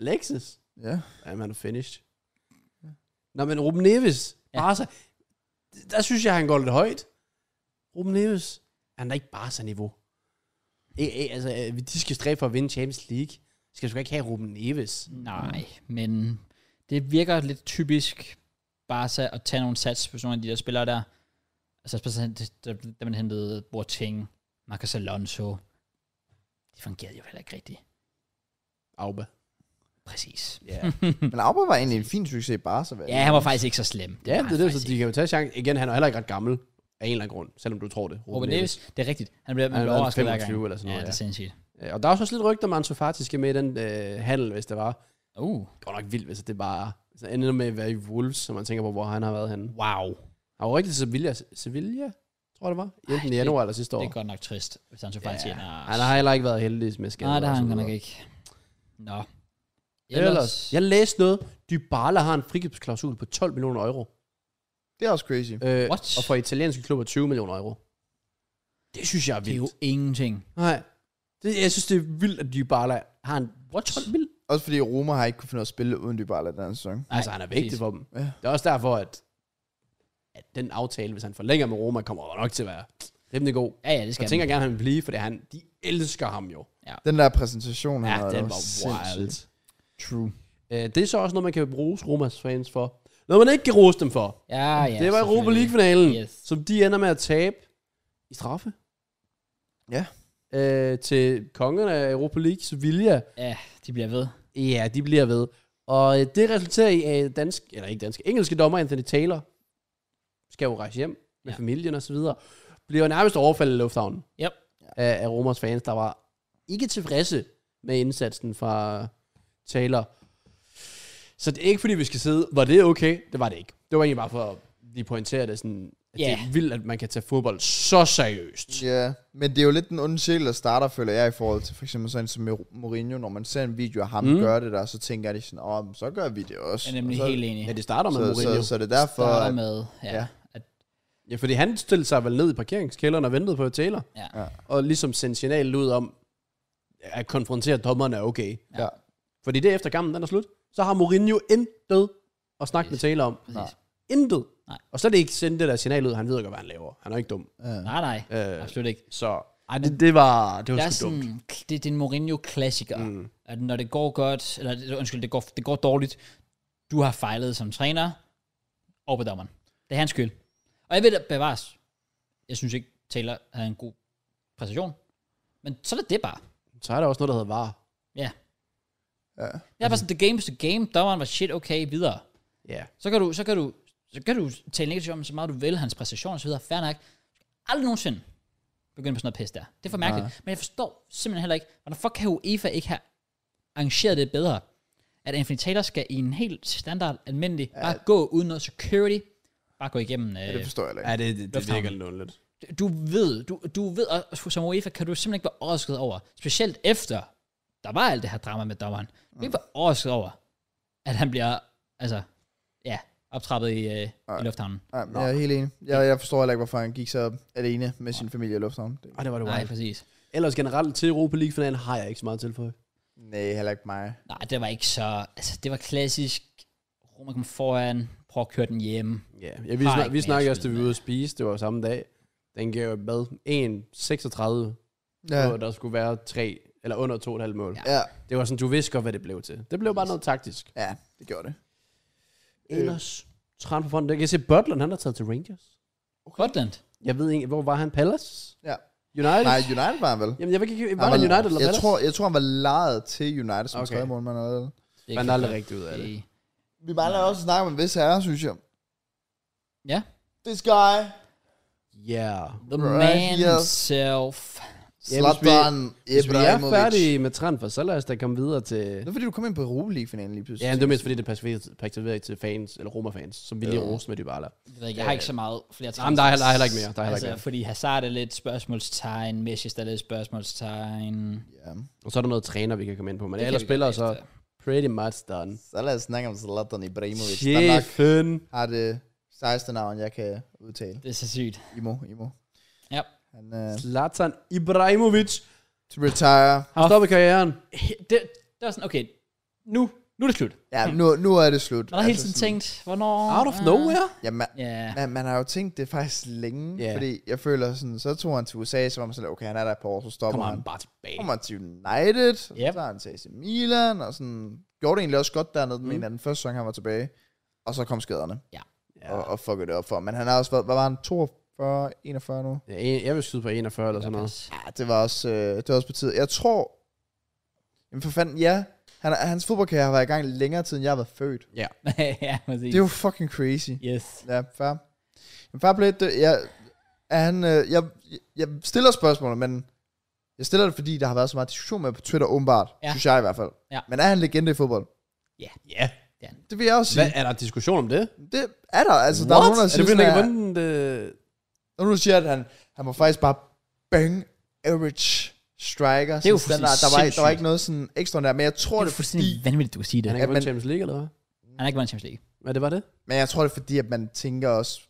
S3: Alexis.
S2: Ja.
S3: Jamen, han er finished. Nå, men Ruben Neves,
S1: Ja.
S3: Barca, der synes jeg, han går lidt højt. Ruben Neves, han er ikke Barca-niveau. E, e, altså, øh, de skal stræbe for at vinde Champions League. Skal du ikke have Ruben Neves?
S1: Nej, men det virker lidt typisk Barca at tage nogle sats på sådan nogle af de der spillere der. Altså specielt da da man hentede Boateng, Marcos Alonso. De fungerede jo heller ikke rigtigt.
S3: Auba.
S1: Præcis.
S3: Ja, yeah.
S2: Men Auba var egentlig en fin succes i Barca. hvad?
S1: Ja, han var faktisk ikke så slem. var
S3: ja det er
S1: han
S3: det,
S1: faktisk
S3: så de kan jo tage chancen. Igen, han er heller ikke ret gammel af en eller anden grund, selvom du tror det.
S1: ikke. Ruben Neves, det er rigtigt. Han bliver
S3: Han
S1: man
S3: er
S1: bliver overrasket hver
S3: 25
S1: gang.
S3: eller sådan
S1: Ja,
S3: noget,
S1: det er
S3: ja.
S1: sindssygt.
S3: Øh, Og der er også lidt rygter, om Ansu Fati skal med i den øh, handel, hvis det var.
S1: Uh,
S3: Godt nok vildt, hvis det bare så ender med at være i Wolves, så man tænker på, hvor han har været henne.
S1: wow.
S3: Han var rigtig til Sevilla, Sevilla, tror jeg det var.
S1: Ej,
S3: Enten i
S1: det-
S3: januar eller sidste år.
S1: Det er godt nok trist, hvis han så faktisk
S3: Ja.
S1: yeah.
S3: Han har heller ikke været heldig med skader.
S1: Nej, det har
S3: og
S1: han
S3: så
S1: godt nok
S3: videre.
S1: ikke. Nå.
S3: Ellers, jeg læste noget. Dybala har en frikøbsklausul på 12 millioner euro.
S2: Det er også crazy.
S3: Øh,
S1: What?
S3: Og for italienske klubber 20 millioner euro. Det synes jeg er
S1: det er
S3: vildt.
S1: jo ingenting.
S3: Nej. Det, jeg synes, det er vildt, at Dybala har en... What? 12 mil?
S2: Også fordi Roma har ikke kunne finde ud af at spille uden Dybala den her sæson.
S1: Nej,
S3: altså, han er vigtig
S1: præcis.
S3: for dem.
S2: Ja.
S3: Det er også derfor, at, at den aftale, hvis han forlænger med Roma, kommer nok til at være rimelig god.
S1: Ja, ja, det skal
S3: Jeg tænker gerne, at han vil blive, for han, de elsker ham jo.
S2: Den der præsentation, han
S3: Ja,
S2: havde,
S3: den
S2: det
S3: var
S2: sindssygt.
S3: wild.
S1: True.
S3: Øh, det er så også noget, man kan rose Romas fans for. Noget, man ikke kan rose dem for.
S1: Ja, ja.
S3: det var Europa
S1: selvfølgelig.
S3: League-finalen,
S1: Yes.
S3: yes. som de ender med at tabe i straffe.
S2: Ja.
S3: Øh, til kongerne af Europa League, Sevilla.
S1: Ja, de bliver ved.
S3: Ja, de bliver ved. Og øh, det resulterer i, at dansk, eller ikke dansk, engelske dommer Anthony Taylor skal jo rejse hjem med
S1: Ja.
S3: ja. familien og så videre. Bliver jo nærmest overfaldet i lufthavnen
S1: Yep.
S3: af, af Romers fans, der var ikke tilfredse med indsatsen fra Taylor. Så det er ikke fordi, vi skal sidde, var det okay? Det var det ikke. Det var egentlig bare for at lige pointere det sådan, at yeah. det
S1: Ja.
S3: er vildt, at man kan tage fodbold så seriøst.
S2: Ja, men det er jo lidt den onde sjæl, der starter, føler jeg, i forhold til for eksempel sådan som Mor- Mourinho, når man ser en video af ham mm.
S3: Mm.
S2: gøre det der, så tænker de sådan, åh, men så gør vi det også.
S1: Jeg er nemlig
S2: Og så,
S1: helt enig.
S3: Ja, det starter med
S2: så,
S3: Mourinho.
S2: så, så, det er derfor,
S1: Starter
S2: at,
S1: med, ja.
S2: ja.
S1: ja.
S3: Ja, fordi han stillede sig vel ned i parkeringskælderen og ventede på Taylor.
S1: Ja.
S2: Ja.
S3: Og ligesom sendte signal ud om, at konfrontere dommerne er okay.
S2: Ja.
S3: Fordi det efter kampen, den er slut, så har Mourinho intet at snakke yes. med
S1: Yes.
S3: Taylor om.
S1: Præcis.
S3: Intet.
S1: Nej.
S3: Og så er det ikke sendt det der signal ud, han ved godt, hvad han laver. Han er ikke dum.
S2: ja.
S1: Nej, nej.
S3: Øh,
S1: Absolut ikke.
S3: så ej, det, det var, det
S1: Det
S3: var
S1: er
S3: sgu dumt.
S1: sådan, det, det er en Mourinho-klassiker, mm. at når det går godt, eller det- undskyld, det går, det går dårligt, du har fejlet som træner, og på dommeren. Det er hans skyld. Og jeg ved, at bevares. Jeg synes ikke, Taylor havde en god præstation, men så er det det bare.
S3: Så er der også noget, der hedder var.
S1: Ja.
S2: Ja.
S1: Det er
S3: Altså-
S1: bare sådan, the game is the game, dommeren var shit, okay, videre.
S3: Ja.
S1: Så kan du, så kan du, så kan du tale negativt om, så meget du vil, hans præstation og så videre, fair nok. Aldrig nogensinde begynde på sådan noget pis der. Det er for mærkeligt. Nej. Men jeg forstår simpelthen heller ikke, hvordan fuck kan UEFA ikke have arrangeret det bedre, at Anthony Taylor skal i en helt standard, almindelig, ja. bare gå uden noget security, bare gå igennem. Øh,
S2: Ja, det forstår jeg heller ikke.
S3: Ja, det, det, det
S1: Lufthavnen.
S3: virker lidt underligt.
S1: du ved, du, du ved, og som UEFA kan du simpelthen ikke være overrasket over, specielt efter, der var alt det her drama med dommeren, du
S3: Mm.
S1: kan ikke være overrasket over, at han bliver, altså, ja, optrappet i, øh, i lufthavnen.
S2: Ja, men jeg er helt enig. Jeg, jeg forstår heller ikke, hvorfor han gik så alene med sin familie i lufthavnen. Det,
S3: Og det var det
S1: Nej,
S3: wild.
S1: præcis.
S3: Ellers generelt til Europa League-finalen har jeg ikke så meget tilføje.
S2: nej, heller ikke mig.
S1: Nej, det var ikke så, altså, det var klassisk, Roma kom foran, prøv at køre den hjem.
S3: Ja, ja vi,
S1: Har
S3: snak,
S1: ikke
S3: vi
S1: mere
S3: snakkede også,
S1: at
S3: da vi var
S1: skyde
S3: ude at spise. Det var samme dag. Den gav hvad? 1,36,
S2: Ja,
S3: ja. der skulle være tre eller under 2,5 mål. Ja.
S2: ja,
S3: Det var sådan, du vidste godt, hvad det blev til. Det blev bare noget taktisk. Øh,
S2: ja det gjorde det.
S3: Ellers, træn på fonden. Jeg kan se, Butland, han har taget til Rangers.
S1: Okay. Gotland.
S3: Jeg ved ikke, hvor var han? Palace?
S2: Ja.
S3: United?
S2: Nej, United var han vel?
S3: Jamen, jeg ved ikke, var
S2: Han
S3: det United eller
S2: jeg
S3: Palace?
S2: tror, jeg tror, han var lejet til United som okay.
S3: Okay.
S2: tredje mål, man havde.
S1: Det
S3: Man er aldrig rigtig ud af det.
S1: det.
S2: Vi mangler også at snakke om en vis herre, synes jeg.
S1: Ja.
S2: This guy.
S3: Ja. Yeah.
S1: The
S2: Right,
S1: man
S2: yes.
S1: himself.
S3: Ja, hvis vi-
S2: Zlatan
S3: Hvis vi er
S2: Ibrahimovic.
S3: færdige med transfer, så lad os da komme videre til...
S2: Det er fordi, du kom ind på Europa League-finalen lige pludselig.
S3: Ja, det er mest fordi, det passer perspektiveret til fans, eller Roma-fans, som vi lige roste med Dybala.
S1: Jeg, ved ikke, jeg har ikke så meget flere
S3: Jamen, der er heller- der er heller ikke mere. Der er heller
S1: altså,
S3: ikke mere.
S1: fordi Hazard er lidt spørgsmålstegn, Messi er lidt spørgsmålstegn.
S2: Ja.
S3: Og så er der noget træner, vi kan komme ind på, men
S1: Det kan
S3: ellers
S1: vi gøre
S3: spiller så
S1: bagefter.
S3: pretty much done.
S2: Så lad os snakke om Zlatan Ibrahimovic. Der nok
S3: Chefen.
S2: har det 16. navn, jeg kan udtale.
S1: Det er så sygt.
S2: Imo, Imo.
S1: Ja.
S2: Han uh,
S3: Zlatan Ibrahimovic.
S2: to retire.
S3: Han stopper karrieren.
S1: Det, det var sådan, okay, nu, nu er det slut.
S2: Ja, nu, nu er det slut.
S1: Man har hele tiden
S2: Altså sådan-
S1: tænkt, hvornår...
S3: Out of nowhere.
S2: Ja, man,
S1: Ja,
S2: man, man har jo tænkt det faktisk længe,
S3: Ja.
S2: fordi jeg føler sådan, så tog han til USA, så var man sådan, okay, han er der på år, så stopper
S3: Kommer
S2: han.
S3: han bare tilbage.
S2: kommer til United, yep.
S1: Yep.
S2: så har han til AC Milan, og sådan, gjorde det egentlig også godt dernede, den mm. ene af den første sæson, han var tilbage, og så kom skaderne, ja.
S3: Ja.
S2: og, og fuckede det op for ham. Men han har også været, hvad var han, 42, 41 nu?
S3: Ja, en- Jeg vil skyde på 41 eller sådan noget.
S2: Ja, det var også, øh, det var også på tide. Jeg tror, jamen for fanden, ja, han, er- hans fodboldkarriere har været i gang længere tid, end jeg har været født.
S1: ja, præcis.
S2: Det er jo fucking crazy.
S1: Yes.
S2: Ja, fair. Men fair play, det, jeg, er han, øh, jeg, jeg stiller spørgsmålet, men jeg stiller det, fordi der har været så meget diskussion med på Twitter, åbenbart. Ja.
S1: Ja.
S2: Synes jeg i hvert fald.
S1: Ja.
S2: Men er han legende i fodbold?
S3: Ja.
S2: Det vil jeg også sige.
S3: Hvad, er der diskussion om det?
S2: Det er der. Altså, der er nogen, der
S3: Er det
S2: siger,
S3: fordi,
S2: sådan,
S3: han ikke
S2: at,
S3: har vundet øh,
S2: der er nogen, der siger, at han, han var faktisk bare bang average striker.
S1: Det er jo
S2: sådan standard. der, var, der var
S1: sindssygt.
S2: ikke noget sådan ekstra der, men jeg tror
S1: Det
S2: det,
S1: er
S2: er
S1: fuldstændig
S2: fordi,
S1: vanvittigt, du kan sige det.
S3: Han har
S2: Ja,
S3: ikke
S2: men-
S3: vundet Champions League, eller hvad?
S1: Han har ikke vundet Champions League.
S3: Hvad det var det?
S2: men jeg tror det er fordi, at man tænker også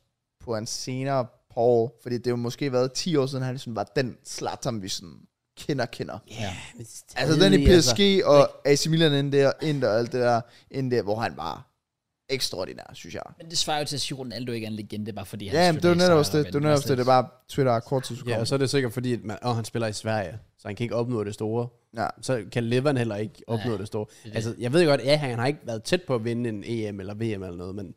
S2: på hans senere par år, fordi det har jo måske været 10 år siden, han ligesom var den Zlatan, vi sådan kender, kender.
S1: Ja.
S3: altså.
S2: Altså den i PSG og AC Milan ind der, ind og alt det der, ind der, hvor han var ekstraordinær, synes jeg.
S1: Men det svarer jo til at sige, at Ronaldo ikke er en legende, bare fordi
S2: Ja, men det er jo netop også det. Det er jo netop også det. Det er
S1: bare...
S2: bare Twitter er kort tid, så
S3: Ja,
S2: kommer.
S3: og så er det sikkert fordi, at man, åh, han spiller i Sverige, så han kan ikke opnå det store.
S2: Ja.
S3: Så kan Levan heller ikke opnå
S1: Nej,
S3: det store.
S1: er det.
S3: Altså, jeg ved godt, ja, han har ikke været tæt på at vinde en EM eller VM eller noget, men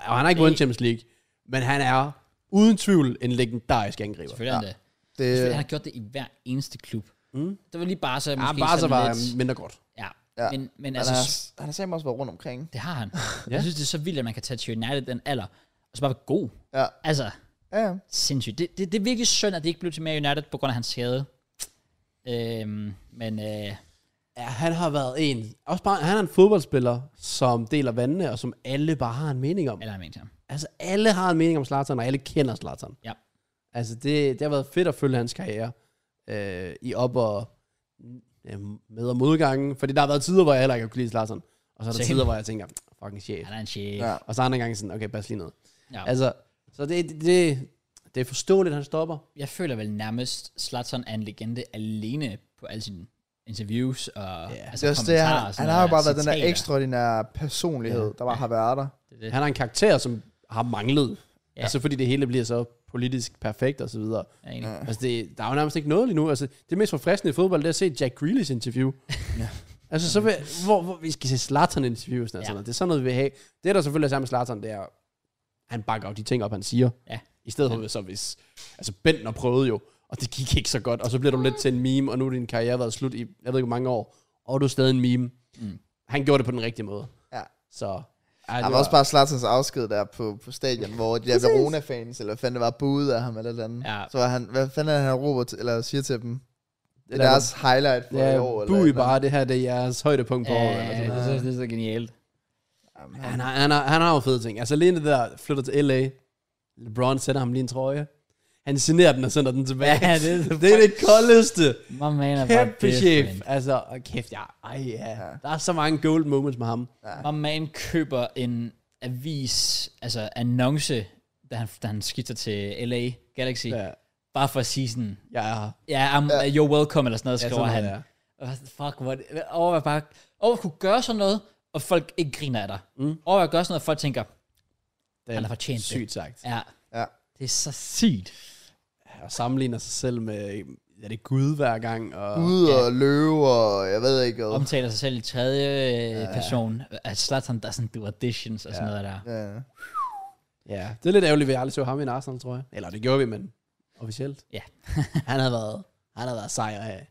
S3: og han har ikke
S1: Det-
S3: vundet Champions League, men han er uden tvivl en legendarisk angriber.
S1: Selvfølgelig er han det. Selvfølgelig,
S2: Det,
S1: Han har gjort det i hver eneste klub. Mm. Det var lige bare så
S3: Ja,
S1: måske
S3: bare så
S1: sådan
S3: var
S1: lidt...
S3: mindre godt.
S1: Ja.
S2: Ja.
S1: ja. Men, men
S2: han,
S1: altså,
S2: har, han har simpelthen også været rundt omkring.
S1: det har han. ja. Jeg synes, det er så vildt, at man kan tage til United den alder, og så bare være god.
S2: Ja.
S1: Altså,
S2: Ja, ja.
S1: sindssygt. Det, det, det er virkelig synd, at det ikke blev til mere United, på grund af hans skade. Øhm, men øh,
S3: Ja, han har været en, også bare, han er en fodboldspiller, som deler vandene, og som alle bare har en mening om.
S1: eller jeg mente ham.
S3: Altså, alle har en mening om Zlatan, og alle kender Zlatan.
S1: Ja.
S3: Altså, det, det har været fedt at følge hans karriere øh, i op og øh, med og modgangen. Fordi der har været tider, hvor jeg heller ikke har kunne lide Zlatan. Og så er der
S1: Same.
S3: tider, hvor jeg tænker, fucking chef.
S1: Han er en chef.
S2: Ja.
S1: Ja.
S3: Og så andre gange sådan, okay, pas lige ned.
S1: Ja. Altså,
S3: Altså, så det, det, det, det er forståeligt, at han stopper.
S1: jeg føler vel nærmest, Slatson er en legende alene på alle sine interviews og altså,
S3: Ja.
S2: Det er også det, han, han har jo bare været den der ekstraordinære personlighed, der bare har været der.
S1: Det.
S3: Han er en karakter, som har manglet. Ja.
S1: Ja.
S3: Altså, fordi det hele bliver så politisk perfekt og så videre.
S1: Ja.
S2: Ja.
S3: Altså, det, der er jo nærmest ikke noget lige nu. Altså, det mest forfriskende i fodbold, det er at se Jack Grealish interview.
S2: Ja.
S3: Altså, så vil, hvor, hvor, vi skal se Zlatan interview og sådan
S1: Ja.
S3: noget. Det er sådan noget, vi vil have. Det, der selvfølgelig er sammen med Zlatan, det er, han bakker jo de ting op, han siger.
S1: Ja.
S3: I stedet for, så hvis... Altså, Bentner prøvede jo, og det gik ikke så godt. Og så bliver du lidt til en meme, og nu er din karriere været slut i, jeg ved ikke, hvor mange år. Og du er stadig en meme.
S1: Mm.
S3: Han gjorde det på den rigtige måde.
S2: Ja.
S3: Så... Ej,
S2: Der
S3: det
S2: var også bare Slatans afsked der på, på stadion, hvor de der Verona-fans, eller hvad fanden det var, buede af ham eller et eller andet.
S1: Ja.
S2: Så var han, hvad fanden er det, han råber til, eller siger til dem? Det er
S3: der-
S2: deres highlight for i år.
S3: Ja,
S2: eller et
S3: bu i
S2: eller andet.
S3: bare, det her det er jeres højdepunkt på
S1: Ja,
S3: året.
S2: altså.
S3: Eller sådan.
S1: det, det, det er så genialt.
S2: Jamen,
S3: Han har, han, har, han har jo fede ting. Altså alene det der, flytter til L.A., LeBron sætter ham lige en trøje, han signerer den og sender den tilbage.
S1: Ja,
S3: det,
S1: det er
S3: det er det koldeste.
S1: My man er bare
S3: Kæmpe chef.
S1: different.
S3: Altså, og kæft, ja. Ej, ja. Der er så mange gold moments med ham.
S1: My man køber en avis, altså annonce, da han, da han skifter til LA Galaxy,
S3: Ja,
S1: bare for at sige sådan,
S3: ja, ja.
S1: ja, yeah, I'm, yeah. you're welcome, eller sådan noget,
S3: Ja,
S1: skriver
S3: sådan
S1: han.
S3: noget,
S1: Ja. Og jeg sådan, fuck, hvor er det- overvej bare, overvej at kunne gøre sådan noget, og folk ikke griner af dig. Mm. Overvej at gøre sådan noget, og folk tænker,
S3: Det
S1: Han har fortjent det.
S3: sygt sagt.
S1: ja,
S2: Ja.
S1: det er så sygt.
S3: Og sammenligner sig selv med, ja, det er Gud hver gang. Og,
S2: Gud og løve og jeg ved ikke hvad.
S1: Omtaler sig selv i tredje ja. person, at Zlatan doesn't do auditions, og sådan noget der.
S2: Ja.
S3: Ja, det er lidt ærgerligt, at vi aldrig så ham i en Arsenal, tror jeg. Eller det gjorde vi, men officielt.
S1: Ja,
S3: Han har været, han har været sejr af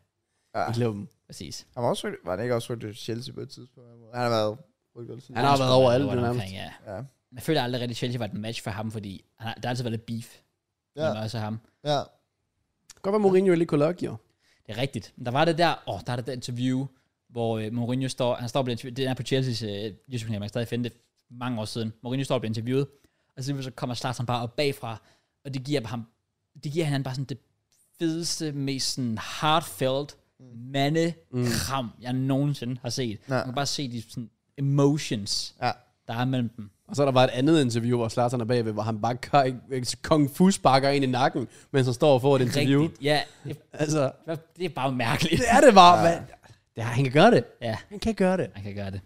S2: Ja.
S3: ja. i klubben.
S1: præcis.
S2: Han var, også, rygtet- var han ikke også rygtet til Chelsea på et tidspunkt? Han har været rygtet siden.
S3: Han har været over alle, det
S1: rundt
S3: nærmest.
S1: omkring, ja.
S2: Ja.
S1: Jeg føler aldrig rigtig, at Chelsea var et match for ham, fordi han har, der har altid været lidt beef
S2: Ja.
S1: ja. med også ham.
S2: Ja.
S3: Godt var Mourinho ikke kunne lukke, jo.
S1: Det er rigtigt. Men der var det der, åh, oh, der er det der interview, hvor øh, Mourinho står, han står og bliver interviewet, det er på Chelsea's øh, YouTube-kanal, man kan stadig finde det mange år siden. Mourinho står og bliver interviewet, og så, så kommer Zlatan bare op bagfra, og det giver ham, det giver han bare sådan det fedeste, mest sådan heartfelt, mandekram, mm. jeg nogensinde har set.
S2: Ja.
S1: Man kan bare se de sådan, emotions,
S2: Ja.
S1: der er mellem dem.
S3: Og så er der var et andet interview, hvor Zlatan er bagved, hvor han bare k- kung fu sparker ind i nakken, mens han står og får et interview. Rigtigt.
S1: Rigtigt. Ja, det,
S3: Altså,
S1: det er bare mærkeligt.
S3: det er det bare, ja. Ja, han kan gøre det.
S1: Ja,
S3: Han kan gøre det.
S1: han kan gøre det.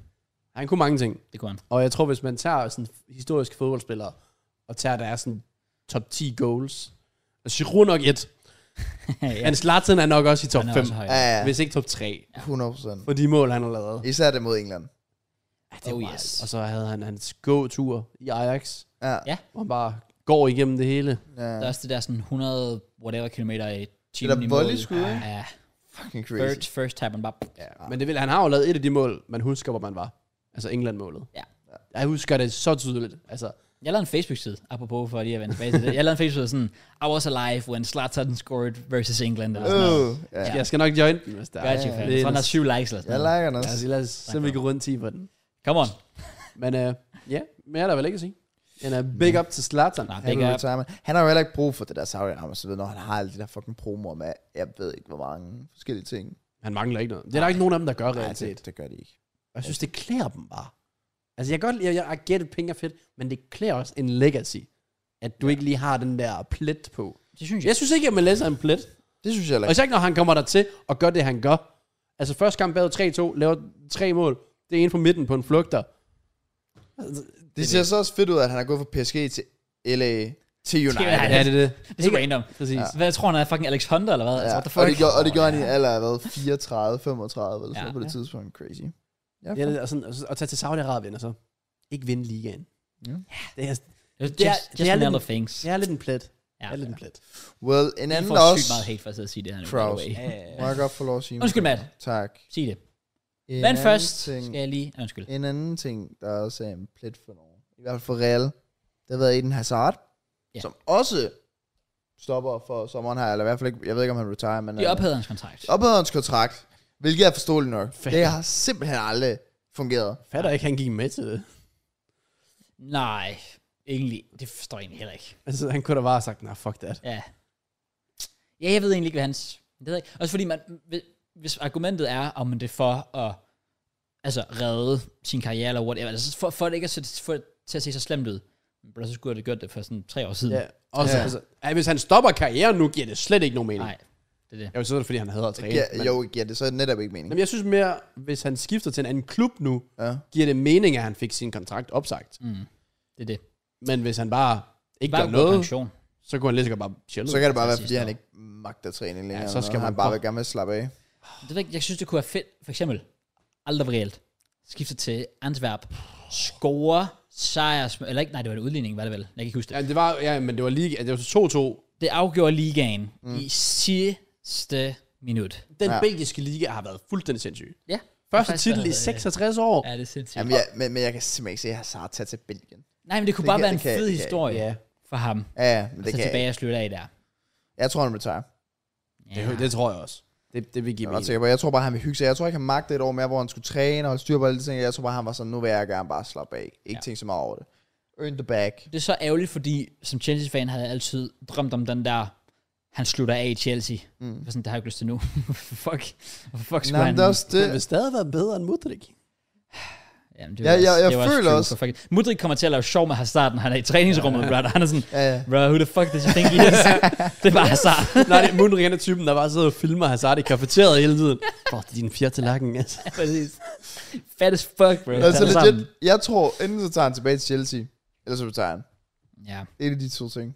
S3: Han kunne mange ting.
S1: Det kunne han.
S3: Og jeg tror, hvis man tager sådan historiske fodboldspillere, og tager deres sådan top 10 goals, og Giroud er nok et, ja.
S1: ja,
S3: men Zlatan er nok også i top
S1: han er
S3: 5,
S1: også høj.
S2: Ja, ja.
S3: hvis ikke top 3,
S2: 100 procent.
S3: for de mål, han har lavet.
S2: Især det mod England.
S3: Ja, det
S1: Oh,
S3: var-
S1: yes.
S3: Og så havde han hans gåtur i Ajax,
S2: Ja.
S1: Ja.
S3: hvor han bare går igennem det hele.
S1: Der er
S2: ja.
S1: også det der sådan 100 whatever kilometer i timen.
S2: der
S1: i mål.
S2: volleyskud,
S1: Ja,
S2: ikke?
S1: Ja,
S2: Fucking
S1: first,
S2: crazy.
S1: first time, man bare...
S3: Ja. Men det vil, han har jo lavet et af de mål, man husker, hvor man var. Altså England-målet.
S1: Ja.
S3: Jeg husker det så tydeligt. Altså,
S1: Jeg lavede en Facebook-side, apropos for lige at vende tilbage til det. Jeg lavede en Facebook-side sådan, I was alive when Zlatan scored versus England. Eller sådan noget.
S2: Øh, ja.
S3: ja. jeg skal nok join den, hvis der
S1: Gør det,
S3: er.
S1: fan. Jeg tror, han har syv likes eller
S2: Jeg
S1: sådan noget.
S2: liker den
S3: Lad
S2: også.
S3: os, lad os se, om vi kan runde 10 på den.
S1: Come on.
S3: Men øh, ja, mere er der vel ikke at sige. En uh, big up til Zlatan.
S1: Nej,
S2: Han,
S1: big
S2: vil
S1: up.
S2: retirement. han har jo heller ikke brug for det der Saudi Arabia, så ved, når han har alle de der fucking promoer med, jeg ved ikke, hvor mange forskellige ting.
S3: Han mangler ikke noget. Det er der ikke nogen af dem, der gør
S2: Nej,
S3: reelt set.
S2: det, det gør de ikke.
S3: Og jeg synes, det klæder dem bare. Altså, jeg kan godt jeg, jeg I get it, penge er fedt, men det klæder også en legacy. At du ikke lige har den der plet på.
S1: Det synes jeg.
S3: Jeg synes ikke, at man læser en plet.
S2: Det synes jeg heller
S3: Og
S2: ikke.
S3: især ikke, når han kommer der til og gør det, han gør. Altså første kamp bagud 3-2, laver tre mål. Det er en på midten på en flugter.
S2: Det ser så også fedt ud, at han er gået fra PSG til LA til United.
S1: Ja,
S2: Ja,
S1: ja,
S4: Ja, det er det.
S1: Det er ikke random.
S4: Præcis. Ja.
S1: Hvad tror han er fucking Alex Hunter, eller hvad? Altså, what the fuck?
S2: og, det gjorde, og det gjorde han i en alder af hvad, 34, 35 eller sådan
S1: Ja.
S2: noget på det
S3: Ja.
S2: tidspunkt. Crazy. Ja,
S3: Ja, det, og, sådan, og, så- og tage til Saudi-Arabien og så ikke vinde ligaen.
S2: Ja.
S3: Det er,
S1: Just,
S3: Det er-
S1: just,
S3: det er lidt-
S1: another things.
S3: det er lidt en plet.
S1: Ja.
S3: Det er lidt en plet.
S2: Well, en
S1: Jeg
S2: anden
S1: får
S2: også...
S1: sygt meget hate for at sidde og sige det her nu. by the
S2: Kraus.
S1: way.
S3: Ja, ja, ja.
S2: Må jeg godt få lov at sige
S1: Undskyld, Matt.
S2: Tak.
S1: Sig det.
S2: En
S1: Men
S2: anden
S1: først
S2: ting-
S1: skal jeg lige... Ah, Undskyld.
S2: En anden ting, der også er en plet for nogen, i hvert fald for Real, det har været Eden Hazard,
S1: Ja.
S2: ja. som også stopper for sommeren her, eller i hvert fald ikke, jeg ved ikke, om han retire, men
S1: De ophævede hans kontrakt.
S2: ophæder hans kontrakt, hvilket er forståeligt nok.
S3: Fanden.
S2: Det har simpelthen aldrig fungeret.
S3: Fatter ikke, han gik med til det.
S1: Nej, egentlig. Det forstår jeg egentlig heller ikke.
S3: Altså, han kunne da bare have sagt, nej, nah, fuck that.
S1: Ja. Ja, jeg ved egentlig ikke, hvad hans... Det ved jeg ikke. Også fordi, man, hvis argumentet er, om det er for at altså, redde sin karriere eller whatever, altså for, for det ikke at se, for, det til at se så slemt ud, Bro, så skulle jeg have gjort det for sådan tre år siden.
S3: Ja. Også,
S2: Ja.
S3: ja. Altså, ja, hvis han stopper karrieren nu, giver det slet ikke nogen mening.
S1: Nej, det er det.
S3: Jeg vil sige, det er, fordi han havde at træne.
S2: Ja,
S3: men-
S2: jo, ja, det er så netop ikke meningen.
S3: Jamen, jeg synes mere, hvis han skifter til en anden klub nu,
S2: Ja.
S3: giver det mening, at han fik sin kontrakt opsagt.
S1: Mm. Det er det.
S3: Men hvis han bare ikke
S1: Bare
S3: gør
S1: noget.
S3: noget,
S1: pension.
S3: så kunne han lige så godt bare chille.
S2: Så kan det bare være,
S1: Præcis,
S2: fordi han
S1: ja.
S2: ikke magter træning længere.
S3: Ja,
S2: Ja,
S3: så skal
S2: han
S3: man
S2: bare
S3: prøve-
S2: være gerne med at slappe af.
S1: Det ved jeg, ikke, jeg synes, det kunne være fedt, for eksempel, aldrig reelt, skifte til Antwerp, score, sejr, eller ikke, nej, det var en udligning, var det vel? Jeg kan ikke huske det.
S3: Ja, det var, ja, men det var lige, det var 2-2.
S1: Det afgjorde ligaen mm. i sidste minut.
S3: Den
S2: Ja.
S3: ja. belgiske liga har været fuldstændig sindssyg.
S1: Ja.
S3: Første
S1: Faktisk,
S3: titel
S1: der
S3: i
S1: havde-
S3: 66 år.
S1: Ja, det er sindssygt.
S2: Jamen, jeg, men, men jeg kan simpelthen ikke se Hazard tage til Belgien.
S1: Nej, men det kunne
S2: Det
S1: bare
S2: kan-
S1: være en
S2: det kan-
S1: fed
S2: det kan-
S1: historie
S3: Ja.
S1: for ham.
S2: Ja, ja,
S3: Altså,
S2: men
S1: Det
S2: det
S1: så
S2: kan jeg
S1: tilbage
S2: ikke.
S1: og slutte af der.
S2: Jeg tror, han retire.
S1: Ja.
S3: Det, det tror jeg også. Det, det vil
S2: Jeg
S3: give
S2: er ret
S3: mening.
S2: sikker på. Jeg tror bare, han vil hygge sig. Jeg tror ikke, han magtede et år mere, hvor han skulle træne og holde styr på alle de ting. Jeg tror bare, han var sådan, nu vil jeg gerne bare slappe af. Ikke
S1: Ja.
S2: ja. tænke så meget over det. Earn the bag.
S1: Det er så ærgerligt, fordi som Chelsea-fan havde jeg altid drømt om den der, han slutter af i Chelsea. Mm. Sådan, det har jeg ikke lyst til nu. fuck. Hvorfor fuck skulle
S2: Nej,
S1: han...
S2: men det er også
S3: Det
S2: det.
S3: vil stadig være bedre end Mudrik.
S1: Jamen, det
S2: Ja, jeg- jeg føler
S1: true,
S2: også-
S1: for fuck. Mudrik kommer til at lave sjov med Hazard, når han er i træningsrummet, ja. Han er sådan,
S2: Ja, ja.
S1: bro, who the fuck does you think he is? det er bare Hazard.
S3: Nej, det er Mudrik, han er typen, der bare sidder og filmer Hazard i kafeteriet hele tiden. Bro, det er din fjerde tallerken, altså.
S1: Præcis. Fat as fuck, bro.
S3: Ja,
S2: altså
S3: tag det
S2: legit,
S3: sammen.
S2: jeg tror, enten så tager han tilbage til Chelsea, eller så tager han.
S1: Ja.
S2: Det er de to ting.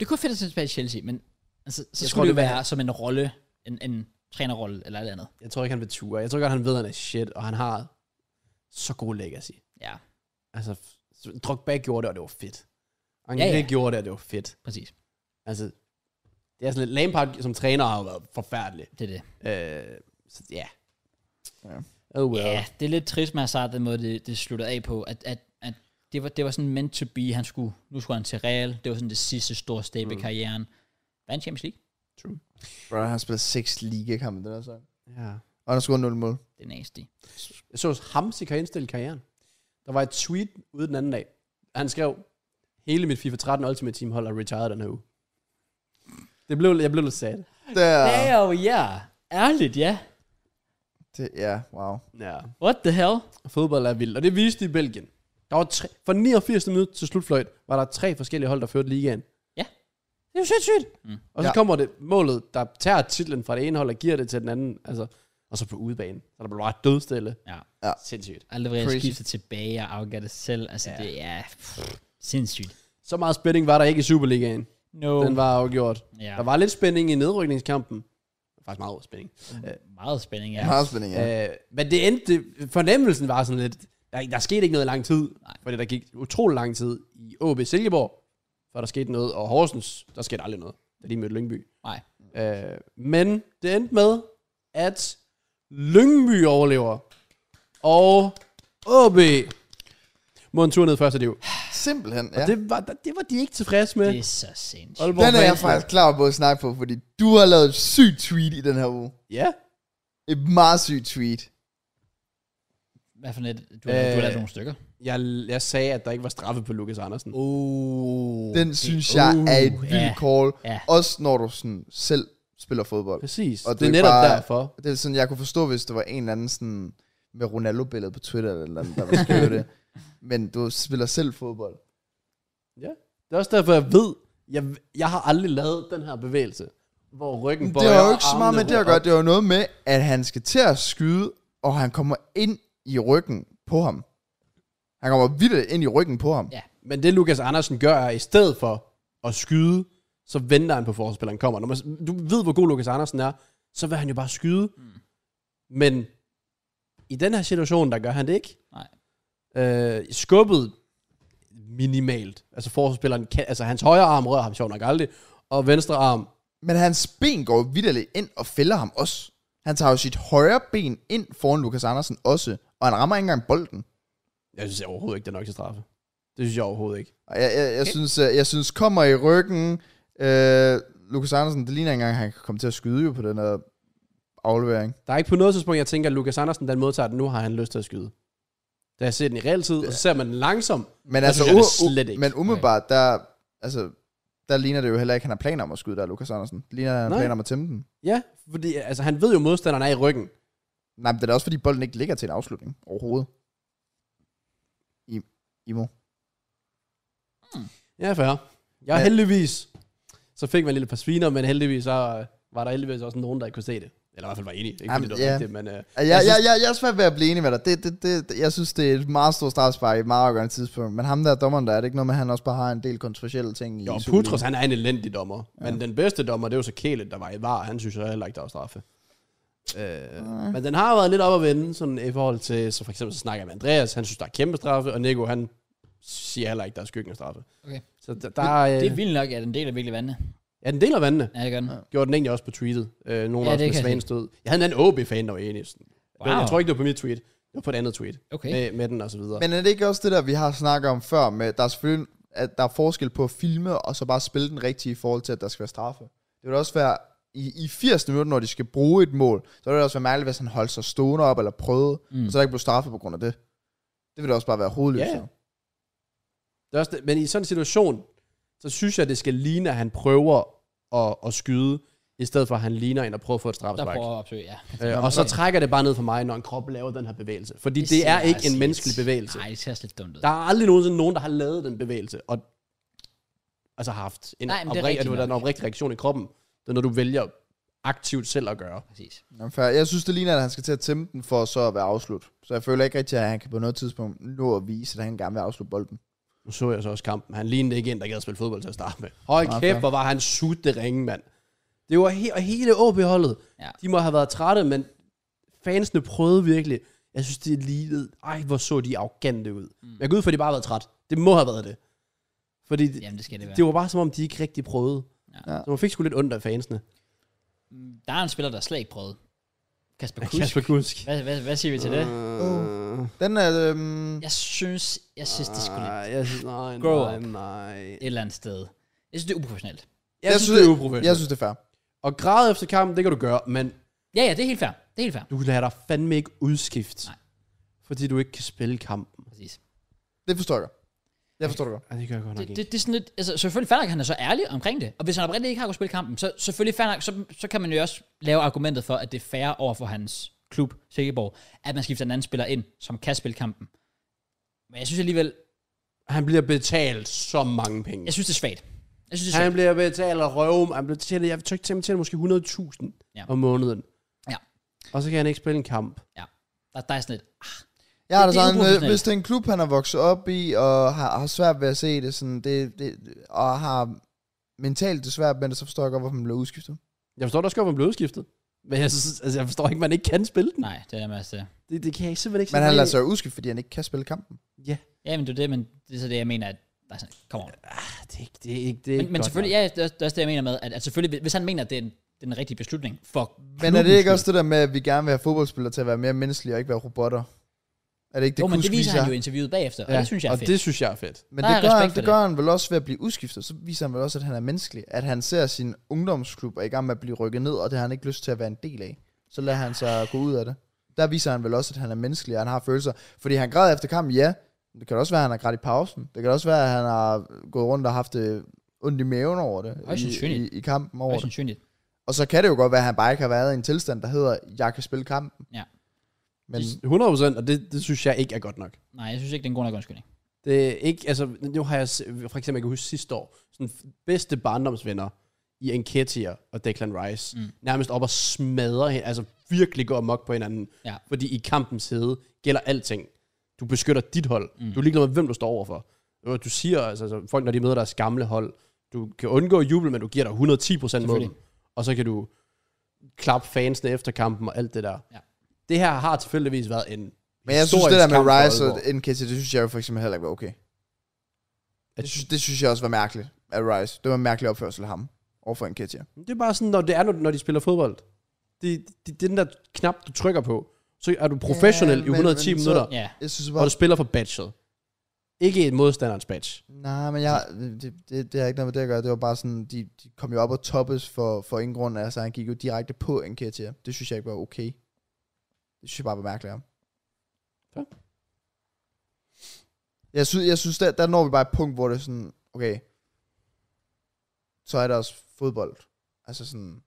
S1: Det kunne være fedt at tage tilbage i Chelsea, men altså, så
S3: Jeg tror,
S1: skulle det
S3: det vil
S1: være som en rolle, en, en trænerrolle eller et eller andet.
S3: Jeg tror ikke, han vil ture. Jeg tror godt, han ved, at han er shit, og han har så god legacy.
S1: Ja,
S3: Altså, f- Drogba gjorde det, og det var fedt. Angele
S1: Ja,
S3: ja,
S1: ja.
S3: ja. gjorde det, og det var fedt.
S1: præcis.
S3: Altså, det er sådan lidt... Lampard som træner har jo været forfærdelig.
S1: Det er det.
S3: Øh, så ja.
S2: Ja.
S3: Oh
S1: Ja,
S3: well.
S1: yeah, det er lidt trist med Hazard, den måde, det, det slutter af på, at, at, at det, var, det var sådan meant to be, han skulle, nu skulle han til Real, det var sådan det sidste store step mm. i karrieren. Vandt Champions League?
S2: Bro, han har spillet seks ligakampe, den her så.
S3: ja.
S2: Og han har scoret 0 mål.
S1: Det er nasty.
S3: Jeg så, at Hamsik har indstillet karrieren. Der var et tweet ude den anden dag. Han skrev, hele mit FIFA 13 Ultimate Team hold er retired den her uge. Det blev, jeg blev lidt sad.
S2: Der.
S1: Ja, jo, ja. Ærligt, ja.
S2: Det, ja, wow.
S3: Ja.
S1: What the hell?
S3: Fodbold er vildt, og det viste de i Belgien. Der var tre, fra 89. minut til slutfløjt, var der tre forskellige hold, der førte ligaen.
S1: Ja.
S3: Det er jo sindssygt.
S1: Mm.
S3: Mm. Og så
S2: Ja.
S3: ja. kommer det målet, der tager titlen fra det ene hold og giver det til den anden. Altså, og så på udebane. Så der blev bare dødstille.
S1: Ja.
S2: Ja.
S3: Sindssygt.
S1: Aldrig vil jeg
S2: Crazy.
S1: skifte tilbage og afgøre det selv. Altså, ja.
S3: Ja.
S1: det er pff, sindssygt.
S3: Så meget spænding var der ikke i Superligaen.
S1: No.
S3: Den var afgjort.
S1: ja,
S3: Der var lidt spænding i nedrykningskampen. Faktisk meget spænding.
S1: meget spænding, ja.
S2: Ja. Meget spænding, ja.
S3: Ja. Øh, men det endte, det- fornemmelsen var sådan lidt, der, der skete ikke noget i lang tid,
S1: Nej.
S3: Nej. fordi der gik utrolig lang tid i AB Silkeborg, før der skete noget, og Horsens, der skete aldrig noget, da de mødte Lyngby.
S1: Nej.
S3: Øh, men det endte med, at Lyngby overlever, og AB må en tur ned i første liv.
S2: Simpelthen, ja.
S3: Ja. Det, var, det var de ikke tilfredse med.
S1: Det er så sindssygt.
S3: Aalborg
S2: Den er jeg
S3: fans var-
S2: faktisk klar på at snakke på, fordi du har lavet et sygt tweet i den her uge.
S3: Ja.
S2: Et meget sygt tweet.
S1: Hvad for net? Du, har- du har
S3: Øh,
S1: lavet nogle stykker.
S3: Jeg, jeg sagde, at der ikke var straffe på Lukas Andersen.
S2: Uh.
S3: Uh,
S1: Oh.
S2: Den synes jeg er et vildt
S1: Uh, ja.
S2: call.
S1: Ja.
S2: Også når du sådan selv spiller fodbold.
S3: Præcis.
S2: Og
S3: Og det,
S2: det
S3: det er
S2: er
S3: netop
S2: bare-
S3: derfor.
S2: Det er sådan, jeg kunne forstå, hvis det var en eller anden sådan, med Ronaldo-billedet på Twitter, eller et eller andet, der ville skrive det. Men du spiller selv fodbold.
S3: Ja. Det er også derfor, jeg ved, jeg, jeg har aldrig lavet den her bevægelse, hvor ryggen
S2: Det
S3: bøjer
S2: har jo
S3: og
S2: ikke så meget
S3: armene
S2: med det at
S3: ruller
S2: gøre.
S3: op.
S2: Det er jo noget med, at han skal til at skyde, og han kommer ind i ryggen på ham. Han kommer vildt ind i ryggen på ham.
S1: Ja.
S3: Men det Lukas Andersen gør, er i stedet for at skyde, så venter han på at forsvarsspilleren kommer. Når man, du ved, hvor god Lukas Andersen er, så vil han jo bare skyde. Mm. Men i den her situation, der gør han det ikke.
S1: Nej.
S3: Øh, skubbet minimalt. Altså forsvarsspilleren, kan, altså hans højre arm rører ham sjovt nok aldrig, og venstre arm,
S2: Men hans ben går vidderligt ind og fælder ham også. Han tager jo sit højre ben ind foran Lukas Andersen også, og han rammer ikke engang bolden.
S3: jeg synes overhovedet ikke, det er nok til straffe. Det synes jeg overhovedet ikke.
S2: Og jeg, jeg, jeg, okay. synes, øh, jeg synes, kommer i ryggen. Øh, Lukas Andersen, det ligner ikke engang, at han kan komme til at skyde jo på den her aflevering.
S3: Der er ikke på noget tidspunkt, jeg tænker, at Lukas Andersen, den modtager den, nu har han lyst til at skyde. Da jeg ser den i realtid, og så ser man den langsomt.
S2: Men
S3: Der
S2: altså,
S3: synes jeg
S2: u-
S3: det slet ikke.
S2: men umiddelbart, der, altså, der ligner det jo heller ikke, at han har planer om at skyde der, Lukas Andersen. Det ligner, at han har
S3: Nej.
S2: planer om at tæmme den.
S3: Ja, fordi altså, han ved jo, at modstanderen er i ryggen.
S2: Nej, men det er da også, fordi bolden ikke ligger til en afslutning overhovedet. I, Imo.
S3: Ja, fair. Jeg er
S2: Men-
S3: heldigvis. Så fik man en lille par sviner, men heldigvis så øh, var der heldigvis også nogen, der ikke kunne se det. Eller i hvert fald var enige. Ikke
S2: Jamen,
S3: Jamen, fordi det
S2: ja.
S3: var rigtigt, men... Øh,
S2: Altså, Jeg, jeg, jeg, jeg, jeg er svært ved at blive enig med dig. Det, det, det, det- jeg synes, det er et meget stort strafspark i et meget afgørende tidspunkt. Men ham der dommeren der, er det ikke noget med, at han også bare har en del kontroversielle ting i
S3: jo,
S2: Superligaen?
S3: Putros, han er en elendig dommer. Ja. Men den bedste dommer, det var så Kælet, der var i var. Han synes jo heller ikke, der var straffe. Øh, men den har været lidt op at vende, sådan i forhold til... Så for eksempel så snakker jeg med Andreas, han synes, der er kæmpe straffe, og Nico, han siger heller ikke, der er skyggen af straffe.
S1: Okay.
S3: Så der, der er, øh,
S1: Det er vildt nok, at den del er virkelig vandene.
S3: ja, den deler vandene.
S1: Ja, det gør den.
S2: Ja.
S3: Gjorde den egentlig også på tweetet. Øh, nogen
S1: Ja,
S3: ja,
S1: det
S3: også med
S1: kan jeg
S3: Svane
S1: se.
S3: stød. Jeg havde en anden OB-fan, der var enig. Sådan. Wow.
S1: Wow.
S3: Jeg tror ikke, det var på mit tweet. Det var på et andet tweet.
S1: Okay.
S3: Med, med den og så videre. Men,
S2: Men er det ikke også det der, vi har snakket om før, med der er selvfølgelig at der er forskel på at filme, og så bare spille den rigtige i forhold til, at der skal være straffe. Det vil også være, i, i 80 minutter, når de skal bruge et mål, så vil det også være mærkeligt, hvis han holdt sig stående op, eller prøvede, mm.
S1: Mm.
S2: og så der ikke blev straffet på grund af det. Det vil da også bare være hovedløst.
S3: Ja.
S2: jo.
S3: det er også, det- men i sådan en situation, så synes jeg, det skal ligne, at han prøver at, at skyde, i stedet for at han ligner en at prøve at få et
S1: Der
S3: straffespark.
S1: prøver at opsøge, ja.
S3: Øh, og så trækker det bare ned for mig, når en krop laver den her bevægelse. Fordi det,
S1: ser
S3: det er ikke
S1: altså
S3: en menneskelig
S1: lidt-
S3: bevægelse.
S1: Nej, det ser også lidt dumt ud.
S3: Der er aldrig nogensinde nogen, der har lavet den bevægelse, og altså har haft en,
S1: Nej, men det er
S3: oprig-
S1: rigtigt
S3: du, der er en
S1: nok.
S3: oprigtig reaktion i kroppen. Det er noget, du vælger aktivt selv at gøre.
S1: Præcis.
S2: Jamen, fair. Jeg synes, det ligner, at han skal til at tæmme den, for så at være afslut. Så jeg føler ikke rigtig, at han kan på noget tidspunkt nå at vise, at han gerne vil afslutte bolden.
S3: Nu så jeg så også kampen. Han lignede ikke en, der gad at spille fodbold til at starte med. Hold
S2: Nej,
S3: okay.
S2: fair.
S3: kæft, hvor var han sutte ringe, mand. Det var he- og hele OB-holdet.
S1: Ja.
S3: De må have været trætte, men fansene prøvede virkelig. Jeg synes, det lignede... Ej, hvor så de arrogante ud. Mm. Jeg går ud for, at de bare har været træt. Det må have været det. Fordi det,
S1: Jamen, det skal det være.
S3: det var bare som om, de ikke rigtig prøvede.
S1: Ja.
S2: Ja.
S3: Så man fik sgu lidt ondt af fansene.
S1: Der er en spiller, der slet ikke prøvede. Kasper Kusk.
S3: Kasper Kusk.
S1: Hvad, hvad, hvad siger vi til det?
S3: Uh,
S2: Den er... Øhm,
S1: Jeg synes, jeg synes, det skulle
S3: nej, jeg synes, nej,
S1: Grow
S3: nej,
S1: up.
S3: nej.
S1: et eller andet sted. Jeg synes, det er uprofessionelt.
S3: Jeg, jeg synes, det er uprofessionelt.
S2: Jeg synes, det er fair.
S3: Og græde efter kampen, det kan du gøre, men
S1: Ja, ja, det er helt fair. Det er helt fair.
S3: du lader dig fandme ikke udskifte.
S1: Nej.
S3: Fordi du ikke kan spille kampen.
S1: Præcis.
S2: Det forstår jeg godt. Jeg forstår det godt.
S3: Ja, det gør jeg godt
S1: Det, det, det er sådan lidt, altså selvfølgelig fair nok, at han er så ærlig omkring det. Og hvis han oprindeligt ikke har kunnet spille kampen, så selvfølgelig fair nok, så, så kan man jo også lave argumentet for, at det er fair over for hans klub, Silkeborg, at man skifter en anden spiller ind, som kan spille kampen. Men jeg synes alligevel,
S3: Han bliver betalt så mange penge.
S1: jeg synes det er svagt. Jeg synes det er
S3: han
S1: svagt.
S3: bliver betalt og røve. Han bliver betalt, jeg tøjte til til måske 100.000
S1: Ja.
S3: ja. om måneden.
S1: Ja.
S3: Og så kan han ikke spille en kamp.
S1: Ja, der, der er sådan lidt, ah,
S2: Jeg har da
S1: Det- det er
S2: sådan, øh,
S1: uprofessionelt.
S2: hvis det er en klub, han er vokset op i, og har, har svært ved at se det, sådan, det, det, og har mentalt det svært med det, så forstår jeg godt, hvorfor man blev udskiftet.
S3: Jeg forstår, der skal man blive udskiftet. Men jeg, synes, altså, jeg forstår ikke, man ikke kan spille den.
S1: nej, det er nærmest det.
S3: Det, det kan jeg simpelthen ikke
S2: Men
S3: se
S2: han
S3: mig
S2: lader
S3: i.
S2: sig jo udskifte, fordi han ikke kan spille kampen.
S3: Ja,
S1: Ja, men det er det, men det er så det, jeg mener, at der er sådan, kom on.
S3: Ah, det er ikke... Det er ikke det er
S1: Men, men selvfølgelig, ja, det er, også- det er også det, jeg mener med, at, at selvfølgelig, hvis han mener, at det er den, den rigtige beslutning for
S2: Men er det
S1: klubbens
S2: ikke også det der med, at vi gerne vil have fodboldspillere til at være mere menneskelige og ikke være robotter? Er det ikke det,
S1: jo, men det
S2: Kusk
S1: viser
S2: viser?
S1: han jo i interviewet bagefter, ja. og det synes jeg er
S3: og
S1: fedt.
S3: det synes jeg er fedt.
S2: Men
S1: Der er
S2: det gør,
S1: respekt
S2: han,
S1: for
S2: det
S1: det.
S2: gør han vel også ved at blive udskiftet. Så viser han vel også, at han er menneskelig. At han ser sin ungdomsklub er i gang med at blive rykket ned, og det har han ikke lyst til at være en del af. Så lader han sig gå ud af det. Der viser han vel også, at han er menneskelig, og han har følelser. Fordi han græd efter kampen, ja. Men Det kan også være, at han har grædt i pausen. Det kan også være, at han har gået rundt og haft øh, ondt i maven over det.
S1: Højst
S2: I, i,
S1: sandsynligt.
S2: i kampen over
S1: Højst
S2: det.
S1: sandsynligt.
S2: Og så kan det jo godt være, at han bare ikke har været i en tilstand, der hedder, jeg kan spille kampen.
S1: Ja.
S2: Men
S3: 100 procent, og det, det synes jeg ikke er godt nok.
S1: Nej, jeg synes ikke, det er en god nok undskyldning.
S3: Det er ikke, altså, nu har jeg, s- for eksempel, jeg kan huske sidste år, sådan bedste barndomsvenner i Enketia og Declan Rice, mm. nærmest op og smadrer hin- altså virkelig går mok på hinanden,
S1: Ja.
S3: fordi i kampens hede gælder alting. Du beskytter dit hold. Mm.
S1: Mm.
S3: Du er ligeglad med, hvem du står overfor. Og Du siger, altså, altså folk, når de møder deres gamle hold, du kan undgå jubel, men du giver dig 110 procent mod dem.
S1: Selvfølgelig.
S3: Og så kan du klappe fansene efter kampen og alt det der.
S1: Ja.
S3: Det her har tilfældigvis været en
S2: Men jeg synes,
S3: historisk
S2: det der med
S3: kamp for
S2: Rice og
S3: Aalborg.
S2: NKT, det synes jeg jo for eksempel heller ikke var okay. Det synes, det synes jeg også var mærkeligt af Rice. Det var en mærkelig opførsel af ham overfor NKT.
S3: Det er bare sådan, når det er, når, når de spiller fodbold. Det, det, det er den der knap, du trykker på. Så er du professionel
S2: Ja,
S3: i
S2: men-
S3: 110
S2: men så-
S3: minutter,
S1: Ja,
S2: Jeg synes
S3: og
S2: bare...
S3: du spiller for badget. Ikke et modstanderens badge.
S2: Nej, men jeg, det, det, det har ikke noget med det at gøre. Det var bare sådan, de, de kom jo op og toppes for, for ingen grund. Altså, han gik jo direkte på NKT. Det synes jeg ikke var okay. Det synes jeg bare var mærkeligt om.
S3: Ja.
S2: Jeg synes, jeg synes der, der når vi bare et punkt, hvor det er sådan, okay, så er der også fodbold. Altså sådan,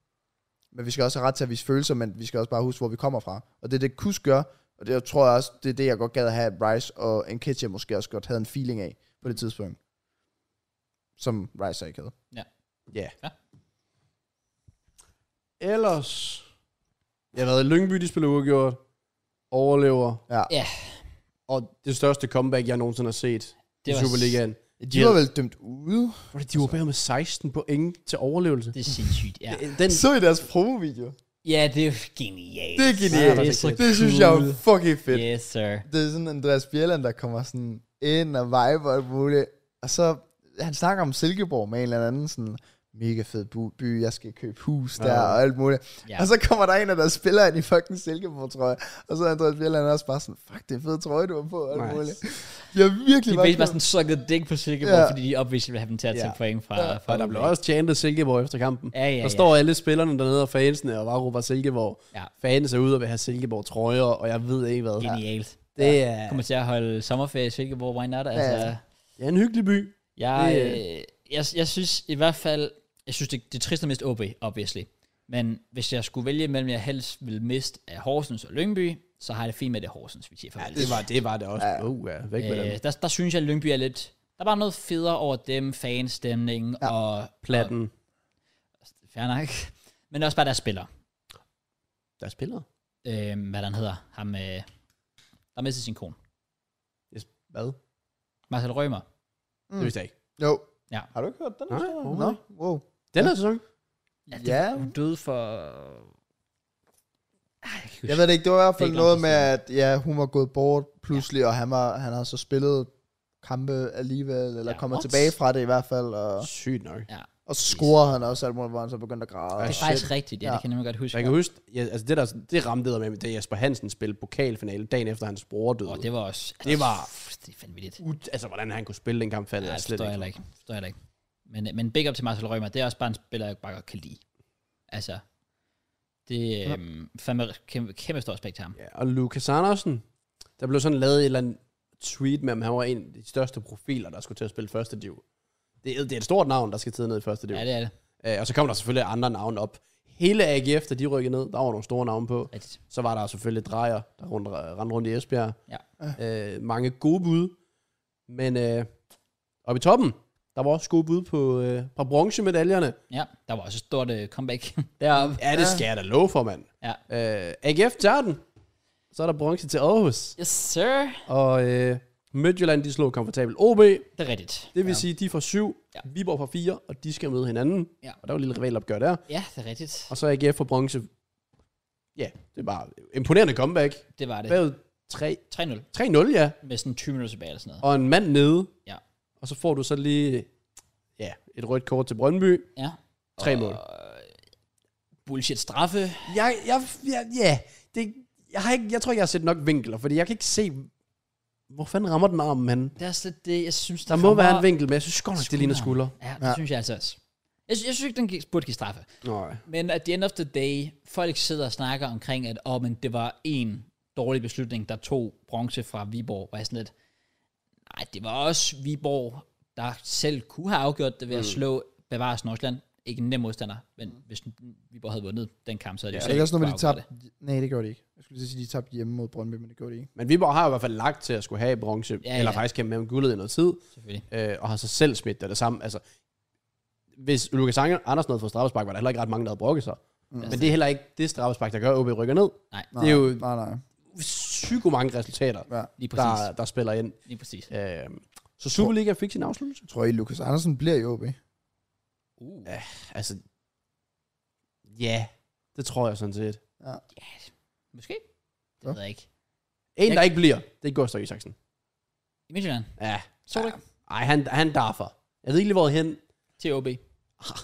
S2: men vi skal også have ret til at vise følelser, men vi skal også bare huske, hvor vi kommer fra. Og det er det, Kus gør, og det jeg tror jeg også, det er det, jeg godt gad at have, at Rice og Nketiah måske også godt havde en feeling af på det tidspunkt, som Rice så ikke havde.
S3: Ja.
S1: Ja.
S3: Ellers... Jeg har været i Lyngby, de spiller uafgjort. Overlever.
S2: Ja.
S1: Ja.
S3: Og det største comeback, jeg nogensinde har set
S1: det
S3: det i
S1: var
S3: Superligaen.
S2: De var vel dømt ude?
S3: Var det, de var bagud med 16 point til overlevelse.
S1: Det er sindssygt, ja.
S3: Den,
S2: Så i deres promovideo.
S1: Ja, det er genialt.
S2: Det er genialt.
S1: Det er så
S2: Det synes jeg
S1: cool.
S2: er fucking fedt.
S1: Yes, sir.
S2: Det er sådan Andreas Bjelland, der kommer sådan ind og viber og alt muligt. Og så, han snakker om Silkeborg med en eller anden sådan, mega fed bu- by, jeg skal købe hus der
S3: Ja.
S2: og alt muligt.
S1: Ja.
S2: Ja. Og så kommer der en af der spiller ind i fucking Silkeborg, tror jeg. Og så er Andreas Bjelland også bare sådan, fuck, det er en fed trøje, du har på og alt
S3: Nice.
S2: nice. muligt. Jeg er virkelig
S1: De er
S2: bare
S1: basically bare sådan sucket dick på Silkeborg,
S2: Ja.
S1: fordi de opvist vil have dem til at tage
S3: Ja.
S1: point fra... fra
S3: og der blev også chantet Silkeborg efter kampen.
S1: Ja, ja,
S3: Der
S1: ja.
S3: står alle spillerne dernede og fansene og bare råber Silkeborg.
S1: Ja.
S3: Fans er ude og vil have Silkeborg trøjer, og jeg ved ikke hvad.
S1: Genialt.
S3: Det er,
S1: Kommer til at holde sommerferie i Silkeborg, why not? Altså,
S2: Ja.
S3: ja, en hyggelig by.
S1: Jeg,
S3: Det-
S1: øh, jeg, jeg synes i hvert fald, jeg synes det, det er trist at miste OB, obviously. Men hvis jeg skulle vælge mellem, jeg helst ville miste af Horsens og Lyngby, så har jeg det fint med det er Horsens, vi siger farvel.
S3: Det var det, var det også. Ja. Uh, ja. Væk med dem.
S1: øh, der, der synes jeg, at Lyngby er lidt... Der var noget federe over dem, fanstemningen ja. og...
S3: Platten.
S1: Og, fair nok. Men også bare deres spiller.
S3: Der spiller.
S1: Øh, hvad den hedder. Ham, øh, der mistede sin kone.
S3: Yes. Hvad?
S1: Marcel Rømer.
S3: Det vidste jeg ikke.
S2: Jo.
S1: Ja.
S2: Har du ikke hørt den?
S3: Nej,
S2: Nå,
S3: overhovedet
S2: wow.
S3: Den her sæson?
S1: Ja.
S2: Ja.
S1: Det, hun døde for... Ej, jeg kan ikke huske.
S2: Jeg ved det ikke, det var i hvert
S1: Det er
S2: fald
S1: ikke
S2: noget
S1: lang
S2: med,
S1: tid
S2: at ja, hun var gået bort pludselig, ja. og han, var, han har så spillet kampe alligevel, eller
S1: Ja,
S2: ja, kommer
S1: what?
S2: tilbage fra det i hvert fald, og,
S3: Sygt nok.
S2: og så scorer han også alt muligt, hvor han så begyndte at græde.
S1: det
S2: Ja.
S1: er faktisk rigtigt, ja, ja.
S2: Ja.
S1: det kan jeg nemlig godt huske.
S3: Jeg kan huske, ja, altså det, der, det ramte der med, da Jesper Hansen spillede pokalfinale dagen efter hans bror døde.
S1: Og
S3: det,
S1: det var også... Altså,
S3: Det var-
S1: f- Det er fandme vildt.
S3: Ud, altså, hvordan han kunne spille den kamp, faldt
S1: Ja,
S3: jeg
S1: det
S3: slet
S1: forstår jeg heller
S3: ikke.
S1: ikke. Forstår jeg heller ikke. Men, men big up til Marcel Rømer, det er også bare en spiller, jeg bare godt kan lide. Altså, det er øhm, fandme kæmpe, kæmpe stor respekt til ham.
S3: Ja, og Lukas Andersen, der blev sådan lavet et eller andet tweet med, at han var en af de største profiler, der skulle til at spille første div. Det er, det er et stort navn, der skal til ned i første div.
S1: Ja,
S3: Ja,
S1: det er det.
S3: det... Øh, Og så kom der selvfølgelig andre navne op. Hele AGF, da de rykkede ned, der var nogle store navne på.
S1: Rigtigt.
S3: Så var der selvfølgelig Drejer, der rundt, rendte rundt i Esbjerg.
S1: Ja.
S3: Øh, mange gode bud. Men øh, oppe i toppen, der var også gode bud på, øh, på bronzemedaljerne.
S1: Ja, der var også et stort øh, comeback deroppe.
S3: Ja, det skal jeg da love for, mand.
S1: Ja.
S3: Øh, AGF tager den. Så er der bronze til Aarhus.
S1: Yes, sir.
S3: Og øh, Midtjylland, de slog komfortabelt OB.
S1: Det er rigtigt.
S3: Det vil ja. sige, de får syv,
S1: Ja.
S3: ja. Viborg får fire, og de skal møde hinanden.
S1: Ja.
S3: Og der var et lille rivalopgør der.
S1: Ja, det er rigtigt.
S3: Og så AGF for bronze. Ja, det var imponerende comeback.
S1: Det var det.
S3: Bagud tre-
S1: 3-0
S3: 3-0, ja.
S1: med sådan 20 minutter tilbage eller sådan noget.
S3: Og en mand nede.
S1: Ja.
S3: Og så får du så lige ja, et rødt kort til Brøndby.
S1: Ja.
S3: Tre
S1: Og- øh,
S3: mål.
S1: Bullshit straffe.
S3: Jeg, jeg, jeg, ja, det, jeg, har ikke, jeg tror ikke, jeg har set nok vinkler, fordi jeg kan ikke se, hvor fanden rammer den armen han.
S1: Det er også lidt det, jeg synes,
S3: Der
S1: det
S3: må
S1: rammer-
S3: være en vinkel, men jeg synes godt nok, det ligner skulder.
S1: Skulderen. Ja, det ja.
S2: Ja.
S1: synes jeg altså også. Jeg, sy- jeg synes ikke, den gi- burde give straffe.
S3: Nej.
S1: Men at the end of the day, folk sidder og snakker omkring, at oh, men det var en dårlig beslutning, der tog bronze fra Viborg. Og jeg er sådan lidt, nej, det var også Viborg, der selv kunne have afgjort det ved at
S2: Mm.
S1: slå bevares Nordsjælland. Ikke en nem modstander, men hvis Viborg havde vundet den kamp, så havde de jo
S3: Ja,
S2: Er
S1: selv
S2: det ikke også noget med,
S1: kunne
S2: de
S1: afgøre
S2: tabte? Nej, det gjorde de ikke. Jeg skulle lige sige, de tabte hjemme mod Brøndby, men det gjorde de ikke.
S3: Men Viborg har jo i hvert fald lagt til at skulle have bronze,
S1: Ja,
S3: ja, eller
S1: ja.
S3: faktisk kæmpe med om guldet i noget tid,
S1: det, Selvfølgelig.
S3: øh, og har så selv smidt det, det samme. Altså, hvis Lukas Anger- Andersen havde fået straffespark, var der heller ikke ret mange, der havde brokket sig. Mm. Men det er heller ikke det straffespark, der gør, at OB rykker ned.
S1: Nej.
S2: Nej,
S3: Det er jo-
S2: Nej, nej.
S3: psyko mange resultater,
S2: Ja.
S1: Lige præcis.
S3: der, der spiller ind.
S1: Lige præcis.
S3: Øh, så Superliga fik sin afsluttelse.
S2: Tror I, Lukas Andersen bliver i OB?
S1: Uh.
S3: Ja. Altså, ja, det tror jeg sådan set.
S1: Ja, måske. Det
S2: Hvad?
S1: ved jeg ikke.
S3: En,
S1: Jeg-
S3: der ikke bliver, det er Gustav Isaksen.
S1: I Midtjylland.
S3: Ja,
S1: Så det
S3: ej, han, han derfor. Jeg ved ikke lige, hvor hen.
S1: til OB.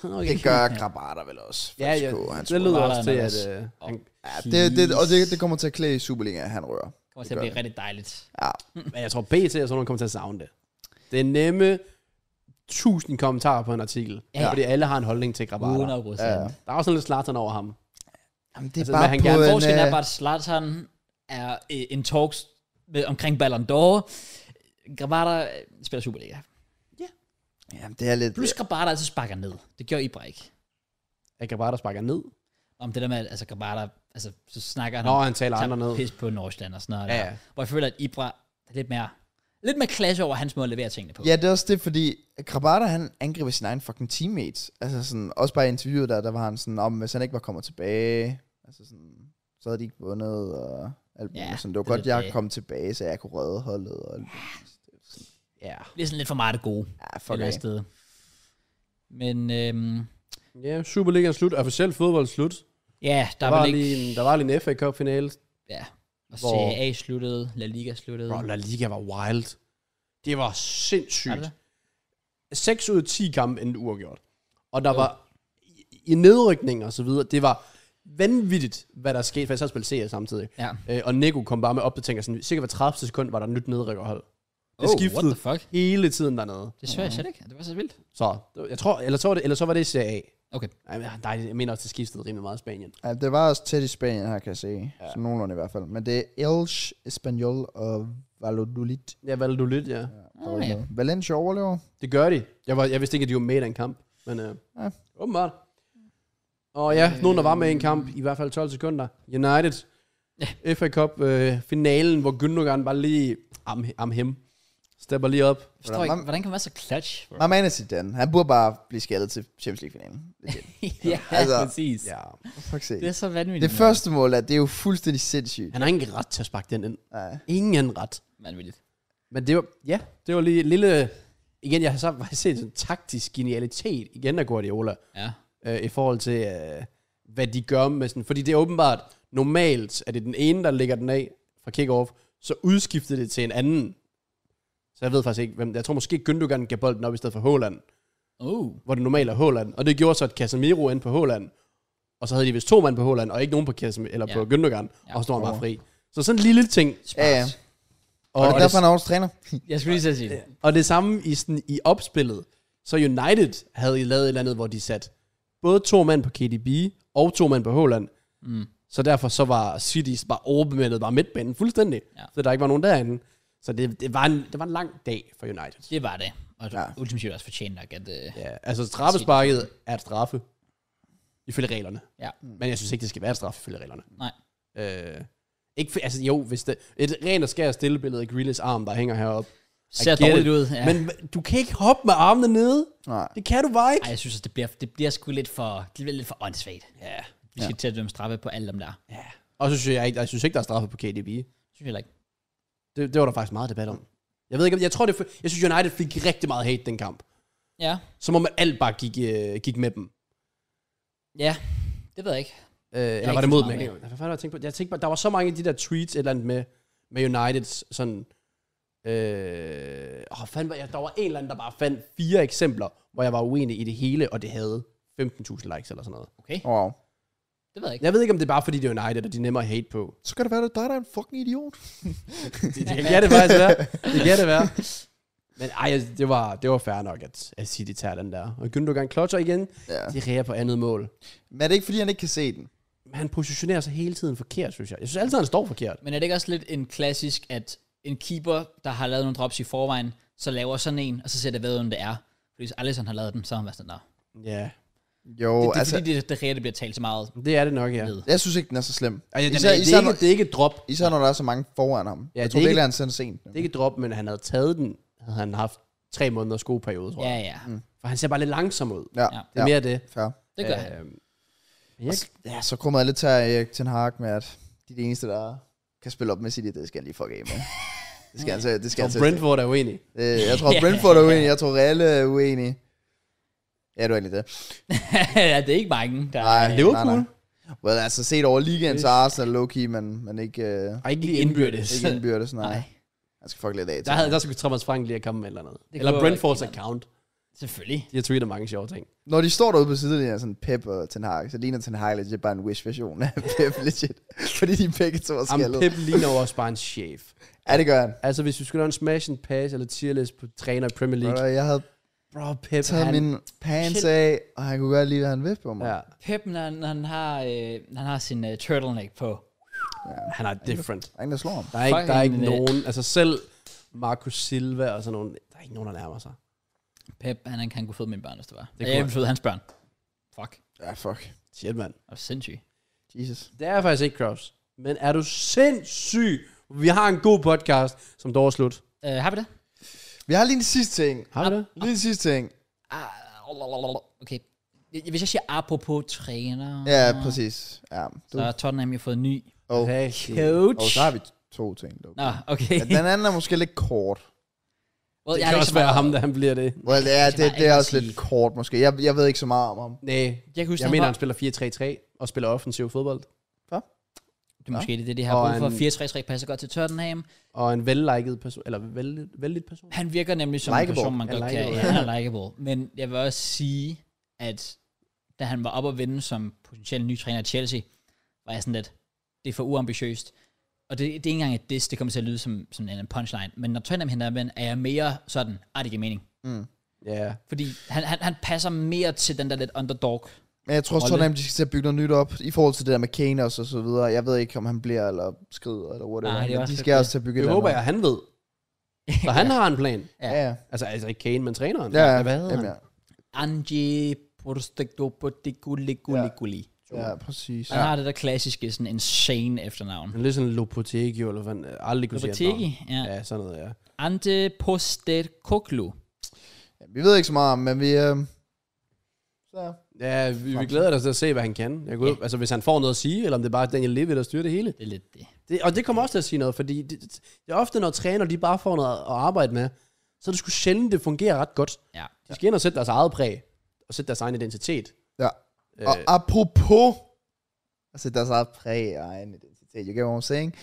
S3: okay.
S2: Det gør Grabater vel også.
S3: Ja, ja,
S2: FCK, han
S3: det
S2: tror-
S3: lyder
S1: Skolerne
S3: også til, at...
S1: også.
S3: Øh, han,
S2: ja det, det, og det, det kommer til at klæde i Superligaen, han rører.
S1: Kommer
S2: Det
S1: til at
S2: gør
S1: blive
S2: det.
S1: rigtig dejligt.
S2: Ja.
S3: men jeg tror, BT og sådan nogen kommer til at savne det. Det er nemme tusind kommentarer på en artikel,
S1: Ja.
S3: ja. fordi alle har en holdning til Grabata.
S1: 100 procent.
S2: Ja.
S1: Ja.
S3: Der er også sådan lidt slateren over ham.
S2: Jamen, det er
S3: Altså,
S2: bare
S3: hvad han
S2: på
S3: gerne-
S2: en...
S1: Forskellen er
S2: øh,
S1: bare, at Zlatan er øh, en talks med, omkring Ballon d'Or. Gravata spiller Superliga.
S2: Jamen, det er lidt...
S1: Plus Gravata altså sparker ned. Det gjorde Ibra ikke.
S3: At Grabata sparker ned.
S1: Om det der med, at altså, Gravata, altså, så snakker han
S3: Nå,
S1: om-
S3: han taler
S1: tager
S3: andre ned.
S1: pis på Nordsjælland og sådan noget.
S3: Ja,
S1: Ja.
S3: ja.
S1: Hvor jeg føler, at Ibra er lidt mere, lidt mere klasse over hans måde at levere tingene på.
S2: Ja, det er også det, fordi Grabata, han angriber sin egen fucking teammates. Altså sådan, også bare i interviewet der, der var han sådan, om hvis han ikke var kommet tilbage, altså sådan, så havde de ikke vundet, og alt
S1: Ja,
S2: muligt. sådan, det var
S1: det er
S2: godt,
S1: lidt
S2: jeg
S1: det.
S2: kom tilbage, så jeg kunne redde holdet. Og alt.
S3: Ja.
S1: Det er sådan lidt for meget det gode.
S2: Ja,
S1: et
S2: fuck
S1: eller andet
S2: af.
S1: sted. Men øhm,
S3: Ja, Superligaen er slut. Officiel fodbold er slut.
S1: ja, der,
S3: Der,
S1: var
S3: var,
S1: ikke...
S3: lige en, der var lige en FA Cup-finale.
S1: Ja. Og
S3: Hvor-
S1: Serie A sluttede, La Liga sluttede.
S3: Bro, La Liga var wild. Det var
S1: Var
S3: sindssygt.
S1: det det?
S3: 6 ud af 10 kampe endte uafgjort. Og der
S1: Jo.
S3: var i- i nedrykning og så videre, det var vanvittigt, hvad der skete, for jeg sad og spillede CS samtidig.
S1: Ja.
S3: Øh, og Nico kom bare med opdateringer, sådan cirka hver 30 sekund var der nyt nedrykkerhold. Det
S1: Oh, what
S3: skiftede
S1: the fuck?
S3: hele tiden dernede.
S1: Det så jeg slet ikke. Det var så vildt.
S3: Så det- jeg tror, eller så var det, eller så var det i Serie A.
S1: Okay.
S3: Ej, men nej, jeg mener også, det skiftede rimelig meget i Spanien.
S2: Ja, det var også tæt i Spanien her, kan jeg se.
S3: Ja.
S2: Ja. Så nogenlunde i hvert fald. Men det er Elche, Espanyol og Valladolid.
S3: Ja, valgte du lidt, ja.
S2: der var
S1: Ah, ja.
S2: med. Valencia overlever.
S3: Det gør de. Jeg, var, jeg vidste ikke, at de var med i den kamp, men øh, ja.
S2: Ja.
S3: åbenbart. Og ja, nogen, der var med i en kamp, i hvert fald 12 sekunder. United, ja. FA Cup-finalen, øh, hvor Gündogan bare lige am, am him, stepper lige op.
S1: Jeg Forstår ikke,
S2: Hvordan-
S1: hvordan kan man være så clutch? bro?
S2: My man er Zidane. Han burde bare blive skaldet til Champions League-finalen. Legit.
S1: ja,
S2: Altså,
S1: præcis.
S3: Ja.
S2: Fuck se.
S1: Det er så vanvittigt.
S2: Det første mål er, det er jo fuldstændig sindssygt.
S3: Han har ingen ret til at sparke den ind.
S2: Ja.
S3: Ingen ret.
S1: Vanvittigt.
S3: Men det var, ja, det var lige et lille... Igen, jeg har så faktisk set sådan en taktisk genialitet igen af Guardiola.
S1: Ja.
S3: øh, i forhold til, øh, hvad de gør med sådan... Fordi det er åbenbart, normalt er det den ene, der lægger den af fra kickoff, så udskifter det til en anden. Så jeg ved faktisk ikke, hvem... Jeg tror måske Gündogan gav bolden op i stedet for Haaland,
S1: Oh.
S3: hvor det normalt er Haaland. Og det gjorde så, at Casemiro endte på Haaland, og så havde de vist to mand på Haaland, og ikke nogen på, Casem eller
S1: Ja.
S3: på Gündogan,
S1: Ja.
S3: og så står han bare fri. Så sådan en lille ting.
S1: Smart.
S2: Ja, ja. Og, og det er derfor, han er også træner.
S1: Jeg skulle lige så sige det.
S3: Og det samme i, sådan, i opspillet. Så United havde I lavet et eller andet, hvor de satte både to mand på KDB og to mand på Holland.
S1: Mm.
S3: Så derfor så var City bare overbemændet, bare midtbanen fuldstændig.
S1: Ja.
S3: Så der ikke var nogen derinde. Så det, det, var en, det var en lang dag for United.
S1: Det var det. Og ja.
S2: Ja.
S1: ultimativt også fortjent nok, at... Øh,
S3: Ja, altså straffesparket er et straffe. Ifølge reglerne. Mm.
S1: Ja.
S3: Men jeg synes ikke, det skal være et straffe ifølge reglerne.
S1: Nej.
S3: Øh, ikke, for- altså jo, hvis det, et rent og skær stille billede af Grealish arm, der hænger heroppe.
S1: ser
S3: I get
S1: dårligt
S3: it.
S1: ud. Ja.
S3: Ja. Men du kan ikke hoppe med armene nede.
S2: Nej.
S3: Det kan du bare ikke.
S1: Ej, jeg synes, at det bliver, det bliver sgu lidt for, det bliver lidt for åndssvagt.
S3: Ja.
S1: Vi skal ja. til at dømme straffe på alle dem der.
S3: Ja. Og så synes jeg, ikke, jeg synes ikke, der er straffe på KDB.
S1: Synes jeg heller ikke.
S3: Det, det var der faktisk meget debat om. Jeg ved ikke, om- jeg tror, det, f- jeg synes, United fik rigtig meget hate den kamp.
S1: Ja.
S3: Som om at alt bare gik, øh, gik med dem.
S1: Ja. Det ved jeg ikke.
S3: Øh, eller
S1: ikke
S3: var det
S1: fulgt
S3: mod
S1: meget
S3: dem? Jeg,
S1: med.
S3: kan ikke- hvad fanden var det, jeg tænkte på? Jeg tænkte bare, der var så mange af de der tweets, et eller andet med, med Uniteds sådan... Øh, åh, fanden, var jeg, der var en eller anden, der bare fandt fire eksempler, hvor jeg var uenig i det hele, og det havde 15.000 likes eller sådan noget.
S1: Okay.
S2: Wow.
S1: Det ved jeg ikke.
S3: Jeg ved ikke, om det er bare fordi, det er United, og de er nemmere at hate på.
S2: Så kan det være, at dig der er en fucking idiot.
S3: Det, det, det kan det faktisk være. Det kan det være. Men ej, altså, det var, det var fair nok, at, at City tager den der. Og Gündogan klotcher igen.
S2: Ja.
S3: De reagerer på andet mål.
S2: Men er det ikke, fordi han ikke kan se den?
S3: Men han positionerer sig hele tiden forkert, synes jeg. Jeg synes altid, han står forkert.
S1: Men er det ikke også lidt en klassisk, at en keeper, der har lavet nogle drops i forvejen, så laver sådan en, og så ser det ved, hvem det er. Fordi hvis Alisson har lavet den, så har han været sådan der. Det,
S3: Ja,
S2: Jo,
S1: det er
S2: det, altså,
S1: fordi, det, det reelle bliver talt så meget
S3: det er det nok, ja.
S1: ned.
S2: jeg synes ikke, den er så slem.
S3: Ej, den er,
S2: Især-
S3: det,
S2: især
S3: er ikke,
S2: når-
S3: det er ikke et drop.
S2: Især når der er så mange foran ham.
S3: Ja,
S2: Ja, jeg
S3: det
S2: tror
S3: er
S2: virkelig,
S3: ikke-
S2: han sendte sent.
S3: Det er ikke et drop, men han havde taget den, havde han haft tre måneder skoperiode, tror jeg.
S1: Ja, ja. Mm.
S3: For han ser bare lidt langsom ud.
S2: Ja,
S1: Ja.
S3: Det er mere det.
S2: fair. Altså,
S1: Det gør han.
S3: Øhm, men jeg,
S2: Ja, så kommer jeg lidt til Erik Ten Hag med, at de er det eneste, der er kan spille op med City, det skal jeg lige fuck af med. Det skal altså, det skal
S3: Og
S2: altså.
S3: Brentford er uenig.
S2: Øh, jeg tror,
S1: Ja.
S2: Brentford er uenig. Jeg tror, Real er uenig. Ja, du er egentlig det.
S1: ja, det er ikke mange, der
S2: Nej,
S1: er
S2: Liverpool? Well, altså set over ligaen, så er Arsenal low-key, men, men ikke, øh,
S3: Og ikke lige indbyrdes.
S2: ikke indbyrdes. Nej.
S1: Nej,
S2: Han skal fuck lidt af til.
S3: Der, havde, der skulle Thomas Frank lige have kommet med et eller andet.
S1: Det
S3: Eller
S1: kunne
S3: Brentfords
S1: være rigtig
S3: account.
S1: selvfølgelig.
S3: De har tweetet mange sjove ting.
S2: Når de står derude på sidelinjen, sådan Pep og Ten Hag, så ligner Ten Hag legit bare en wish-version af Pep legit. fordi de begge to er
S3: Jamen,
S2: skaldet.
S3: Pep ligner jo også bare en chef.
S2: Ja, det gør han.
S3: Altså, hvis vi skulle lave en smash and pass eller tier list på træner i Premier League.
S2: Brother, Jeg havde
S3: Bro, Pep,
S2: taget
S3: han...
S2: min pants
S1: Chill.
S2: af, og han kunne godt lide, hvad han vidste på mig.
S3: Ja,
S1: Pep, når han, når han har, øh, når han har sin øh, turtleneck på.
S3: han er different.
S2: Der er ingen, der slår ham.
S3: Der er ikke, der er ikke
S1: Fucking, øh,
S3: nogen... Altså, selv Marco Silva og sådan nogen... Der er ikke nogen, der nærmer sig.
S1: Pep, han, han kan kunne føde mine børn, hvis det var.
S3: kunne
S1: Det jeg
S3: han.
S1: vil føde hans børn. Fuck,
S2: Ja, fuck.
S3: Shit, mand.
S1: det er sindssygt.
S2: Jesus.
S3: Det er faktisk ikke Kraus. Men er du sindssyg? Vi har en god podcast, som dog er slut.
S1: Uh, har vi det?
S2: Vi har lige en sidste ting.
S3: Har du det?
S2: Lige en sidste ting.
S1: Ah, Okay. Hvis jeg siger apropos træner,
S2: Ja, præcis. Ja, du.
S1: så har Tottenham jo fået en ny
S3: Oh,
S2: Og,
S1: coach.
S2: og så har vi to ting. Dog.
S1: Nå, okay.
S2: Ja, den anden er måske lidt kort.
S1: well,
S3: Det
S1: jeg er ligesom-
S3: kan
S1: ikke
S3: også
S1: så
S3: være
S1: meget-
S3: ham, da han bliver det.
S2: Well, ja,
S1: jeg
S2: det,
S1: bare
S2: det er
S1: ikke
S2: også
S1: sige.
S2: lidt kort måske. Jeg, jeg ved ikke så meget om ham.
S3: Nej.
S1: Jeg kan huske,
S3: Jeg
S1: han
S3: mener,
S1: var-
S3: han spiller 4-3-3 og spiller offensiv fodbold.
S1: Det er måske det, det, de
S3: Og
S1: har brug for.
S3: han-
S1: 4-3-3 passer godt til Tottenham.
S3: Og en velliket person, eller vel, vellidt person.
S1: Han virker nemlig som
S2: Likeable.
S1: en person, man
S3: Ja,
S1: godt kan.
S3: likeable.
S1: Ja, han er likeable. Men jeg vil også sige, at da han var op at vinde som potentiel ny træner i Chelsea, var jeg sådan lidt, det er for uambitiøst. Og det, det er ikke engang et diss, det kommer til at lyde som, som en eller anden punchline. Men når Tottenham henter ham ind, er jeg mere sådan, ah, det giver mening.
S3: Ja.
S1: Fordi han, han, han passer mere til den der lidt underdog.
S2: Men jeg tror også,
S1: Rolle.
S2: Tottenham, de skal til at bygge noget nyt op. I forhold til det der med Kane og så, så videre. Jeg ved ikke, om han bliver eller skrider eller whatever.
S1: Nej, det er
S2: men
S1: også
S2: de
S1: lidt
S2: skal
S1: det.
S2: også til at bygge
S3: Det
S2: et
S3: håber
S2: eller
S3: jeg, han ved. Så han har en plan.
S2: andet. Ja, ja.
S3: Altså, altså ikke Kane, men træneren.
S2: Ja,
S3: Hvad hedder
S2: Jamen,
S3: han?
S2: ja.
S1: Angie Postecoglou-Postecoglou.
S2: ja, præcis.
S1: Han har det der klassiske, sådan insane efternavn.
S3: Han er lidt sådan Lopetegio, eller hvad han aldrig kunne sige. hans
S1: Lopetegi, ja.
S3: navn. Ja, sådan noget, ja.
S1: Ante Postecoglou.
S2: Ja, vi ved ikke så meget om, men vi... Øh... Så.
S3: Ja, vi, vi glæder os til at se, hvad han kan. Jeg går ud,
S1: Ja.
S3: altså, hvis han får noget at sige, eller om det er bare Daniel Levy, der styrer det hele.
S1: Det er lidt det.
S3: Det, og det kommer også til at sige noget, fordi det, det det er ofte, når træner de bare får noget at arbejde med, så er det sgu sjældent, det fungerer ret godt.
S1: Ja.
S3: De skal ind og sætte deres eget præg, og sætte deres egen identitet.
S2: Ja.
S3: Øh,
S2: Og apropos... Altså, deres eget præg og egen identitet. You get what I'm saying?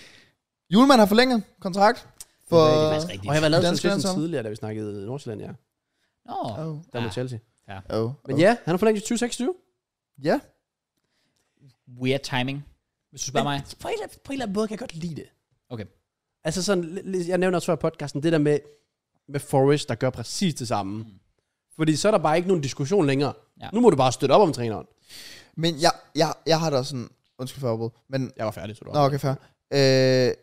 S2: Julemand har forlænget kontrakt. For...
S3: Det er
S1: faktisk rigtigt.
S3: og jeg var lavet
S2: Dansk
S3: sådan
S2: landshold.
S3: tidligere, da vi snakkede Nordsjælland, ja.
S1: Nå.
S2: Oh.
S3: Der med
S1: Ah,
S3: Chelsea.
S2: Oh.
S3: Men ja, han har forlængt til 2026.
S2: Ja.
S1: Weird timing. Hvis du spørger mig.
S3: På en, eller anden- på en eller anden måde kan jeg godt lide det.
S1: Okay.
S3: Altså sådan, lidt- lidt- jeg nævner også før i podcasten, det der med, med Forrest, der gør præcis det samme. Mm. Fordi så er der bare ikke nogen diskussion længere. Ja.
S1: Ja.
S3: Nu må du bare støtte op om træneren.
S2: Men jeg, jeg, jeg har da sådan... Undskyld for afbrud, men...
S3: Jeg var færdig, så du
S2: Nå, okay, fair. Øh,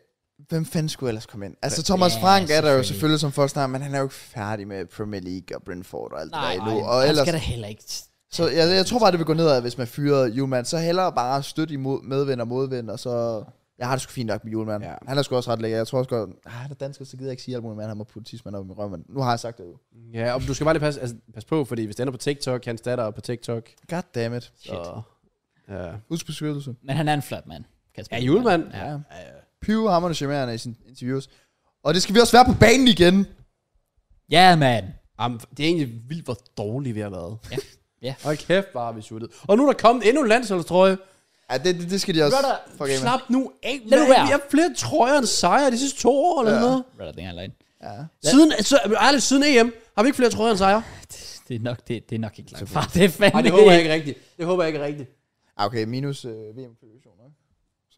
S2: hvem fanden skulle ellers komme ind? Altså, Thomas
S1: Ja,
S2: Frank er der jo
S1: selvfølgelig.
S2: selvfølgelig som folk snakker, men han er jo ikke færdig med Premier League og Brentford og alt
S1: Nej,
S2: det der
S1: nej.
S2: endnu. Og ellers,
S1: skal der heller ikke.
S2: så jeg, jeg tror bare, det vil gå nedad, hvis man fyrer Julemand. Så hellere bare støtte imod medvind og modvind, og så... Jeg har det sgu fint nok med Julemand.
S3: Ja.
S2: Ja. Han er sgu også ret lækker. Jeg tror også godt... Ah, han er dansker, så gider jeg ikke sige alt muligt, men han må putte tidsmand op i røven. Nu har jeg sagt det jo.
S3: Ja, og du skal bare lige passe, altså, pas på, fordi hvis det ender på TikTok, hans datter er på TikTok.
S2: God damn it.
S3: Så, ja.
S2: Husk beskyttelse.
S1: Men han er en flot mand. Kasper.
S3: ja, julemand. Ja.
S2: Ja. Pive hammerne charmerende i sine interviews. Og det skal vi også være på banen igen.
S1: Ja, mand.
S3: Jamen, det er egentlig vildt, hvor dårlige vi har været.
S1: Ja. Ja.
S3: Og kæft, bare vi suttet. Og nu er der kommet endnu en landsholdstrøje.
S2: Ja, det, det, det skal de også. Fuck af
S3: Brother,
S2: med.
S3: slap nu af.
S1: Lad nu være.
S3: Vi har flere trøjer end sejre de sidste to år eller
S2: Ja.
S3: ja. noget.
S1: Right, det er løgn.
S3: Siden, så, ærligt, siden EM har vi ikke flere trøjer end sejre.
S1: Det er nok, det, det er nok ikke langt fra. Det er fandme
S3: Nej, det håber jeg ikke rigtigt. Det håber jeg ikke rigtigt.
S2: Ah, okay, minus øh, VM-kvalifikationer. ikke?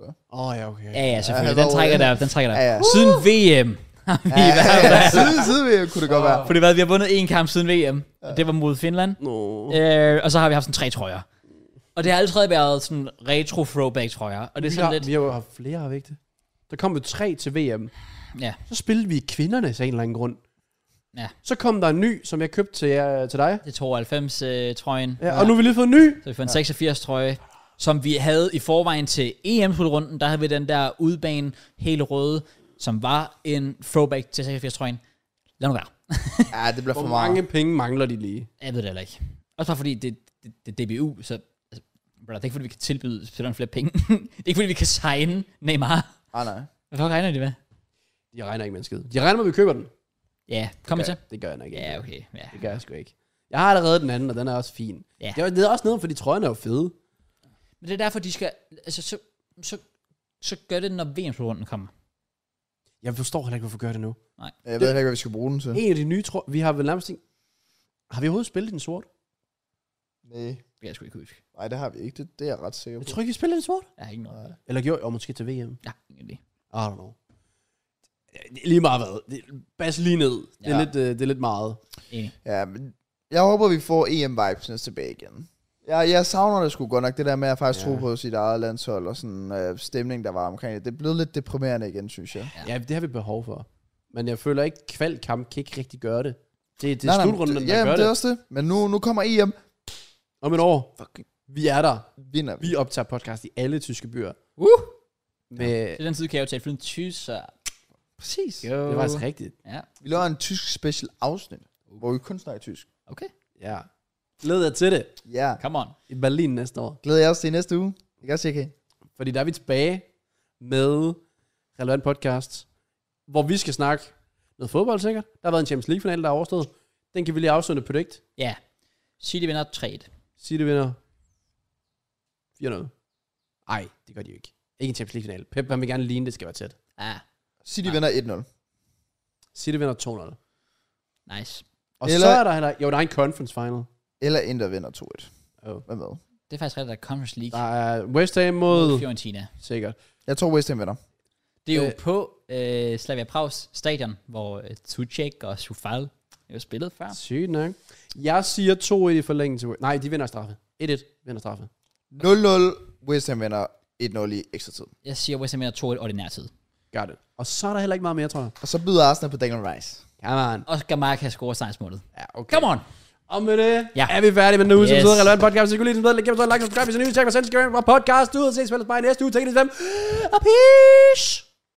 S3: Åh, oh, ja, okay.
S1: Ja, ja, selvfølgelig.
S2: Ja,
S1: Den trækker
S2: hvor-
S1: der, den trækker der.
S2: Ja, ja.
S1: Siden VM har vi i hvert fald.
S2: Siden siden VM kunne det godt være.
S1: Fordi hvad, vi har vundet én kamp siden VM. Og det var mod Finland.
S3: No.
S1: Øh, og så har vi haft sådan tre trøjer. Og det har altid været sådan retro throwback trøjer. Og det er
S3: Vi
S1: sådan
S3: har,
S1: lidt...
S3: vi har jo haft flere, har vi ikke det? Der kom jo tre til VM.
S1: Ja.
S3: Så spillede vi i kvindernes af en eller anden grund.
S1: Ja.
S3: Så kom der en ny, som jeg købte til, jer, til dig.
S1: Det er 92 øh, trøjen.
S3: Ja, og nu har vi lige fået en ny.
S1: Så vi får en 86 trøje, som vi havde i forvejen til em slutrunden Der havde vi den der udbane, helt røde, som var en throwback til 86 trøjen. Lad nu være.
S2: Ja, det bliver
S3: Hvor
S2: for
S3: mange
S2: mange.
S3: penge mangler de lige?
S1: Jeg ved det heller ikke. Også bare fordi det, det, det er DBU, så altså, brother, det er ikke fordi, vi kan tilbyde spilleren flere penge. det er ikke fordi, vi kan signe Neymar.
S2: Ah, nej.
S1: Hvad fuck regner de med?
S3: De regner ikke med en skid. De regner med, at vi køber den.
S1: Ja, kom
S3: Gør-
S1: til.
S3: Det gør jeg nok ikke.
S1: Ja, okay. Ja.
S3: Det gør jeg sgu ikke. Jeg har allerede den anden, og den er også fin.
S1: Ja.
S3: Det, er, det er også noget, fordi trøjen er jo fede.
S1: Men det er derfor, de skal... Altså, så, så, så gør det, når VM-runden kommer.
S3: Jeg forstår heller ikke, hvorfor gør det nu.
S2: Jeg ved heller ikke, hvad vi skal bruge den til.
S3: En af de nye trøjer, vi har vel nærmest ikke... Har vi overhovedet spillet i den sort?
S2: Nej,
S1: Det kan jeg sgu ikke huske.
S2: nej, det har vi ikke. Det, det er jeg ret sikker på.
S3: Jeg tror ikke, vi spillede i den sort.
S1: Jeg har ikke noget.
S2: Nej.
S3: Eller gjorde jeg? Og måske til VM.
S1: Ja, ingen idé.
S3: I don't know. Det er lige meget hvad. Det er, bas lige ned. Det er,
S2: Ja.
S3: lidt, øh, det er lidt meget.
S1: Enig.
S2: Ja, men jeg håber, vi får EM-vibesene tilbage igen. Jeg, jeg savner det sgu godt nok, det der med at faktisk
S3: Ja.
S2: ja. tro på sit eget landshold, og sådan øh, stemning, der var omkring det. Det er blevet lidt deprimerende igen, synes jeg.
S1: Ja.
S3: Ja. ja, det har vi behov for. Men jeg føler ikke, kvalkamp kan ikke rigtig gøre det. Det, det
S2: Nej,
S3: er
S2: nej,
S3: slutrunden, der
S2: det, jamen,
S3: gør
S2: det
S3: det.
S2: er også det. Men nu, nu kommer EM.
S3: Om et år,
S2: Fuck,
S3: vi er der.
S2: vinder vi.
S3: Vi optager podcast i alle tyske byer.
S1: Uh!
S3: Med,
S1: Til den tid kan jeg jo tage flyvende tyser.
S2: Præcis.
S1: Jo.
S3: det var faktisk rigtigt.
S1: Ja,
S2: Vi laver en tysk special afsnit, hvor vi kun snakker tysk.
S1: okay.
S3: Ja. Glæder jeg til det.
S2: Ja.
S1: Come on.
S3: I Berlin næste år.
S2: Glæder jeg også til næste uge. Ikke også, JK?
S3: Fordi der er vi tilbage med relevant podcast, hvor vi skal snakke noget fodbold sikkert. Der har været en Champions League-final, der er overstået. Den kan vi lige afsøge predict.
S1: Ja. City vinder 3
S3: City vinder 4-0. Ej, det gør de jo ikke. Ikke en Champions League-final. Pep, han vil gerne ligne, det skal være tæt.
S1: Ah,
S2: City
S1: Nej.
S2: vinder
S3: City vinder 2-0.
S1: nice.
S3: Og
S2: Eller-
S3: Eller... så er der heller... Jo, der er en conference final.
S2: 1-0. Eller Inter vinder 2-1.
S3: Oh.
S2: Hvad med?
S1: Det er faktisk rigtigt, der er Conference League
S3: Der er West Ham
S1: mod
S3: mod...
S1: Fiorentina.
S3: Sikkert.
S2: Jeg tror, West Ham vinder.
S1: Det er jo
S3: Øh.
S1: på øh, Slavia Prags stadion, hvor øh, Tuchek og Sufal jo spillet før.
S3: Sygt nok. Jeg siger 2-1 i forlængelse. Nej, de vinder straffe. 1-1 vinder straffe.
S2: 0-0. West Ham vinder 1-0 i ekstra tid.
S1: Jeg siger West Ham vinder 2-1 ordinær tid.
S3: Gør det. Og så er der heller ikke meget mere, tror jeg.
S2: Og så byder Arsenal på Daniel Rice.
S3: Come on.
S1: Og Gamarca scorer sejrsmålet.
S3: Ja, okay.
S1: Come on!
S3: Og med det
S1: Ja.
S3: ja. er vi færdige med den uge, yes. som
S1: Yes.
S3: sidder relevant podcast. Hvis I kunne lide den, så gem så like, subscribe, hvis I er nye, tjek vores Instagram og podcast ud og ses vel mig næste uge. Tak, det er Og peace!